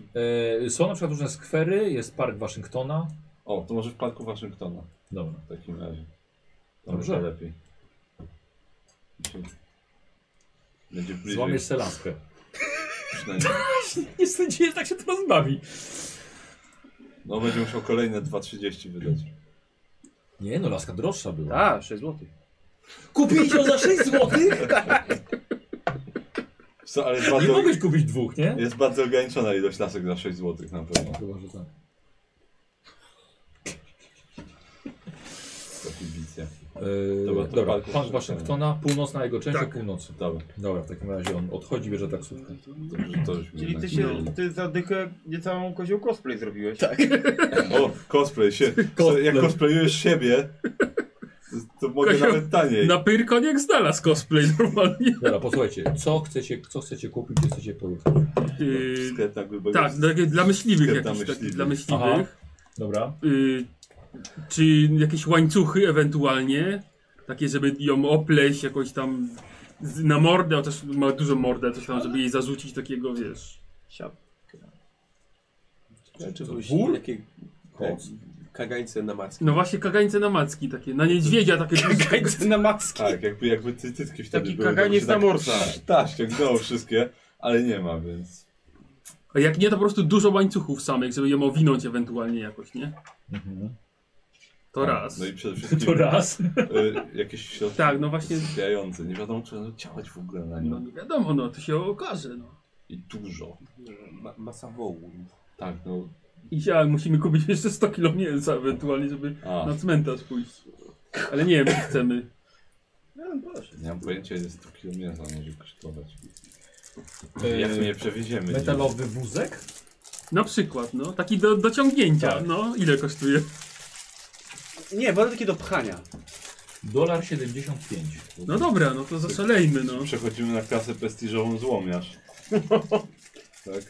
Speaker 3: E, są na przykład różne skwery, jest Park Waszyngtona.
Speaker 2: O, to może w Parku Waszyngtona
Speaker 3: Dobra.
Speaker 2: w takim razie. To
Speaker 3: Dobrze.
Speaker 2: Będzie lepiej. Będzie bliżej
Speaker 3: Złamiesz selaskę.
Speaker 2: przynajmniej.
Speaker 3: Nie sądziłem, że tak się to rozbawi.
Speaker 2: No będzie musiał kolejne 2,30 wydać.
Speaker 3: Nie no, laska droższa była.
Speaker 5: A, 6 zł.
Speaker 3: Kupiliście ją za 6 zł?
Speaker 2: Wiesz Co, ale jest
Speaker 3: Nie
Speaker 2: bardzo,
Speaker 3: mogłeś kupić dwóch, nie?
Speaker 2: jest bardzo ograniczona ilość lasek za 6 zł na pewno.
Speaker 3: Chyba, że tak.
Speaker 2: To kibice.
Speaker 3: E,
Speaker 2: Dobra,
Speaker 3: dobra,
Speaker 2: to
Speaker 3: dobra.
Speaker 2: Park
Speaker 3: Park Waszyngtona, północna jego część
Speaker 6: Tak.
Speaker 3: o północy.
Speaker 2: Dobra,
Speaker 3: Dobra, w takim razie on odchodzi, bierze taksówkę.
Speaker 2: dobrze, że to już mi
Speaker 4: Czyli ty
Speaker 2: jednak
Speaker 4: się,
Speaker 2: nie-
Speaker 4: ty za dychę niecałą kozioł cosplay zrobiłeś.
Speaker 6: Tak.
Speaker 2: O, cosplay się.
Speaker 3: Cosplay.
Speaker 2: Jak cosplayujesz siebie, to, to mogę
Speaker 6: Kozioł-
Speaker 2: nawet taniej.
Speaker 6: Na pyrkoniek znalazł cosplay normalnie.
Speaker 3: Dobra, posłuchajcie, co chcecie, co chcecie kupić, gdzie chcecie pojechać?
Speaker 6: Yy,
Speaker 2: Sklep na grubego.
Speaker 6: tak, dla, dla myśliwych
Speaker 2: Sklep dla
Speaker 6: jakiś taki,
Speaker 2: myśliwych.
Speaker 6: dla
Speaker 3: Aha.
Speaker 6: myśliwych.
Speaker 3: Dobra.
Speaker 6: Y, czy jakieś łańcuchy ewentualnie, takie żeby ją opleść jakoś tam z- na mordę, chociaż ma dużo mordę, coś tam, żeby jej zarzucić takiego, wiesz.
Speaker 1: Rzeczy
Speaker 3: to
Speaker 1: były
Speaker 3: wór?
Speaker 1: takie tak, kagańce na macki.
Speaker 6: No właśnie kagańce na macki takie, na niedźwiedzia takie duże.
Speaker 5: Na maski.
Speaker 2: Tak, jakby, jakby ty tytki wtedy
Speaker 4: Taki
Speaker 2: były. to by
Speaker 4: kaganiec
Speaker 2: się
Speaker 4: na morsa.
Speaker 2: Tak, ściągnęło wszystkie, ale nie ma, więc...
Speaker 6: A jak nie, to po prostu dużo łańcuchów samych, żeby ją owinąć ewentualnie jakoś, nie?
Speaker 3: Mhm.
Speaker 6: To
Speaker 3: Tak,
Speaker 6: raz.
Speaker 2: No i przede wszystkim
Speaker 3: To raz.
Speaker 2: y, jakieś środki
Speaker 6: Tak, no właśnie,
Speaker 2: skupiające. Nie wiadomo, czy będą działać w ogóle na
Speaker 6: no
Speaker 2: nią.
Speaker 6: nie wiadomo, no to się okaże, no.
Speaker 2: I dużo.
Speaker 1: Ma, masa wołów.
Speaker 2: Tak, no...
Speaker 6: I się, ale musimy kupić jeszcze 100 kilo mięsa ewentualnie, żeby
Speaker 3: Tak.
Speaker 2: A,
Speaker 6: na cmentarz pójść. Ale nie wiem, czy chcemy.
Speaker 2: nie mam pojęcia, ile 100 kilo mięsa może kosztować.
Speaker 3: E,
Speaker 2: Jak my je przewieziemy? nie?
Speaker 3: Yy, Metalowy wózek?
Speaker 6: Na przykład, no, taki do, do ciągnięcia,
Speaker 3: Tak.
Speaker 6: no, ile kosztuje?
Speaker 5: Nie, wolę takie do pchania.
Speaker 3: Dolar 75.
Speaker 6: No dobra, no to zaszalejmy, no.
Speaker 2: Przechodzimy na klasę prestiżową złomiarz. tak?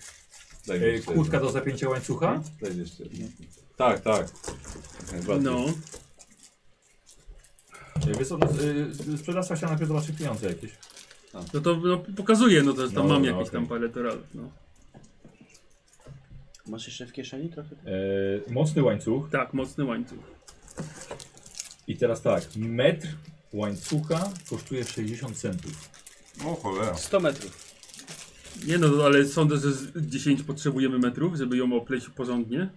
Speaker 2: Daj mi
Speaker 3: E,
Speaker 2: jeszcze
Speaker 3: Kurtka
Speaker 2: jedno.
Speaker 3: do zapięcia łańcucha?
Speaker 2: Daj jeszcze jedno. Tak, tak. Najbardziej.
Speaker 6: No,
Speaker 3: E, Wiesz co, no, e, sprzedawca chciał najpierw zobaczyć pieniądze jakieś.
Speaker 6: no to no, pokazuję, no to że tam
Speaker 3: No,
Speaker 6: mam
Speaker 3: no,
Speaker 6: jakieś
Speaker 3: okej.
Speaker 6: tam parę dolarów, no.
Speaker 5: Masz jeszcze w kieszeni trochę?
Speaker 3: E, mocny łańcuch.
Speaker 6: Tak, mocny łańcuch.
Speaker 3: I teraz tak, metr łańcucha kosztuje 60 centów.
Speaker 2: O cholera.
Speaker 5: 100 metrów.
Speaker 6: Nie no, ale sądzę, że z 10 potrzebujemy metrów, żeby ją opleść porządnie.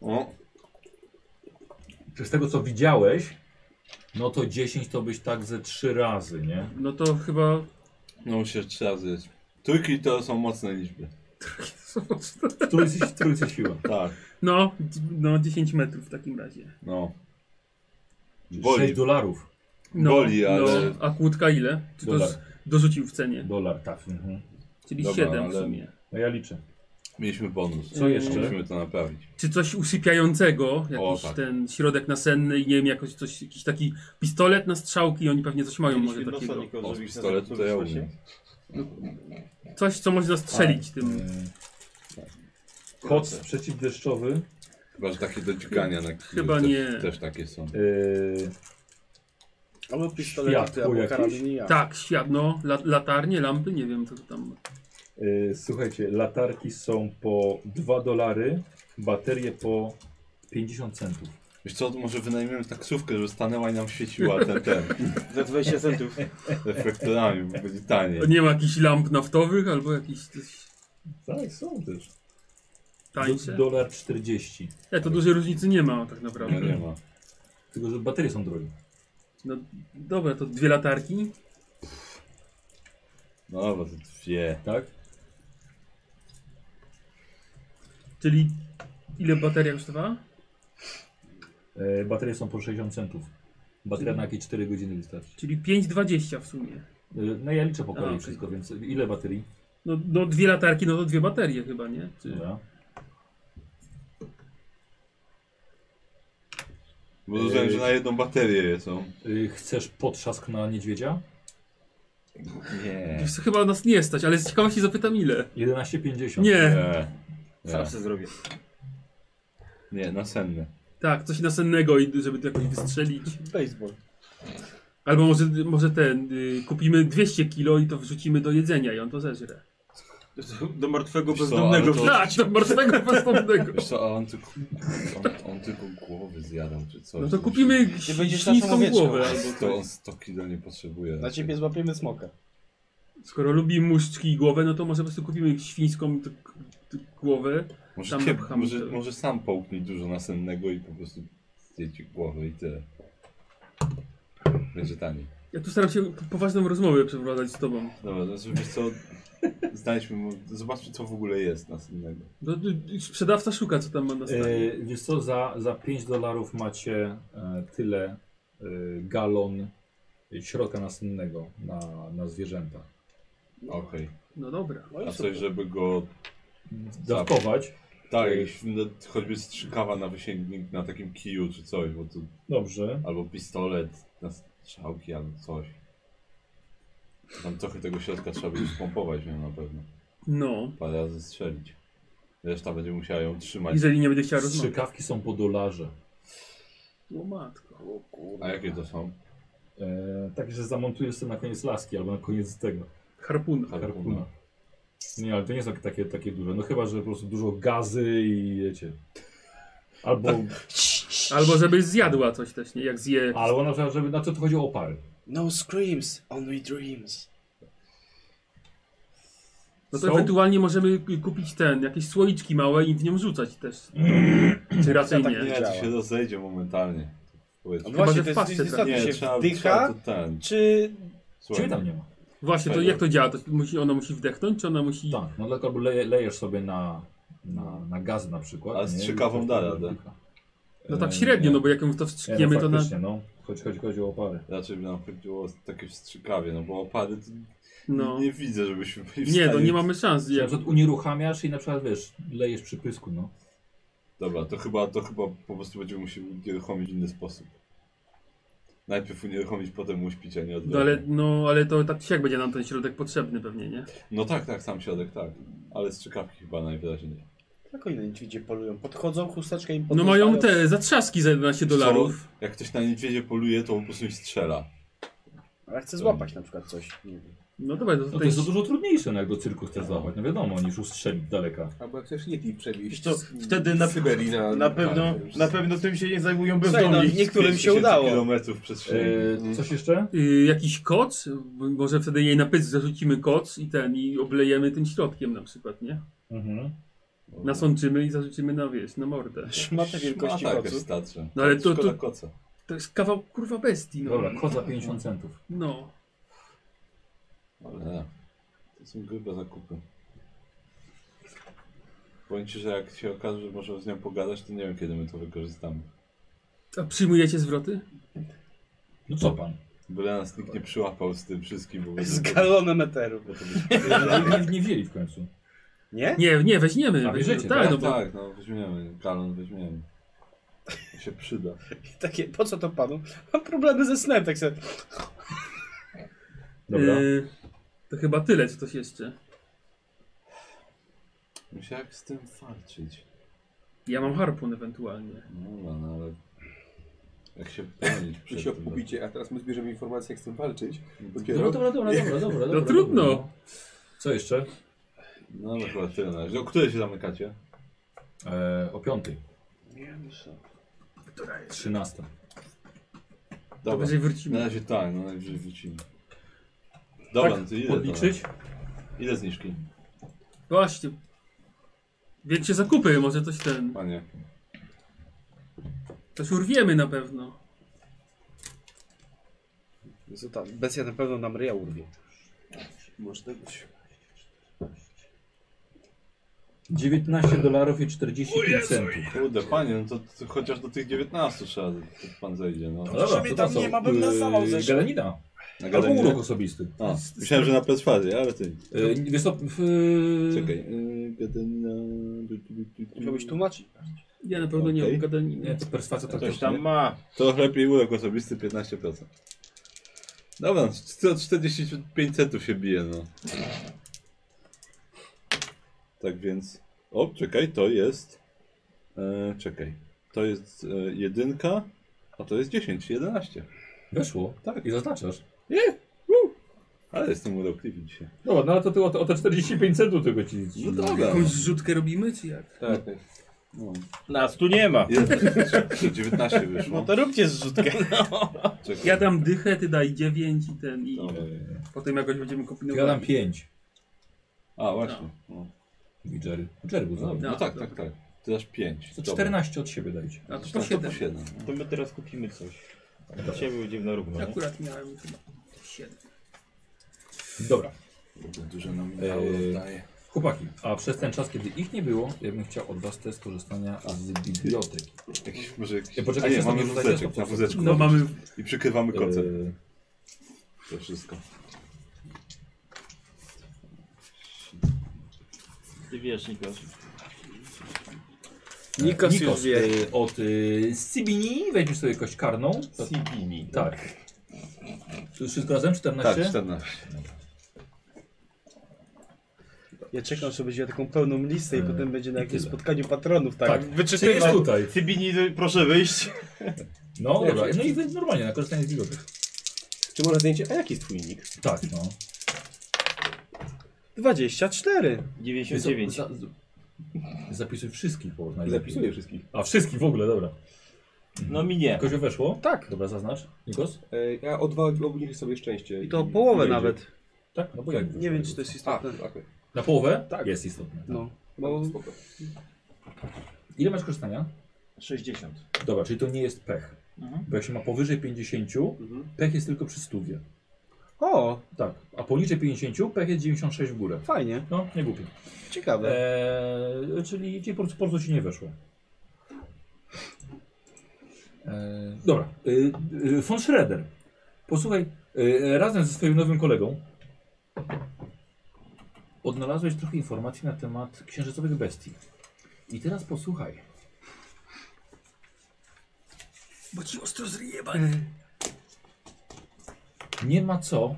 Speaker 2: O,
Speaker 3: Czy z tego co widziałeś, no to 10 to byś tak ze 3 razy, nie?
Speaker 6: No to chyba...
Speaker 2: no musisz trzy razy jeść. Trójki to są mocne liczby.
Speaker 3: W trójce, w trójce siła.
Speaker 2: Tak,
Speaker 6: No, d- no 10 metrów w takim razie.
Speaker 2: no.
Speaker 3: 6
Speaker 2: Boli.
Speaker 3: dolarów.
Speaker 6: No,
Speaker 2: Boli, ale-
Speaker 6: no, a kłódka ile? Czy to
Speaker 3: Dolar.
Speaker 6: z, dorzucił w cenie?
Speaker 3: Dolar, tak. Mhm.
Speaker 6: Czyli
Speaker 2: Dobra,
Speaker 6: 7 w
Speaker 2: ale-
Speaker 6: sumie.
Speaker 3: No ja liczę.
Speaker 2: Mieliśmy bonus.
Speaker 3: Co jeszcze?
Speaker 2: Musimy to naprawić.
Speaker 6: Czy coś usypiającego,
Speaker 2: O,
Speaker 6: jakiś
Speaker 2: tak.
Speaker 6: ten środek nasenny i nie wiem, jakoś coś, jakiś taki pistolet na strzałki, oni pewnie coś mają może takiego.
Speaker 2: O, z pistoletu to ja umiem.
Speaker 6: Coś, co można strzelić
Speaker 2: Tak.
Speaker 6: tym.
Speaker 2: Mm.
Speaker 3: Koc przeciwdeszczowy.
Speaker 2: Chyba, że takie do dźgania na kiju
Speaker 6: Chyba
Speaker 2: też,
Speaker 6: nie.
Speaker 2: Też takie są.
Speaker 3: Yy,
Speaker 5: Albo pistolet,
Speaker 3: Światło
Speaker 5: albo
Speaker 3: jakieś?
Speaker 5: karabin i ja.
Speaker 6: Tak, świat, no, la, latarnie, lampy, nie wiem co to tam.
Speaker 3: yy, słuchajcie, latarki są po 2 dolary, baterie po 50 centów.
Speaker 2: Wiesz co, to może wynajmiemy taksówkę, żeby stanęła i nam świeciła ten, ten.
Speaker 4: Za 20 centów.
Speaker 2: Reflektorami, bo będzie taniej.
Speaker 6: Nie ma jakichś lamp naftowych albo jakichś coś
Speaker 3: Tak, są też.
Speaker 6: tańsze.
Speaker 3: Dolar 40.
Speaker 6: Nie, to dużej różnicy nie ma tak
Speaker 2: No nie
Speaker 6: naprawdę.
Speaker 2: ma.
Speaker 3: Tylko, że baterie są drogie.
Speaker 6: No dobra, to dwie latarki.
Speaker 2: No dobra, to dwie.
Speaker 3: Tak?
Speaker 6: Czyli ile bateria kosztowała?
Speaker 3: E, baterie są po 60 centów. Bateria na jakieś 4 godziny wystarczy.
Speaker 6: Czyli 5,20 w sumie.
Speaker 3: E, no ja liczę po
Speaker 6: A,
Speaker 3: kolei
Speaker 6: okej.
Speaker 3: wszystko, więc ile baterii?
Speaker 6: No, no dwie latarki, no to dwie baterie chyba, nie? Czy...
Speaker 3: Dobra.
Speaker 2: Bo rozumiem, że na jedną baterię no. są.
Speaker 3: E, chcesz potrzask na niedźwiedzia?
Speaker 2: Nie.
Speaker 6: Wiesz co, Chyba nas nie stać, ale z ciekawości zapytam ile.
Speaker 3: 11,50.
Speaker 6: Nie,
Speaker 2: Nie.
Speaker 4: Sam sobie zrobię.
Speaker 2: Nie, na senne.
Speaker 6: Tak, coś nasennego, i- żeby to jakoś wystrzelić.
Speaker 4: Baseball.
Speaker 6: Albo może, może ten, y, kupimy 200 kilo i to wrzucimy do jedzenia i on to zeżre.
Speaker 4: Do martwego
Speaker 2: Wiesz co,
Speaker 4: bezdomnego.
Speaker 2: ale to-
Speaker 6: Tak, do martwego postępnego.
Speaker 2: Wiesz co, a on tylko, on, on tylko głowy zjadał czy coś.
Speaker 6: No to kupimy
Speaker 10: Ty będziesz naszą
Speaker 6: śliską
Speaker 10: owieczką.
Speaker 2: no.
Speaker 6: głowę.
Speaker 2: To on 100 kilo nie potrzebuje.
Speaker 10: Na ciebie złapiemy smoka.
Speaker 6: Skoro lubi muszczki i głowę, no to może po prostu kupimy świńską t- t- głowę.
Speaker 2: Może,
Speaker 6: Sam
Speaker 2: cię,
Speaker 6: pcham
Speaker 2: może,
Speaker 6: to.
Speaker 2: może sam połknij dużo nasennego i po prostu zje ci głowę i tyle. Będzie taniej.
Speaker 6: Ja tu staram się poważną rozmowę przeprowadzać z tobą.
Speaker 2: Dobra, to znaczy wiesz co, znajdźmy, mu- zobaczmy co w ogóle jest nasennego.
Speaker 6: No, y, y, sprzedawca szuka, co tam ma na stanie.
Speaker 3: E, wiesz co, za, za 5 dolarów macie e, tyle e, galon e, środka nasennego na, na zwierzęta.
Speaker 2: Okej.
Speaker 6: No dobra.
Speaker 2: A coś, żeby go...
Speaker 3: Dawkować.
Speaker 2: Tak, jakiś, no, choćby strzykawa na wysięgnik, na takim kiju czy coś, bo tu,
Speaker 3: Dobrze.
Speaker 2: albo pistolet na strzałki albo coś. Tam trochę tego środka trzeba będzie spompować no, na pewno.
Speaker 6: No,
Speaker 2: Parę razy strzelić. Reszta będzie musiała ją trzymać.
Speaker 6: jeżeli nie będę chciała rozmawiać.
Speaker 3: Strzykawki są po dolarze.
Speaker 6: O matko.
Speaker 2: A jakie to są?
Speaker 3: E, tak, że zamontujesz sobie na koniec laski albo na koniec tego
Speaker 6: Harpuna.
Speaker 2: Mm.
Speaker 3: harpuna. Nie, ale to nie są takie, takie duże. No chyba, że po prostu dużo gazy i wiecie. Albo,
Speaker 6: Albo żebyś zjadła coś też, nie? Jak zje...
Speaker 3: albo na przykład, żeby, na co to chodzi o opary.
Speaker 10: No screams, only dreams.
Speaker 6: No to
Speaker 3: Są?
Speaker 6: ewentualnie możemy k- kupić ten, jakieś słoiczki małe i w nią rzucać też. Czy raczej
Speaker 10: tak
Speaker 6: nie.
Speaker 3: No
Speaker 2: Nie, to
Speaker 10: działa.
Speaker 2: się rozejdzie momentalnie. Powiedz-
Speaker 10: No
Speaker 6: Chyba,
Speaker 10: właśnie,
Speaker 6: że
Speaker 10: to
Speaker 6: w tak.
Speaker 10: jest,
Speaker 6: paczce
Speaker 10: jest
Speaker 6: trafi.
Speaker 10: istotne,
Speaker 2: Nie,
Speaker 10: się
Speaker 2: trzeba,
Speaker 10: wdycha,
Speaker 2: trzeba to ten.
Speaker 10: czy
Speaker 3: Ciebie
Speaker 2: Słuchaj,
Speaker 3: tam nie ma.
Speaker 6: Właśnie, to
Speaker 2: Fajnie.
Speaker 6: jak to działa? To musi, ona musi wdechnąć, czy ona musi...
Speaker 3: Tak, no dlatego leje, lejesz sobie na, na, na gaz na przykład.
Speaker 2: A z
Speaker 3: nie?
Speaker 2: strzykawą
Speaker 3: I to
Speaker 2: da
Speaker 3: wtedy
Speaker 2: radę.
Speaker 3: wybucha.
Speaker 6: No tak
Speaker 3: E,
Speaker 6: średnio,
Speaker 3: nie.
Speaker 6: no bo jak ją to
Speaker 3: Nie,
Speaker 6: wstrzykniemy, to na...
Speaker 3: faktycznie, no. Chodzi, chodzi, chodzi o opary.
Speaker 2: raczej by nam chodziło o takie wstrzykawie, no bo opady to
Speaker 6: No.
Speaker 2: nie widzę, żebyśmy byli w
Speaker 6: Nie, no
Speaker 2: stanie-
Speaker 6: nie mamy szans.
Speaker 3: Czyli na
Speaker 6: Ja...
Speaker 3: przykład unieruchamiasz i na przykład wiesz, lejesz przy pysku, no.
Speaker 2: Dobra, to chyba, to chyba po prostu będziemy musieli unieruchomić w inny sposób. Najpierw unieruchomić, potem uśpić, a nie
Speaker 6: No
Speaker 2: odwrotnie.
Speaker 6: ale, no ale to tak czy jak będzie nam ten środek potrzebny pewnie, nie?
Speaker 2: No tak, tak, sam środek, tak. Ale strzykawki chyba najwyraźniej.
Speaker 10: jak oni na niedźwiedzie polują? Podchodzą, chusteczkę im
Speaker 6: No mają te zatrzaski za 11 dolarów.
Speaker 2: Co? Jak ktoś na niedźwiedzie poluje, to po prostu ich strzela.
Speaker 10: Ale chcę złapać na przykład coś. Nie wiem.
Speaker 6: No dobra, to
Speaker 3: no to jest
Speaker 6: tutaj...
Speaker 3: to dużo trudniejsze, no, jak do cyrku chcesz złapać, no wiadomo, niż ustrzelić daleka. E,
Speaker 1: Albo jak chcesz Yeti
Speaker 4: Wiesz
Speaker 1: przewieźć
Speaker 4: co,
Speaker 1: z-
Speaker 4: wtedy
Speaker 1: z
Speaker 4: na-
Speaker 1: Syberii na...
Speaker 4: Na pewno,
Speaker 1: tak,
Speaker 4: na pewno tym się nie zajmują
Speaker 10: Słuchaj, no,
Speaker 4: bezdomni.
Speaker 10: niektórym się
Speaker 2: 5000
Speaker 10: udało. Yy,
Speaker 2: kilometrów przestrzeni.
Speaker 3: E, coś jeszcze?
Speaker 6: Y, jakiś koc? Bo- Może wtedy jej na pysk zarzucimy koc i ten, i oblejemy tym środkiem na przykład, nie?
Speaker 3: Mhm.
Speaker 6: Nasączymy i zarzucimy na, wiesz, na mordę.
Speaker 10: Szmatę wielkości
Speaker 2: Szmata
Speaker 10: kocu.
Speaker 2: jakaś starczy.
Speaker 6: No ale to-
Speaker 2: Szkoda
Speaker 6: to-
Speaker 2: koca.
Speaker 6: To jest kawał kurwa bestii, no.
Speaker 3: Dobra, kot za 50 centów.
Speaker 6: No.
Speaker 2: Ale to są grube zakupy. Powiem ci, że jak się okaże, że możemy z nią pogadać, to nie wiem kiedy my to wykorzystamy.
Speaker 6: A przyjmujecie zwroty?
Speaker 3: No co pan?
Speaker 2: Byle nas nikt nie przyłapał z tym wszystkim, bo
Speaker 5: Z
Speaker 2: będzie-
Speaker 5: galonem eteru.
Speaker 2: bo to będzie-
Speaker 6: No.
Speaker 3: Nie, nie, nie wzięli w końcu.
Speaker 5: Nie?
Speaker 6: Nie, nie, weźmiemy.
Speaker 3: A bierzecie,
Speaker 6: tak,
Speaker 2: Tak,
Speaker 6: no bo
Speaker 2: tak, no weźmiemy, galon weźmiemy. To się przyda.
Speaker 5: Takie, po co to panu? Mam problemy ze snem, tak sobie.
Speaker 3: Dobra.
Speaker 6: y, to chyba tyle, czy coś jeszcze.
Speaker 2: Myślę, jak z tym walczyć.
Speaker 6: Ja mam harpun ewentualnie.
Speaker 2: No, no, no ale... Jak się bronić
Speaker 1: Wy
Speaker 2: przed
Speaker 1: się
Speaker 2: tym? no.
Speaker 1: okupicie, a teraz my zbierzemy informacje, jak z tym walczyć.
Speaker 4: Mhm.
Speaker 3: Dobra,
Speaker 4: No
Speaker 1: Dopiero
Speaker 3: dobra, dobra, dobra, dobra, dobra.
Speaker 6: no trudno.
Speaker 3: dobra. Co jeszcze?
Speaker 2: No, no chyba tyle na razie. O której się zamykacie?
Speaker 3: E, o piątej. Trzynasta.
Speaker 6: To
Speaker 2: Dobra,
Speaker 6: wyżej
Speaker 2: na
Speaker 6: wrócimy.
Speaker 2: razie tak, no najwyżej wrócimy. Dobra,
Speaker 3: tak,
Speaker 2: no to ile to-
Speaker 3: podliczyć?
Speaker 2: Ile zniżki?
Speaker 6: Właśnie. Większe zakupy, może coś ten.
Speaker 2: Panie.
Speaker 6: Coś urwiemy na pewno.
Speaker 5: Co tam? Bestia na pewno nam ryja urwie.
Speaker 1: Może być.
Speaker 3: 19 dolarów i 45 centów.
Speaker 2: Kurde, panie, no to, to chociaż do tych 19 trzeba, to pan zejdzie, no.
Speaker 3: No dobra,
Speaker 10: mnie
Speaker 3: to
Speaker 10: tam
Speaker 3: co?
Speaker 10: nie ma, bym na samą
Speaker 3: Yy,
Speaker 10: zeszła.
Speaker 3: Galenina.
Speaker 2: Na
Speaker 3: Albo
Speaker 2: gadanie.
Speaker 3: urok osobisty.
Speaker 2: A, myślałem, że na Petwardzie, ale ty.
Speaker 3: Yy, Wiesz co, w, yy,
Speaker 2: Czekaj. y, Gadania... du, du, du, du, du.
Speaker 10: Musiałbyś tłumaczyć.
Speaker 6: Ja na pewno nie
Speaker 2: Okej.
Speaker 6: mam
Speaker 3: nie,
Speaker 6: gadaniny.
Speaker 3: to perswacja to
Speaker 4: Ktoś
Speaker 3: też
Speaker 4: tam ma.
Speaker 2: To lepiej urok osobisty 15%. Dobra, no, 45 centów się bije, no. Tak więc... O, czekaj, to jest... E, czekaj. To jest e, jedynka, a to jest 10, 11.
Speaker 3: Weszło? Tak. I zaznaczasz.
Speaker 2: Ale jestem urokliwy dzisiaj.
Speaker 3: No, no ale to ty o, te- o te 45 centów tylko ci... ci-
Speaker 2: No dobra.
Speaker 6: Jakąś zrzutkę robimy, czy jak?
Speaker 1: Tak, tak.
Speaker 4: Nas tu nie
Speaker 2: No,
Speaker 4: ma.
Speaker 2: Je- 19 wyszło.
Speaker 10: No to róbcie zrzutkę.
Speaker 2: Czekaj.
Speaker 6: Ja dam dychę, ty daj 9 i ten i
Speaker 2: Dobra.
Speaker 6: potem jakoś będziemy
Speaker 3: Ja dam
Speaker 6: kombinowali.
Speaker 3: 5.
Speaker 2: A, właśnie. No,
Speaker 3: I Jerry. Jerry był
Speaker 2: no,
Speaker 3: za.
Speaker 2: no tak, tak, tak. Ty dasz 5.
Speaker 3: To 14 od siebie dajcie.
Speaker 6: A to
Speaker 2: To
Speaker 6: po
Speaker 2: 7.
Speaker 6: 7.
Speaker 2: Po 7. No.
Speaker 4: To my teraz kupimy coś. Dzisiaj był dziwna równo. nie?
Speaker 6: Akurat miałem chyba 7.
Speaker 3: Dobra.
Speaker 2: Dużo nam mało
Speaker 3: Eee,
Speaker 2: daje.
Speaker 3: Chłopaki, a przez ten czas, kiedy ich nie było, ja bym chciał od was test korzystania z biblioteki.
Speaker 2: Jakiś, może jakiś...
Speaker 3: Ja poczekaj,
Speaker 2: A nie,
Speaker 3: jeszcze
Speaker 2: mamy
Speaker 3: sobie rzucę
Speaker 2: wózeczek,
Speaker 3: desktop.
Speaker 2: na wózeczku.
Speaker 6: No mamy
Speaker 2: I przykrywamy koce.
Speaker 3: Eee,
Speaker 2: To wszystko.
Speaker 4: Ty wiesz, Nikos.
Speaker 5: Nikos,
Speaker 3: Tak. Nikos,
Speaker 5: już wie.
Speaker 3: y, od y, Sibini, weźmiesz sobie kość karną. To,
Speaker 4: Sibini.
Speaker 3: tak. To wszystko razem? 14?
Speaker 2: Tak, 14.
Speaker 10: Ja czekam, że będzie taką pełną listę i
Speaker 3: Eee,
Speaker 10: potem będzie na
Speaker 3: i
Speaker 10: jakimś
Speaker 3: tyle.
Speaker 10: spotkaniu patronów, tak?
Speaker 3: Tak, Czy
Speaker 10: wyczytywał.
Speaker 3: jest tutaj.
Speaker 4: Sibini, proszę wyjść.
Speaker 3: No dobra, no i wy normalnie na korzystanie z bibliotek.
Speaker 10: Czy może zdjęcie? A jaki jest twój nick?
Speaker 3: Tak, no.
Speaker 10: 24.
Speaker 3: Wiesz co,
Speaker 4: 99.
Speaker 3: za- z- Zapisuj wszystkich, bo najlepiej.
Speaker 1: Zapisuję wszystkich.
Speaker 3: A wszystkich w ogóle, dobra.
Speaker 4: No mi nie.
Speaker 3: Kozio weszło?
Speaker 5: Tak.
Speaker 3: Dobra, zaznacz. Nikos?
Speaker 1: E, Ja o dwa obniżę sobie szczęście.
Speaker 5: I to o połowę nawet.
Speaker 3: Tak, no bo jak
Speaker 5: Nie wiem, czy to jest
Speaker 1: A,
Speaker 5: istotne.
Speaker 1: tak.
Speaker 3: Na połowę? Tak. Jest istotne. tak.
Speaker 5: No, bo
Speaker 1: No, spoko.
Speaker 3: Ile masz korzystania?
Speaker 4: 60.
Speaker 3: Dobra, czyli to nie jest pech.
Speaker 4: Mhm.
Speaker 3: Bo jak się ma powyżej 50,
Speaker 1: Mhm.
Speaker 3: pech jest tylko przy stówie.
Speaker 5: o,
Speaker 3: Tak. A poniżej 50, pech jest 96 w górę.
Speaker 5: fajnie,
Speaker 3: No, nie głupie. E-
Speaker 5: ciekawe.
Speaker 3: Eee, czyli ci po prostu, po prostu ci nie weszło. Eee, dobra. Eee, eee, von Schroeder. Posłuchaj, eee, razem ze swoim nowym kolegą odnalazłeś trochę informacji na temat księżycowych bestii. I teraz posłuchaj.
Speaker 6: Bo ci ostro zjebany.
Speaker 3: Nie ma co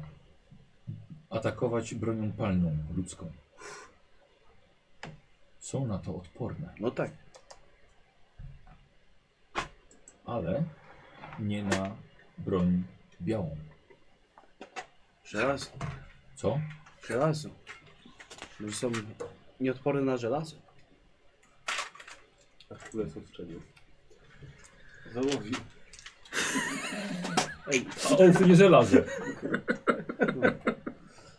Speaker 3: atakować bronią palną ludzką. Są na to odporne.
Speaker 5: No tak.
Speaker 3: ale nie na broń białą.
Speaker 5: Żelazo,
Speaker 3: Co?
Speaker 5: żelazo. Może są nieodporne na żelazo.
Speaker 1: A które są strzelił.
Speaker 4: Załowi.
Speaker 3: O, to nie żelazo.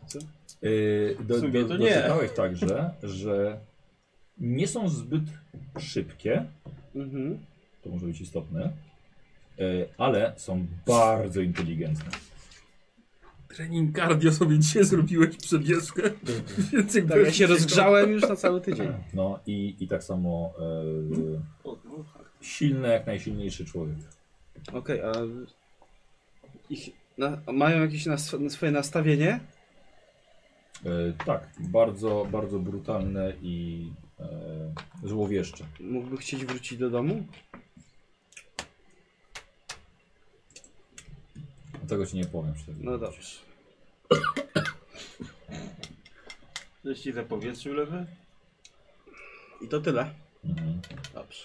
Speaker 5: Co?
Speaker 3: Yy, do,
Speaker 4: W sumie
Speaker 3: do,
Speaker 4: to
Speaker 3: to
Speaker 4: nie.
Speaker 3: doczytałeś także, że nie są zbyt szybkie,
Speaker 5: Mhm.
Speaker 3: to może być istotne, yy, ale są bardzo inteligentne.
Speaker 6: Trening cardio sobie dzisiaj zrobiłeś przedwieszkę. Więcej
Speaker 5: Tak, ja
Speaker 6: bez-
Speaker 5: się rozgrzałem już na cały tydzień.
Speaker 3: No i, i tak samo yy, silne jak najsilniejszy człowiek.
Speaker 5: Okej, a ich, na, a mają jakieś nas, swoje nastawienie?
Speaker 3: Yy, tak, bardzo, bardzo brutalne i yy, złowieszcze.
Speaker 5: Mógłby chcieć wrócić do domu?
Speaker 3: Tego ci nie powiem. szczerze.
Speaker 5: No dobrze.
Speaker 4: Coś ci zapowietrzył lewy?
Speaker 5: I to tyle.
Speaker 3: Mhm.
Speaker 5: Dobrze.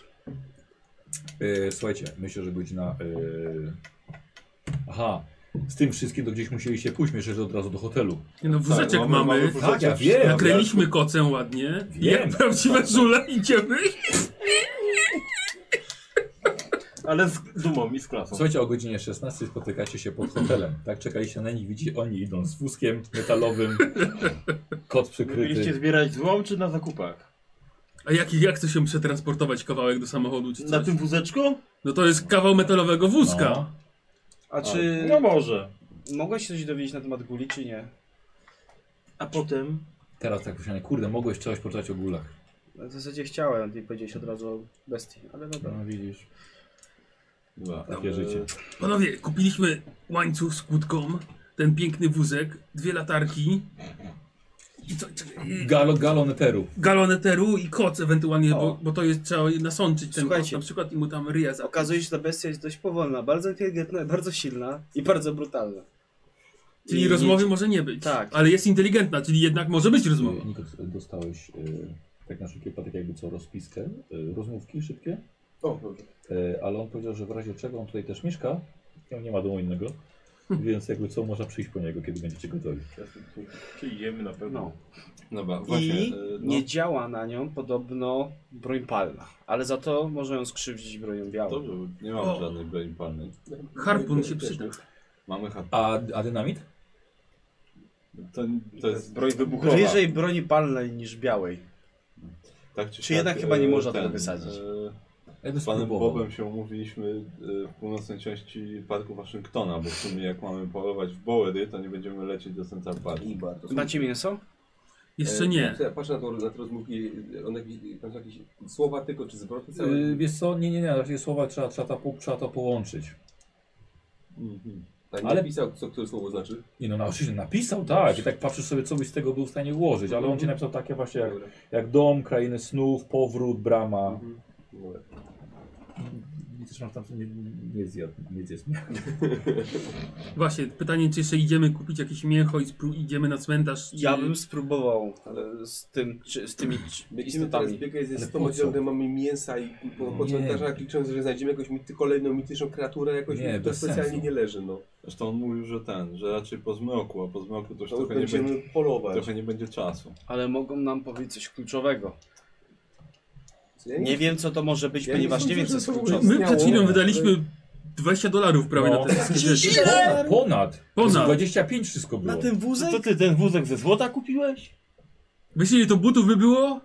Speaker 3: E, słuchajcie, myślę, że godzina. E, aha, z tym wszystkim to gdzieś musieliście pójść, myślę, że od razu do hotelu.
Speaker 6: Nie No wózeczek
Speaker 2: Tak, mamy- mamy
Speaker 6: mamy.
Speaker 2: wózeczek.
Speaker 3: Tak, ja wiem.
Speaker 6: Nakryliśmy kocę ładnie.
Speaker 3: Wiem.
Speaker 6: Jak prawdziwe żule idziemy.
Speaker 4: Ale z dumą i z klasą.
Speaker 3: Słuchajcie, o godzinie 16 spotykacie się pod hotelem. Tak, czekaliście na nich, widzicie, oni idą z wózkiem metalowym, kot
Speaker 4: Wy Mieliście
Speaker 3: przykryty.
Speaker 4: zbierać złom czy na zakupach?
Speaker 6: A jak, jak chce się przetransportować kawałek do samochodu czy
Speaker 4: Na
Speaker 5: Znaczy-
Speaker 6: coś?
Speaker 4: tym wózeczku?
Speaker 6: No to jest kawał metalowego wózka.
Speaker 3: No.
Speaker 5: A czy
Speaker 4: No może.
Speaker 5: mogłeś coś dowiedzieć na temat guli, czy nie?
Speaker 4: A potem?
Speaker 3: Teraz tak myślałem, kurde, mogłeś czegoś poczytać o gulach.
Speaker 5: W zasadzie chciałem, ty powiedziałeś od razu o bestii, ale dobra.
Speaker 3: No widzisz. e,
Speaker 2: Dobra,
Speaker 3: Takie życie.
Speaker 6: Panowie, kupiliśmy łańcuch z kłódką, ten piękny wózek, dwie latarki i co, czekaj, i
Speaker 3: Galo, galon eteru.
Speaker 6: galon eteru i koc ewentualnie,
Speaker 5: O.
Speaker 6: bo, bo to jest trzeba nasączyć ten koc
Speaker 5: Słuchajcie.
Speaker 6: na przykład i mu tam ryja za.
Speaker 5: Okazuje się, że ta bestia jest dość powolna, bardzo inteligentna, bardzo silna i bardzo brutalna.
Speaker 6: Czyli
Speaker 5: I-
Speaker 6: rozmowy może nie być,
Speaker 5: Tak. Mm.
Speaker 6: ale jest inteligentna, czyli jednak może być rozmowa.
Speaker 3: tak Nikos, dostałeś e, tak na szybki wypadek jakby co rozpiskę, e, rozmówki szybkie
Speaker 1: O, dobrze.
Speaker 3: E, ale on powiedział, że w razie czego on tutaj też mieszka. On nie ma domu innego. Więc jakby co, można przyjść po niego, kiedy będziecie gotowi.
Speaker 4: Przyjdziemy na pewno.
Speaker 5: No.
Speaker 2: Dobra, właśnie.
Speaker 5: I
Speaker 2: e, No,
Speaker 5: nie działa na nią podobno broń palna, ale za to może ją skrzywdzić bronią białą.
Speaker 2: dobrze, bo nie mam żadnej broni palnej.
Speaker 6: Harpun się
Speaker 5: E,
Speaker 6: przyda.
Speaker 2: Mamy hat.
Speaker 3: A, a dynamit?
Speaker 2: To, to jest
Speaker 4: Broń wybuchowa.
Speaker 5: Bliżej broni palnej niż białej.
Speaker 2: tak czy,
Speaker 5: Czy
Speaker 2: siak,
Speaker 5: jednak chyba nie
Speaker 2: e,
Speaker 5: można tego
Speaker 2: ten,
Speaker 5: wysadzić?
Speaker 2: e,
Speaker 3: Ja bym
Speaker 2: Z panem
Speaker 3: spróbował.
Speaker 2: Bobem się umówiliśmy e, w północnej części Parku Waszyngtona, bo w sumie jak mamy polować w Bowery, to nie będziemy lecieć do Central Park.
Speaker 1: I bardzo.
Speaker 5: Macie mięso?
Speaker 6: Jeszcze nie.
Speaker 1: E,
Speaker 5: e,
Speaker 1: Ja Patrzę na to, na te rozmówki, one jakieś, tam są jakieś słowa tylko, czy zwroty całe?
Speaker 3: Y, wiesz co, nie, nie, nie, raczej słowa trzeba, trzeba, to, po- trzeba to połączyć.
Speaker 2: Mhm.
Speaker 1: tak, nie
Speaker 3: ale-
Speaker 1: ale pisał, co które słowo znaczy.
Speaker 3: Nie no, na- oczywiście napisał, tak. I tak patrzysz sobie, co byś z tego był w stanie ułożyć, ale on
Speaker 1: Mhm.
Speaker 3: ci napisał takie właśnie jak,
Speaker 1: Dobra.
Speaker 3: jak dom, krainy snów, powrót, brama.
Speaker 1: Mhm. Dobra.
Speaker 3: I też masz tam nie, nie zjadł, nie zjadł.
Speaker 6: Właśnie, pytanie, czy jeszcze idziemy kupić jakieś mięcho i spró- idziemy na cmentarz? Czy...
Speaker 5: Ja bym spróbował e, z, tym, czy, z tymi czy-
Speaker 1: Będziemy teraz
Speaker 5: istotami.
Speaker 1: biegać ze
Speaker 3: Ale
Speaker 1: 100
Speaker 3: po co?
Speaker 1: oddzielnych, mamy mięsa i po, po
Speaker 3: Nie.
Speaker 1: cmentarzach licząc, że znajdziemy jakąś mity, kolejną mityczną kreaturę, jakoś
Speaker 3: Nie,
Speaker 1: to
Speaker 3: bez
Speaker 1: specjalnie
Speaker 3: sensu.
Speaker 1: nie leży, no.
Speaker 2: Zresztą on mówił, że ten, że raczej po zmroku, a po zmroku to już
Speaker 1: To już
Speaker 2: trochę nie,
Speaker 1: będziemy
Speaker 2: będzie,
Speaker 1: polować.
Speaker 2: trochę nie będzie czasu.
Speaker 5: Ale mogą nam powiedzieć coś kluczowego.
Speaker 1: Ja
Speaker 5: Nie wiem, co to może być,
Speaker 1: Ja nie
Speaker 5: ponieważ nie
Speaker 1: sądzę,
Speaker 5: wiem, co
Speaker 1: że
Speaker 5: jest
Speaker 1: to w ogóle
Speaker 5: kluczowe.
Speaker 6: My przed chwilą
Speaker 1: Miało.
Speaker 6: wydaliśmy 20 dolarów prawie
Speaker 3: No.
Speaker 6: na te wszystkie rzeczy.
Speaker 3: Ponad, ponad.
Speaker 6: Ponad.
Speaker 3: 25 wszystko było.
Speaker 5: wózek?
Speaker 4: Co ty, ten wózek ze złota kupiłeś?
Speaker 6: Myślicie, że to butów by było?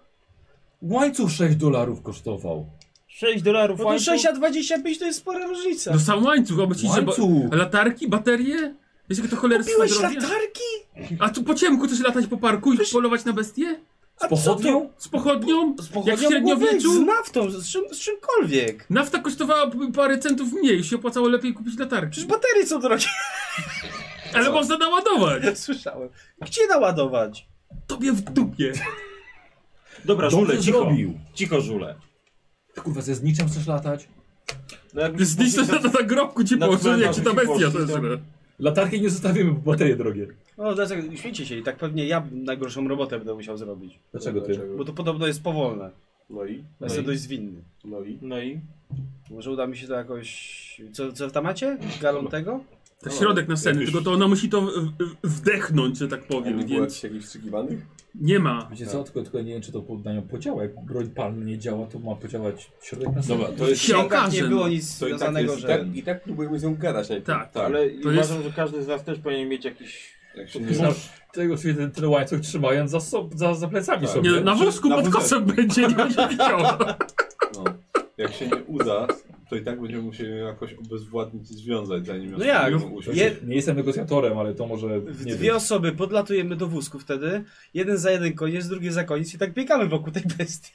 Speaker 3: Łańcuch 6 dolarów kosztował.
Speaker 4: 6 dolarów
Speaker 5: No to 6 a 25 to jest spora różnica.
Speaker 6: No sam łańcuch, a myślicie, że ba-
Speaker 3: Łańcuch!
Speaker 6: latarki, baterie? Wiecie, jakie to cholerstwo
Speaker 5: Kupiłeś latarki?
Speaker 6: A tu po ciemku też latać po parku i polować na bestie?
Speaker 3: Z pochodnią?
Speaker 6: Z pochodnią?
Speaker 5: Z
Speaker 6: Jak w
Speaker 5: pochodnią mogło być, z
Speaker 6: średniowieczu?
Speaker 5: naftą, z, czym, z czymkolwiek.
Speaker 6: Nafta kosztowała p- parę centów mniej, się opłacało lepiej kupić latarki.
Speaker 5: Przecież baterie są drogie.
Speaker 6: Ale można naładować!
Speaker 5: Słyszałem. Gdzie naładować?
Speaker 6: Tobie w dupie!
Speaker 4: Dobra, żule,
Speaker 3: Dobrze
Speaker 4: cicho.
Speaker 3: zrobił.
Speaker 4: Cicho, żule.
Speaker 3: Ty kurwa ze zniczem chcesz latać?
Speaker 4: No jakbyś
Speaker 6: Zniszcz to na, na grobku ci
Speaker 4: Na
Speaker 6: położę, jak
Speaker 4: cmentarz
Speaker 6: ci ta
Speaker 4: ci
Speaker 6: bestia
Speaker 4: położyli, tak?
Speaker 6: zeżre.
Speaker 3: Latarki nie zostawimy, bo baterie drogie.
Speaker 5: No dlatego śmiecie się i tak pewnie ja najgorszą robotę będę musiał zrobić.
Speaker 3: Dlaczego ty?
Speaker 5: Bo to podobno jest powolne.
Speaker 1: No i?
Speaker 5: Ja Jestem dość zwinny.
Speaker 1: No i?
Speaker 4: No i?
Speaker 5: Może uda mi się to jakoś... Co, co tam macie? Galon tego?
Speaker 6: To środek nasenny, tylko to ona musi to w- w- wdechnąć, że tak
Speaker 1: Nie
Speaker 6: powiem,
Speaker 1: było
Speaker 6: więc
Speaker 1: jakichś jakichś wstrzykiwanych?
Speaker 6: nie ma.
Speaker 3: Wiecie co, tylko, tylko nie wiem czy to po- na nią podziała. Jak broń palna nie działa, to ma podziałać środek na
Speaker 2: Dobra, to
Speaker 6: Się
Speaker 2: jest...
Speaker 5: W księgach nie
Speaker 6: okaże,
Speaker 5: było
Speaker 6: no.
Speaker 5: nic
Speaker 2: To i tak
Speaker 5: związanego,
Speaker 2: jest-
Speaker 5: że...
Speaker 1: Tak, I tak próbujemy z nią gadać najpierw.
Speaker 6: Tak.
Speaker 2: Tak,
Speaker 4: Ale
Speaker 6: To jest-
Speaker 4: uważam, że każdy z nas też powinien mieć jakiś...
Speaker 2: jak się nie...
Speaker 3: Można tego sobie ten, ten łańcuch trzymając za, sob- za, za plecami
Speaker 2: Tak.
Speaker 3: sobie.
Speaker 6: Nie, na wózku
Speaker 2: Na
Speaker 6: pod
Speaker 2: wózek.
Speaker 6: kosem będzie, nie będzie widziała.
Speaker 2: No, jak się nie uda, to i tak będziemy musieli ją jakoś obezwładnić i związać, zanim ją
Speaker 5: No jak?
Speaker 2: spróbujemy usiąść.
Speaker 5: Je-
Speaker 3: Nie jestem negocjatorem, ale to może
Speaker 5: W
Speaker 3: nie
Speaker 5: dwie
Speaker 3: wiem.
Speaker 5: osoby podlatujemy do wózku wtedy, jeden za jeden koniec, drugi za koniec i tak biegamy wokół tej bestii.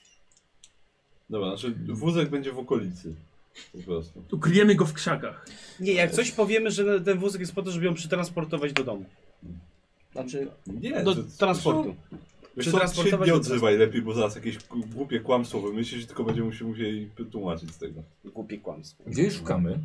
Speaker 2: Dobra, znaczy wózek będzie w okolicy. Po prostu.
Speaker 6: Ukryjemy go w krzakach.
Speaker 5: Nie, jak coś powiemy, że ten wózek jest po to, żeby ją przetransportować do domu. Znaczy,
Speaker 2: Nie,
Speaker 5: do
Speaker 2: to-
Speaker 5: transportu.
Speaker 2: No, Wiesz co,
Speaker 5: Przetransportować
Speaker 2: się nie
Speaker 5: do
Speaker 2: odzywaj lepiej, bo zaraz jakieś k- głupie kłamstwo wymyślisz, tylko będziemy się musieli tłumaczyć z tego.
Speaker 5: Głupie kłamstwo.
Speaker 3: Gdzie jej szukamy?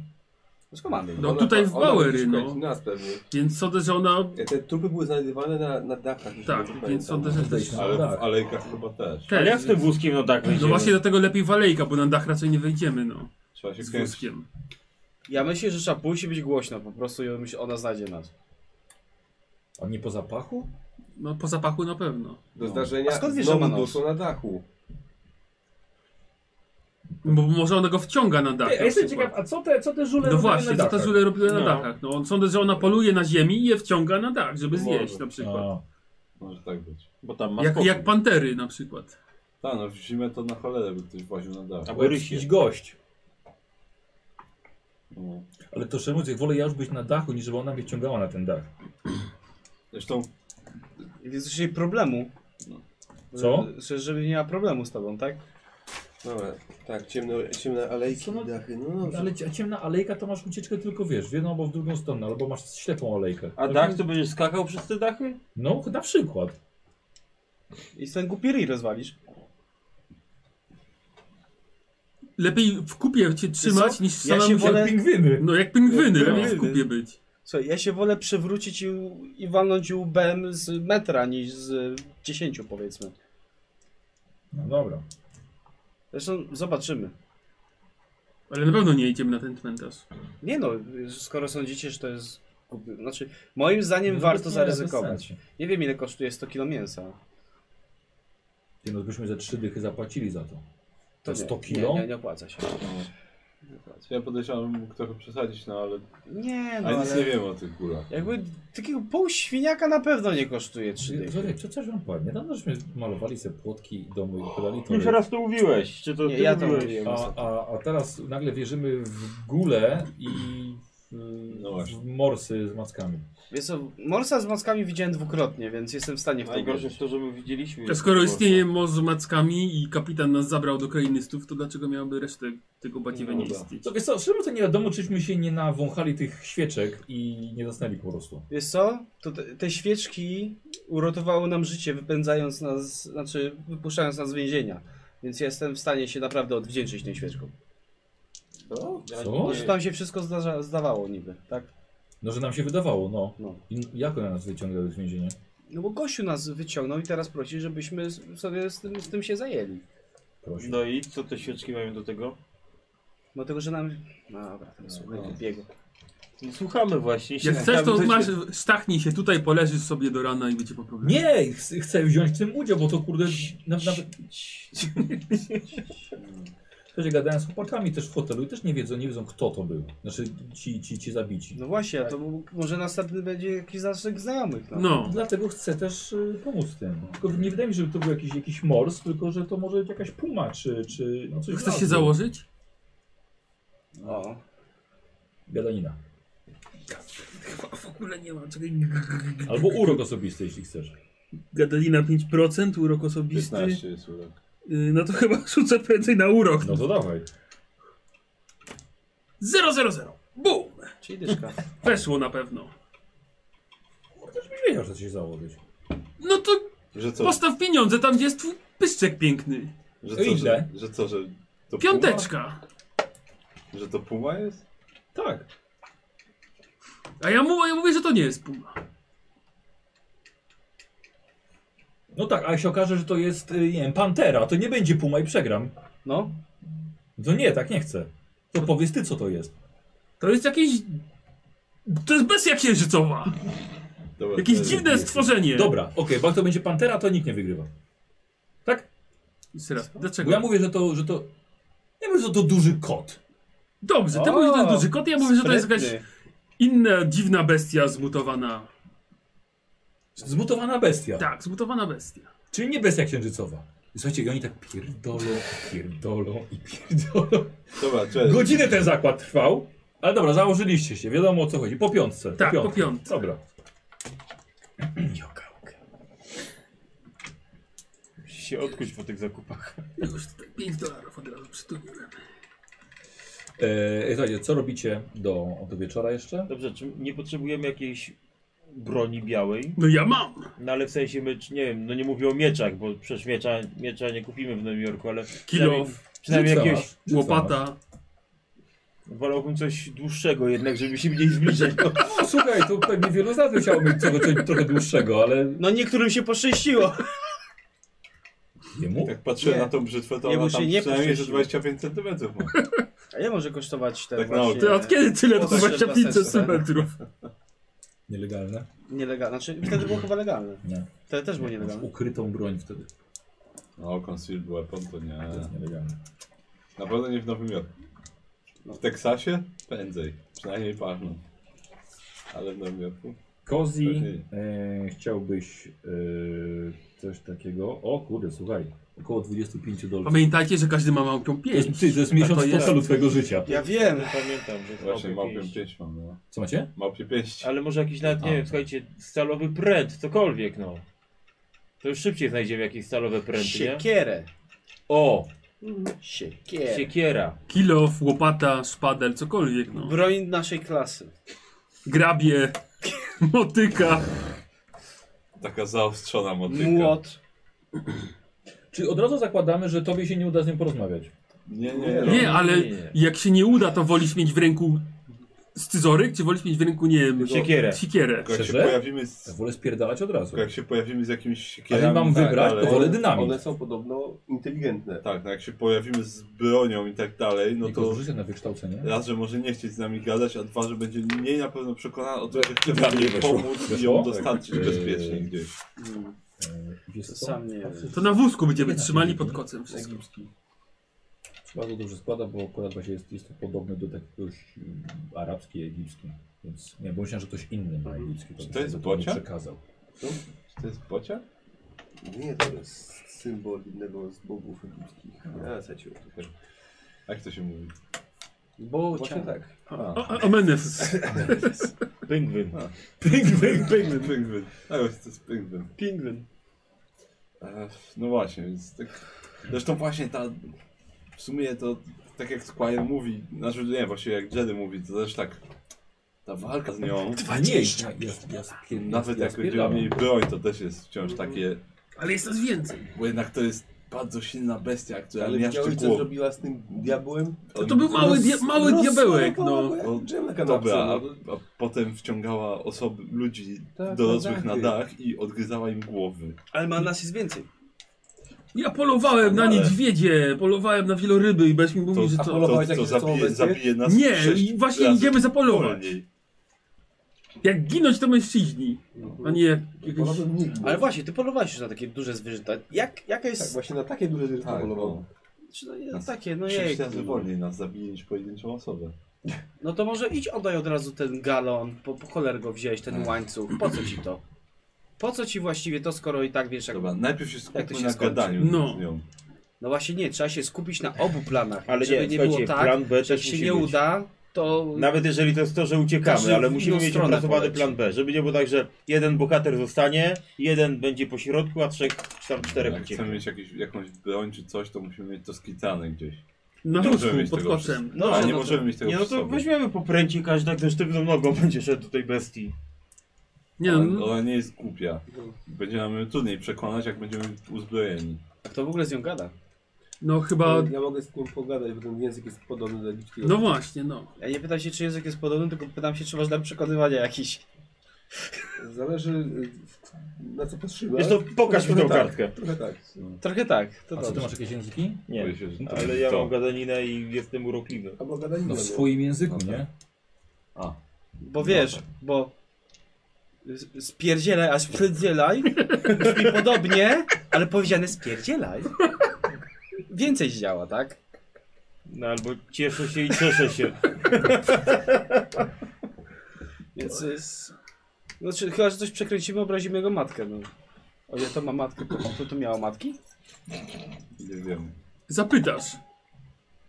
Speaker 5: Z komandy.
Speaker 6: No tutaj w
Speaker 1: ona będzie
Speaker 6: Bowery,
Speaker 1: szukać
Speaker 6: no.
Speaker 1: nas pewnie.
Speaker 6: Więc sądzę, że ona...
Speaker 1: Te trupy były znajdywane na, na dachach. jeśli
Speaker 6: Tak,
Speaker 1: dobrze
Speaker 6: więc
Speaker 1: pamiętam.
Speaker 6: sądzę, że też...
Speaker 3: No
Speaker 2: Ale
Speaker 3: tak.
Speaker 2: w alejkach chyba też.
Speaker 4: Ale jak z tym wózkiem no tak
Speaker 6: No
Speaker 4: wejdziemy?
Speaker 6: właśnie dlatego lepiej walejka, bo na dach raczej nie wejdziemy, no.
Speaker 2: Trzeba się
Speaker 6: Z
Speaker 2: kręcić.
Speaker 6: wózkiem.
Speaker 5: Ja myślę, że trzeba pójść i być głośno, po prostu i myśl- ona znajdzie nas.
Speaker 3: A nie po zapachu?
Speaker 6: No po zapachu na pewno.
Speaker 1: Do
Speaker 3: No.
Speaker 1: zdarzenia
Speaker 5: A skąd wiesz, że
Speaker 1: znowu
Speaker 5: ma nos?
Speaker 1: doszło na dachu.
Speaker 6: Bo może ona go wciąga na dach.
Speaker 3: Ej, a
Speaker 6: na
Speaker 3: jestem
Speaker 6: przykład.
Speaker 3: ciekaw, a co te, co te żule
Speaker 6: No
Speaker 3: robią
Speaker 6: właśnie,
Speaker 3: na
Speaker 6: co te
Speaker 3: dachach?
Speaker 6: żule robiły na
Speaker 4: No.
Speaker 6: dachach. No on sądzę, że ona poluje na ziemi i je wciąga na dach, żeby zjeść na przykład.
Speaker 3: A,
Speaker 2: Może tak być.
Speaker 4: Bo tam ma
Speaker 6: Jak,
Speaker 4: spokój.
Speaker 6: jak pantery na przykład.
Speaker 2: Tak, no w zimę to na cholerę by ktoś właził na dach.
Speaker 4: Albo
Speaker 3: bo
Speaker 4: rysie.
Speaker 3: jakiś gość.
Speaker 2: No.
Speaker 3: Ale to szczerze mówiąc, wolę ja już być na dachu, niż żeby ona mnie ciągała na ten dach.
Speaker 2: Zresztą
Speaker 5: Więc już jej problemu.
Speaker 3: Co?
Speaker 5: Że, żeby nie miała problemu z tobą, tak?
Speaker 1: Dobra, tak, ciemne, ciemne alejki
Speaker 3: Co?
Speaker 1: i dachy. No dobrze.
Speaker 3: Ale cie- ciemna alejka to masz ucieczkę tylko wiesz, w jedną albo w drugą stronę, albo masz ślepą alejkę. Tak?
Speaker 4: A dach to będziesz skakał przez te dachy?
Speaker 3: No, na przykład.
Speaker 5: I ten głupi ryj rozwalisz.
Speaker 6: Lepiej w kupie cię trzymać
Speaker 5: co?
Speaker 6: niż
Speaker 5: Ja
Speaker 6: sama
Speaker 5: się
Speaker 3: Jak
Speaker 5: wolę-
Speaker 3: pingwiny.
Speaker 6: No jak pingwiny,
Speaker 5: Jak
Speaker 6: lepiej w
Speaker 5: pingwiny.
Speaker 6: kupie być.
Speaker 5: Słuchaj, ja się wolę przewrócić i, i walnąć łbem z metra niż z 10 powiedzmy.
Speaker 3: No dobra.
Speaker 5: Zresztą zobaczymy.
Speaker 6: Ale na pewno nie idziemy na ten cmentarz.
Speaker 5: Nie no, skoro sądzicie, że to jest... głupi- Znaczy, moim zdaniem
Speaker 3: No,
Speaker 5: warto
Speaker 3: bez
Speaker 5: zaryzykować.
Speaker 3: sensu.
Speaker 5: Nie wiem ile kosztuje 100 kilo mięsa.
Speaker 3: Ty, No byśmy ze trzy dychy zapłacili za to. To
Speaker 5: nie,
Speaker 3: 100 kilo?
Speaker 5: Nie, nie, nie opłaca się.
Speaker 2: Ja podejrzewam, mógł trochę przesadzić, no ale...
Speaker 5: Nie no,
Speaker 2: A nic nie
Speaker 5: ale
Speaker 2: wiem o tych górach.
Speaker 5: jakby takiego pół świniaka na pewno nie kosztuje 3
Speaker 3: Czyli-
Speaker 5: dychy.
Speaker 3: Zolek, co coś wam powiem? Niedawno żeśmy malowali sobie płotki i domy i podali
Speaker 4: Już
Speaker 3: to.
Speaker 4: raz to mówiłeś, czy to
Speaker 5: Nie,
Speaker 4: ty
Speaker 5: ja to
Speaker 4: mówiłeś?
Speaker 5: mówiłem.
Speaker 3: A, a, a teraz nagle wierzymy w gulę i w,
Speaker 2: No właśnie.
Speaker 3: w morsy z mackami.
Speaker 5: Wiesz co, morsa z mackami widziałem dwukrotnie, więc jestem w stanie w to
Speaker 4: Najgorsze
Speaker 5: uwierzyć.
Speaker 4: jest to, że my widzieliśmy.
Speaker 6: A skoro istnieje most z mackami i kapitan nas zabrał do krainystów, to dlaczego miałoby resztę tego badziewia nie
Speaker 2: No da.
Speaker 6: istnieć?
Speaker 3: To wiesz co, szczerze to nie wiadomo, czyśmy się nie nawąchali tych świeczek i nie zasnęli po prostu.
Speaker 5: Wiesz co? To te, te świeczki uratowały nam życie, wypędzając nas, znaczy wypuszczając nas z więzienia. Więc jestem w stanie się naprawdę odwdzięczyć tym świeczkom.
Speaker 2: No,
Speaker 3: Co?
Speaker 5: Bo
Speaker 4: tak
Speaker 5: że tam się wszystko zdarza, zdawało niby, tak?
Speaker 3: No, że nam się wydawało, no.
Speaker 5: No.
Speaker 3: I jak one nas wyciągały z więzienia?
Speaker 5: No bo Gosiu nas wyciągnął i teraz prosi, żebyśmy s- sobie z tym, z tym się zajęli.
Speaker 3: Prosił.
Speaker 4: No i co te świeczki mają do tego?
Speaker 5: Dlatego, że nam... No dobra, ten
Speaker 2: no.
Speaker 5: słuchaj, biegł.
Speaker 4: No, Słuchamy właśnie.
Speaker 6: Jak chcesz, to masz, stachnij się tutaj, poleżysz sobie do rana i będzie po problemie.
Speaker 3: Nie, ch chcę wziąć w tym udział, bo to kurde. Nawet. nawet... Też gadałem z chłopakami też w hotelu i też nie wiedzą, nie wiedzą kto to był. Znaczy ci, ci, ci zabici.
Speaker 5: No właśnie, a to m- może następny będzie jakiś z naszych znajomych. No.
Speaker 6: No,
Speaker 3: Dlatego chcę też y, pomóc tym. Tylko nie wydaje mi się, żeby to był jakiś, jakiś mors, tylko że to może jakaś puma czy, czy no coś w
Speaker 6: chcesz się
Speaker 3: nazwie.
Speaker 6: założyć?
Speaker 5: O.
Speaker 3: Gadanina.
Speaker 6: Chyba w ogóle nie ma. Czekaj.
Speaker 3: Albo urok osobisty, jeśli chcesz.
Speaker 6: Gadalina 5%, urok osobisty.
Speaker 2: 15 jest urok.
Speaker 6: Y, No to chyba rzucę prędzej na urok.
Speaker 3: No to dawaj.
Speaker 6: 0, 0, 0. Bum!
Speaker 5: Czyli dyszka.
Speaker 6: Weszło na pewno.
Speaker 3: Też byś wiedział, że chcesz się założyć.
Speaker 6: No to
Speaker 2: Że co?
Speaker 6: postaw pieniądze tam, gdzie jest twój pyszczek piękny.
Speaker 2: Że
Speaker 3: O
Speaker 2: co,
Speaker 3: ile?
Speaker 2: że, że co, że... To
Speaker 6: Piąteczka.
Speaker 2: Puma? Że to puma jest?
Speaker 3: Tak.
Speaker 6: A ja, mu, ja mówię, że to nie jest puma.
Speaker 3: No tak, a jak się okaże, że to jest, y, nie wiem, pantera, to nie będzie puma i przegram.
Speaker 5: No,
Speaker 3: To nie, tak nie chcę. To powiedz ty, co to jest.
Speaker 6: To jest jakieś... To jest bestia księżycowa.
Speaker 2: Dobra,
Speaker 6: Jakieś
Speaker 2: to jest-
Speaker 6: dziwne stworzenie.
Speaker 3: Dobra, okej, bo jak to będzie pantera, to nikt nie wygrywa. Tak?
Speaker 6: Jeszcze raz,
Speaker 3: Bo
Speaker 6: dlaczego?
Speaker 3: ja mówię, że to, że to... Ja mówię, że to duży kot.
Speaker 6: Dobrze, ty
Speaker 5: O,
Speaker 6: mówisz, że to jest duży kot, ja mówię, że to jest
Speaker 5: sprytny.
Speaker 6: jakaś inna, dziwna bestia zmutowana.
Speaker 3: Zmutowana bestia.
Speaker 6: Tak, zmutowana bestia.
Speaker 3: Czyli nie bestia księżycowa. I Słuchajcie, i oni tak pierdolą, i pierdolą i pierdolą.
Speaker 2: Dobra, cześć.
Speaker 3: Godzinę ten zakład trwał, ale dobra, założyliście się, wiadomo o co chodzi. Po piątce.
Speaker 6: Tak, po piątce.
Speaker 3: Dobra. E,
Speaker 4: Musisz się odkuć po tych zakupach.
Speaker 6: Już tutaj 5 dolarów od razu przytuliłem.
Speaker 3: E, słuchajcie, co robicie do, do wieczora jeszcze?
Speaker 4: Dobrze, czy nie potrzebujemy jakiejś broni białej?
Speaker 6: No ja mam.
Speaker 4: No ale w sensie my, czy- nie wiem, no nie mówię o mieczach, bo przecież miecza, miecza nie kupimy w Nowym Jorku, ale
Speaker 6: Kilo,
Speaker 4: przynajmniej
Speaker 3: Czy co
Speaker 4: jakiegoś...
Speaker 3: masz? Czy co masz?
Speaker 6: łopata.
Speaker 4: Wolałbym coś dłuższego jednak, żeby się mniej zbliżać. No.
Speaker 3: No, słuchaj, to pewnie wielu z nas by chciało mieć czegoś trochę dłuższego, ale...
Speaker 5: No niektórym się poszczęściło.
Speaker 3: Jemu?
Speaker 6: Tak.
Speaker 2: Jak patrzę
Speaker 5: Nie.
Speaker 2: na tą brzytwę, to
Speaker 5: Nie, bo
Speaker 2: ona
Speaker 5: się
Speaker 2: tam
Speaker 5: nie
Speaker 2: przynajmniej że
Speaker 5: poszczęściło.
Speaker 2: 25 cm ma.
Speaker 5: A ile może kosztować ten
Speaker 2: Tak na
Speaker 5: właśnie...
Speaker 2: oko.
Speaker 6: Ty od kiedy tyle to
Speaker 5: Ostrzem
Speaker 6: 25
Speaker 5: dla serca, tak?
Speaker 6: centymetrów?
Speaker 3: Nielegalne?
Speaker 5: Nielegalne. Znaczy, wtedy było chyba legalne.
Speaker 3: Nie.
Speaker 5: Wtedy też było
Speaker 3: Masz
Speaker 5: nielegalne.
Speaker 3: ukrytą broń wtedy.
Speaker 2: No, concealed weapon to nie.
Speaker 3: To jest nielegalne.
Speaker 2: Na pewno nie w Nowym Jorku. W Teksasie? Prędzej. Przynajmniej parzną. Ale w Nowym Jorku?
Speaker 3: Kozi,
Speaker 2: Pewnie.
Speaker 3: e, chciałbyś e, coś takiego. O kurde, słuchaj, około 25 dolarów.
Speaker 6: Pamiętajcie, że każdy ma małą
Speaker 3: To jest,
Speaker 6: pięść.
Speaker 3: ty, to jest miesiąc
Speaker 6: to jest-
Speaker 3: fotelu twojego życia.
Speaker 5: Ja wiem.
Speaker 4: Pamiętam, że
Speaker 2: Właśnie,
Speaker 4: małpie
Speaker 2: małpię
Speaker 4: pięści.
Speaker 2: pięść mam, no.
Speaker 3: Co macie?
Speaker 2: Małpie pięści.
Speaker 4: Ale może jakiś nawet, nie
Speaker 3: A.
Speaker 4: wiem, słuchajcie, stalowy pręt, cokolwiek no. To już szybciej znajdziemy jakieś stalowe pręty, nie?
Speaker 5: Siekierę.
Speaker 4: O,
Speaker 5: Siekierę.
Speaker 4: siekiera.
Speaker 6: Kilo, łopata, szpadel, cokolwiek no.
Speaker 5: Broń naszej klasy.
Speaker 6: Grabie, motyka.
Speaker 2: Taka zaostrzona motyka.
Speaker 5: Młot.
Speaker 3: Czy od razu zakładamy, że tobie się nie uda z nim porozmawiać?
Speaker 2: Nie, no. nie, nie.
Speaker 6: Nie, ale
Speaker 4: nie.
Speaker 6: jak się nie uda, to wolisz mieć w ręku scyzoryk, czy wolisz mieć w ręku, nie wiem,
Speaker 4: Siekierę.
Speaker 6: Siekierę.
Speaker 2: Tylko jak się
Speaker 3: Szczerze?
Speaker 2: pojawimy
Speaker 3: Ja
Speaker 2: z,
Speaker 3: wolę spierdalać od razu.
Speaker 2: tylko jak się pojawimy z jakimś
Speaker 3: Jeżeli
Speaker 2: siekierami,
Speaker 3: mam
Speaker 2: tak
Speaker 3: wybrać,
Speaker 2: dalej-
Speaker 3: to wolę dynamit.
Speaker 1: One są podobno inteligentne.
Speaker 2: Tak, no jak się pojawimy z bronią i tak dalej, no
Speaker 3: No
Speaker 2: to
Speaker 3: zużycie na wykształcenie.
Speaker 2: raz, że może nie chcieć z nami gadać, a dwa, że będzie mniej na pewno przekonana o tym,
Speaker 3: Dla
Speaker 2: że chcemy
Speaker 3: mnie
Speaker 2: jej
Speaker 3: weszło.
Speaker 2: pomóc i
Speaker 3: Weszło?
Speaker 2: ją dostarczyć
Speaker 3: Tak.
Speaker 2: bezpiecznie gdzieś.
Speaker 3: E, Wiesz co?
Speaker 5: Sam nie wiem.
Speaker 6: To na wózku będziemy trzymali pod kocem wszystko.
Speaker 1: Egipski.
Speaker 3: Bardzo dobrze składa, bo akurat właśnie jest, jest to podobne do jakiegoś mm, arabski, egipski. Więc nie, bo myślałem, że ktoś inny ma egipski.
Speaker 2: Czy to
Speaker 3: bym
Speaker 2: jest
Speaker 3: sobie
Speaker 2: bocia?
Speaker 3: Przekazał.
Speaker 2: Czy to jest bocia?
Speaker 1: Nie, to jest symbol jednego z bogów egipskich.
Speaker 5: No.
Speaker 1: Ja zaciął trochę.
Speaker 2: Jak to się mówi?
Speaker 5: Bo
Speaker 1: Właśnie tak.
Speaker 2: A.
Speaker 6: A- Amenefis.
Speaker 4: Pingwin.
Speaker 2: Pingwin, pingwin, pingwin. A właśnie, to jest pingwin.
Speaker 10: Pingwin.
Speaker 2: E, No właśnie, więc tak. Zresztą właśnie ta. W sumie to tak jak Squire mówi, znaczy nie, właśnie jak Jedi mówi, to też tak. Ta walka z nią,
Speaker 3: A nie, ja, ja, ja spier-
Speaker 2: nawet
Speaker 3: ja
Speaker 2: jak będziemy
Speaker 3: spierdalam.
Speaker 2: mieli broń, to też jest wciąż takie.
Speaker 6: Ale jest nas więcej.
Speaker 2: Bo jednak to jest bardzo silna bestia, która
Speaker 1: Ale
Speaker 2: miażdży
Speaker 1: widziałeś, co
Speaker 2: głowę.
Speaker 1: zrobiła z tym diabłem?
Speaker 6: No to był mały, dia mały diabełek, no.
Speaker 2: No,
Speaker 5: Tak,
Speaker 2: Dobra, a,
Speaker 1: no.
Speaker 5: no.
Speaker 4: no
Speaker 2: a potem wciągała osoby, ludzi
Speaker 1: Tak,
Speaker 2: dorosłych
Speaker 1: na
Speaker 2: na
Speaker 1: dachy.
Speaker 2: dach i odgryzała im głowy.
Speaker 5: Ale ma nas jest więcej.
Speaker 6: Ja polowałem na
Speaker 2: Ale-
Speaker 6: niedźwiedzie, polowałem na wieloryby i będziesz mi mówił,
Speaker 2: To,
Speaker 6: że
Speaker 2: to,
Speaker 6: to...
Speaker 2: to,
Speaker 1: polowałeś jakieś
Speaker 2: zabije,
Speaker 1: całą
Speaker 2: zabije nas
Speaker 6: Nie,
Speaker 2: sześć
Speaker 6: i właśnie
Speaker 2: razy
Speaker 6: idziemy zapolować.
Speaker 2: wolniej.
Speaker 6: Jak ginąć to mężczyźni, a nie jak- jakieś...
Speaker 1: Polowym nikt.
Speaker 5: Ale właśnie, ty polowałeś już na takie duże zwierzęta. Jak, jaka
Speaker 1: Tak,
Speaker 5: jest...
Speaker 1: właśnie na takie duże zwierzę
Speaker 2: Tak,
Speaker 1: polował.
Speaker 2: no.
Speaker 5: Czy no, nie, takie, no
Speaker 2: Sześć
Speaker 5: jej.
Speaker 2: razy wolniej nas zabije niż pojedynczą osobę.
Speaker 5: No to może idź oddaj od razu ten galon, po, po choler go wziąłeś, ten łańcuch. Po co ci to? Po co ci właściwie to, skoro i tak wiesz jak...
Speaker 2: Dobra, najpierw się skupmy
Speaker 5: Jak to się
Speaker 2: na
Speaker 5: skończy?
Speaker 2: gadaniu
Speaker 6: No.
Speaker 2: z nią.
Speaker 5: No właśnie nie, trzeba się skupić na obu planach.
Speaker 4: Ale
Speaker 5: żeby
Speaker 4: nie,
Speaker 5: nie było
Speaker 4: słuchajcie,
Speaker 5: tak,
Speaker 4: plan B
Speaker 5: że jak
Speaker 4: też
Speaker 5: się
Speaker 4: musi
Speaker 5: nie
Speaker 4: być.
Speaker 5: uda, to...
Speaker 4: Nawet jeżeli to jest to, że uciekamy,
Speaker 5: Każdy
Speaker 4: ale
Speaker 5: w
Speaker 4: musimy
Speaker 5: inną
Speaker 4: mieć
Speaker 5: stronę
Speaker 4: opracowany
Speaker 5: poleci.
Speaker 4: plan B, żeby nie było tak, że jeden bohater zostanie, jeden będzie po środku, a trzech, czter,
Speaker 5: Tak,
Speaker 4: czterech
Speaker 2: Jak chcemy
Speaker 4: ucieknie.
Speaker 2: mieć jakieś, jakąś broń czy coś, to musimy mieć to skitane gdzieś.
Speaker 6: Na
Speaker 2: Nie
Speaker 6: wózku,
Speaker 2: możemy mieć
Speaker 6: pod
Speaker 2: tego
Speaker 6: kocem.
Speaker 4: No,
Speaker 2: Ale
Speaker 4: no
Speaker 2: nie
Speaker 4: to-
Speaker 2: możemy mieć tego
Speaker 4: Nie, no
Speaker 2: przy
Speaker 4: to
Speaker 2: sobie.
Speaker 4: weźmiemy popręci, każdy jak ze sztywną nogą będzie szedł do tej bestii.
Speaker 6: Nie
Speaker 2: Ale
Speaker 6: no,
Speaker 2: Ona nie jest głupia. Będzie nam trudniej przekonać, jak będziemy uzbrojeni.
Speaker 5: A Kto w ogóle z nią gada?
Speaker 6: no chyba...
Speaker 1: Ja mogę z tym pogadać, bo ten język jest podobny do egipskiego.
Speaker 6: No właśnie, no.
Speaker 5: Ja nie pytam się, czy język jest podobny, tylko pytam się, czy masz dla przekonywania jakiś.
Speaker 1: Zależy y, na co patrzymy.
Speaker 4: Wiesz to, pokaż mi tą
Speaker 1: Trochę tak,
Speaker 4: kartkę.
Speaker 1: Trochę tak.
Speaker 5: Trochę tak, to
Speaker 3: A co, ty
Speaker 5: dobrze.
Speaker 3: masz jakieś języki?
Speaker 4: Nie,
Speaker 2: Boję się, że to
Speaker 4: ale
Speaker 2: jest
Speaker 4: ja
Speaker 2: to.
Speaker 4: mam gadaninę i jestem urokliwy.
Speaker 1: Albo gadanina.
Speaker 3: No w
Speaker 1: nie?
Speaker 3: swoim języku, nie?
Speaker 2: A,
Speaker 5: Bo wiesz, bo s- spierdzielaj, a spierdzielaj brzmi podobnie, ale powiedziane spierdzielaj. Więcej działa, tak?
Speaker 4: No albo cieszę się i cieszę się.
Speaker 5: Więc jest... Znaczy, chyba, że coś przekręcimy, obrazimy jego matkę, no. O, ja to ma matkę, to, to, to miała matki?
Speaker 2: nie wiem.
Speaker 6: Zapytasz.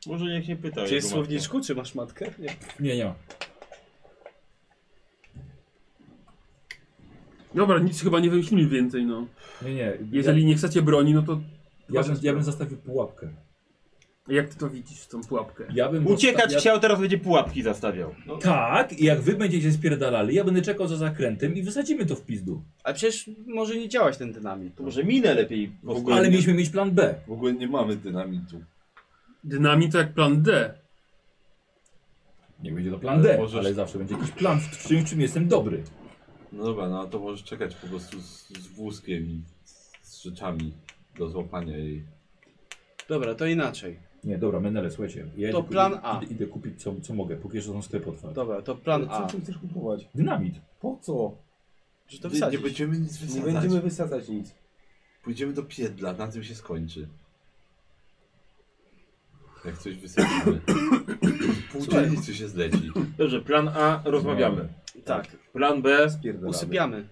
Speaker 4: Może niech nie pyta.
Speaker 5: Czy
Speaker 4: jego
Speaker 5: jest w
Speaker 4: matko.
Speaker 5: słowniczku, czy masz matkę? Nie.
Speaker 3: Nie, nie ma.
Speaker 6: Dobra, nic chyba nie wymyślimy więcej, no.
Speaker 3: Nie, nie.
Speaker 6: Jeżeli nie chcecie broni, no to...
Speaker 3: Ja, ja, bym, ja bym zastawił pułapkę.
Speaker 6: Jak ty to widzisz, tą pułapkę?
Speaker 3: Ja bym
Speaker 4: Uciekać
Speaker 3: rozsta- ja...
Speaker 4: chciał, teraz będzie pułapki zastawiał.
Speaker 3: Tak, i jak wy będziecie spierdalali, ja będę czekał za zakrętem i wysadzimy to w pizdu.
Speaker 5: Ale przecież może nie działać ten dynamit.
Speaker 4: To może minę lepiej
Speaker 2: W ogóle,
Speaker 3: Ale
Speaker 2: nie,
Speaker 3: mieliśmy mieć plan B.
Speaker 2: w ogóle nie mamy dynamitu.
Speaker 6: Dynamit to jak plan D.
Speaker 3: Nie będzie to plan D,
Speaker 2: Możesz-
Speaker 3: ale zawsze będzie jakiś plan w czymś, w czym jestem dobry.
Speaker 2: No dobra, no to może czekać po prostu z, z wózkiem i z, z rzeczami do złapania jej.
Speaker 5: Dobra, to inaczej.
Speaker 3: Nie, dobra, Menele, słuchajcie. Ja
Speaker 5: To
Speaker 3: idę,
Speaker 5: plan A.
Speaker 3: Idę, idę kupić co, co mogę, póki jeszcze są sklepy otwarte.
Speaker 5: Dobra, to plan
Speaker 1: Ale
Speaker 5: A.
Speaker 1: Co ty chcesz kupować?
Speaker 3: Dynamit.
Speaker 1: Po co?
Speaker 5: Że to
Speaker 2: nie, nie
Speaker 5: wsadzić.
Speaker 2: będziemy nic
Speaker 1: Nie
Speaker 2: wysadzać.
Speaker 1: będziemy wysadzać nic.
Speaker 2: Pójdziemy do piedla, na tym się skończy. Jak coś wysadzimy. Pół dzielnicy się zleci.
Speaker 4: Dobrze, plan A rozmawiamy.
Speaker 5: Tak,
Speaker 4: Plan B.
Speaker 1: Spierdolamy.
Speaker 5: usypiamy.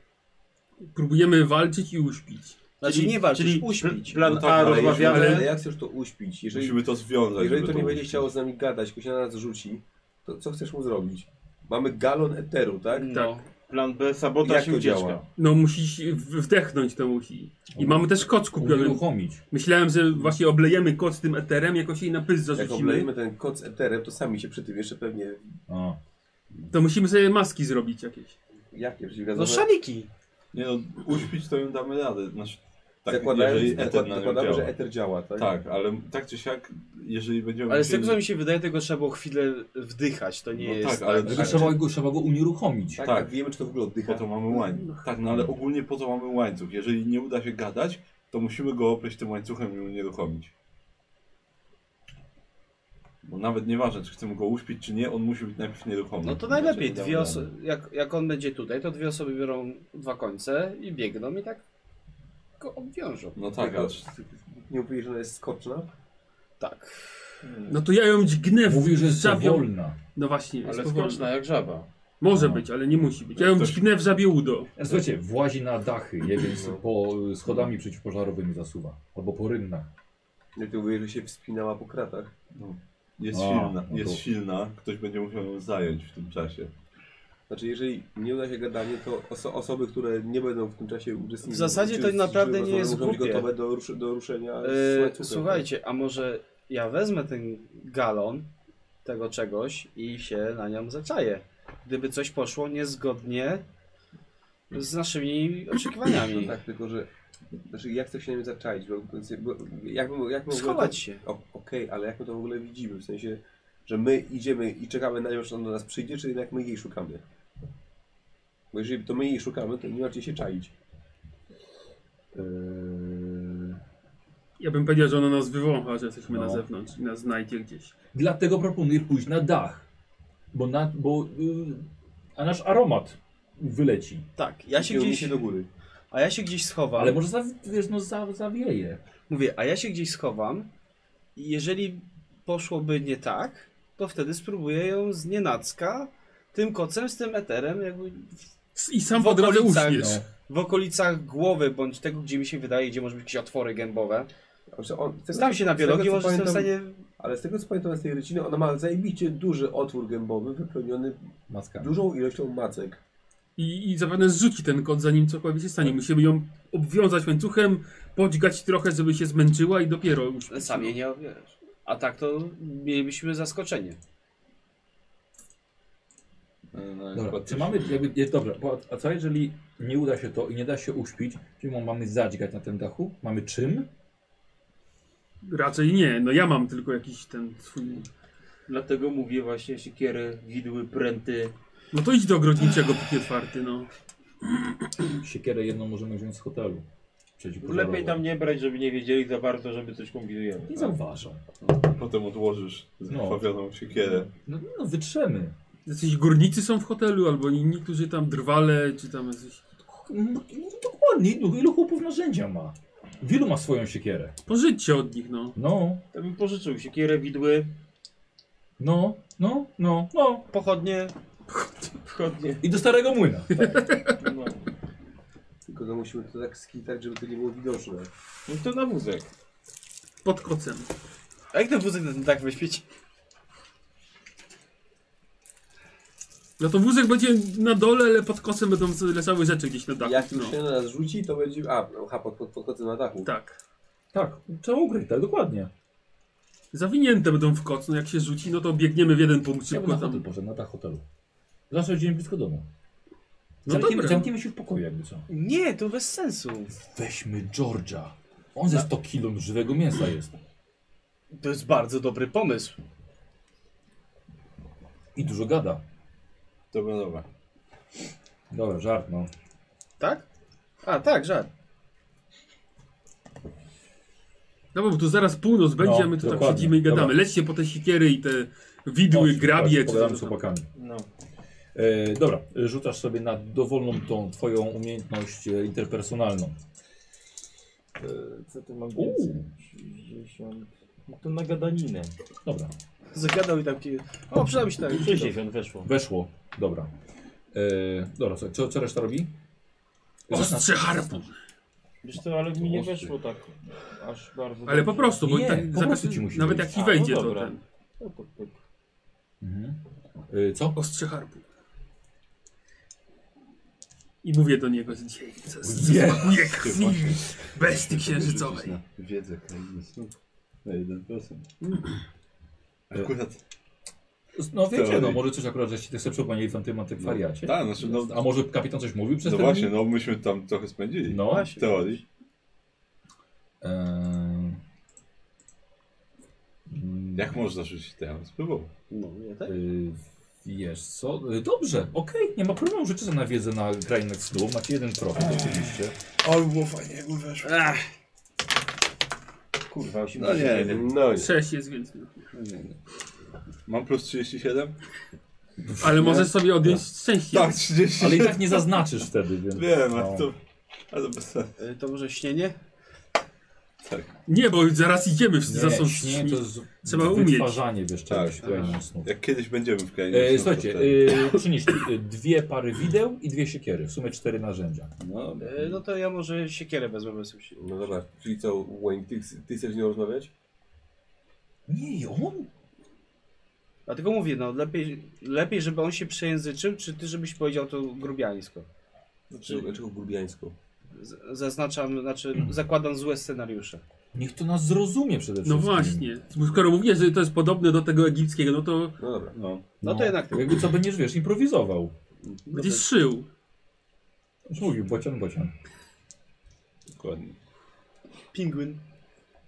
Speaker 6: Próbujemy walczyć i uśpić.
Speaker 5: Znaczy nie walczyć,
Speaker 4: czyli
Speaker 5: uśpić.
Speaker 4: pl- Plan
Speaker 2: No tak,
Speaker 4: A
Speaker 2: ale
Speaker 4: rozmawiamy.
Speaker 1: Ale, ale jak chcesz to uśpić? Jeżeli,
Speaker 2: Musimy to związać. żeby
Speaker 1: jeżeli to nie będzie
Speaker 2: uczyć.
Speaker 1: chciało z nami gadać, tylko się na nas rzuci, to co chcesz mu zrobić? Mamy galon eteru, tak?
Speaker 5: No.
Speaker 4: Plan B, sabotaż
Speaker 1: Jak
Speaker 4: i
Speaker 1: to
Speaker 4: ucieczka.
Speaker 1: działa?
Speaker 6: No musisz w- wdechnąć to musi. I mamy też koc kupiony.
Speaker 3: Uruchomić.
Speaker 6: Myślałem, że właśnie oblejemy koc tym eterem, jakoś jej na pysk
Speaker 1: Jak
Speaker 6: zarzucimy.
Speaker 1: oblejemy ten kod z eterem, to sami się przy tym jeszcze pewnie...
Speaker 3: A.
Speaker 6: To musimy sobie maski zrobić jakieś.
Speaker 1: Jakie
Speaker 5: No
Speaker 1: przeciwgazowe?
Speaker 5: szaliki.
Speaker 2: Nie no, uśpić to ją damy radę. Znaczy, Tak,
Speaker 1: zakładając,
Speaker 2: jeżeli eter
Speaker 1: zakład-
Speaker 2: na nią
Speaker 1: zakładamy,
Speaker 2: działa.
Speaker 1: że eter działa, tak?
Speaker 2: Tak, ale tak czy siak, jeżeli będziemy...
Speaker 5: Ale z
Speaker 2: musieli-
Speaker 5: tego co mi się wydaje, tego trzeba było chwilę wdychać. To nie
Speaker 2: No
Speaker 5: jest.
Speaker 2: tak, ale
Speaker 3: Tylko trzeba go, trzeba go unieruchomić.
Speaker 1: Tak,
Speaker 2: tak.
Speaker 1: wiemy, czy to w ogóle
Speaker 2: Po
Speaker 1: oddycha.
Speaker 2: to mamy łańcuch. Tak, no ale ogólnie po to mamy łańcuch. Jeżeli nie uda się gadać, to musimy go opryć tym łańcuchem i unieruchomić. Bo nawet nieważne, czy chcemy go uśpić, czy nie, on musi być najpierw nieruchomy.
Speaker 5: No to
Speaker 1: Znaczy,
Speaker 5: najlepiej.
Speaker 2: Inaczej
Speaker 5: Dwie
Speaker 2: nie
Speaker 5: oso- jak, jak on będzie tutaj, to dwie osoby biorą dwa końce i biegną i tak go obwiążą.
Speaker 2: No tak,
Speaker 1: Tylko-
Speaker 2: ale...
Speaker 1: Nie mówię, że ona jest skoczna.
Speaker 5: Tak.
Speaker 6: No to ja ją dźgnę w
Speaker 3: Mówił, że jest
Speaker 6: żabią-
Speaker 3: wolna.
Speaker 6: No właśnie, jest
Speaker 4: Ale
Speaker 6: powolna.
Speaker 4: skoczna jak żaba.
Speaker 6: Może
Speaker 3: No.
Speaker 6: być, ale nie musi być. Ja ją
Speaker 2: Ktoś-
Speaker 6: dźgnę w żabie udo.
Speaker 3: Słuchajcie, włazi na dachy, je
Speaker 4: No.
Speaker 3: więc po y, schodami przeciwpożarowymi zasuwa. Albo po rynnach.
Speaker 1: Jak to mówię, że się wspinała po kratach.
Speaker 2: Jest
Speaker 3: A,
Speaker 2: silna,
Speaker 3: no
Speaker 2: jest
Speaker 3: to-
Speaker 2: silna. Ktoś będzie musiał ją zająć w tym czasie.
Speaker 1: Znaczy, jeżeli nie uda się gadanie, to oso- osoby, które nie będą w tym czasie uczestniczyć...
Speaker 5: W zasadzie to
Speaker 1: czy-
Speaker 5: naprawdę
Speaker 1: czy-
Speaker 5: nie
Speaker 1: czy-
Speaker 5: jest
Speaker 1: muszą być
Speaker 5: głupie.
Speaker 1: gotowe do, ruszy- do ruszenia z
Speaker 5: Yy,
Speaker 1: łańcuchem.
Speaker 5: słuchajcie, a może ja wezmę ten galon tego czegoś i się na nią zaczaję. Gdyby coś poszło niezgodnie z naszymi oczekiwaniami.
Speaker 1: No tak, tylko że... Znaczy, jak chcę się na nim zaczaić? Bo, bo, jak, my- jak my w ogóle tak. to-
Speaker 5: Schować się.
Speaker 1: O- Okej, ale jak my to w ogóle widzimy? W sensie, że my idziemy i czekamy na nią, czy ona do nas przyjdzie, czy jednak my jej szukamy? Bo jeżeli to my jej szukamy, to nie macie się czaić.
Speaker 6: Ja bym powiedział, że ona nas wywącha, że jesteśmy na
Speaker 3: No.
Speaker 6: zewnątrz i nas znajdzie gdzieś.
Speaker 3: Dlatego proponuję pójść na dach. Bo, na, bo y, a nasz aromat wyleci.
Speaker 5: Tak, ja się
Speaker 1: Kierujmy
Speaker 5: gdzieś,
Speaker 1: się do góry.
Speaker 5: a ja się gdzieś schowam.
Speaker 3: Ale może za, wiesz, no, za, zawieje.
Speaker 5: Mówię, a ja się gdzieś schowam i jeżeli poszłoby nie tak, to wtedy spróbuję ją z nienacka tym kocem, z tym eterem, jakby w-
Speaker 6: I sam
Speaker 5: W
Speaker 6: po drodze
Speaker 5: okolicach,
Speaker 6: uśmiesz.
Speaker 3: no.
Speaker 5: w okolicach głowy, bądź tego, gdzie mi się wydaje, gdzie może być jakieś otwory gębowe.
Speaker 1: Znaczy on- z tego-
Speaker 5: Znam się na
Speaker 1: z tego,
Speaker 5: biologii,
Speaker 1: co
Speaker 5: może jestem w
Speaker 1: pamiętam-
Speaker 5: stanie...
Speaker 1: Ale z tego co pamiętam z tej ryciny, ona ma zajebiście duży otwór gębowy wypełniony
Speaker 3: Maska.
Speaker 1: dużą ilością macek.
Speaker 6: I, I zapewne zrzuci ten kot, zanim cokolwiek się stanie. Musimy ją obwiązać łańcuchem, podźgać trochę, żeby się zmęczyła i dopiero już.
Speaker 5: Sam jej nie wiesz. A tak to mielibyśmy zaskoczenie.
Speaker 2: No,
Speaker 3: Dobra, czy mamy, jakby, jest, dobra, bo, a co jeżeli nie uda się to i nie da się uśpić? Czyli mam- mamy zadźgać na tym dachu? Mamy czym?
Speaker 6: Raczej nie. No ja mam tylko jakiś ten swój...
Speaker 4: Dlatego mówię właśnie siekiery, widły, pręty.
Speaker 6: No to idź do ogrodniczego, póki otwarty, no.
Speaker 3: Siekierę jedną możemy wziąć z hotelu. Przeciwpożarową.
Speaker 4: Lepiej tam nie brać, żeby nie wiedzieli za bardzo, żeby coś kombinujemy.
Speaker 3: Nie zauważą.
Speaker 2: Potem odłożysz zakrwawioną siekierę.
Speaker 3: No, no wytrzemy.
Speaker 6: Jacyś górnicy są w hotelu, albo inni, którzy tam drwale, czy tam jacyś...
Speaker 3: No, dokładnie, no, ilu chłopów narzędzia ma? Wielu ma swoją siekierę.
Speaker 6: Pożyczcie od nich, no.
Speaker 3: No,
Speaker 4: To bym pożyczył siekierę, widły,
Speaker 3: no, no, no, no.
Speaker 5: Pochodnie,
Speaker 4: wchodnie.
Speaker 3: I do starego młyna.
Speaker 4: No.
Speaker 1: Tylko no, musimy to tak skitać, żeby to nie było widoczne.
Speaker 4: no to na wózek.
Speaker 6: Pod kocem.
Speaker 5: a jak ten wózek na ten tak wyśpić?
Speaker 6: No to wózek będzie na dole, ale pod kocem będą leżały rzeczy gdzieś na dachu.
Speaker 1: Jak
Speaker 6: no.
Speaker 1: już się na nas rzuci, to będzie... A, no, ha, pod, pod, pod kocem na dachu.
Speaker 6: Tak.
Speaker 3: Tak, trzeba ukryć, tak, dokładnie.
Speaker 6: Zawinięte będą w koc, no jak się rzuci, no to biegniemy w jeden punkt
Speaker 3: Ja bym
Speaker 6: szybko
Speaker 3: na hotel
Speaker 6: tam.
Speaker 3: poszedł, na dach hotelu. Zawsze dzień blisko domu.
Speaker 6: No
Speaker 3: Zamkniemy,
Speaker 6: dobra.
Speaker 3: zamkniemy się w pokoju jakby co.
Speaker 5: Nie, to bez sensu.
Speaker 3: Weźmy George'a. On ze 100 kilo żywego mięsa jest.
Speaker 5: To jest bardzo dobry pomysł.
Speaker 3: I dużo gada.
Speaker 2: Dobra, dobra.
Speaker 3: Dobra, żart no.
Speaker 5: Tak? A, tak, żart.
Speaker 6: No bo tu zaraz północ będzie,
Speaker 3: No,
Speaker 6: a my tu tak
Speaker 3: dokładnie.
Speaker 6: siedzimy i gadamy.
Speaker 3: Dobra.
Speaker 6: Lećcie po te sikiery i te widły,
Speaker 3: Chodź,
Speaker 6: grabie,
Speaker 3: pogadamy
Speaker 6: czy co to
Speaker 3: z
Speaker 6: tam.
Speaker 3: chłopakami.
Speaker 4: No.
Speaker 3: E, dobra, rzucasz sobie na dowolną tą twoją umiejętność e, interpersonalną.
Speaker 9: E, Co ty mam
Speaker 3: Uuu.
Speaker 9: więcej? 60. No to na gadaninę.
Speaker 3: Dobra,
Speaker 5: Zagadał i tam kije. O, przydał mi się tak.
Speaker 4: 60 weszło.
Speaker 3: weszło. Dobra. E, dobra, co, co, co reszta robi?
Speaker 6: Ostrze harpun.
Speaker 4: Wiesz co, ale mi nie weszło tak aż bardzo.
Speaker 6: Ale po
Speaker 4: dobrze.
Speaker 6: prostu, bo
Speaker 3: Nie,
Speaker 6: tak,
Speaker 3: po
Speaker 6: za
Speaker 3: prostu
Speaker 6: każdym-
Speaker 3: ci musi
Speaker 6: nawet
Speaker 3: wejść.
Speaker 6: jak ci
Speaker 4: A,
Speaker 6: wejdzie,
Speaker 4: no
Speaker 6: to
Speaker 4: dobra.
Speaker 6: ten.
Speaker 4: No to pyk.
Speaker 3: Mhm. E, co?
Speaker 6: Ostrze harpun. I mówię do niego, że dzisiaj co- co
Speaker 3: Nie.
Speaker 6: smakuje krwi
Speaker 2: Właśnie.
Speaker 6: bestii
Speaker 2: Rzucić
Speaker 6: księżycowej.
Speaker 2: na Wiedzę krainy na 1%. Akurat.
Speaker 3: No wiecie, no
Speaker 2: Teorii.
Speaker 3: może coś akurat, żeście też sobie przypomnieli w tamtym antykwariacie.
Speaker 2: Tak, znaczy, no,
Speaker 3: A może kapitan coś mówił przez
Speaker 2: no
Speaker 3: ten...
Speaker 2: właśnie, no myśmy tam trochę spędzili.
Speaker 3: No,
Speaker 2: W teorii.
Speaker 3: Ehm, mm,
Speaker 2: Jak można rzucić teraz? Spróbował.
Speaker 10: No, ja tak?
Speaker 3: y, Wiesz co? Y, Dobrze, okej, nie ma problemu. Życzę za nawiedzę na krainę snu. Macie jeden profil oczywiście.
Speaker 9: Oj, było fajnie, jakby weszło.
Speaker 4: Kurwa, 80.
Speaker 2: No nie, nie, no nie.
Speaker 6: 6 jest więc. no.
Speaker 2: Mam plus 37?
Speaker 6: Ale możesz sobie odjąć szczęście.
Speaker 2: Tak, 30.
Speaker 3: Ale i tak nie zaznaczysz wtedy, więc...
Speaker 2: Wiem,
Speaker 3: no.
Speaker 2: ale to... Ale bez sensu.
Speaker 5: Y, To może śnienie?
Speaker 6: Nie, bo zaraz idziemy w za są
Speaker 3: Nie, nie, to jest
Speaker 6: Trzeba umieć.
Speaker 3: wytwarzanie, wiesz, czegoś
Speaker 2: Tak.
Speaker 3: krainą snu.
Speaker 2: Jak kiedyś będziemy w krainie.
Speaker 3: E,
Speaker 2: snu, to
Speaker 3: słuchajcie,
Speaker 2: wtedy.
Speaker 3: e, przynieśli e, dwie pary wideł i dwie siekiery. W sumie cztery narzędzia.
Speaker 2: No,
Speaker 5: Y, No to ja może siekierę wezmę, bo jestem si-
Speaker 1: No dobra, czyli co, Wayne, ty, ty chcesz z nią rozmawiać?
Speaker 3: Nie, on?
Speaker 5: Dlatego mówię, no lepiej, lepiej, żeby on się przejęzyczył, czy ty żebyś powiedział to grubiańsko?
Speaker 1: Dlaczego, dlaczego grubiańską?
Speaker 5: Z- Zaznaczam, znaczy zakładam złe scenariusze.
Speaker 3: Niech to nas zrozumie przede
Speaker 6: No
Speaker 3: wszystkim.
Speaker 6: właśnie. Bo Skoro mówię, że to jest podobne do tego egipskiego, no to
Speaker 1: No dobra.
Speaker 2: no.
Speaker 5: No to jednak ty.
Speaker 3: Jakby co będziesz, wiesz, improwizował.
Speaker 6: gdzieś szył.
Speaker 3: Już mówił, bocian, bocian.
Speaker 2: Dokładnie.
Speaker 5: Pingwin.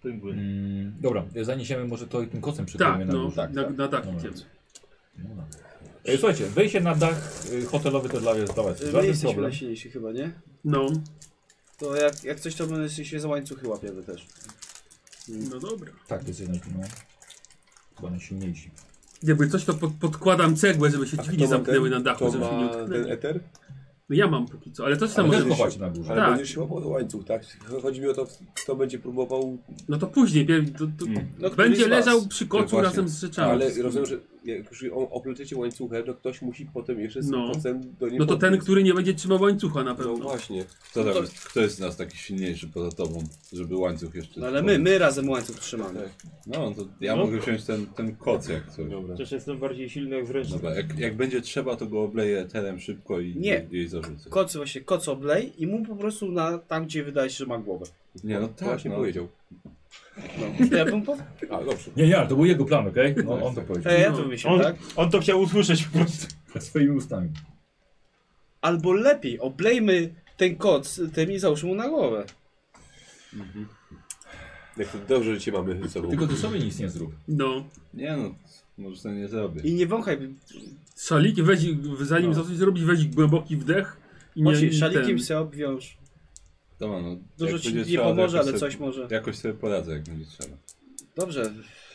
Speaker 4: Pingwin.
Speaker 3: Mm, dobra, zaniesiemy może to i tym kocem przykryjemy
Speaker 6: Tak,
Speaker 3: na
Speaker 6: no,
Speaker 3: górze.
Speaker 6: na, na dach
Speaker 3: Dobra.
Speaker 6: idziemy.
Speaker 3: No dobra. E, Słuchajcie, wejście na dach y, hotelowy to dla was dawać.
Speaker 5: Y, My
Speaker 3: Żaden
Speaker 5: jesteśmy
Speaker 3: problem.
Speaker 5: najsilniejsi chyba, nie?
Speaker 6: No,
Speaker 5: To jak, jak coś to my się za łańcuchy łapiemy też. Mm.
Speaker 6: no dobra.
Speaker 3: Tak, to jest jednak, no. Chyba najsilniejsi.
Speaker 6: Jakby coś to pod, podkładam cegłę, żeby się
Speaker 1: A
Speaker 6: dźwignie
Speaker 1: kto ma
Speaker 6: zamknęły
Speaker 1: ten-
Speaker 6: na dachu,
Speaker 1: kto
Speaker 6: żeby się nie
Speaker 1: ma ten
Speaker 6: utknęli.
Speaker 1: eter?
Speaker 6: No ja mam póki co, ale
Speaker 3: No,
Speaker 6: to
Speaker 3: Ale
Speaker 6: samo
Speaker 3: też
Speaker 6: może
Speaker 3: chowacie na górze.
Speaker 1: Ale
Speaker 6: Tak.
Speaker 1: będziesz się łapał za łańcuch, tak? Chodzi mi o to, kto będzie próbował,
Speaker 6: No to później, pier- to, to,
Speaker 5: No, któryś
Speaker 6: będzie
Speaker 5: z was.
Speaker 6: leżał przy kocu
Speaker 2: Właśnie.
Speaker 6: razem z rzeczami.
Speaker 3: No,
Speaker 1: ale rozumiem, że jak już o- oplecicie łańcuchem, to ktoś musi potem jeszcze z
Speaker 6: No.
Speaker 1: kocem do niego
Speaker 6: No to ten, który nie będzie trzymał łańcucha na
Speaker 1: No
Speaker 6: pewno.
Speaker 1: właśnie.
Speaker 2: Kto, tam, jest- kto jest z nas taki silniejszy poza tobą, żeby łańcuch jeszcze...
Speaker 5: No ale my, my razem łańcuch
Speaker 3: Tak,
Speaker 5: trzymamy.
Speaker 2: No, to ja
Speaker 4: No.
Speaker 2: mogę wziąć ten, ten koc jak coś.
Speaker 1: Dobra.
Speaker 4: Też jestem bardziej silny jak zręczny.
Speaker 2: Dobra, jak, jak będzie trzeba, to go obleję terem szybko i
Speaker 5: Nie.
Speaker 2: i jej
Speaker 3: tak.
Speaker 2: zarzucę.
Speaker 5: Koc właśnie, koc oblej i mu po prostu na, tam, gdzie wydaje się, że ma głowę.
Speaker 2: Nie, no
Speaker 1: To
Speaker 2: tak,
Speaker 1: właśnie
Speaker 2: no.
Speaker 1: powiedział.
Speaker 5: No, to ja bym po...
Speaker 1: A, dobrze.
Speaker 3: Nie, nie, ale to był jego plan, okej? No, on to powiedział.
Speaker 5: e, ja to myślę,
Speaker 4: On,
Speaker 5: tak?
Speaker 4: on to chciał usłyszeć po prostu.
Speaker 3: Swoimi ustami.
Speaker 5: Albo lepiej, oblejmy ten koc tym i załóżmy mu na głowę.
Speaker 1: Jak to dobrze, że cię mamy ze sobą.
Speaker 3: Tylko ty sobie nic nie zrób.
Speaker 6: No.
Speaker 2: Nie no, może to nie zrobię.
Speaker 5: I nie wąchaj.
Speaker 6: Szalik, weź, zanim no. coś zrobić, weź głęboki wdech. I nie,
Speaker 5: Właśnie,
Speaker 6: i
Speaker 5: szalikiem
Speaker 6: ten.
Speaker 5: się obwiąż.
Speaker 2: Dobra, no,
Speaker 5: Dużo
Speaker 2: jak
Speaker 5: ci
Speaker 2: będzie
Speaker 5: nie
Speaker 2: to
Speaker 5: pomoże,
Speaker 2: jakoś
Speaker 5: ale
Speaker 2: sobie-
Speaker 5: coś może.
Speaker 2: Jakoś sobie poradzę, jak będzie trzeba.
Speaker 5: Dobrze,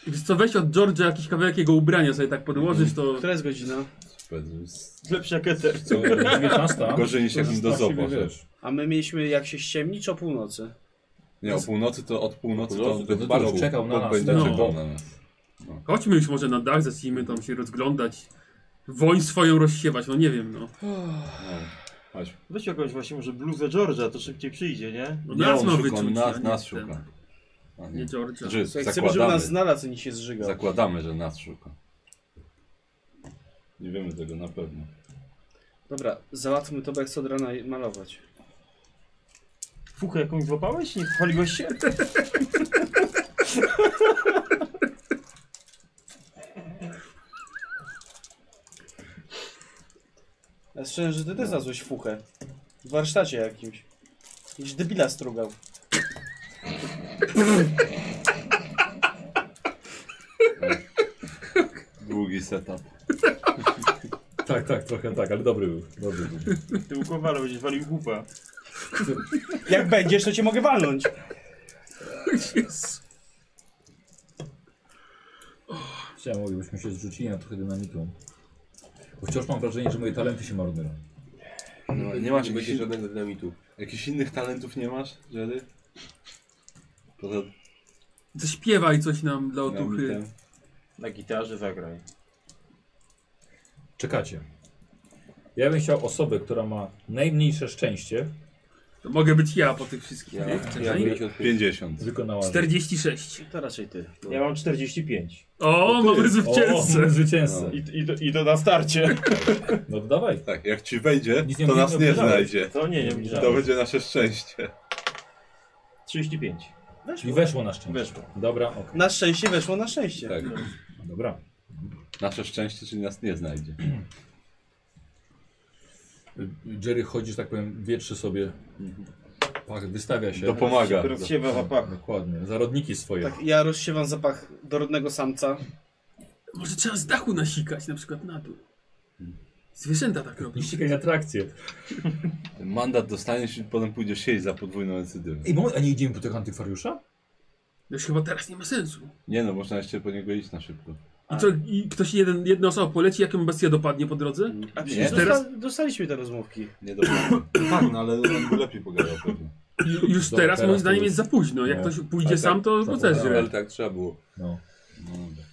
Speaker 6: Wiesz co, weź od George'a jakiś kawałek jego ubrania sobie tak podłożysz, to...
Speaker 5: która jest godzina?
Speaker 2: Super, to jest-
Speaker 4: Lepszy jak E eter.
Speaker 2: Co?
Speaker 3: 19.
Speaker 2: Gorzej niż
Speaker 3: To
Speaker 2: jakbym do
Speaker 3: jest
Speaker 2: zobo.
Speaker 3: właściwie,
Speaker 2: że-
Speaker 3: wiesz.
Speaker 5: A my mieliśmy jak się ściemni, czy o północy?
Speaker 2: Nie, o północy to od północy to,
Speaker 3: północy to
Speaker 2: to
Speaker 3: już czekał na nas.
Speaker 2: Będzie
Speaker 6: No.
Speaker 2: czekał na nas.
Speaker 6: Chodźmy już może na dach, zacznijmy tam się rozglądać. Woń swoją rozsiewać, no nie wiem, no.
Speaker 2: No. Chodź.
Speaker 4: Weź jakąś właśnie może bluzę George'a, to szybciej przyjdzie, nie?
Speaker 6: no
Speaker 2: Nie,
Speaker 6: nas ma
Speaker 2: on szuka,
Speaker 6: wyczuć,
Speaker 2: on nas,
Speaker 6: a nie
Speaker 2: nas
Speaker 6: ten.
Speaker 2: szuka. A nie.
Speaker 6: Nie George'a.
Speaker 2: Znaczy,
Speaker 5: Słuchaj, chcemy, żeby nas
Speaker 2: zakładamy,
Speaker 5: znalazł, a nie się zżygał.
Speaker 2: zakładamy, że nas szuka. Nie wiemy tego na pewno.
Speaker 5: Dobra, załatwmy to, bo jak chcę od rana malować.
Speaker 4: Fuchę jakąś złapałeś? Nie chwaliłeś się?
Speaker 5: Ja szczerze, że
Speaker 2: No.
Speaker 5: ty też znalazłeś fuchę. W warsztacie jakimś. Jakiś debila strugał.
Speaker 2: Długi setup.
Speaker 3: Tak, tak, trochę tak, ale dobry był. Dobry był.
Speaker 4: Ty u kowala będziesz walił głupa.
Speaker 5: Jak będziesz, to cię mogę walnąć.
Speaker 6: Jezu.
Speaker 3: Chciałem, mówię, byśmy się zrzucili na trochę dynamiką. Bo wciąż mam wrażenie, że moje talenty się marnują.
Speaker 2: No, nie masz
Speaker 1: Nie będzie
Speaker 2: jakichś,
Speaker 1: żadnego dynamitu.
Speaker 2: jakichś innych talentów nie masz, Jerry? Poza
Speaker 6: Zaśpiewaj coś nam
Speaker 2: No
Speaker 6: dla otuchy.
Speaker 2: dynamitem?
Speaker 4: Na gitarze zagraj.
Speaker 3: Czekacie. Ja bym chciał osobę, która ma najmniejsze szczęście,
Speaker 6: To mogę być ja po tych wszystkich.
Speaker 1: Ja,
Speaker 6: nie?
Speaker 1: ja
Speaker 6: Czekaj.
Speaker 1: bym się odpił.
Speaker 2: 50.
Speaker 3: wykonała.
Speaker 6: 46.
Speaker 5: To raczej ty.
Speaker 4: Ja mam 45.
Speaker 6: O, mamy
Speaker 3: O,
Speaker 6: zwycięzcę.
Speaker 3: zwycięzcę.
Speaker 4: I, i, do- I to na starcie.
Speaker 3: No to dawaj.
Speaker 2: Tak, jak ci wejdzie,
Speaker 3: Nic nie
Speaker 2: to nas nie
Speaker 3: obniżamy.
Speaker 2: znajdzie.
Speaker 4: To nie, nie
Speaker 2: To
Speaker 4: obniżamy.
Speaker 2: będzie nasze szczęście.
Speaker 4: 35.
Speaker 3: I weszło na szczęście.
Speaker 4: Weszło.
Speaker 3: Dobra, okej.
Speaker 5: Na szczęście weszło na szczęście.
Speaker 2: Tak.
Speaker 3: Dobra.
Speaker 2: Nasze szczęście, czyli nas nie znajdzie.
Speaker 3: Jerry chodzi, że tak powiem, wietrzy sobie. Pach wystawia się.
Speaker 2: Dopomaga.
Speaker 4: Rozsiewa zapach.
Speaker 3: Dokładnie, zarodniki swoje.
Speaker 5: Tak, ja rozsiewam zapach dorodnego samca.
Speaker 6: Może trzeba z dachu nasikać, na przykład na dół. Zwierzęta tak robią.
Speaker 3: I ścigaj atrakcję.
Speaker 2: Ten mandat dostaniesz i potem pójdziesz siedzieć za podwójną incydywę.
Speaker 3: Ej, moment, a nie idziemy po tego antykwariusza?
Speaker 6: No już chyba teraz nie ma sensu.
Speaker 2: Nie no, można jeszcze po niego iść na szybko.
Speaker 6: I co, i ktoś jeden, jedna osoba poleci, jak ją bestia dopadnie po drodze?
Speaker 5: A
Speaker 2: przecież
Speaker 6: teraz-
Speaker 5: dostaliśmy te rozmówki.
Speaker 2: Nie dobrze. tak, no ale on by lepiej pogadał pewnie.
Speaker 6: I już
Speaker 3: Do-
Speaker 6: teraz,
Speaker 3: teraz
Speaker 6: moim
Speaker 3: to
Speaker 6: zdaniem
Speaker 3: już-
Speaker 6: jest za późno. Jak
Speaker 3: No.
Speaker 6: ktoś pójdzie
Speaker 3: Ale tak,
Speaker 6: sam, to go też
Speaker 3: tak,
Speaker 2: No,
Speaker 6: źle.
Speaker 2: ale tak trzeba było.
Speaker 3: No.
Speaker 2: No, dobra.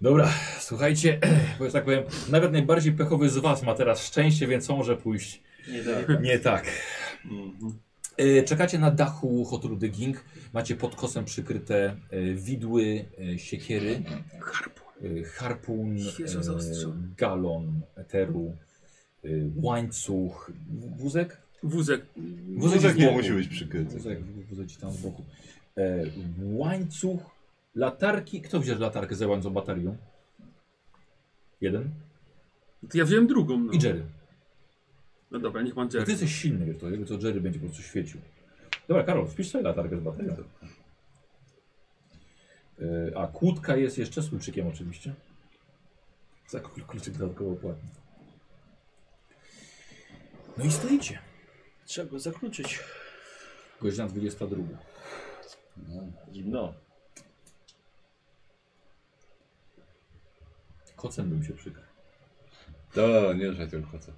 Speaker 3: Dobra, słuchajcie, bo że tak powiem, nawet najbardziej pechowy z was ma teraz szczęście, więc co może pójść
Speaker 4: Nie tak. Mhm.
Speaker 3: nie tak. E, Czekacie na dachu hotelu The King. Macie pod kosem przykryte e, widły, e, siekiery, e, harpun,
Speaker 6: Świeżo
Speaker 3: e,
Speaker 6: zaostrzone.
Speaker 3: galon eteru, e, łańcuch, w- wózek?
Speaker 6: Wózek.
Speaker 2: Wózek
Speaker 3: z
Speaker 2: nie
Speaker 3: boku.
Speaker 2: musi być przykryty.
Speaker 3: Wózek, wózek ci tam z boku. E, łańcuch, latarki. Kto wziął latarkę ze łańcuchą baterią? Jeden?
Speaker 6: To ja wziąłem drugą. No,
Speaker 3: I Jerry.
Speaker 6: no dobra, niech pan
Speaker 3: Bo Ty
Speaker 6: Jerry.
Speaker 3: jesteś silny, wiesz, to, jakby to Jerry będzie po prostu świecił. Dobra, Karol, wpisz sobie latarkę z baterią. E, a kłódka jest jeszcze z kluczykiem oczywiście. Za kl- kluczyk dodatkowo płatny. No i stoicie.
Speaker 5: Trzeba go zakluczyć.
Speaker 3: Godzina 22.
Speaker 4: Zimno.
Speaker 3: Kocem bym się przykrył.
Speaker 2: To nie ruszaj tylko co.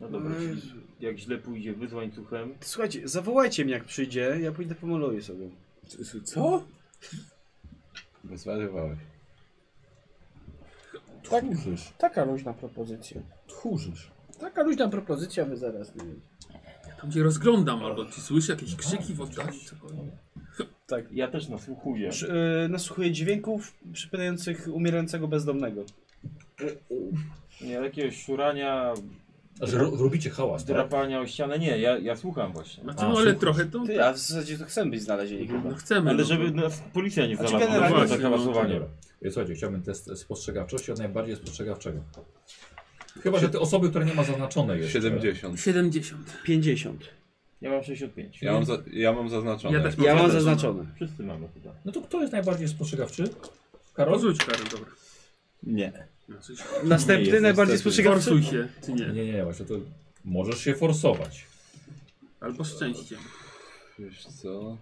Speaker 4: No dobra, czyli jak źle pójdzie, wyzwań cuchem.
Speaker 5: Słuchajcie, zawołajcie mnie jak przyjdzie, ja pójdę pomoluję sobie.
Speaker 1: Co?
Speaker 2: Bezwarywałeś.
Speaker 9: Tak.
Speaker 3: Tchórzysz,
Speaker 9: Taka luźna propozycja.
Speaker 3: tchórzysz.
Speaker 9: Taka luźna propozycja, wy zaraz nie
Speaker 6: Tam się rozglądam, albo ci słyszę jakieś krzyki w oddali. cokolwiek.
Speaker 4: Ja też nasłuchuję.
Speaker 5: Przy, y, nasłuchuję dźwięków przypominających umierającego bezdomnego.
Speaker 4: Nie, jakiegoś szurania,
Speaker 3: A że ro, robicie hałas, tak?
Speaker 4: drapania o ścianę. Nie, ja, ja słucham właśnie.
Speaker 6: No
Speaker 3: A,
Speaker 6: to, ale
Speaker 3: słuchasz.
Speaker 6: trochę to...
Speaker 5: Ty, a w zasadzie to chcemy być znalezieni
Speaker 6: No
Speaker 5: chyba.
Speaker 6: chcemy.
Speaker 4: Ale
Speaker 6: no.
Speaker 4: żeby nas policja nie
Speaker 5: Znaczy,
Speaker 4: znalazła. No
Speaker 5: generalnie-
Speaker 4: właśnie,
Speaker 6: No właśnie,
Speaker 3: Dobra.
Speaker 4: hałasowanie.
Speaker 3: E, Słuchajcie, chciałbym test spostrzegawczości od najbardziej spostrzegawczego. Chyba, że te osoby, które nie ma zaznaczone tak? jeszcze.
Speaker 2: 70.
Speaker 6: 70.
Speaker 5: 50.
Speaker 4: Ja mam 65.
Speaker 2: Ja mam, za, ja mam zaznaczone.
Speaker 6: Ja tak też no.
Speaker 5: Ja mam
Speaker 6: zaznaczone.
Speaker 5: zaznaczone.
Speaker 4: Wszyscy mamy chyba.
Speaker 3: No to kto jest najbardziej spostrzegawczy? Karol?
Speaker 6: Rozrzuć karę, dobra.
Speaker 4: Nie.
Speaker 6: No, coś-
Speaker 5: Następny,
Speaker 2: jest,
Speaker 5: najbardziej
Speaker 2: niestety.
Speaker 5: spostrzegawczy.
Speaker 6: Forsuj się, czy
Speaker 3: Nie,
Speaker 6: nie.
Speaker 3: nie, nie, właśnie to możesz się forsować.
Speaker 6: Albo szczęście.
Speaker 2: Wiesz co?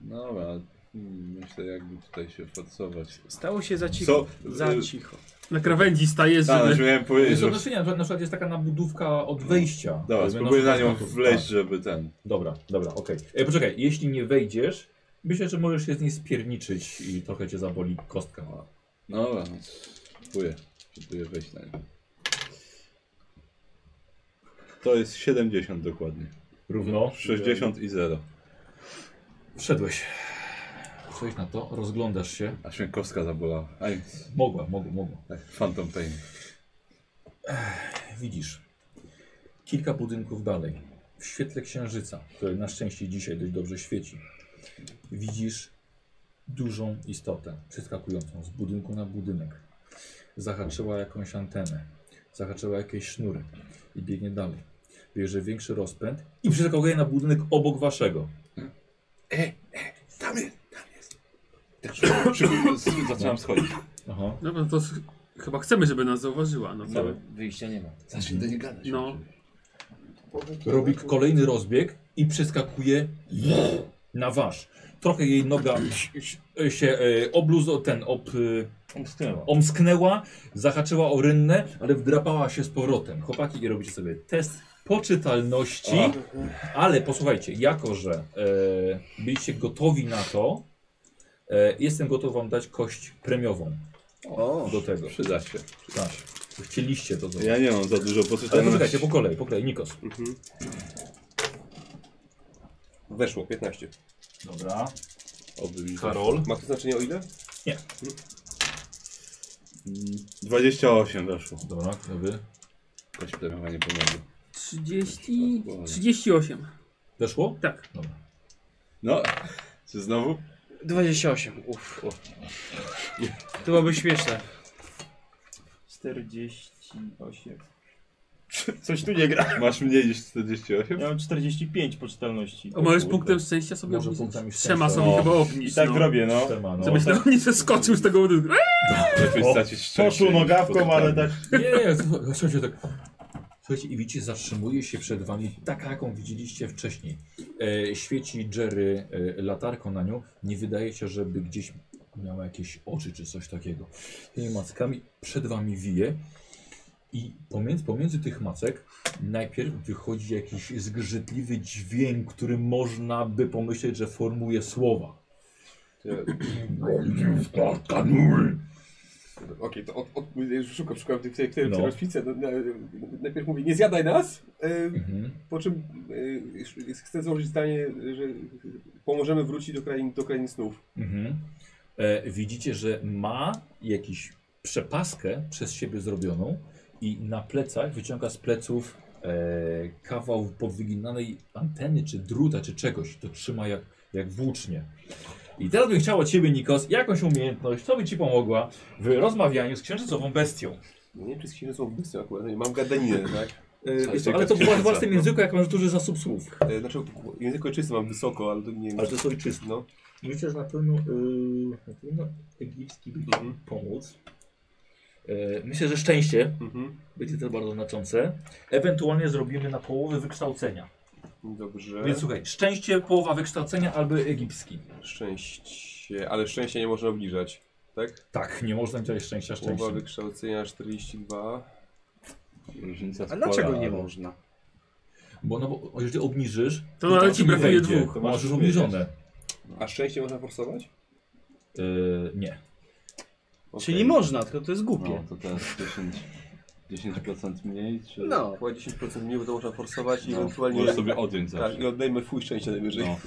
Speaker 2: No dobra. Hmm, myślę jakby tutaj się forsować.
Speaker 5: Stało się za cicho.
Speaker 2: Yy.
Speaker 5: Za cicho.
Speaker 6: Na krawędzi stajesz,
Speaker 2: Y, Tak,
Speaker 6: żeby...
Speaker 2: znaczy miałem powiedzieć,
Speaker 3: Jest
Speaker 2: że...
Speaker 3: odnoszenie, na przykład- na przykład jest taka nabudówka od wejścia.
Speaker 2: No. Dobra,
Speaker 3: Żeby
Speaker 2: spróbuję na
Speaker 3: nasz-
Speaker 2: nią
Speaker 3: nasz-
Speaker 2: wleźć,
Speaker 3: tak.
Speaker 2: żeby ten...
Speaker 3: Dobra, dobra, okej. E, Poczekaj, jeśli nie wejdziesz, myślę, że możesz się z niej spierniczyć i trochę cię zaboli kostka.
Speaker 2: No dobra, no, spróbuję. Spróbuję wejść na nią. To jest 70 dokładnie.
Speaker 3: Równo.
Speaker 2: 60 i 0.
Speaker 3: Wszedłeś. Wszedłeś na to, rozglądasz się.
Speaker 2: Aż mnie kostka zabolała. Aj,
Speaker 3: Mogła, mogła, mogła.
Speaker 2: tak, phantom pain.
Speaker 3: Widzisz kilka budynków dalej, w świetle księżyca, który na szczęście dzisiaj dość dobrze świeci, widzisz dużą istotę przeskakującą z budynku na budynek. Zahaczyła jakąś antenę, zahaczyła jakieś sznury i biegnie dalej. Bierze większy rozpęd i przeskakuje na budynek obok waszego.
Speaker 2: Zaczynam schodzić.
Speaker 3: Aha.
Speaker 6: No bo to s- chyba chcemy, żeby nas zauważyła. No, co?
Speaker 4: Dobra, wyjścia nie ma.
Speaker 2: Zacznij do nie gadać.
Speaker 6: no.
Speaker 3: Robi kolejny rozbieg i przeskakuje na wasz. Trochę jej noga się e, obluz, ten ob, e,
Speaker 4: Umsknęła.
Speaker 3: omsknęła, zahaczyła o rynnę, ale wdrapała się z powrotem. Chłopaki, i robicie sobie test poczytalności, ale posłuchajcie, jako że e, byliście gotowi na to, e, jestem gotów wam dać kość premiową
Speaker 5: O.
Speaker 3: do tego.
Speaker 2: Przyda się.
Speaker 3: Tak. Chcieliście to zrobić.
Speaker 2: Ja nie mam za dużo
Speaker 3: Ale
Speaker 2: poczytania.
Speaker 3: poczekajcie, po kolei, po kolei, Nikos.
Speaker 1: Weszło, 15.
Speaker 3: Dobra,
Speaker 2: Oby mi
Speaker 3: Karol.
Speaker 1: Ma to znaczenie o ile?
Speaker 2: 28 Mm, weszło.
Speaker 3: Dobra, wy.
Speaker 2: Kość premiowa nie pomaga.
Speaker 6: 30... 38.
Speaker 3: Weszło?
Speaker 6: Tak.
Speaker 3: Dobra.
Speaker 2: No, czy znowu?
Speaker 5: 28, uff. To byłoby śmieszne.
Speaker 4: 48. Coś tu nie gra.
Speaker 2: Masz mniej niż 48?
Speaker 4: Ja mam 45 poczytalności.
Speaker 6: A możesz
Speaker 3: Kurde.
Speaker 6: punktem szczęścia sobie
Speaker 3: Może
Speaker 6: obniżyć.
Speaker 3: punktami
Speaker 6: Trzema
Speaker 3: szczęścia.
Speaker 6: sobie
Speaker 3: O,
Speaker 6: chyba obniż.
Speaker 4: I tak
Speaker 6: no.
Speaker 4: robię, no.
Speaker 3: Czterema, no.
Speaker 6: Żebyś tak nie zeskoczył z tego budynku.
Speaker 2: Lepiej
Speaker 4: O,
Speaker 2: stracić szczęście.
Speaker 4: Poszło
Speaker 2: niż
Speaker 4: nogawką, ale
Speaker 2: podatami.
Speaker 4: tak...
Speaker 3: Nie, nie, słuch- słuchajcie, tak. Słuchajcie, i widzicie, zatrzymuje się przed wami taka, jaką widzieliście wcześniej. E, świeci Jerry e, latarką na nią. Nie wydaje się, żeby gdzieś miała jakieś oczy czy coś takiego. Tymi mackami przed wami wije. I pomiędzy, pomiędzy tych macek najpierw wychodzi jakiś zgrzytliwy dźwięk, który można by pomyśleć, że formuje słowa.
Speaker 1: Okej, to od, od, szukam, szukam w tej, w tej, w tej
Speaker 3: No.
Speaker 1: rozpice. No, na, najpierw mówi, nie zjadaj nas, e,
Speaker 3: Mhm.
Speaker 1: po czym e, chcę złożyć zdanie, że pomożemy wrócić do krain, do krain snów.
Speaker 3: Mhm. E, widzicie, że ma jakiś przepaskę przez siebie zrobioną i na plecach wyciąga z pleców e, kawał podwyginanej anteny, czy druta, czy czegoś. To trzyma jak, jak włócznie. I teraz bym chciał od Ciebie, Nikos, jakąś umiejętność, co by Ci pomogła w rozmawianiu z księżycową bestią.
Speaker 1: No nie wiem, czy z silną bestią akurat, no nie, mam gadaninę, tak?
Speaker 3: E, wiesz co,
Speaker 2: jaka
Speaker 3: ale to była w
Speaker 2: księżyca,
Speaker 3: własnym
Speaker 2: no.
Speaker 3: języku, jak masz duży zasób słów.
Speaker 1: E, znaczy, język ojczysty mam wysoko, ale to nie wiem.
Speaker 3: Ale to jest ojczysty.
Speaker 1: No.
Speaker 3: Myślę, że na pewno, yy, na pewno egipski
Speaker 1: No.
Speaker 3: by
Speaker 1: Mhm,
Speaker 3: ci pomóc. E, myślę, że szczęście
Speaker 1: Mhm.
Speaker 3: będzie też bardzo znaczące. Ewentualnie zrobimy na połowę wykształcenia.
Speaker 1: Dobrze.
Speaker 3: Więc słuchaj, szczęście, połowa wykształcenia albo egipski.
Speaker 1: Szczęście, ale szczęścia nie można obniżać, tak?
Speaker 3: Tak, nie można mieć szczęścia
Speaker 1: Połowa
Speaker 3: szczęścia.
Speaker 1: wykształcenia 42.
Speaker 2: Różnica
Speaker 5: A
Speaker 2: spora,
Speaker 5: dlaczego nie
Speaker 2: ale-
Speaker 5: można?
Speaker 3: Bo, no, bo jeżeli obniżysz,
Speaker 6: To nawet ci
Speaker 3: nie
Speaker 6: brakuje
Speaker 3: wejdzie.
Speaker 6: dwóch.
Speaker 3: To masz już
Speaker 2: To możesz
Speaker 3: obniżone.
Speaker 1: A szczęście można forsować?
Speaker 3: E, nie.
Speaker 1: Okej.
Speaker 5: Czyli można, tylko to jest
Speaker 2: No,
Speaker 5: głupie.
Speaker 2: to teraz 10, 10% mniej, czy...
Speaker 5: No.
Speaker 1: Chyba 10% mniej, bo to można forsować i
Speaker 2: No,
Speaker 1: ewentualnie...
Speaker 2: Możesz sobie odjąć zawsze.
Speaker 1: Tak, i oddajmy fuj szczęście najwyżej.
Speaker 2: No.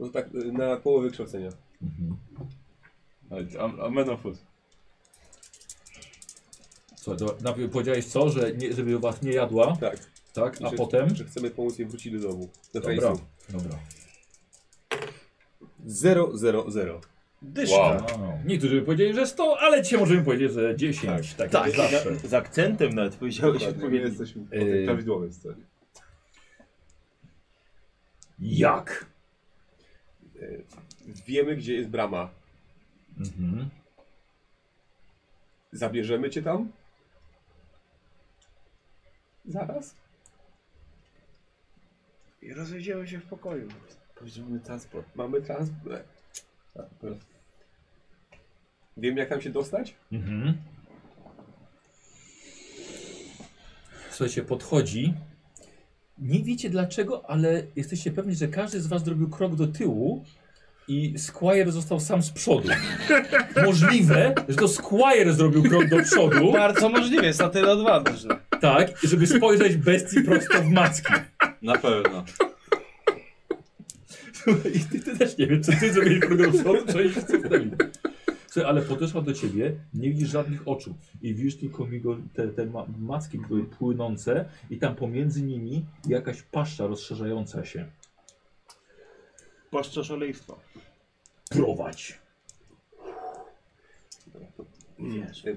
Speaker 1: No tak, y, na połowę kształcenia.
Speaker 3: Mhm.
Speaker 2: A, a man of food.
Speaker 3: Słuchaj, to najpierw powiedziałeś co, że nie, żeby was nie jadła,
Speaker 1: Tak.
Speaker 3: tak?
Speaker 1: I
Speaker 3: A
Speaker 1: że-
Speaker 3: potem?
Speaker 1: Że chcemy pomóc jej wrócić do domu. Do
Speaker 3: Dobra,
Speaker 1: Dobra.
Speaker 3: dobra.
Speaker 1: Zero, zero, zero.
Speaker 4: Dyszka.
Speaker 2: Wow.
Speaker 3: Wow. No. Niektórzy by powiedzieli, że 100, ale dzisiaj możemy powiedzieć, że 10. Tak,
Speaker 4: Tak,
Speaker 3: tak, tak zawsze.
Speaker 4: z akcentem nawet powiedziałeś
Speaker 2: Dokładnie, my
Speaker 4: odpowiednio.
Speaker 2: jesteśmy po tej
Speaker 3: Yy.
Speaker 2: prawidłowej stronie.
Speaker 3: Jak?
Speaker 1: Wiemy, gdzie jest brama.
Speaker 3: Mhm.
Speaker 1: Zabierzemy cię tam? Zaraz?
Speaker 9: I rozejdziemy się w pokoju.
Speaker 2: Powiedzmy transport.
Speaker 1: Mamy transport.
Speaker 2: Tak,
Speaker 1: Wiem, jak tam się dostać?
Speaker 3: Mhm. Słuchajcie, podchodzi. Nie wiecie dlaczego, ale jesteście pewni, że każdy z was zrobił krok do tyłu i Squire został sam z przodu. Możliwe, że to Squire zrobił krok do przodu,
Speaker 5: No. Bardzo możliwe, jest na tyle odważne.
Speaker 3: tak, żeby spojrzeć bestii prosto w macki.
Speaker 2: Na pewno.
Speaker 3: I ty, ty też nie wiem, czy ty zrobiłeś program przodu, czy jeszcze co wtedy. Słuchaj, ale podeszła do ciebie, nie widzisz żadnych oczu i widzisz tylko migo, te, te ma macki pły- płynące i tam pomiędzy nimi jakaś paszcza rozszerzająca się.
Speaker 4: Płaszcza szaleństwa.
Speaker 3: Prowadź.
Speaker 4: Wiesz.
Speaker 1: E,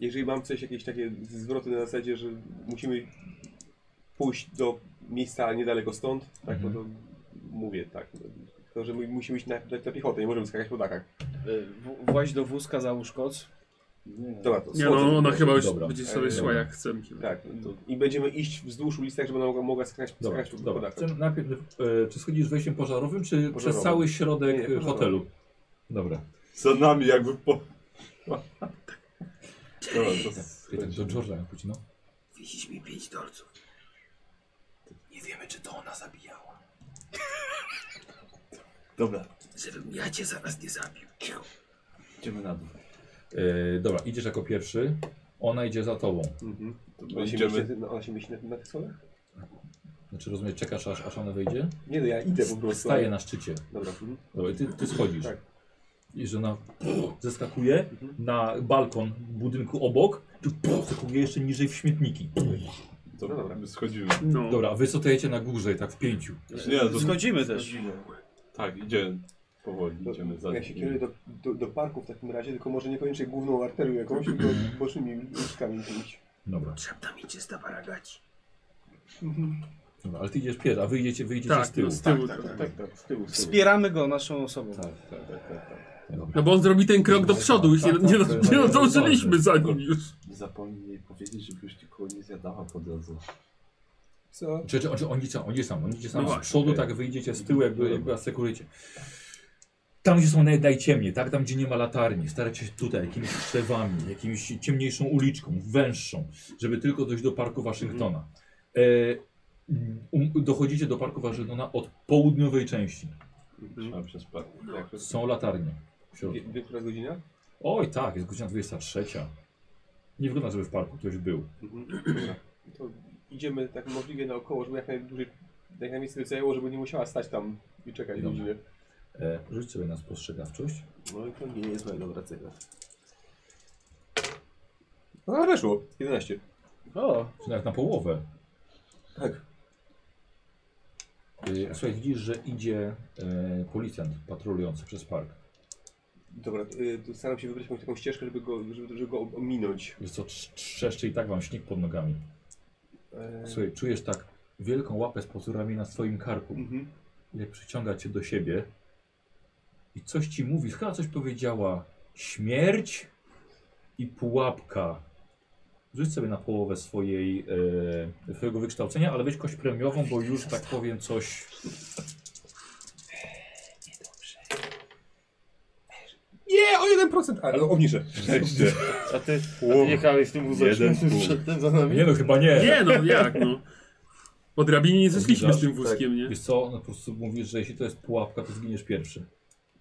Speaker 1: Jeżeli mam coś, jakieś takie zwroty na zasadzie, że musimy pójść do miejsca niedaleko stąd, tak,
Speaker 3: Mhm.
Speaker 1: no to mówię, tak. To, że my musimy iść na, na, na piechotę, nie możemy skakać po dachach.
Speaker 5: Y, w- Właź do wózka, załóż koc.
Speaker 1: Dobra, to
Speaker 6: Nie no, ona
Speaker 1: słodzę.
Speaker 6: chyba już
Speaker 3: Dobra.
Speaker 6: będzie sobie szła jak chce. mi się wydaje.
Speaker 1: Tak, to, i będziemy iść wzdłuż ulicy, tak żeby ona mogła, mogła skakać,
Speaker 3: Dobra,
Speaker 1: skakać po
Speaker 3: dobra.
Speaker 1: dachach.
Speaker 3: Chcę najpierw, e, czy schodzisz wejściem pożarowym, czy przez
Speaker 1: tak, Pożarowym.
Speaker 3: cały
Speaker 1: Nie,
Speaker 3: środek
Speaker 1: nie,
Speaker 3: e, hotelu? Dobra.
Speaker 2: Za nami jakby po... Dobra, to...
Speaker 3: Ty tak do George'a jak chodzi, no.
Speaker 6: Wisisz mi pięć dolców. Nie wiemy, czy to ona zabijała.
Speaker 2: Dobra,
Speaker 6: Żebym ja cię zaraz nie zabił.
Speaker 2: idziemy na dół.
Speaker 3: E, dobra, idziesz jako pierwszy, ona idzie za tobą.
Speaker 1: Mhm. To
Speaker 2: No
Speaker 1: ona, się
Speaker 2: idziemy.
Speaker 1: mieści, na- ona się mieści na, na tych schodach?
Speaker 3: Znaczy rozumiesz, czekasz aż, aż ona wejdzie?
Speaker 1: Nie no, ja idę po prostu.
Speaker 3: Staje na szczycie.
Speaker 1: Dobra. mhm.
Speaker 3: Dobra, i ty, ty schodzisz.
Speaker 1: Tak.
Speaker 3: I że ona zeskakuje na balkon budynku obok, tu zeskakuje jeszcze niżej w śmietniki.
Speaker 2: To
Speaker 1: No dobra.
Speaker 2: my schodzimy.
Speaker 6: No.
Speaker 3: Dobra, wy stajecie na górze i tak w pięciu.
Speaker 2: Nie, to...
Speaker 5: Schodzimy też.
Speaker 2: Tak, idziemy. Powoli,
Speaker 1: To
Speaker 2: idziemy za
Speaker 1: ja się kieruję do, do, do parku w takim razie, tylko może niekoniecznie główną arterią jakąś, tylko bocznymi uliczkami iść.
Speaker 3: Dobra.
Speaker 6: Trzeba tam idzie z tabaragaci.
Speaker 3: Dobra, ale ty idziesz pierwszy, a wy idziecie, wy idziecie
Speaker 6: Tak,
Speaker 3: z tyłu.
Speaker 6: no z tyłu.
Speaker 9: Tak,
Speaker 6: Tak,
Speaker 9: tak,
Speaker 6: tak,
Speaker 4: tak, z tyłu. Z tyłu.
Speaker 5: Wspieramy go naszą osobą.
Speaker 3: tak, tak, tak, tak.
Speaker 6: No bo on zrobi ten krok do przodu, już nie,
Speaker 11: Tak, tak,
Speaker 6: nie,
Speaker 11: to jest-
Speaker 6: nie, nie
Speaker 3: tak,
Speaker 6: zdążyliśmy za nim już.
Speaker 11: Nie zapomnij jej powiedzieć, żeby już nikogo nie zjadała po drodze.
Speaker 1: Co?
Speaker 3: Czy, czy, czy on idzie sam, on idzie sam, on idzie sam
Speaker 6: No
Speaker 3: z
Speaker 6: właśnie.
Speaker 3: przodu, tak wyjdziecie z tyłu, jakby, jakby asekurujecie. Tam, gdzie są naj, najciemniej, tak? Tam, gdzie nie ma latarni. Staracie się tutaj, jakimiś krzewami, jakimiś ciemniejszą uliczką, węższą, żeby tylko dojść do Parku Waszyngtona. E, um, dochodzicie do Parku Waszyngtona od południowej części.
Speaker 11: Trzeba przez parę. Jak przez...
Speaker 3: Są latarnie w środku.
Speaker 1: Tak, Wie, wie która godzina?
Speaker 3: Oj, tak, jest godzina 23. Nie wygląda, żeby w parku ktoś był.
Speaker 1: Dobra. To idziemy tak możliwie naokoło, żeby jak najdłużej, jak najmniej sobie zajęło, żeby nie musiała stać tam i czekać
Speaker 3: Dobra.
Speaker 1: godzinę.
Speaker 3: E, rzuć sobie na spostrzegawczość.
Speaker 1: No i to nie jest moja dobra cena. No ale weszło, 11.
Speaker 10: O,
Speaker 3: Czy nawet na połowę.
Speaker 1: Tak.
Speaker 3: E, Słuchaj, widzisz, że idzie e, policjant patrolujący przez park.
Speaker 1: Dobra, y, to staram się wybrać jakąś taką ścieżkę, żeby go, żeby, żeby go ominąć.
Speaker 3: Wiesz co, trz- trzeszczy i tak wam śnieg pod nogami.
Speaker 1: E,
Speaker 3: Słuchaj, czujesz tak wielką łapę z pazurami na swoim karku,
Speaker 1: mhm.
Speaker 3: jak przyciąga cię do siebie i coś ci mówi, chyba coś powiedziała śmierć i pułapka. Rzuć sobie na połowę swojej, e, swojego wykształcenia, ale weź kość premiową, bo już tak powiem coś...
Speaker 1: Nie, o 1%! Ale obniżę.
Speaker 2: Szczęście.
Speaker 4: A ty, a ty
Speaker 2: Ło,
Speaker 4: jechałeś w tym wózeczku
Speaker 2: jeden punkt.
Speaker 4: przedtem za nami?
Speaker 3: Nie no, chyba nie.
Speaker 6: Nie no, jak no. Po drabinie nie zeszliśmy z tym wózkiem, nie?
Speaker 3: Wiesz co, no po prostu mówisz, że jeśli to jest pułapka, to zginiesz pierwszy.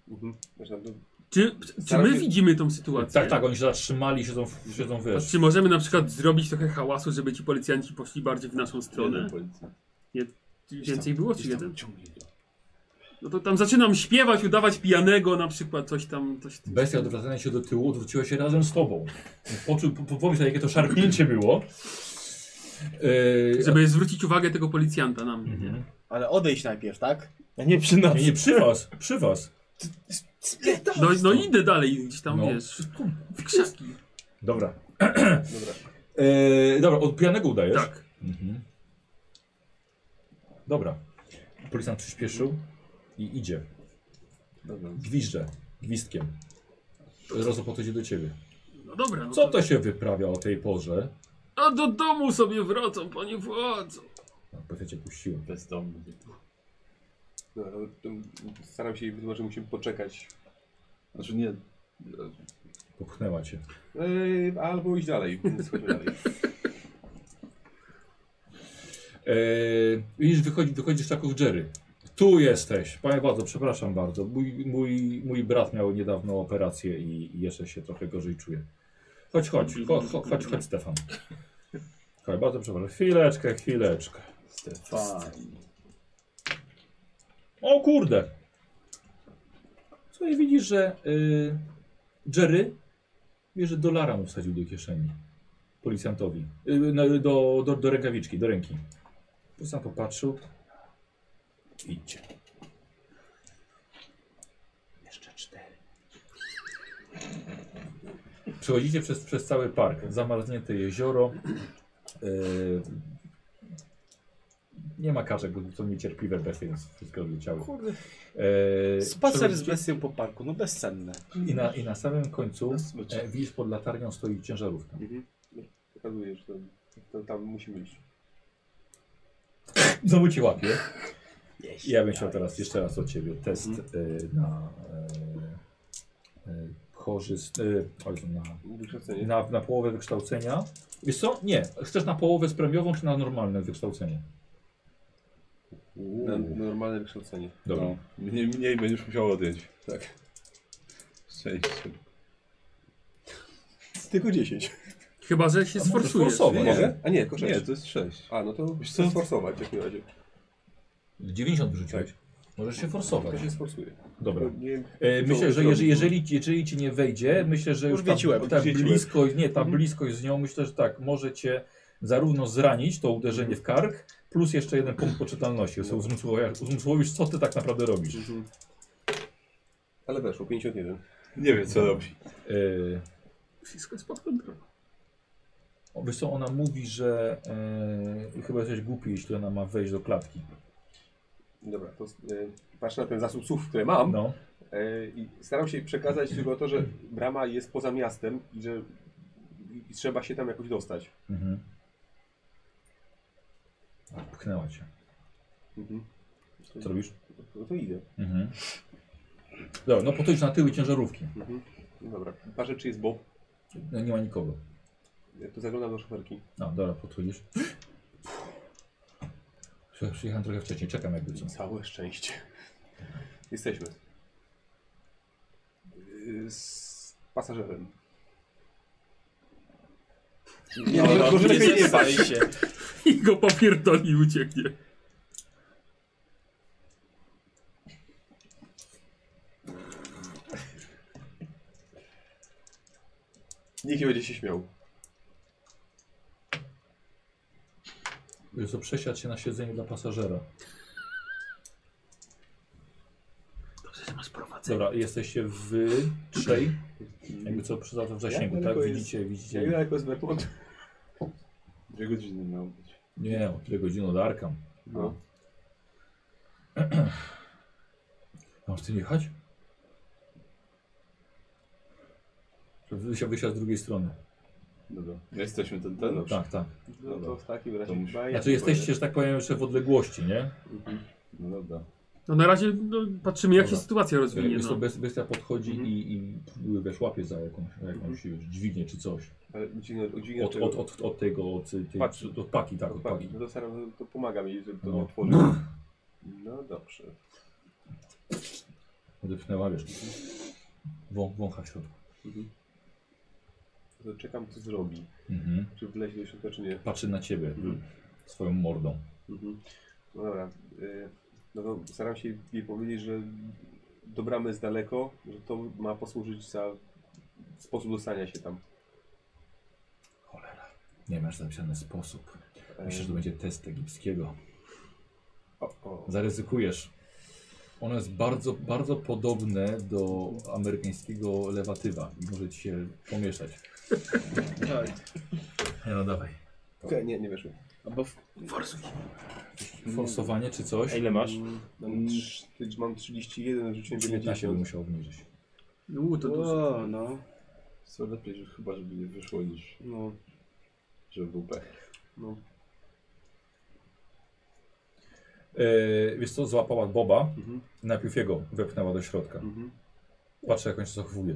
Speaker 1: Mhm. Można by-
Speaker 6: Czy, czy my widzimy tą sytuację?
Speaker 3: Tak, tak, oni się zatrzymali, siedzą, w- siedzą
Speaker 6: A
Speaker 3: wiesz.
Speaker 6: czy możemy na przykład zrobić trochę hałasu, żeby ci policjanci poszli bardziej w naszą stronę?
Speaker 11: Jeden policjant.
Speaker 6: Czy Więcej było, czy
Speaker 11: Gdzieś tam
Speaker 6: jeden?
Speaker 11: Ciągnij go.
Speaker 6: No to tam zaczynam śpiewać, udawać pijanego na przykład, coś tam, coś tam.
Speaker 3: Bestia odwracając się do tyłu odwróciła się razem z tobą. Poczuł, po, po, pomyśl, jakie to szarpnięcie było. Yy,
Speaker 6: Żeby zwrócić uwagę tego policjanta na mnie.
Speaker 3: Mhm.
Speaker 4: Ale odejdź najpierw, tak?
Speaker 10: a nie przy nas.
Speaker 3: Nie, nie, przy was, przy was.
Speaker 6: No, no idę dalej, gdzieś tam,
Speaker 3: No.
Speaker 6: wiesz, w krzaki.
Speaker 3: Dobra. Yy, dobra, od pijanego udajesz?
Speaker 6: Tak.
Speaker 3: Mhm. Dobra. Policjant przyspieszył i idzie.
Speaker 11: Dobra.
Speaker 3: Gwizdże, gwizdkiem. Rozopot idzie do ciebie.
Speaker 6: No dobra. No
Speaker 3: Co to się wyprawia o tej porze?
Speaker 6: A do domu sobie wracam, panie władzo.
Speaker 3: No, Pewnie cię puściłem.
Speaker 11: Bezdomny.
Speaker 1: Dobra, no, to staram się jej wytłumaczyć, że musimy poczekać.
Speaker 11: Znaczy nie.
Speaker 3: Popchnęła cię.
Speaker 1: E, albo iść dalej, więc chodźmy dalej.
Speaker 3: Eee, widzisz, wychodzi, wychodzisz tak od Jerry. Tu jesteś. Panie bardzo, przepraszam bardzo. Mój, mój, mój brat miał niedawno operację i, i jeszcze się trochę gorzej czuje. Chodź, chodź, chodź, chodź, chodź, chodź Stefan. Słuchaj, bardzo przepraszam. Chwileczkę, chwileczkę.
Speaker 11: Stefan.
Speaker 3: O kurde! Słuchaj, widzisz, że y, Jerry wie, że dolara mu wsadził do kieszeni. Policjantowi. Y, no, do, do, do rękawiczki, do ręki. Policjant popatrzył. Idźcie. Jeszcze cztery. Przechodzicie przez, przez cały park. Zamarznięte jezioro. Y, nie ma kaczek, bo są niecierpliwe bestie, więc wszystko odleciało.
Speaker 10: Kurde.
Speaker 3: E,
Speaker 10: Spacer z
Speaker 3: przechodzicie
Speaker 10: bestią po parku, no bezcenne.
Speaker 3: I na, I na samym końcu
Speaker 11: Na smyczy.
Speaker 3: e, widzisz pod latarnią stoi ciężarówka.
Speaker 1: Mhm. Pokazuję, że tam, tam, tam musimy iść.
Speaker 3: Znowu cię łapie. I ja bym chciał teraz jeszcze raz od ciebie test e, na e, e, korzyst... E, oj, na,
Speaker 1: Wykształcenie.
Speaker 3: na, na połowę wykształcenia. Wiesz co? Nie. Chcesz na połowę z premiową czy na normalne wykształcenie?
Speaker 1: Na, na normalne wykształcenie.
Speaker 3: Dobra.
Speaker 2: No, mniej, mniej będziesz musiał odjąć.
Speaker 1: Tak.
Speaker 2: Szczęście.
Speaker 1: Tylko 10.
Speaker 6: Chyba, że
Speaker 3: A
Speaker 6: się
Speaker 3: może
Speaker 6: sforsujesz.
Speaker 3: sforsować.
Speaker 1: Może? A nie, tylko
Speaker 2: Nie,
Speaker 1: 6.
Speaker 2: to jest sześć.
Speaker 1: A, no to
Speaker 2: Wiesz co?
Speaker 1: chcę sforsować w takim razie.
Speaker 3: 90 wyrzuciłeś. Możesz się forsować.
Speaker 1: To się sforsuje.
Speaker 3: Dobra.
Speaker 1: Nie wiem,
Speaker 3: E,
Speaker 1: co
Speaker 3: myślę, że
Speaker 1: zrobić, bo-
Speaker 3: jeżeli, jeżeli, jeżeli ci nie wejdzie, myślę, że już tak, ta,
Speaker 10: Odwiedziłem,
Speaker 3: ta
Speaker 2: odwiedziłem.
Speaker 3: bliskość, nie, ta bliskość z nią, myślę, że tak, może cię zarówno zranić, to uderzenie w kark, plus jeszcze jeden punkt poczytalności. Sobie uzmysłowiasz, uzmysłowisz, co ty tak naprawdę robisz.
Speaker 1: Mhm. Ale weszło, 51.
Speaker 2: Nie wiem co robi.
Speaker 3: E,
Speaker 6: Wszystko jest pod kontrolą.
Speaker 3: O, Wiesz co, ona mówi, że e, chyba jesteś głupi, jeśli ona ma wejść do klatki.
Speaker 1: Dobra, to y, patrzę na ten zasób słów, które mam
Speaker 3: No.
Speaker 1: y, i staram się przekazać tylko to, że brama jest poza miastem i że i trzeba się tam jakoś dostać.
Speaker 3: Mhm. A, Pchnęła cię.
Speaker 1: Mhm.
Speaker 3: Co robisz?
Speaker 1: No to idę.
Speaker 3: Mhm. Dobra, no podejdź na tyły ciężarówki.
Speaker 1: Mhm. Dobra, patrzę czy jest Bob.
Speaker 3: No, nie ma nikogo.
Speaker 1: Ja Tu zaglądam do szoferki.
Speaker 3: No, dobra, podchodzisz. Słuchaj, Przyjechałem trochę wcześniej, czekam jakby co.
Speaker 1: Całe szczęście. Jesteśmy. Y, Z pasażerem.
Speaker 6: Nie, no,
Speaker 1: no,
Speaker 6: może
Speaker 1: nie
Speaker 6: lepiej nie
Speaker 1: zepsaj
Speaker 6: paść.
Speaker 1: się.
Speaker 6: I go popierdoli i ucieknie.
Speaker 1: Nikt nie będzie się śmiał.
Speaker 3: Wiesz co, przesiadł się na siedzeniu dla pasażera.
Speaker 6: Dobrze, że masz prowadzenie.
Speaker 3: Dobra, jesteście w trzej. Jakby co, przy w zasięgu,
Speaker 1: Jak
Speaker 3: tak?
Speaker 1: daleko
Speaker 3: Widzicie,
Speaker 1: jest-
Speaker 3: widzicie.
Speaker 1: Jak daleko jest Bermond?
Speaker 11: Dwie godziny miał być.
Speaker 3: Nie, o tyle godzin od Arkam.
Speaker 1: No.
Speaker 3: Mam z tym jechać? Wysiadł wysia z drugiej strony.
Speaker 2: Dobra. No Jesteśmy ten, ten? Dobrze.
Speaker 3: Tak, tak.
Speaker 1: No to w takim
Speaker 2: To
Speaker 1: razie
Speaker 2: musi-
Speaker 1: chyba
Speaker 3: Znaczy jesteście, że tak powiem, jeszcze w odległości, nie?
Speaker 2: No dobra.
Speaker 6: No na razie no, patrzymy jak się
Speaker 3: Dobra.
Speaker 6: sytuacja rozwinie.
Speaker 3: Jest to
Speaker 6: No.
Speaker 3: best, bestia podchodzi i, i próbuje, wiesz, łapie za jakąś, jakąś już dźwignię czy coś.
Speaker 1: Ale udźwignę, udźwignę
Speaker 3: Od, od, od, od tego, od, tej,
Speaker 1: Paki.
Speaker 3: od paki, tak, od paki.
Speaker 1: No to, staram, to pomaga mi, żeby to
Speaker 3: No.
Speaker 1: otworzyć. No dobrze.
Speaker 3: Odepchnęła, wiesz, wą, wącha w środku.
Speaker 1: To czekam co zrobi.
Speaker 3: Mhm.
Speaker 1: Czy wlezie do środka, czy nie.
Speaker 3: Patrzy na ciebie swoją mordą.
Speaker 1: Mhm. No dobra. y, No to staram się jej powiedzieć, że do bramy jest daleko, że to ma posłużyć za sposób dostania się tam.
Speaker 3: Cholera. Nie masz zapisany sposób.
Speaker 1: E,
Speaker 3: Myślę, że to będzie test egipskiego.
Speaker 1: o, o.
Speaker 3: Zaryzykujesz. Ono jest bardzo, bardzo podobne do amerykańskiego lewatywa i może ci się pomieszać. Nie, No dawaj.
Speaker 1: Okej, Nie, nie weszło.
Speaker 5: Albo No w...
Speaker 6: Mhm.
Speaker 3: Forsowanie czy coś?
Speaker 4: A ile masz?
Speaker 1: Mm,
Speaker 3: Mm.
Speaker 1: Mam, trz- mam 31, rzuciłem
Speaker 3: 19 bym
Speaker 1: 90.
Speaker 3: musiał obniżyć.
Speaker 6: U, to dużo.
Speaker 5: O, no.
Speaker 11: Co lepiej, że chyba, żeby nie wyszło niż
Speaker 1: No,
Speaker 11: żeby był pech.
Speaker 1: no.
Speaker 3: Yy, wiesz co, złapała Boba,
Speaker 1: Mhm.
Speaker 3: najpierw jego wepchnęła do środka.
Speaker 1: Mhm.
Speaker 3: Patrzę jak on się zachowuje.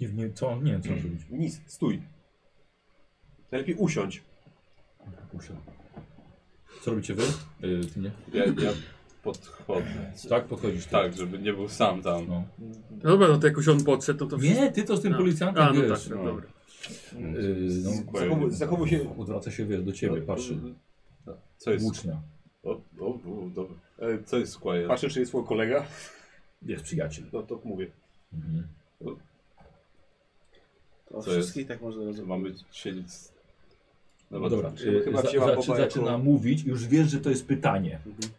Speaker 3: Nie, nie, co on, nie wiem co
Speaker 6: Mhm.
Speaker 3: on zrobić.
Speaker 1: Mm. Nic, stój. Najlepiej usiądź.
Speaker 3: Musiał. Co robicie wy? Yy, ty nie?
Speaker 2: Ja, ja podchodzę.
Speaker 3: Tak, podchodzisz ty.
Speaker 2: Tak, żeby nie był sam tam.
Speaker 3: No.
Speaker 6: No dobra, no to jakoś on podszedł, no to wszystko.
Speaker 3: Nie, ty to z tym
Speaker 6: A.
Speaker 3: policjantem
Speaker 6: A, no tak,
Speaker 3: wiesz,
Speaker 6: tak, dobra.
Speaker 3: Yy, no,
Speaker 1: Zachowuj, zachowuj się.
Speaker 3: odwraca się wiesz, do
Speaker 6: No,
Speaker 3: ciebie, patrzy.
Speaker 2: Co jest?
Speaker 3: Włócznia.
Speaker 2: O, o, o, dobra.
Speaker 1: E,
Speaker 2: Co jest Squire?
Speaker 1: Patrzę, czy jest mój kolega.
Speaker 3: Jest przyjaciel.
Speaker 1: No to mówię.
Speaker 3: Mhm.
Speaker 5: O
Speaker 2: Co jest?
Speaker 5: wszystkich tak można rozumieć.
Speaker 2: Mamy siedzieć... z-
Speaker 3: No dobra,
Speaker 1: czy-
Speaker 3: yy,
Speaker 1: chyba
Speaker 3: za,
Speaker 1: wzięła
Speaker 3: zaczy-
Speaker 1: Boba
Speaker 3: zaczyna
Speaker 1: jako-
Speaker 3: mówić, już wiesz, że to jest pytanie.
Speaker 1: Mhm.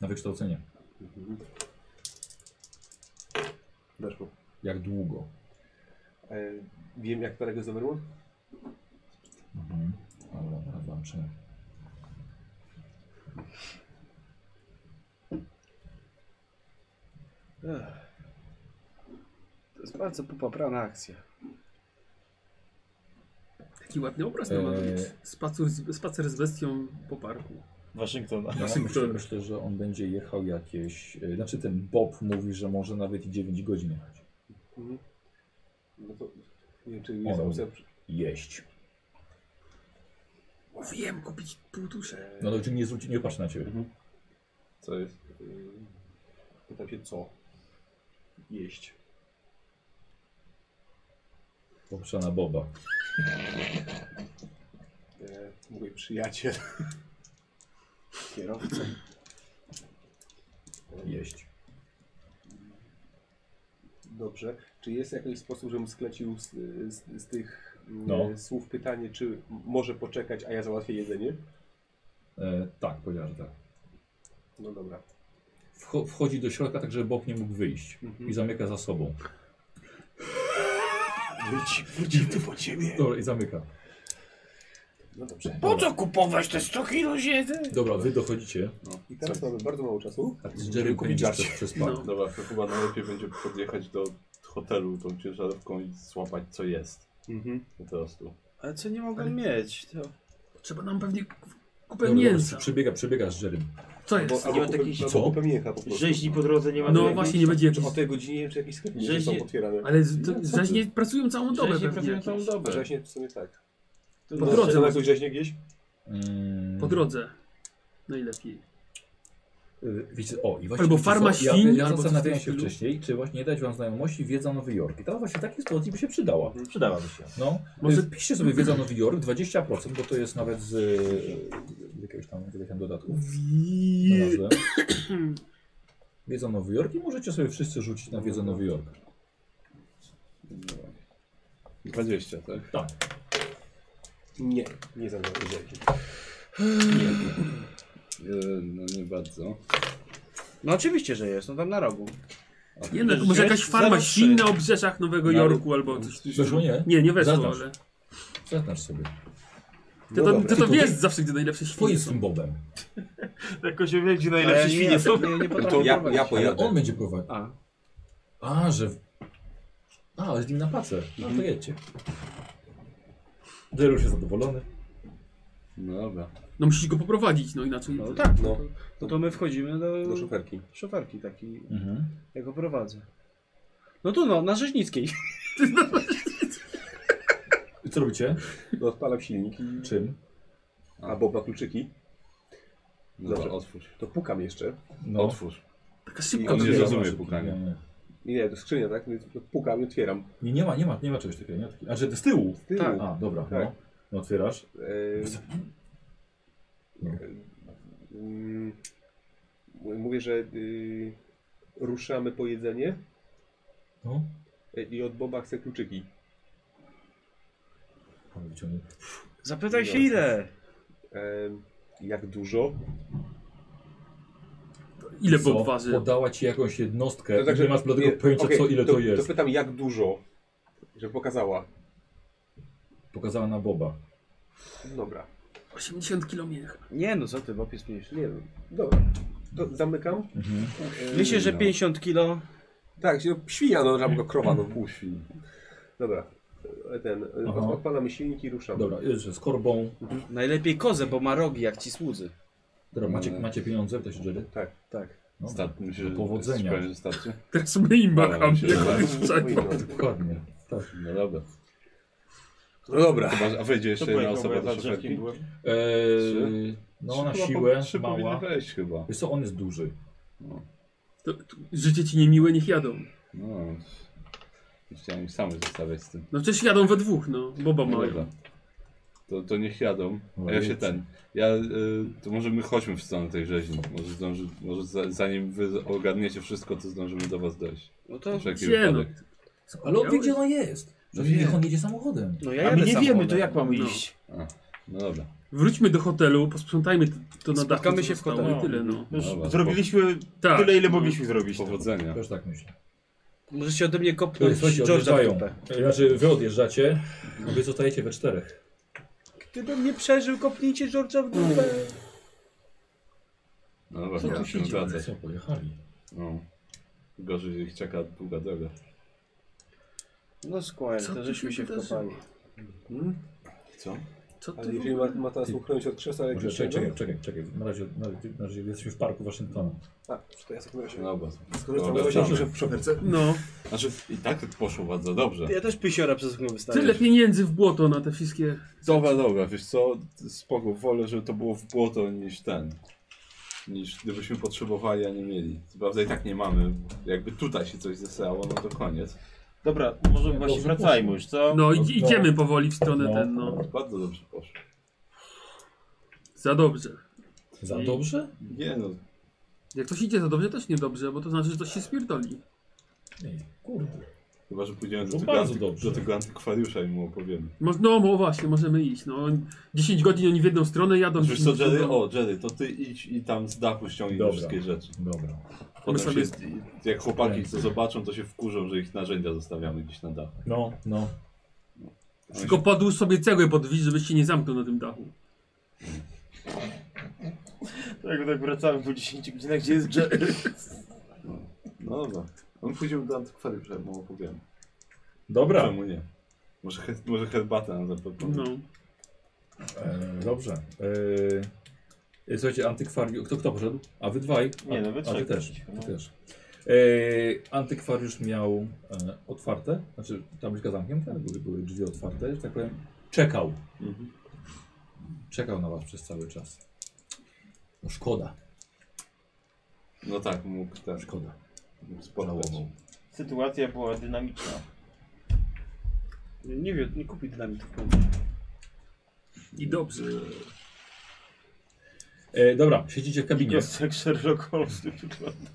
Speaker 3: Na wykształcenie.
Speaker 1: Weszło.
Speaker 3: Jak długo?
Speaker 1: E, wiem, jak daleko jest Overworld?
Speaker 3: Mhm. Dobra, teraz zobaczymy.
Speaker 5: To jest bardzo popaprana akcja.
Speaker 6: Taki ładny obraz eee. mamy.
Speaker 3: Eee.
Speaker 6: Spacer, z- spacer z bestią po parku.
Speaker 4: Waszyngtona.
Speaker 3: Ja myślę, myślę, że on będzie jechał jakieś. y, Znaczy ten Bob mówi, że może nawet i 9 godzin jechać.
Speaker 1: Mhm. No to nie wiem, czy jest
Speaker 3: O,
Speaker 1: opcja.
Speaker 3: Jeść.
Speaker 6: Mówiłem kupić pół duszy.
Speaker 3: No to czy nie zwróci, nie patrzy na ciebie.
Speaker 2: Co jest?
Speaker 1: E, pytam się, co? Jeść.
Speaker 3: Popatrza na Boba.
Speaker 1: E, mój przyjaciel.
Speaker 5: Kierowca.
Speaker 3: Jeść.
Speaker 1: Dobrze. Czy jest jakiś sposób, żebym sklecił z, z, z tych mm,
Speaker 3: No.
Speaker 1: słów pytanie, czy m- może poczekać, a ja załatwię jedzenie?
Speaker 3: E, tak, powiedziała, że tak.
Speaker 1: No dobra.
Speaker 3: Wcho
Speaker 1: Mhm.
Speaker 3: wchodzi do środka, tak żeby Bob nie mógł wyjść. I zamyka za sobą.
Speaker 9: Wróci, wróci tu po ciebie.
Speaker 3: Dobra, i zamyka.
Speaker 1: No dobrze.
Speaker 9: Po co kupować te 100 kilo siedzę?
Speaker 3: Dobra, wy dochodzicie.
Speaker 1: I teraz mamy bardzo mało czasu.
Speaker 3: A ty z Jerry pędzisz przez, przez park.
Speaker 11: No. Dobra, to chyba najlepiej będzie podjechać do hotelu tą ciężarówką i złapać co jest.
Speaker 1: Mhm.
Speaker 11: Po prostu.
Speaker 10: Ale co nie mogę mieć? To...
Speaker 6: Trzeba nam pewnie k- kupę
Speaker 3: Dobra,
Speaker 6: mięsa.
Speaker 3: dobra, Przebiega, przebiegasz z Jerry.
Speaker 6: Co
Speaker 1: Albo,
Speaker 6: jest?
Speaker 4: Nie ma
Speaker 1: albo,
Speaker 4: takiej-
Speaker 1: albo
Speaker 3: Co?
Speaker 1: No, kupę miecha po prostu.
Speaker 4: Rzeźni po drodze nie ma
Speaker 6: No
Speaker 4: jakiejś-
Speaker 6: właśnie, nie będzie
Speaker 1: Czy
Speaker 6: jakiś...
Speaker 1: o tej godzinie, czy jakieś sklepy nie
Speaker 4: Rzeźnie-
Speaker 1: są otwierane?
Speaker 6: Ale z- to- rzeźnie pracują całą dobę
Speaker 4: Rzeźni
Speaker 6: pewnie.
Speaker 4: pracują całą
Speaker 6: jakieś.
Speaker 1: A
Speaker 4: dobę.
Speaker 1: Rzeźnie w sumie tak.
Speaker 6: Po
Speaker 1: No,
Speaker 6: drodze.
Speaker 1: na jakąś rzeźnię gdzieś?
Speaker 3: Mm,
Speaker 6: Po drodze. Najlepiej.
Speaker 3: y, Wiecie, o, i właśnie,
Speaker 6: Albo
Speaker 3: wiecie co,
Speaker 6: farma
Speaker 3: ja,
Speaker 6: świn,
Speaker 3: ja
Speaker 6: albo coś
Speaker 3: zastanawiałem
Speaker 6: w tym
Speaker 3: się
Speaker 6: stylu.
Speaker 3: wcześniej, czy właśnie nie dać wam znajomości wiedza Nowy Jork. I ta właśnie w takiej sytuacji by się przydała.
Speaker 4: Przydałaby się.
Speaker 3: No,
Speaker 6: Może-
Speaker 3: Może... piszcie sobie wiedza Nowy Jork 20%, bo to jest nawet z, e, z jakiegoś tam, jakiegoś tam dodatku. Znalazłem. Wiedza Nowy Jork i możecie sobie wszyscy rzucić na wiedzę Nowy Jork.
Speaker 2: 20, tak?
Speaker 1: Nie, nie za mną rzeźni.
Speaker 2: E, No nie bardzo.
Speaker 5: No oczywiście, że jest, no tam na rogu.
Speaker 6: Nie, no, może jakaś farma
Speaker 5: Zawsze.
Speaker 6: świn na obrzeżach Nowego
Speaker 2: Nawet-
Speaker 6: Jorku albo coś.
Speaker 3: Weszło nie?
Speaker 6: Nie, nie weszło,
Speaker 3: Zadasz.
Speaker 6: ale...
Speaker 3: Zaznacz sobie.
Speaker 6: Ty
Speaker 1: No
Speaker 6: to,
Speaker 1: dobra.
Speaker 6: ty to
Speaker 3: Ty-
Speaker 6: wiesz zawsze, gdzie najlepsze świnie
Speaker 3: Twoim
Speaker 6: są.
Speaker 3: tym Bobem.
Speaker 4: Jakoś wie, gdzie
Speaker 5: Ale
Speaker 4: najlepsze
Speaker 5: nie,
Speaker 4: świnie są.
Speaker 5: Nie, nie
Speaker 1: To
Speaker 5: potrafię
Speaker 1: ja,
Speaker 5: prowadzić.
Speaker 1: ja
Speaker 3: Ale
Speaker 1: pojadę.
Speaker 3: on będzie prowadził.
Speaker 5: A,
Speaker 3: A, że... w- A, ale z nim na pacę. No
Speaker 6: Mhm.
Speaker 3: to jedźcie. Jerry już jest zadowolony.
Speaker 2: No dobra.
Speaker 6: No musisz go poprowadzić, no inaczej.
Speaker 5: no tak, no.
Speaker 1: No.
Speaker 5: to- No to my wchodzimy do,
Speaker 1: Do szoferki.
Speaker 5: szoferki takiej,
Speaker 3: Mhm.
Speaker 5: ja go prowadzę. No tu no, na Rzeźnickiej.
Speaker 3: I co robicie?
Speaker 1: No odpalam silnik i...
Speaker 3: Czym?
Speaker 1: A Boba kluczyki.
Speaker 2: No
Speaker 1: Dobrze.
Speaker 2: dobra, otwórz.
Speaker 1: To pukam jeszcze.
Speaker 3: No.
Speaker 2: Otwórz.
Speaker 6: Taka szybka
Speaker 2: On nie
Speaker 1: Otwieram.
Speaker 2: zrozumie pukania.
Speaker 3: Nie,
Speaker 1: Nie, nie, to skrzynia, tak? Więc to Pukam i otwieram.
Speaker 3: nie, nie ma, nie ma, nie ma czegoś takiego. Nie ma takiego. A, że z tyłu.
Speaker 1: Z tyłu.
Speaker 3: A, dobra,
Speaker 1: Tak.
Speaker 3: no. no. Otwierasz.
Speaker 1: Eee,
Speaker 3: No.
Speaker 1: mm, Mówię, że y, ruszamy po jedzenie
Speaker 3: No.
Speaker 1: e, i od Boba chcę kluczyki.
Speaker 3: Ale wyciągnie.
Speaker 5: Zapytaj się ile.
Speaker 1: Em, E, jak dużo?
Speaker 6: Ile
Speaker 3: Co?
Speaker 6: Bob waży?
Speaker 3: Podała ci jakąś jednostkę.
Speaker 1: To tak,
Speaker 2: znaczy,
Speaker 3: i nie masz dla tego pojęcia,
Speaker 1: okej,
Speaker 3: co ile to,
Speaker 1: to
Speaker 3: jest.
Speaker 1: To pytam, jak dużo, żeby pokazała.
Speaker 3: Pokazała na Boba.
Speaker 1: Dobra,
Speaker 6: 80 km.
Speaker 5: Nie no, co ty, bo jest mniejszy.
Speaker 1: nie wiem. Dobra, to zamykam.
Speaker 3: Mhm.
Speaker 1: E,
Speaker 5: Myślę, że 50 kilo.
Speaker 1: Tak, no, świnia, no, albo krowa, no.
Speaker 2: Pół świni.
Speaker 1: Dobra, E, ten, e,
Speaker 3: Aha.
Speaker 1: od- odpalamy silnik i ruszamy.
Speaker 3: Dobra, jeszcze z korbą.
Speaker 5: Najlepiej kozę, bo ma rogi jak ci słudzy.
Speaker 3: Dobra, macie,
Speaker 2: No.
Speaker 3: macie pieniądze w tej Jerry?
Speaker 1: Tak.
Speaker 5: Tak.
Speaker 3: No,
Speaker 2: Start, myślę,
Speaker 3: do powodzenia.
Speaker 2: Że, że starczy?
Speaker 6: Teraz my im
Speaker 2: Ale
Speaker 6: macham.
Speaker 2: się
Speaker 6: jak
Speaker 2: da.
Speaker 6: on jest przed-
Speaker 3: Dokładnie. Tak.
Speaker 2: No dobra.
Speaker 1: No dobra.
Speaker 2: Chyba, że- a wejdzie jeszcze jedna osoba do
Speaker 11: drzewkiem
Speaker 2: szoferki?
Speaker 11: byłem.
Speaker 3: Eee, E, no
Speaker 2: Trzy
Speaker 3: na
Speaker 2: chyba po-
Speaker 3: siłę,
Speaker 2: Trzy powinny
Speaker 3: mała.
Speaker 2: wejść chyba.
Speaker 3: Wiesz co, on jest duży.
Speaker 6: To, to, życie ci niemiłe, niech jadą.
Speaker 2: No. nie Chciałem ich samych zostawiać z tym.
Speaker 6: No przecież jadą we dwóch, no. Boba
Speaker 2: No
Speaker 6: mają.
Speaker 2: dobra. To, to niech jadą. A
Speaker 3: Dobra,
Speaker 2: ja się
Speaker 3: jedźcie.
Speaker 2: ten. Ja, y, to może my chodźmy w stronę tej rzeźni. Może, zdąży, może za, zanim wy ogarniecie wszystko, to zdążymy do was dojść.
Speaker 5: No to,
Speaker 2: Wszelki
Speaker 6: Gdzie no?
Speaker 2: wypadek.
Speaker 3: Ale on wie, gdzie ona jest.
Speaker 2: No
Speaker 3: Przecież
Speaker 2: wie.
Speaker 3: on jedzie samochodem.
Speaker 5: no ja
Speaker 4: A my
Speaker 5: jadę
Speaker 4: nie wiemy,
Speaker 5: samochodem.
Speaker 4: to jak mamy
Speaker 6: No.
Speaker 4: iść.
Speaker 2: No dobra.
Speaker 6: Wróćmy do hotelu, posprzątajmy to, to na dachu.
Speaker 5: Spotkamy
Speaker 6: co
Speaker 5: się w
Speaker 6: zostało
Speaker 5: hotelu.
Speaker 6: I tyle, no.
Speaker 4: Już
Speaker 2: Dobra,
Speaker 4: zrobiliśmy
Speaker 6: Tak.
Speaker 4: tyle, ile mogliśmy zrobić.
Speaker 2: Powodzenia.
Speaker 3: Też tak myślę.
Speaker 5: No. Możecie ode mnie kopnąć
Speaker 3: Słuchajcie,
Speaker 5: George'a w
Speaker 3: odjeżdżają.
Speaker 5: dupę.
Speaker 3: Znaczy, wy odjeżdżacie, a wy zostajecie we czterech.
Speaker 5: Gdybym nie przeżył, kopnijcie George'a w dupę.
Speaker 2: No dobra, to musimy
Speaker 3: Ale
Speaker 2: wracać.
Speaker 3: Co, pojechali.
Speaker 2: No. Gorzej, że ich czeka długa droga.
Speaker 5: No Squire,
Speaker 6: Co
Speaker 5: to
Speaker 6: tu
Speaker 5: żeśmy
Speaker 6: się
Speaker 5: się
Speaker 6: wydarzyło?
Speaker 5: wkopali.
Speaker 2: Co?
Speaker 6: Co ty
Speaker 1: Ale jeżeli ma, ma teraz uchronić od krzesła
Speaker 3: Może, czekaj,
Speaker 1: elektrycznego...
Speaker 3: czekaj, czekaj, czekaj. Na razie, na, na razie jesteśmy w parku Waszyngtona.
Speaker 1: A, to ja sobie
Speaker 2: No dobra.
Speaker 1: skorzystam
Speaker 2: Dobra,
Speaker 1: z
Speaker 2: dobra.
Speaker 1: gościa w szoferce.
Speaker 6: No,
Speaker 2: Znaczy i tak poszło bardzo dobrze.
Speaker 5: Ja też pisiora przez okno
Speaker 4: Tak.
Speaker 5: wystawię.
Speaker 6: tyle pieniędzy w błoto na te wszystkie...
Speaker 2: Dobra, dobra, wiesz co, spoko, wolę, żeby to było w błoto niż ten. Niż gdybyśmy potrzebowali, a nie mieli. Co prawda i tak nie mamy. Jakby tutaj się coś zesało, no to koniec.
Speaker 4: Dobra, może właśnie
Speaker 3: dobrze
Speaker 4: wracajmy
Speaker 3: poszło.
Speaker 4: już,
Speaker 6: No,
Speaker 4: co?
Speaker 3: No,
Speaker 6: idź- idziemy powoli w stronę
Speaker 3: No.
Speaker 6: ten, no.
Speaker 2: Bardzo dobrze poszło.
Speaker 6: Za dobrze.
Speaker 3: Za dobrze?
Speaker 2: Nie no,
Speaker 6: Jak ktoś idzie za dobrze, też niedobrze, bo to znaczy, że ktoś się spierdoli.
Speaker 3: Nie, kurde.
Speaker 2: chyba, że pójdziemy
Speaker 3: To
Speaker 2: do tego,
Speaker 3: No bardzo
Speaker 2: anty-
Speaker 3: dobrze.
Speaker 2: do tego antykwariusza i mu opowiemy.
Speaker 6: Moż- No, no właśnie, możemy iść, no. 10 godzin oni w jedną stronę jadą... no,
Speaker 2: Wiesz co,
Speaker 6: 10 w
Speaker 2: Jerry,
Speaker 6: drugą.
Speaker 2: o Jerry, to ty idź i tam z dachu ściągnij te
Speaker 3: Dobra.
Speaker 2: wszystkie rzeczy.
Speaker 3: Dobra.
Speaker 2: Potem
Speaker 6: sobie-
Speaker 2: się, jak chłopaki to zobaczą, to się wkurzą, że ich narzędzia zostawiamy gdzieś na dachu.
Speaker 3: No, no.
Speaker 6: Tylko podłóż sobie cegłę pod widz, żebyś się nie zamknął na tym dachu.
Speaker 4: Tak, tak wracamy po 10 godzinach, gdzie jest Jerry?
Speaker 11: No dobra. On pójdzie do antykwarium, że mu opowiem.
Speaker 3: Dobra.
Speaker 11: Czemu nie? Może, he, może herbatę nam zaproponuje.
Speaker 6: No.
Speaker 3: E, dobrze. E, słuchajcie, antykwariusz. Kto kto poszedł? A wy dwaj. A,
Speaker 4: Nie, no wy
Speaker 3: a ty
Speaker 4: trzech.
Speaker 3: też.
Speaker 4: No.
Speaker 3: Ty też. E, antykwariusz miał e, otwarte, znaczy tabliczka zamknięta, ale były, były drzwi otwarte, że tak powiem. Czekał. Czekał na was przez cały czas. No szkoda,
Speaker 11: No tak, mógł też
Speaker 3: szkoda.
Speaker 11: spotkać.
Speaker 3: Żałował.
Speaker 4: Sytuacja była dynamiczna.
Speaker 5: Nie, nie wiem, nie kupi dynamitu.
Speaker 6: I dobrze.
Speaker 3: E, dobra, siedzicie w kabinie.
Speaker 4: Jest jak Sherlock Holmes to wygląda.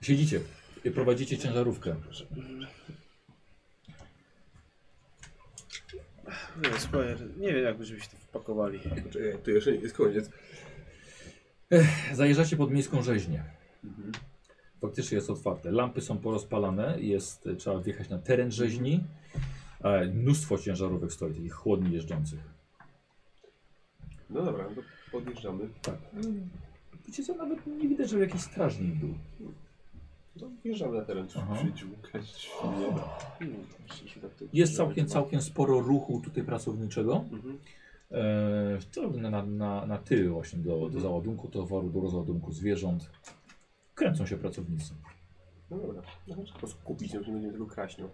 Speaker 3: Siedzicie. I Prowadzicie ciężarówkę.
Speaker 5: Nie, spoiler. Nie wiem, jak byśmy się tu wpakowali.
Speaker 1: Czekaj, to jeszcze nie jest koniec.
Speaker 3: Zajeżdżacie pod miejską rzeźnię. Faktycznie jest otwarte. Lampy są porozpalane, jest, trzeba wjechać na teren rzeźni. E, Mnóstwo ciężarówek stoi, takich chłodni jeżdżących.
Speaker 1: No dobra, to podjeżdżamy.
Speaker 3: Wiecie co, nawet nie widać, żeby jakiś strażnik był.
Speaker 1: No, wjeżdżamy na teren.
Speaker 3: Aha.
Speaker 11: Przydziłkać świnie.
Speaker 1: Hmm, tak
Speaker 3: Jest całkiem, całkiem sporo ruchu tutaj pracowniczego.
Speaker 1: Mhm.
Speaker 3: E, to na, na, na tył właśnie do, do załadunku towaru, do rozładunku zwierząt. Kręcą się pracownicy.
Speaker 1: No dobra, no to trzeba po prostu kupić, no to nie będziemy tego kraść, no.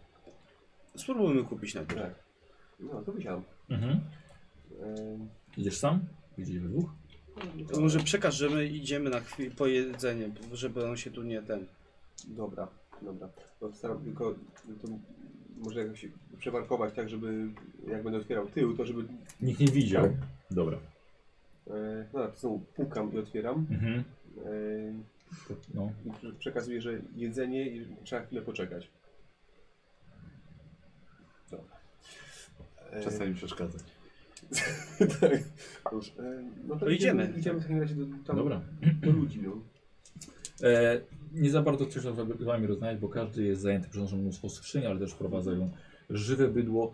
Speaker 5: Spróbujmy kupić najpierw.
Speaker 1: Tak. No, to wziąłem.
Speaker 3: Mhm.
Speaker 1: Ehm,
Speaker 3: Idziesz sam? Idziecie we dwóch?
Speaker 5: To może przekaż, że my idziemy na chwilę po jedzenie, żeby on się tu nie ten...
Speaker 1: Dobra, dobra. No, staram tylko to może jakoś przemarkować tak, żeby jak będę otwierał tył, to żeby.
Speaker 3: Nikt nie widział. Dobra.
Speaker 1: E, no tak, znowu pukam i otwieram.
Speaker 3: Mhm.
Speaker 1: E,
Speaker 3: No.
Speaker 1: i prze- przekazuję, że jedzenie i trzeba chwilę poczekać. Dobra. E,
Speaker 11: Czasami przeszkadza.
Speaker 1: tak. Już, e, no to
Speaker 5: To idziemy.
Speaker 1: Idziemy, idziemy w takim razie do, tam,
Speaker 3: Dobra.
Speaker 1: do ludzi. No.
Speaker 3: E, nie za bardzo chcę się z wami rozmawiać, bo każdy jest zajęty, przepraszam, mnóstwo skrzyni, ale też prowadzają żywe bydło.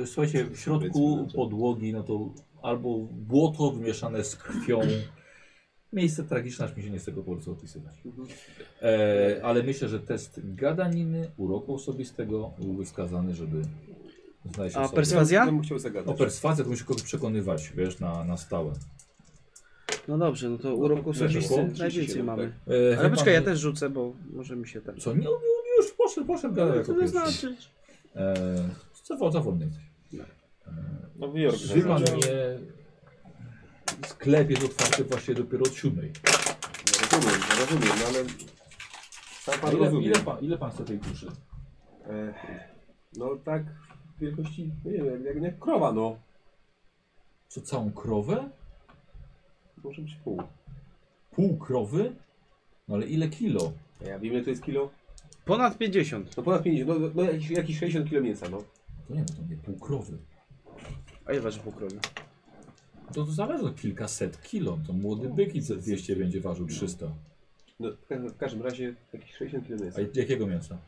Speaker 3: E, słuchajcie, w środku podłogi, no to albo błoto wymieszane z krwią. Miejsce tragiczne, aż mi się nie z tego po prostu opisywać. E, ale myślę, że test gadaniny, uroku osobistego byłby wskazany, żeby znaleźć
Speaker 5: A
Speaker 3: osobę.
Speaker 1: Ja
Speaker 5: perswazja?
Speaker 1: bym chciał
Speaker 3: O
Speaker 1: zagadać.
Speaker 3: perswazję to musisz kogoś przekonywać, wiesz, na, na stałe.
Speaker 5: No dobrze, no to urok
Speaker 3: weszło?
Speaker 5: osobisty.
Speaker 1: 37,
Speaker 5: Najwięcej mamy.
Speaker 1: tak.
Speaker 3: E, wie
Speaker 5: Ale
Speaker 3: pan,
Speaker 5: poczekaj, ja
Speaker 3: że-
Speaker 5: też rzucę, bo może mi się ten...
Speaker 3: Co? Nie, nie, nie już poszedł, poszedł gadać
Speaker 5: Co
Speaker 3: jako
Speaker 5: to
Speaker 3: pierwszy.
Speaker 5: znaczy?
Speaker 3: Eee, co, co wolny jesteś? No
Speaker 4: Nowy Jork.
Speaker 3: Wie pan, nie... Sklep jest otwarty właśnie dopiero od siódmej.
Speaker 1: No, Rozumiem, no, rozumiem, no ale. Sam
Speaker 3: A
Speaker 1: pan
Speaker 3: ile,
Speaker 1: rozumie.
Speaker 3: ile, pan, ile pan chce tej duszy?
Speaker 1: E, no tak wielkości, no nie wiem, jak, jak krowa, no.
Speaker 3: Co, całą krowę?
Speaker 1: Może być pół.
Speaker 3: Pół krowy? No ale ile kilo?
Speaker 1: A ja wiem, ile to jest kilo?
Speaker 5: Ponad 50.
Speaker 1: No ponad 50, no, no jakieś, jakieś 60 kilo mięsa, no.
Speaker 3: To nie no, to nie pół krowy.
Speaker 5: A ile waży półkrowy?
Speaker 3: To, to zależy od kilkaset kilo. To młody byk i ze 200 będzie ważył 300.
Speaker 1: no w, ka- w każdym razie jakieś 60 kilo
Speaker 3: A
Speaker 1: mięsa.
Speaker 3: jakiego mięsa?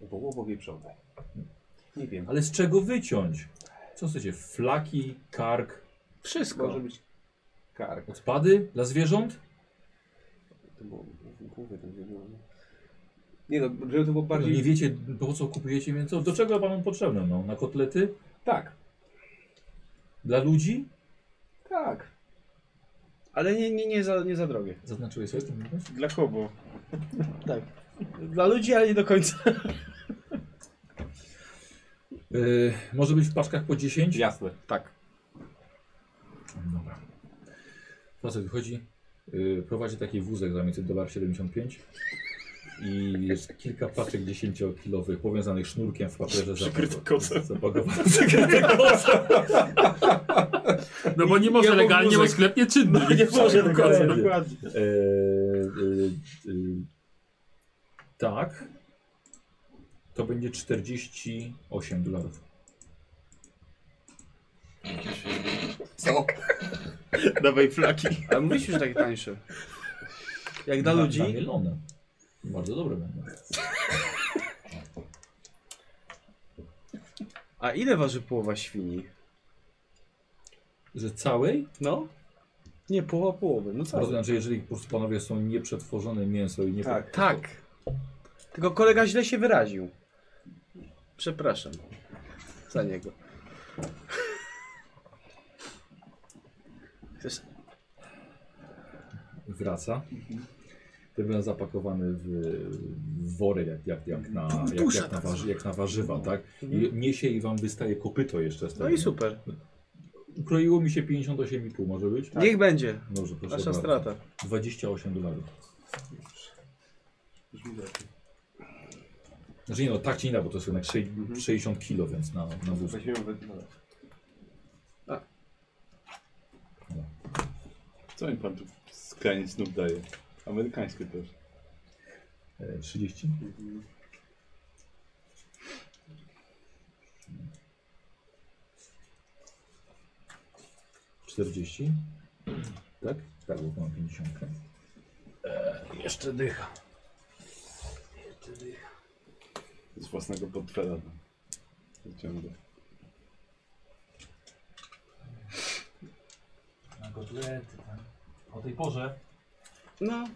Speaker 1: Wołowo wieprzone. Nie wiem,
Speaker 3: Ale z czego wyciąć? Co chcecie? Flaki, kark,
Speaker 1: może
Speaker 5: Wszystko.
Speaker 1: być kark.
Speaker 3: odpady dla zwierząt?
Speaker 1: To było w głowie, to nie było. Nie no, żeby to było
Speaker 3: No
Speaker 1: bardziej...
Speaker 3: nie wiecie po co kupujecie mięso? Do czego panom potrzebne? No, na kotlety?
Speaker 1: Tak,
Speaker 3: Dla ludzi?
Speaker 1: tak.
Speaker 5: Ale nie, nie, nie, za, nie za drogie. Tak.
Speaker 3: Zaznaczyłeś sobie ten pomysł?
Speaker 4: Dla kogo?
Speaker 5: Dla ludzi, ale nie do końca.
Speaker 3: Yy, może być w paczkach po 10?
Speaker 1: Jasne, tak.
Speaker 3: Dobra. Facet wychodzi, yy, prowadzi taki wózek za między dolar 75 i jest kilka paczek 10-kilowych powiązanych sznurkiem w papierze
Speaker 4: Przykryty
Speaker 3: zapakowanych-
Speaker 4: kocem.
Speaker 3: zapakowanych. Przykryty kocem.
Speaker 6: No bo nie może legalnie, bo sklep nie czynny.
Speaker 4: Nie może
Speaker 3: tak
Speaker 4: tego
Speaker 3: będzie.
Speaker 4: dokładnie.
Speaker 3: Yy, yy, yy, tak. To będzie 48 dolarów.
Speaker 4: Dawaj flaki.
Speaker 5: Ale mówisz już tak tańsze. Jak dla
Speaker 3: Na-
Speaker 5: ludzi?
Speaker 3: Namielone. Bardzo dobre będą.
Speaker 5: A ile waży połowa świni?
Speaker 3: Że całej?
Speaker 5: No. Nie, połowa połowy, no całej.
Speaker 3: Rozumiem, że jeżeli po prostu panowie są nieprzetworzone mięso i nie...
Speaker 1: Tak.
Speaker 5: Tak. Tylko kolega źle się wyraził. Przepraszam. Za niego. Chcesz...
Speaker 3: wraca.
Speaker 5: Mhm.
Speaker 3: Tym razem zapakowany w, w worek, jak, jak, jak, na, jak,
Speaker 5: Dusza
Speaker 3: jak, na,
Speaker 5: tak
Speaker 3: warzy,
Speaker 5: zwana.
Speaker 3: jak na warzywa, tak? I niesie i wam wystaje kopyto jeszcze z tego.
Speaker 5: Mhm. No i super.
Speaker 3: Ukroiło mi się 58,5 może być?
Speaker 5: Niech będzie.
Speaker 3: Dobrze, proszę
Speaker 5: Nasza
Speaker 3: bardzo.
Speaker 5: strata.
Speaker 3: 28 dolarów. Znaczy nie no, tak czy inaczej, bo to jest jednak sze- 60 kilo, więc na, na wóz.
Speaker 11: Weźmiemy we-
Speaker 2: Co mi pan tu skrajnie znów daje? Amerykańskie też.
Speaker 3: E, 30? Czterdzieści? Tak? Tak, bo mam 50. jeszcze dycha.
Speaker 2: Z własnego portfela. no. Wyciąga.
Speaker 3: Na kotlety, tak? O tej porze.
Speaker 5: No.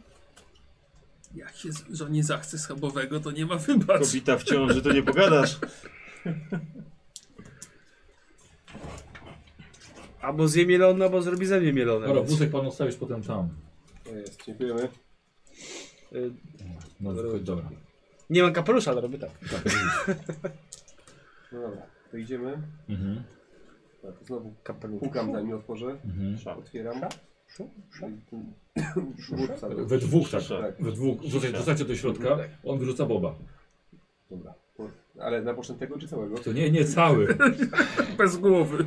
Speaker 6: Jak się z- żonie zachce schabowego, to nie ma wybacz.
Speaker 4: Kobita w ciąży, to nie pogadasz.
Speaker 5: Albo zje mielone, albo zrobi ze mnie mielone.
Speaker 3: Dobra, wózek panu stawisz potem tam.
Speaker 11: To jest, dziękujemy.
Speaker 5: Y,
Speaker 3: No, chodź, dobra.
Speaker 5: Nie mam kapelusza, ale robię tak.
Speaker 1: No dobra, to idziemy.
Speaker 3: Mhm.
Speaker 1: Tak, znowu pukam na miotworze.
Speaker 3: mhm.
Speaker 1: Otwieram. No Szurca.
Speaker 3: We dwóch, tak. We dwóch. Wrzucaj,
Speaker 1: Sza.
Speaker 3: wrzucacie do środka, on wrzuca boba.
Speaker 1: Dobra. Ale na początek tego czy całego?
Speaker 3: To nie, nie cały.
Speaker 6: Bez głowy.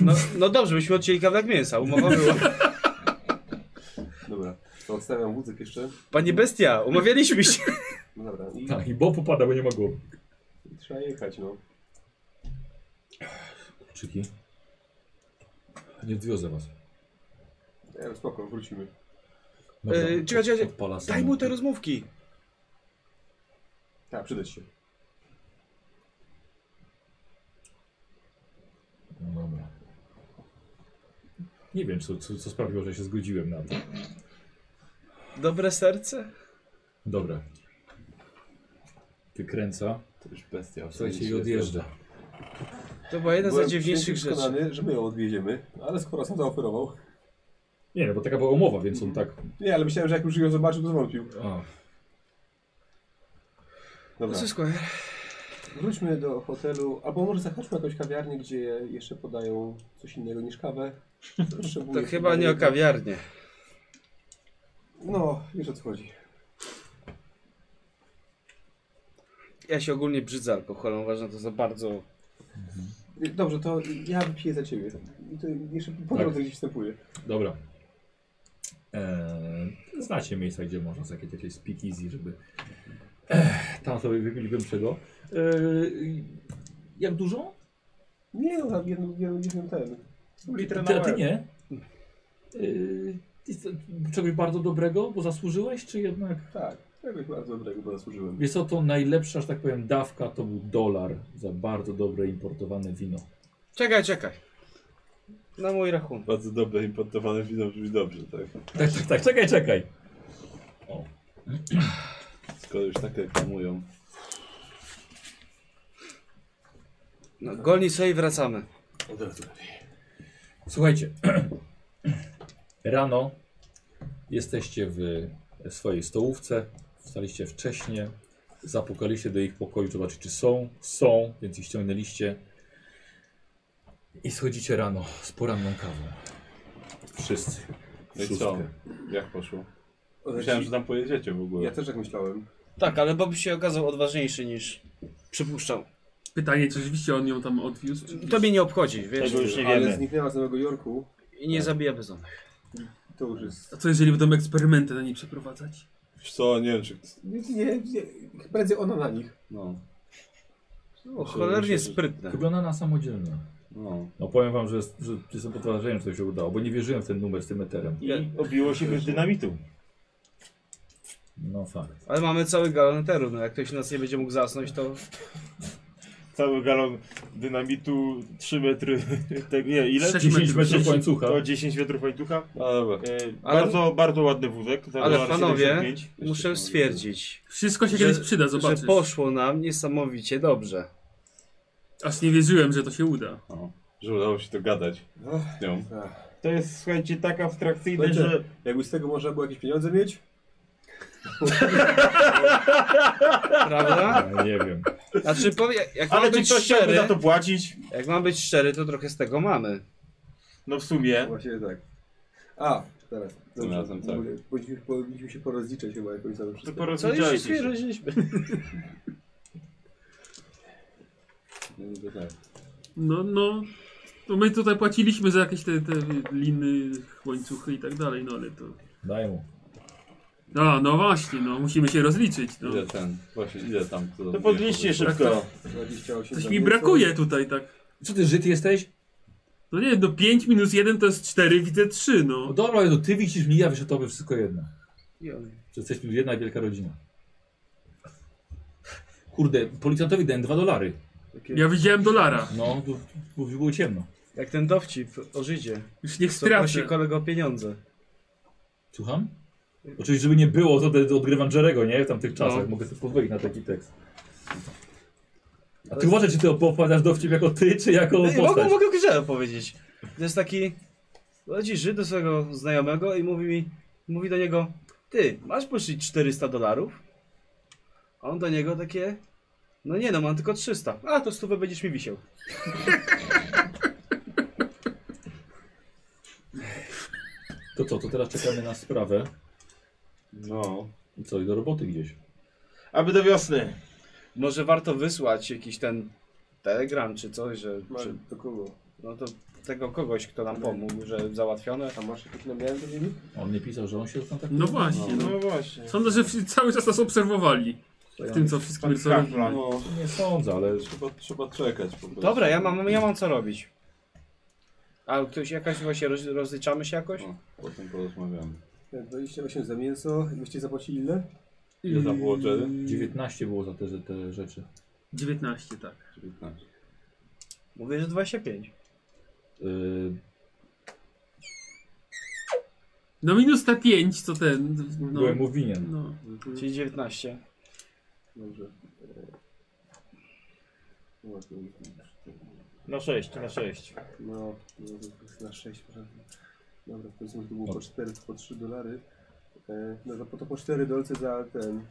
Speaker 5: No, no dobrze, byśmy odcięli kawałek mięsa, umowa była.
Speaker 1: Dobra, to odstawiam wózek jeszcze.
Speaker 5: Panie bestia, umawialiśmy się.
Speaker 1: No dobra, i
Speaker 3: Tak, i bob upada, bo nie ma głowy.
Speaker 1: i trzeba jechać, no.
Speaker 3: Czyki. Nie odwiozę was.
Speaker 1: E, spoko, wrócimy.
Speaker 3: Dobra,
Speaker 5: Yy, czekaj, czekaj,
Speaker 3: odpala
Speaker 5: Daj
Speaker 3: samochód.
Speaker 5: mu te rozmówki.
Speaker 1: Tak, przydać się.
Speaker 3: No dobra. Nie wiem, co, co, co sprawiło, że się zgodziłem na to.
Speaker 5: Dobre serce.
Speaker 3: Dobra. Wykręca.
Speaker 2: To już bestia.
Speaker 3: Słuchajcie, i odjeżdża.
Speaker 5: To była jedna z
Speaker 1: Byłem
Speaker 5: najdziwniejszych
Speaker 1: święcie
Speaker 5: rzeczy.
Speaker 1: przekonany, że my ją odwieziemy, ale skoro sam zaoferował.
Speaker 3: Nie, no bo taka była umowa, więc on tak...
Speaker 1: Nie, ale myślałem, że jak już ją zobaczył, to zwątpił.
Speaker 3: A,
Speaker 5: No
Speaker 1: Dobra,
Speaker 5: co, Squire?
Speaker 1: wróćmy do hotelu, albo może zahaczmy jakąś kawiarnię, gdzie jeszcze podają coś innego niż kawę.
Speaker 5: To
Speaker 1: Potrzebuję
Speaker 5: Tak chyba nie o kawiarnię.
Speaker 1: No, wiesz o co chodzi.
Speaker 5: Ja się ogólnie brzydzę alkoholem, uważam to za bardzo...
Speaker 1: Dobrze, to ja wypiję za ciebie. I to jeszcze po
Speaker 3: Tak.
Speaker 1: drodze gdzieś wstępuję.
Speaker 3: dobra. Eee, znacie miejsca, gdzie można takie jakieś speakeasy, żeby... Ech, tam sobie wypili bym czego. Eee, jak dużo?
Speaker 1: Nie, no, tam jednym, jednym, jednym ten.
Speaker 11: Litrę na
Speaker 3: Ty, ty
Speaker 11: łeb.
Speaker 3: nie. Eee, ty- czegoś bardzo dobrego, bo zasłużyłeś, czy jednak...
Speaker 1: Tak, czegoś bardzo dobrego, bo zasłużyłem.
Speaker 3: Wiesz co, to najlepsza, że tak powiem, dawka to był dolar za bardzo dobre importowane wino.
Speaker 5: Czekaj, czekaj. Na mój rachunek.
Speaker 2: Bardzo dobre importowane wino brzmi dobrze, tak?
Speaker 3: Tak, tak, tak, czekaj, czekaj.
Speaker 2: Skoro już tak reklamują.
Speaker 5: No, golni sobie i wracamy.
Speaker 2: Od razu lepiej.
Speaker 3: Słuchajcie, rano jesteście w swojej stołówce, wstaliście wcześnie, zapukaliście do ich pokoju, zobaczyć czy są, są, więc ich ściągnęliście i schodzicie rano z poranną kawą. Wszyscy.
Speaker 2: No i co?
Speaker 3: Szóstkę.
Speaker 2: Jak poszło? Myślałem,
Speaker 4: tak.
Speaker 2: że tam pojedziecie w ogóle.
Speaker 1: Ja też tak myślałem.
Speaker 5: Tak, ale Bob się okazał odważniejszy niż przypuszczał.
Speaker 6: Pytanie, czy rzeczywiście on ją tam odwiózł? Czy...
Speaker 5: To mnie nie obchodzi, wiesz?
Speaker 4: Tego już nie
Speaker 1: Ale
Speaker 4: wiemy.
Speaker 1: zniknęła z Nowego Jorku.
Speaker 5: I nie zabija bezonych.
Speaker 1: To już jest.
Speaker 6: A co jeżeli będą eksperymenty na niej przeprowadzać?
Speaker 2: Wiesz co, nie wiem czy...
Speaker 1: Nie, nie, nie. Prędzej ona na nich.
Speaker 2: No,
Speaker 5: O, No, cholernie sprytne.
Speaker 3: Wygląda na samodzielne.
Speaker 2: no.
Speaker 3: No powiem wam, że, że jestem pod wrażeniem, że to się udało, bo nie wierzyłem w ten numer z tym eterem.
Speaker 4: I obiło się bez dynamitu.
Speaker 3: No fakt. No
Speaker 5: Ale mamy cały galon eteru, no jak ktoś nas nie będzie mógł zasnąć, to...
Speaker 4: cały galon dynamitu, 3 metry, te, nie, ile?
Speaker 3: Sześć metrów łańcucha.
Speaker 4: To 10 metrów łańcucha. E,
Speaker 5: No, Ale-
Speaker 4: bardzo, bardzo ładny wózek. za
Speaker 5: Ale
Speaker 4: dolar
Speaker 5: panowie,
Speaker 4: 75.
Speaker 5: muszę stwierdzić.
Speaker 6: Wszystko się
Speaker 5: że-
Speaker 6: kiedyś przyda, zobaczysz.
Speaker 5: Że poszło nam niesamowicie dobrze.
Speaker 6: Aż nie wierzyłem, że to się uda.
Speaker 2: Że udało się to gadać z nią.
Speaker 4: To jest, słuchajcie, tak abstrakcyjne,
Speaker 1: Słuchajcie,
Speaker 4: że...
Speaker 1: Jakby z tego można było jakieś pieniądze mieć?
Speaker 5: Prawda?
Speaker 3: No nie wiem.
Speaker 5: Znaczy, powie, jak
Speaker 4: Ale
Speaker 5: mam
Speaker 4: czy
Speaker 5: być
Speaker 4: ktoś chciałby
Speaker 5: szczery,
Speaker 4: za to płacić?
Speaker 5: Jak mam być szczery, to trochę z tego mamy.
Speaker 4: No w sumie.
Speaker 1: Właśnie tak. A, teraz. Dobrze.
Speaker 2: razem tak.
Speaker 1: Bo- Powinniśmy, powinniśmy się porozliczać chyba jakoś za to wszystko.
Speaker 5: Co już się rozliczmy?
Speaker 6: No, no. To my tutaj płaciliśmy za jakieś te, te liny, łańcuchy i tak dalej, no ale to...
Speaker 3: Daj mu.
Speaker 6: A, no właśnie, no musimy się rozliczyć. No.
Speaker 2: Ile ten, właśnie ile tam... co za-
Speaker 4: To podliście
Speaker 5: Tak,
Speaker 4: szybko.
Speaker 1: 28
Speaker 6: Coś
Speaker 1: za
Speaker 6: mi
Speaker 1: mięso.
Speaker 6: brakuje tutaj tak.
Speaker 3: Co ty, Żyd jesteś?
Speaker 6: No nie, no 5 minus 1 to jest 4, widzę 3, no.
Speaker 3: No dobra, ale to ty widzisz mnie, ja wiesz, że to by wszystko jedno.
Speaker 5: Ja.
Speaker 3: Że jesteśmy jedna wielka rodzina. Kurde, policjantowi dałem dwa dolary.
Speaker 6: Ja widziałem dolara.
Speaker 3: No, tu, tu było ciemno.
Speaker 5: Jak ten dowcip o Żydzie.
Speaker 6: Już niech
Speaker 5: Co prosi
Speaker 6: stracę.
Speaker 5: kolego o pieniądze.
Speaker 3: Słucham? Oczywiście, żeby nie było, to, to odgrywam Jerego, nie? W tamtych
Speaker 5: No.
Speaker 3: czasach. Mogę sobie pozwolić na taki tekst. A ty uważaj, czy ty opowiadasz dowcip jako ty, czy jako
Speaker 5: Ej, mogę,
Speaker 3: postać?
Speaker 5: mogę grze powiedzieć. To jest taki. Chodzi Żyd do swojego znajomego i mówi mi, mówi do niego, ty, masz pożyczyć 400 dolarów? A on do niego takie, no nie no, mam tylko 300. A, to stówę będziesz mi wisiał.
Speaker 3: To co, to teraz czekamy na sprawę.
Speaker 4: No.
Speaker 3: I co, i do roboty gdzieś.
Speaker 4: Aby do wiosny.
Speaker 5: Może warto wysłać jakiś ten telegram czy coś, że...
Speaker 1: Ma-
Speaker 5: Czy,
Speaker 1: Do kogo?
Speaker 5: no to tego kogoś, kto nam pomógł, że załatwione.
Speaker 1: A masz jakieś namiary do nimi?
Speaker 3: On nie pisał, że on się kontaktuje.
Speaker 6: No właśnie, no.
Speaker 4: No właśnie.
Speaker 6: Sądzę, że wszyscy cały czas nas obserwowali. W tym, co wszystkim co
Speaker 4: Pan
Speaker 6: robimy.
Speaker 4: Kaplan.
Speaker 2: No,
Speaker 3: Nie sądzę, ale
Speaker 2: trzeba, trzeba czekać po prostu.
Speaker 5: Dobra, ja mam, ja mam co robić. A ktoś jakaś właśnie roz, rozliczamy się jakoś?
Speaker 2: No, potem porozmawiamy.
Speaker 1: Tak, 28 za mięso. I byście zapłacili ile?
Speaker 2: Ile tam było Jerry?
Speaker 3: 19 było za te, te rzeczy.
Speaker 6: 19, tak.
Speaker 2: 19.
Speaker 5: Mówię, że 25.
Speaker 3: Yy,
Speaker 6: No minus te 5, co ten... No,
Speaker 3: Byłem mu winien.
Speaker 6: no.
Speaker 5: Czyli 19.
Speaker 1: Dobrze. E, Właśnie.
Speaker 4: Na 6, na 6.
Speaker 1: No, no to jest na 6 Dobra, powiedzmy, że to było po 4, po 3 dolary. E, No to po, to po 4 dolce za ten,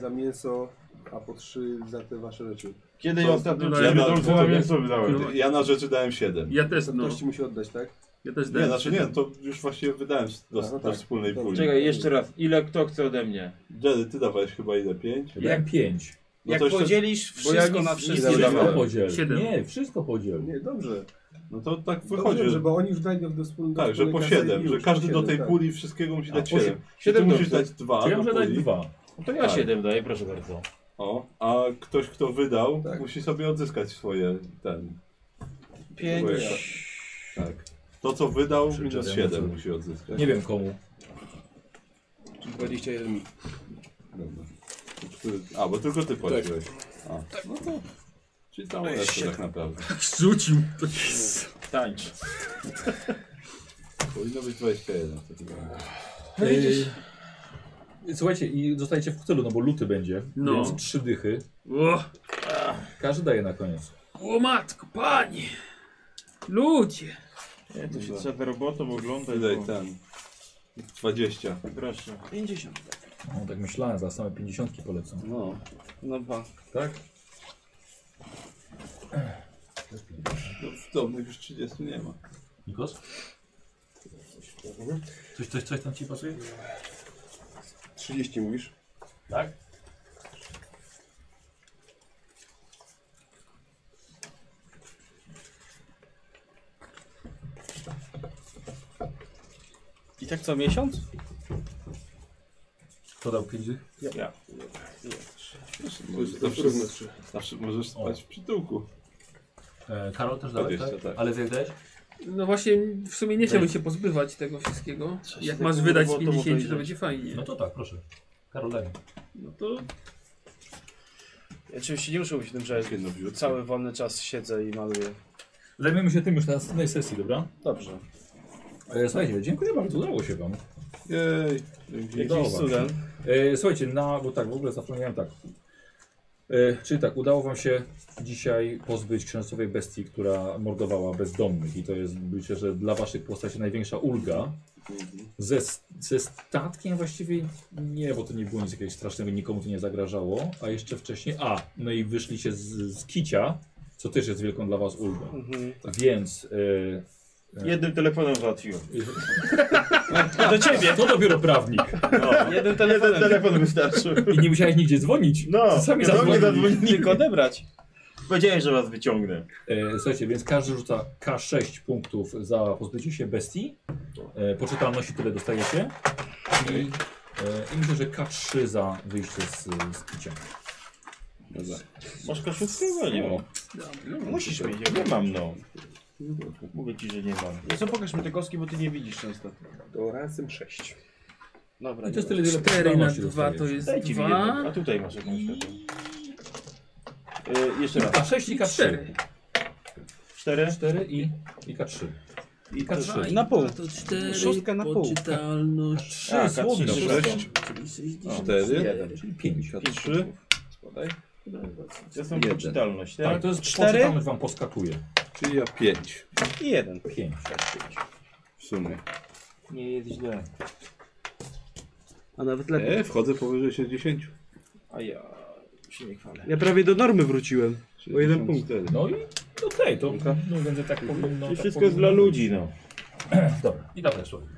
Speaker 1: za mięso, a po 3 za te wasze rzeczy.
Speaker 4: Kiedy
Speaker 2: Co?
Speaker 4: ostatnio
Speaker 6: No,
Speaker 4: cztery
Speaker 2: ja na-
Speaker 4: dolce na mięso wydałem?
Speaker 6: No.
Speaker 2: Ja na rzeczy dałem 7.
Speaker 6: Ja też, no.
Speaker 1: Wartości musi oddać, tak?
Speaker 6: Ja też
Speaker 2: Nie,
Speaker 6: dałem.
Speaker 2: znaczy nie, to już właściwie wydałem z- do,
Speaker 1: A, no
Speaker 2: do
Speaker 1: tak.
Speaker 2: wspólnej
Speaker 1: To-
Speaker 2: puli.
Speaker 4: Czekaj, jeszcze raz. Ile kto chce ode mnie?
Speaker 2: Jerry, ty dawałeś chyba ile? 5?
Speaker 3: Miałem 5.
Speaker 2: No
Speaker 5: Jak
Speaker 2: to jeszcze-
Speaker 5: podzielisz
Speaker 4: bo ja
Speaker 5: wszystko
Speaker 4: nic-
Speaker 5: na
Speaker 4: nic
Speaker 5: wszystko.
Speaker 4: nie
Speaker 3: Wszystko
Speaker 4: dawałem.
Speaker 3: podziel.
Speaker 6: Siedem.
Speaker 3: Nie, wszystko podziel.
Speaker 1: Nie, dobrze.
Speaker 2: No to tak wychodzi,
Speaker 1: Wychodzi,
Speaker 2: że,
Speaker 1: że bo oni już dają do wspólnej
Speaker 2: tak, że po 7, że każdy do
Speaker 1: tak.
Speaker 2: tej puli wszystkiego musi
Speaker 3: A,
Speaker 2: dać
Speaker 3: osiem-
Speaker 2: 7. Ty
Speaker 4: siedem
Speaker 2: musisz
Speaker 4: dobrze.
Speaker 2: dać 2
Speaker 3: Czy ja muszę dać dwa?
Speaker 4: To ja
Speaker 2: Tak.
Speaker 4: 7 daję, proszę bardzo.
Speaker 2: O, a ktoś kto wydał
Speaker 1: Tak.
Speaker 2: musi sobie odzyskać swoje ten.
Speaker 4: 5.
Speaker 2: Tak. To co wydał
Speaker 3: Czy
Speaker 2: minus
Speaker 3: Jerry
Speaker 2: 7
Speaker 3: może-
Speaker 2: musi odzyskać.
Speaker 3: Nie wiem komu.
Speaker 1: 21
Speaker 2: Dobra. To który- A, bo tylko
Speaker 3: Tak.
Speaker 2: ty płaciłeś. A, no to... Czyli całą resztę tak naprawdę.
Speaker 6: Rzucił.
Speaker 4: Tańcz.
Speaker 2: Powinno być 21 wtedy.
Speaker 3: Yy, No Słuchajcie, i zostajecie w hotelu, no bo luty będzie,
Speaker 6: No.
Speaker 3: więc trzy dychy.
Speaker 6: O,
Speaker 3: Każdy daje na koniec.
Speaker 6: o matko, panie. Ludzie.
Speaker 4: Nie, to się
Speaker 2: Dobra.
Speaker 4: trzeba robotą oglądać.
Speaker 2: Wydaj
Speaker 12: tak.
Speaker 3: No.
Speaker 4: bo-
Speaker 2: ten. 20.
Speaker 4: Proszę.
Speaker 5: 50.
Speaker 3: No tak myślałem, za same 50 polecam.
Speaker 2: No.
Speaker 5: No ba.
Speaker 3: Tak?
Speaker 2: No w domnych już 30 nie ma.
Speaker 3: Nikos? Coś, coś, coś tam ci pasuje?
Speaker 1: 30 mówisz?
Speaker 3: Tak?
Speaker 5: I tak co miesiąc?
Speaker 3: Kto dał 5 dych?
Speaker 4: Ja.
Speaker 2: Możesz, zawsze, zawsze możesz spać w przytułku.
Speaker 3: E, Karol też dałeś,
Speaker 2: 20,
Speaker 3: tak?
Speaker 2: tak.
Speaker 3: Ale wiesz, dałeś?
Speaker 6: No właśnie, w sumie nie chciałbym się pozbywać tego wszystkiego. Jak masz
Speaker 4: takiego
Speaker 6: wydać z
Speaker 4: było, to
Speaker 6: 50,
Speaker 4: obejrzeć.
Speaker 3: tak,
Speaker 6: to będzie fajnie.
Speaker 3: No to tak, proszę. Karol daj.
Speaker 6: No to
Speaker 10: Oczywiście nie muszę mówić o tym, że cały wolny czas siedzę i maluję.
Speaker 3: Zajmiemy się tym już na następnej sesji, dobra?
Speaker 10: Dobrze.
Speaker 3: E, Słuchajcie, dziękuję bardzo, udało się wam.
Speaker 2: Jej,
Speaker 3: Udało wam się.
Speaker 10: cudem.
Speaker 3: E, Słuchajcie, na, bo tak w ogóle zapomniałem tak. E, Czyli tak, udało wam się dzisiaj pozbyć księżycowej bestii, która mordowała bezdomnych i to jest myślę, że dla waszych postaci największa ulga.
Speaker 10: Mhm.
Speaker 3: Ze, s- ze statkiem właściwie nie, bo to nie było nic jakiegoś strasznego, nikomu to nie zagrażało, a jeszcze wcześniej, a, no i wyszliście z, z kicia, co też jest wielką dla was ulgą.
Speaker 10: Mhm.
Speaker 3: Więc... e, e,
Speaker 12: Jednym telefonem załatwiłem.
Speaker 10: Do ciebie.
Speaker 3: To dopiero prawnik.
Speaker 10: Jeden telefon.
Speaker 12: Jeden telefon wystarczył.
Speaker 3: I nie musiałeś nigdzie dzwonić.
Speaker 12: No,
Speaker 3: sami
Speaker 12: do mnie
Speaker 3: zadzwonili.
Speaker 12: zadzwonili.
Speaker 10: Tylko odebrać.
Speaker 12: Powiedziałem, że was wyciągnę.
Speaker 3: E, słuchajcie, więc każdy rzuca K6 punktów za pozbycie się bestii. E, poczytalności tyle dostajecie. I, e, I myślę, że K3 za wyjście z, z kicia.
Speaker 12: Masz kaszówkę? Nie mam.
Speaker 10: Musisz mieć.
Speaker 12: Nie mam, no. Mówię ci, że nie mam.
Speaker 10: No co, pokaż mi te kostki, bo ty nie widzisz często.
Speaker 1: To razem 6.
Speaker 10: Dobra.
Speaker 6: No I to jest
Speaker 10: nie
Speaker 6: tyle, ile 4 na
Speaker 3: poczytalności
Speaker 6: 2 to
Speaker 3: dostajecie.
Speaker 6: jest
Speaker 12: Dajcie mi jedną.
Speaker 6: 2.
Speaker 12: A tutaj masz jakąś taką. E, jeszcze raz.
Speaker 3: K6 i K4.
Speaker 12: Cztery.
Speaker 3: K4 i, i K3. I K3.
Speaker 5: Na pół.
Speaker 6: To 4
Speaker 5: Szóstka na pół.
Speaker 6: poczytalność.
Speaker 3: Trzy
Speaker 12: A, K3,
Speaker 3: słowne.
Speaker 12: trzy.
Speaker 2: Sześć,
Speaker 6: Czyli 60.
Speaker 2: cztery, Tak.
Speaker 3: Czyli 5.
Speaker 2: trzy.
Speaker 12: To są
Speaker 2: Jeden.
Speaker 12: poczytalność, tak?
Speaker 3: Tak, to jest
Speaker 5: Cztery?
Speaker 3: poczytalność wam poskakuje.
Speaker 2: Czyli ja pięć
Speaker 5: I jeden.
Speaker 3: 5.
Speaker 2: w sumie.
Speaker 12: Nie jest źle.
Speaker 5: A nawet lepiej.
Speaker 2: E, wchodzę powyżej 60.
Speaker 12: A ja się nie chwalę.
Speaker 5: Ja prawie do normy wróciłem. O jeden punkt.
Speaker 3: No i okej, to no, będzie tak powinno.
Speaker 12: I
Speaker 3: tak
Speaker 12: wszystko jest dla
Speaker 3: powinno
Speaker 12: ludzi, no.
Speaker 3: być. Dobra, i dobra, słuchaj.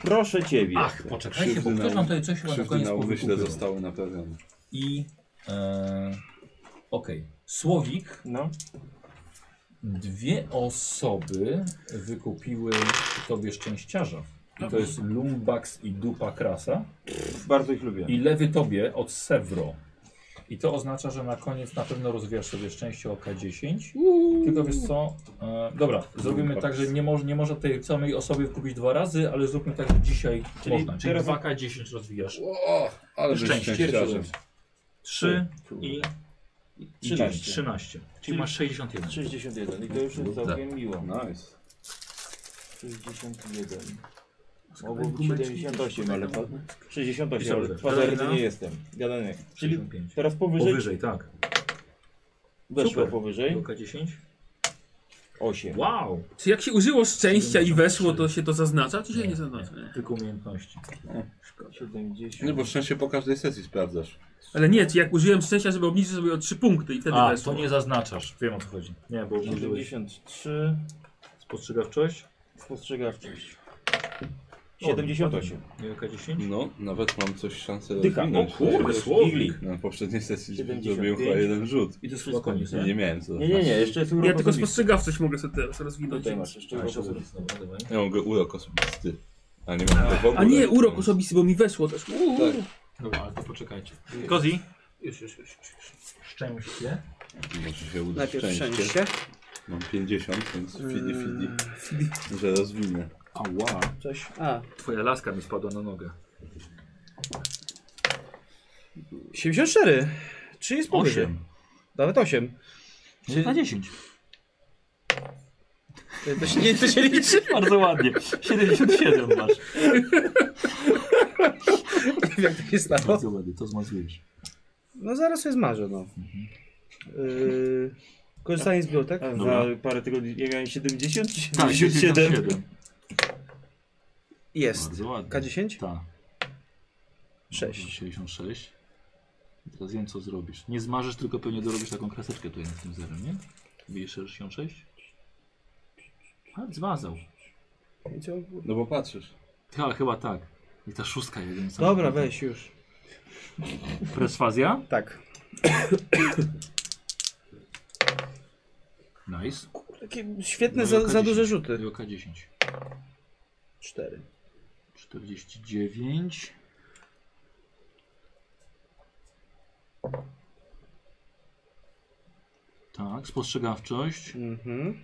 Speaker 12: Proszę ciebie.
Speaker 3: Ach, poczekajcie, bo
Speaker 2: Krzywdy
Speaker 3: ktoś
Speaker 2: na-
Speaker 3: nam tutaj coś chyba na
Speaker 2: Krzywdy
Speaker 3: koniec
Speaker 2: na umyśle
Speaker 3: powykupił.
Speaker 2: zostały naprawione.
Speaker 3: I... E, Okej. Słowik.
Speaker 12: No.
Speaker 3: Dwie osoby wykupiły tobie szczęściarza. I to jest Lumbax i Dupa Krasa.
Speaker 12: Bardzo ich lubię.
Speaker 3: I lewy tobie od Sevro. I to oznacza, że na koniec na pewno rozwijasz sobie szczęście o K10. Tylko wiesz co? E, dobra, zrobimy tak, że nie, moż, nie można tej samej osoby kupić dwa razy, ale zróbmy tak, że dzisiaj
Speaker 12: Czyli
Speaker 3: można. Czyli
Speaker 12: teraz-
Speaker 3: 2K10 rozwijasz.
Speaker 2: O, ale
Speaker 3: Szczęście.
Speaker 2: szczęściarzem.
Speaker 3: 3 i, i 13.
Speaker 12: 13.
Speaker 3: 13. Czyli
Speaker 12: Czyli-
Speaker 3: masz 61.
Speaker 12: 61 i to już jest całkiem miło.
Speaker 2: Nice.
Speaker 12: 61. Mogło być 78, ale pa- 68, ale
Speaker 3: Dobrze.
Speaker 12: pazerny
Speaker 3: Kolejna.
Speaker 12: nie jestem. Gadany. Czyli
Speaker 3: 65.
Speaker 12: teraz powyżej,
Speaker 3: Powyżej, tak.
Speaker 12: weszło
Speaker 3: Super. Do
Speaker 12: powyżej,
Speaker 3: K10.
Speaker 12: 8.
Speaker 3: Wow!
Speaker 6: Czy jak się użyło szczęścia i weszło, to się to zaznacza, czy się nie zaznacza?
Speaker 3: Tylko umiejętności.
Speaker 12: 70.
Speaker 2: No bo szczęście po każdej sesji sprawdzasz.
Speaker 6: Ale nie, czy jak użyłem szczęścia, żeby obniżyć sobie o 3 punkty i wtedy
Speaker 3: A,
Speaker 6: weszło.
Speaker 3: to nie zaznaczasz. Wiem o co chodzi. Nie, bo użyłeś
Speaker 12: 73.
Speaker 3: spostrzegawczość.
Speaker 12: Spostrzegawczość. 78.
Speaker 3: Nie, K10.
Speaker 2: No, nawet mam coś szansę
Speaker 12: Dycha.
Speaker 4: No
Speaker 12: O
Speaker 2: rozwinąć.
Speaker 12: kurde, słowik.
Speaker 2: Na poprzedniej sesji
Speaker 12: 75.
Speaker 2: zrobiłem chyba jeden rzut.
Speaker 3: I to jest chyba koniec, nie?
Speaker 2: I nie miałem co
Speaker 12: Nie, nie, nie, jeszcze jest urok
Speaker 6: Ja tylko
Speaker 12: osobisty.
Speaker 6: spostrzegawczość mogę sobie teraz rozwinąć.
Speaker 12: Tutaj masz jeszcze
Speaker 3: A,
Speaker 12: urok
Speaker 3: jeszcze
Speaker 12: osobisty.
Speaker 3: sobie- dobra, dawaj.
Speaker 2: Ja mam go urok osobisty. A nie mam go w ogóle.
Speaker 6: A nie, urok osobisty, bo mi weszło też. Uuu.
Speaker 2: Tak.
Speaker 3: Dobra, ale to poczekajcie.
Speaker 6: Kozi?
Speaker 3: Już, już, już, już. już. Szczęście.
Speaker 2: Może się uda
Speaker 5: Najpierw
Speaker 2: szczęście.
Speaker 5: szczęście.
Speaker 2: Mam 50, więc fidi fidi. Że rozwinę.
Speaker 3: Ała.
Speaker 5: Coś. A,
Speaker 3: Twoja laska mi spadła na nogę.
Speaker 5: 74. Czy jest powyżej?
Speaker 3: Osiem.
Speaker 5: Nawet 8.
Speaker 3: Czy... Na 10.
Speaker 5: E, To się, nie, to się liczy.
Speaker 3: Bardzo ładnie. 77 masz.
Speaker 5: Nie wiem, jak to się stało.
Speaker 3: Bardzo ładnie, to zmazujesz.
Speaker 5: No zaraz sobie zmarzę, no. Yy, korzystanie z biotek.
Speaker 12: A,
Speaker 4: Tak.
Speaker 3: Dobra.
Speaker 12: E, Za parę tygodni nie miałem 70 czy 77?
Speaker 5: Jest.
Speaker 3: Bardzo ładnie.
Speaker 5: K10?
Speaker 3: Tak.
Speaker 5: 6.
Speaker 3: 66. Teraz wiem co zrobisz. Nie zmarzysz, tylko pewnie dorobisz taką kreseczkę tutaj nad tym zerem, nie? Widzisz 66? A, zmazał.
Speaker 2: No bo patrzysz.
Speaker 3: Ale chyba tak. I ta szóstka jeden sam.
Speaker 5: Dobra, weź już.
Speaker 3: Presfazja?
Speaker 5: Tak.
Speaker 3: Nice.
Speaker 5: Takie świetne,
Speaker 3: No,
Speaker 5: za,
Speaker 3: K10.
Speaker 5: za duże rzuty.
Speaker 3: Joka 10.
Speaker 5: 4.
Speaker 3: 49. Tak, spostrzegawczość.
Speaker 5: Mhm.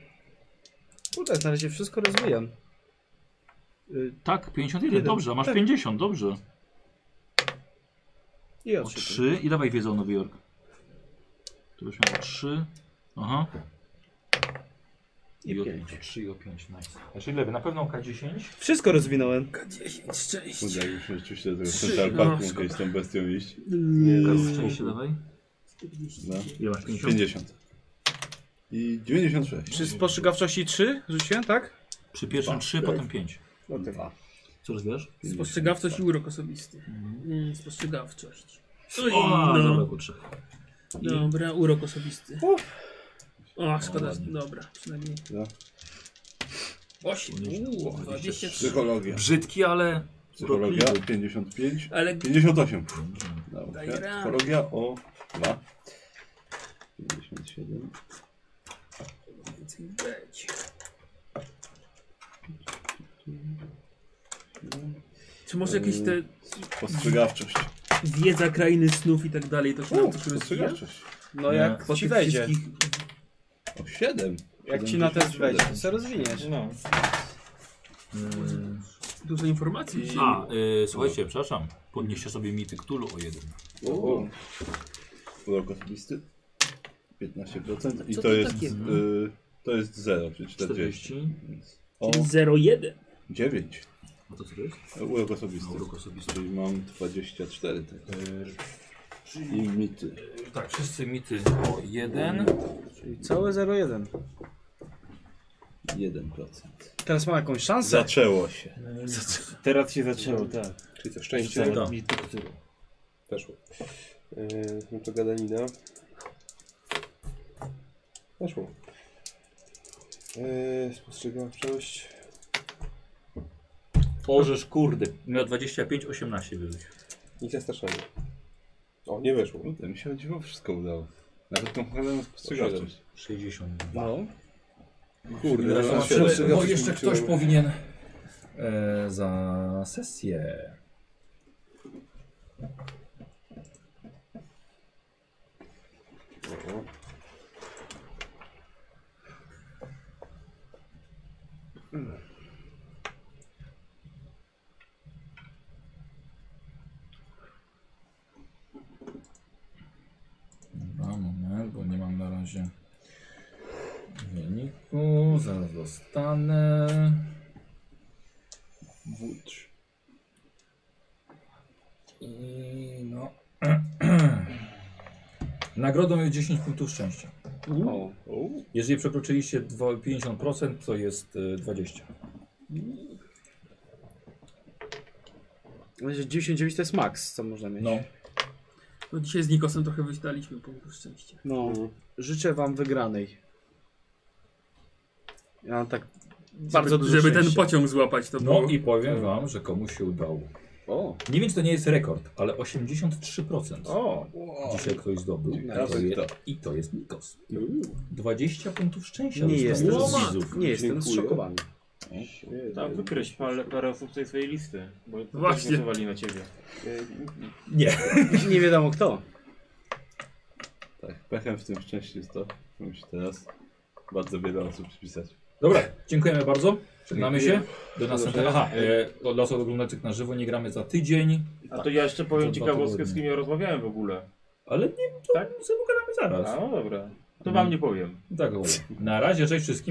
Speaker 5: Kurde, na razie wszystko rozwijam. Yy,
Speaker 3: Tak, 51,
Speaker 5: Jeden.
Speaker 3: dobrze, a masz
Speaker 5: Tak.
Speaker 3: 50, dobrze.
Speaker 5: I
Speaker 3: O
Speaker 5: oczy.
Speaker 3: 3 i dawaj wiedzę o Nowy Jork. 73. Aha. I o 5. 3 i o 5, nice. Znaczy lewy, na pewno K10.
Speaker 5: Wszystko rozwinąłem.
Speaker 6: K10, szczęście.
Speaker 2: Udaje mi się rzeczywiście do tego
Speaker 3: Trzy,
Speaker 2: Central
Speaker 3: no,
Speaker 2: Parku
Speaker 3: szkoda.
Speaker 2: gdzieś z tą bestią iść.
Speaker 6: Yy,
Speaker 3: Nie, szczęście dawaj.
Speaker 2: No.
Speaker 3: Ile masz, 50?
Speaker 2: 50. I 96.
Speaker 5: Czy spostrzegawczości 3 rzuciłem, tak?
Speaker 3: Przy pierwszym 3, potem 5.
Speaker 5: No to dwa.
Speaker 3: Co rozwijasz?
Speaker 6: Spostrzegawczość i urok osobisty. Mm, Spostrzegawczość. Oj,
Speaker 3: O,
Speaker 6: no.
Speaker 3: zabrakło trzech. I-
Speaker 6: Dobra, urok osobisty. O, szkoda, że- dobra, przynajmniej.
Speaker 2: No.
Speaker 6: 8, 23.
Speaker 2: Psychologia.
Speaker 3: Brzydki, ale...
Speaker 2: Psychologia
Speaker 3: urokliwy.
Speaker 2: 55.
Speaker 6: Ale-
Speaker 2: 58. Dobra.
Speaker 6: Daj radę.
Speaker 2: Psychologia o 2. 57.
Speaker 6: Więcej być. Czy może jakieś te
Speaker 2: Postrzegawczość.
Speaker 6: wiedza krainy snów i tak dalej, to się nam coś rozwija?
Speaker 2: Postrzegawczość.
Speaker 5: No
Speaker 3: Nie.
Speaker 5: jak
Speaker 6: Po
Speaker 5: ci
Speaker 6: tych
Speaker 5: wejdzie.
Speaker 6: wszystkich-
Speaker 2: O 7.
Speaker 5: Jak ci na test wejdzie, to se rozwiniesz.
Speaker 4: No.
Speaker 3: Yy,
Speaker 6: Dużo informacji dzisiaj.
Speaker 3: A, yy, słuchajcie, przepraszam. Podnieście sobie mity Cthulhu o jeden.
Speaker 2: O. Urok osobisty. 15%. I
Speaker 6: Co
Speaker 2: to,
Speaker 6: to no?
Speaker 2: jest.
Speaker 6: takiego?
Speaker 2: Y, to jest 0, czyli 40.
Speaker 3: 40.
Speaker 2: Więc O
Speaker 6: Czyli 0,1.
Speaker 2: 9.
Speaker 3: A to co to jest?
Speaker 2: No, Urok osobisty.
Speaker 3: Urok osobisty.
Speaker 2: Czyli mam 24. Tak.
Speaker 3: Yy,
Speaker 2: I mity.
Speaker 3: tak, wszyscy mity o jeden.
Speaker 5: Czyli całe 0,1.
Speaker 2: 1%.
Speaker 5: Teraz mam jakąś szansę.
Speaker 2: Zaczęło się.
Speaker 4: Teraz się zaczęło, tak.
Speaker 1: Czyli to szczęście
Speaker 3: Tak.
Speaker 4: Mi to którą.
Speaker 1: weszło. Yy, no to gadanina. Weszło. Yy, spostrzegawczość.
Speaker 3: Orzesz, kurde. Miał 25, 18 wyżej.
Speaker 1: Nic zastraszania. O, nie weszło.
Speaker 2: Kurde, mi się o dziwo wszystko udało. Nawet tą cholerną spostrzegawczość.
Speaker 3: 60.
Speaker 5: No.
Speaker 2: Kurde,
Speaker 1: Teraz
Speaker 2: no,
Speaker 1: mam
Speaker 2: siedem.
Speaker 1: trzy.
Speaker 3: Bo jeszcze
Speaker 1: skończyłem.
Speaker 3: ktoś powinien e, za sesję. Dobra, moment, bo nie mam na razie wyniku. Zaraz dostanę. Wódź. I no. Nagrodą jest 10 punktów szczęścia.
Speaker 5: O.
Speaker 3: Jeżeli przekroczyliście dwo- 50%, to jest y, 20.
Speaker 5: Będzie 99 to jest max, co można mieć.
Speaker 3: No.
Speaker 6: No dzisiaj z Nikosem trochę wyśdaliśmy punktu szczęścia.
Speaker 5: No. Życzę wam wygranej. Ja mam tak bardzo
Speaker 6: żeby,
Speaker 5: dużo
Speaker 6: Żeby ten
Speaker 5: szczęścia.
Speaker 6: pociąg złapać, to
Speaker 3: No
Speaker 6: było...
Speaker 3: i powiem wam, że komuś się udało.
Speaker 5: O.
Speaker 3: Nie wiem, czy to nie jest rekord, ale 83%
Speaker 5: O.
Speaker 3: dzisiaj ktoś zdobył. I to,
Speaker 2: Razem
Speaker 3: je, I to jest Nikos. 20 punktów szczęścia
Speaker 5: Nie
Speaker 3: dostał
Speaker 5: jestem,
Speaker 3: od
Speaker 6: Łomat.
Speaker 3: widzów.
Speaker 5: nie jestem zszokowany.
Speaker 12: Tam wykryć parę, parę osób z tej swojej listy, bo też
Speaker 6: Właśnie.
Speaker 12: głosowali na ciebie.
Speaker 3: Nie.
Speaker 5: Nie wiadomo kto.
Speaker 2: Tak, pechem w tym szczęście jest to. Musi teraz bardzo wiele osób spisać.
Speaker 3: Dobra, dziękujemy bardzo. Żegnamy się. Do
Speaker 1: Do
Speaker 3: następnego. Aha, e, od losu oglądanych na żywo nie gramy za tydzień,
Speaker 12: A to ja jeszcze powiem
Speaker 3: Za dwa
Speaker 12: ciekawostkę, z
Speaker 3: tygodnie.
Speaker 12: kim ja rozmawiałem w ogóle.
Speaker 3: ale nie, to
Speaker 12: Tak?
Speaker 3: sobie pogadamy
Speaker 12: A
Speaker 3: zaraz.
Speaker 12: no dobra, to wam nie powiem.
Speaker 3: Tak, dobra. na razie, cześć wszystkim.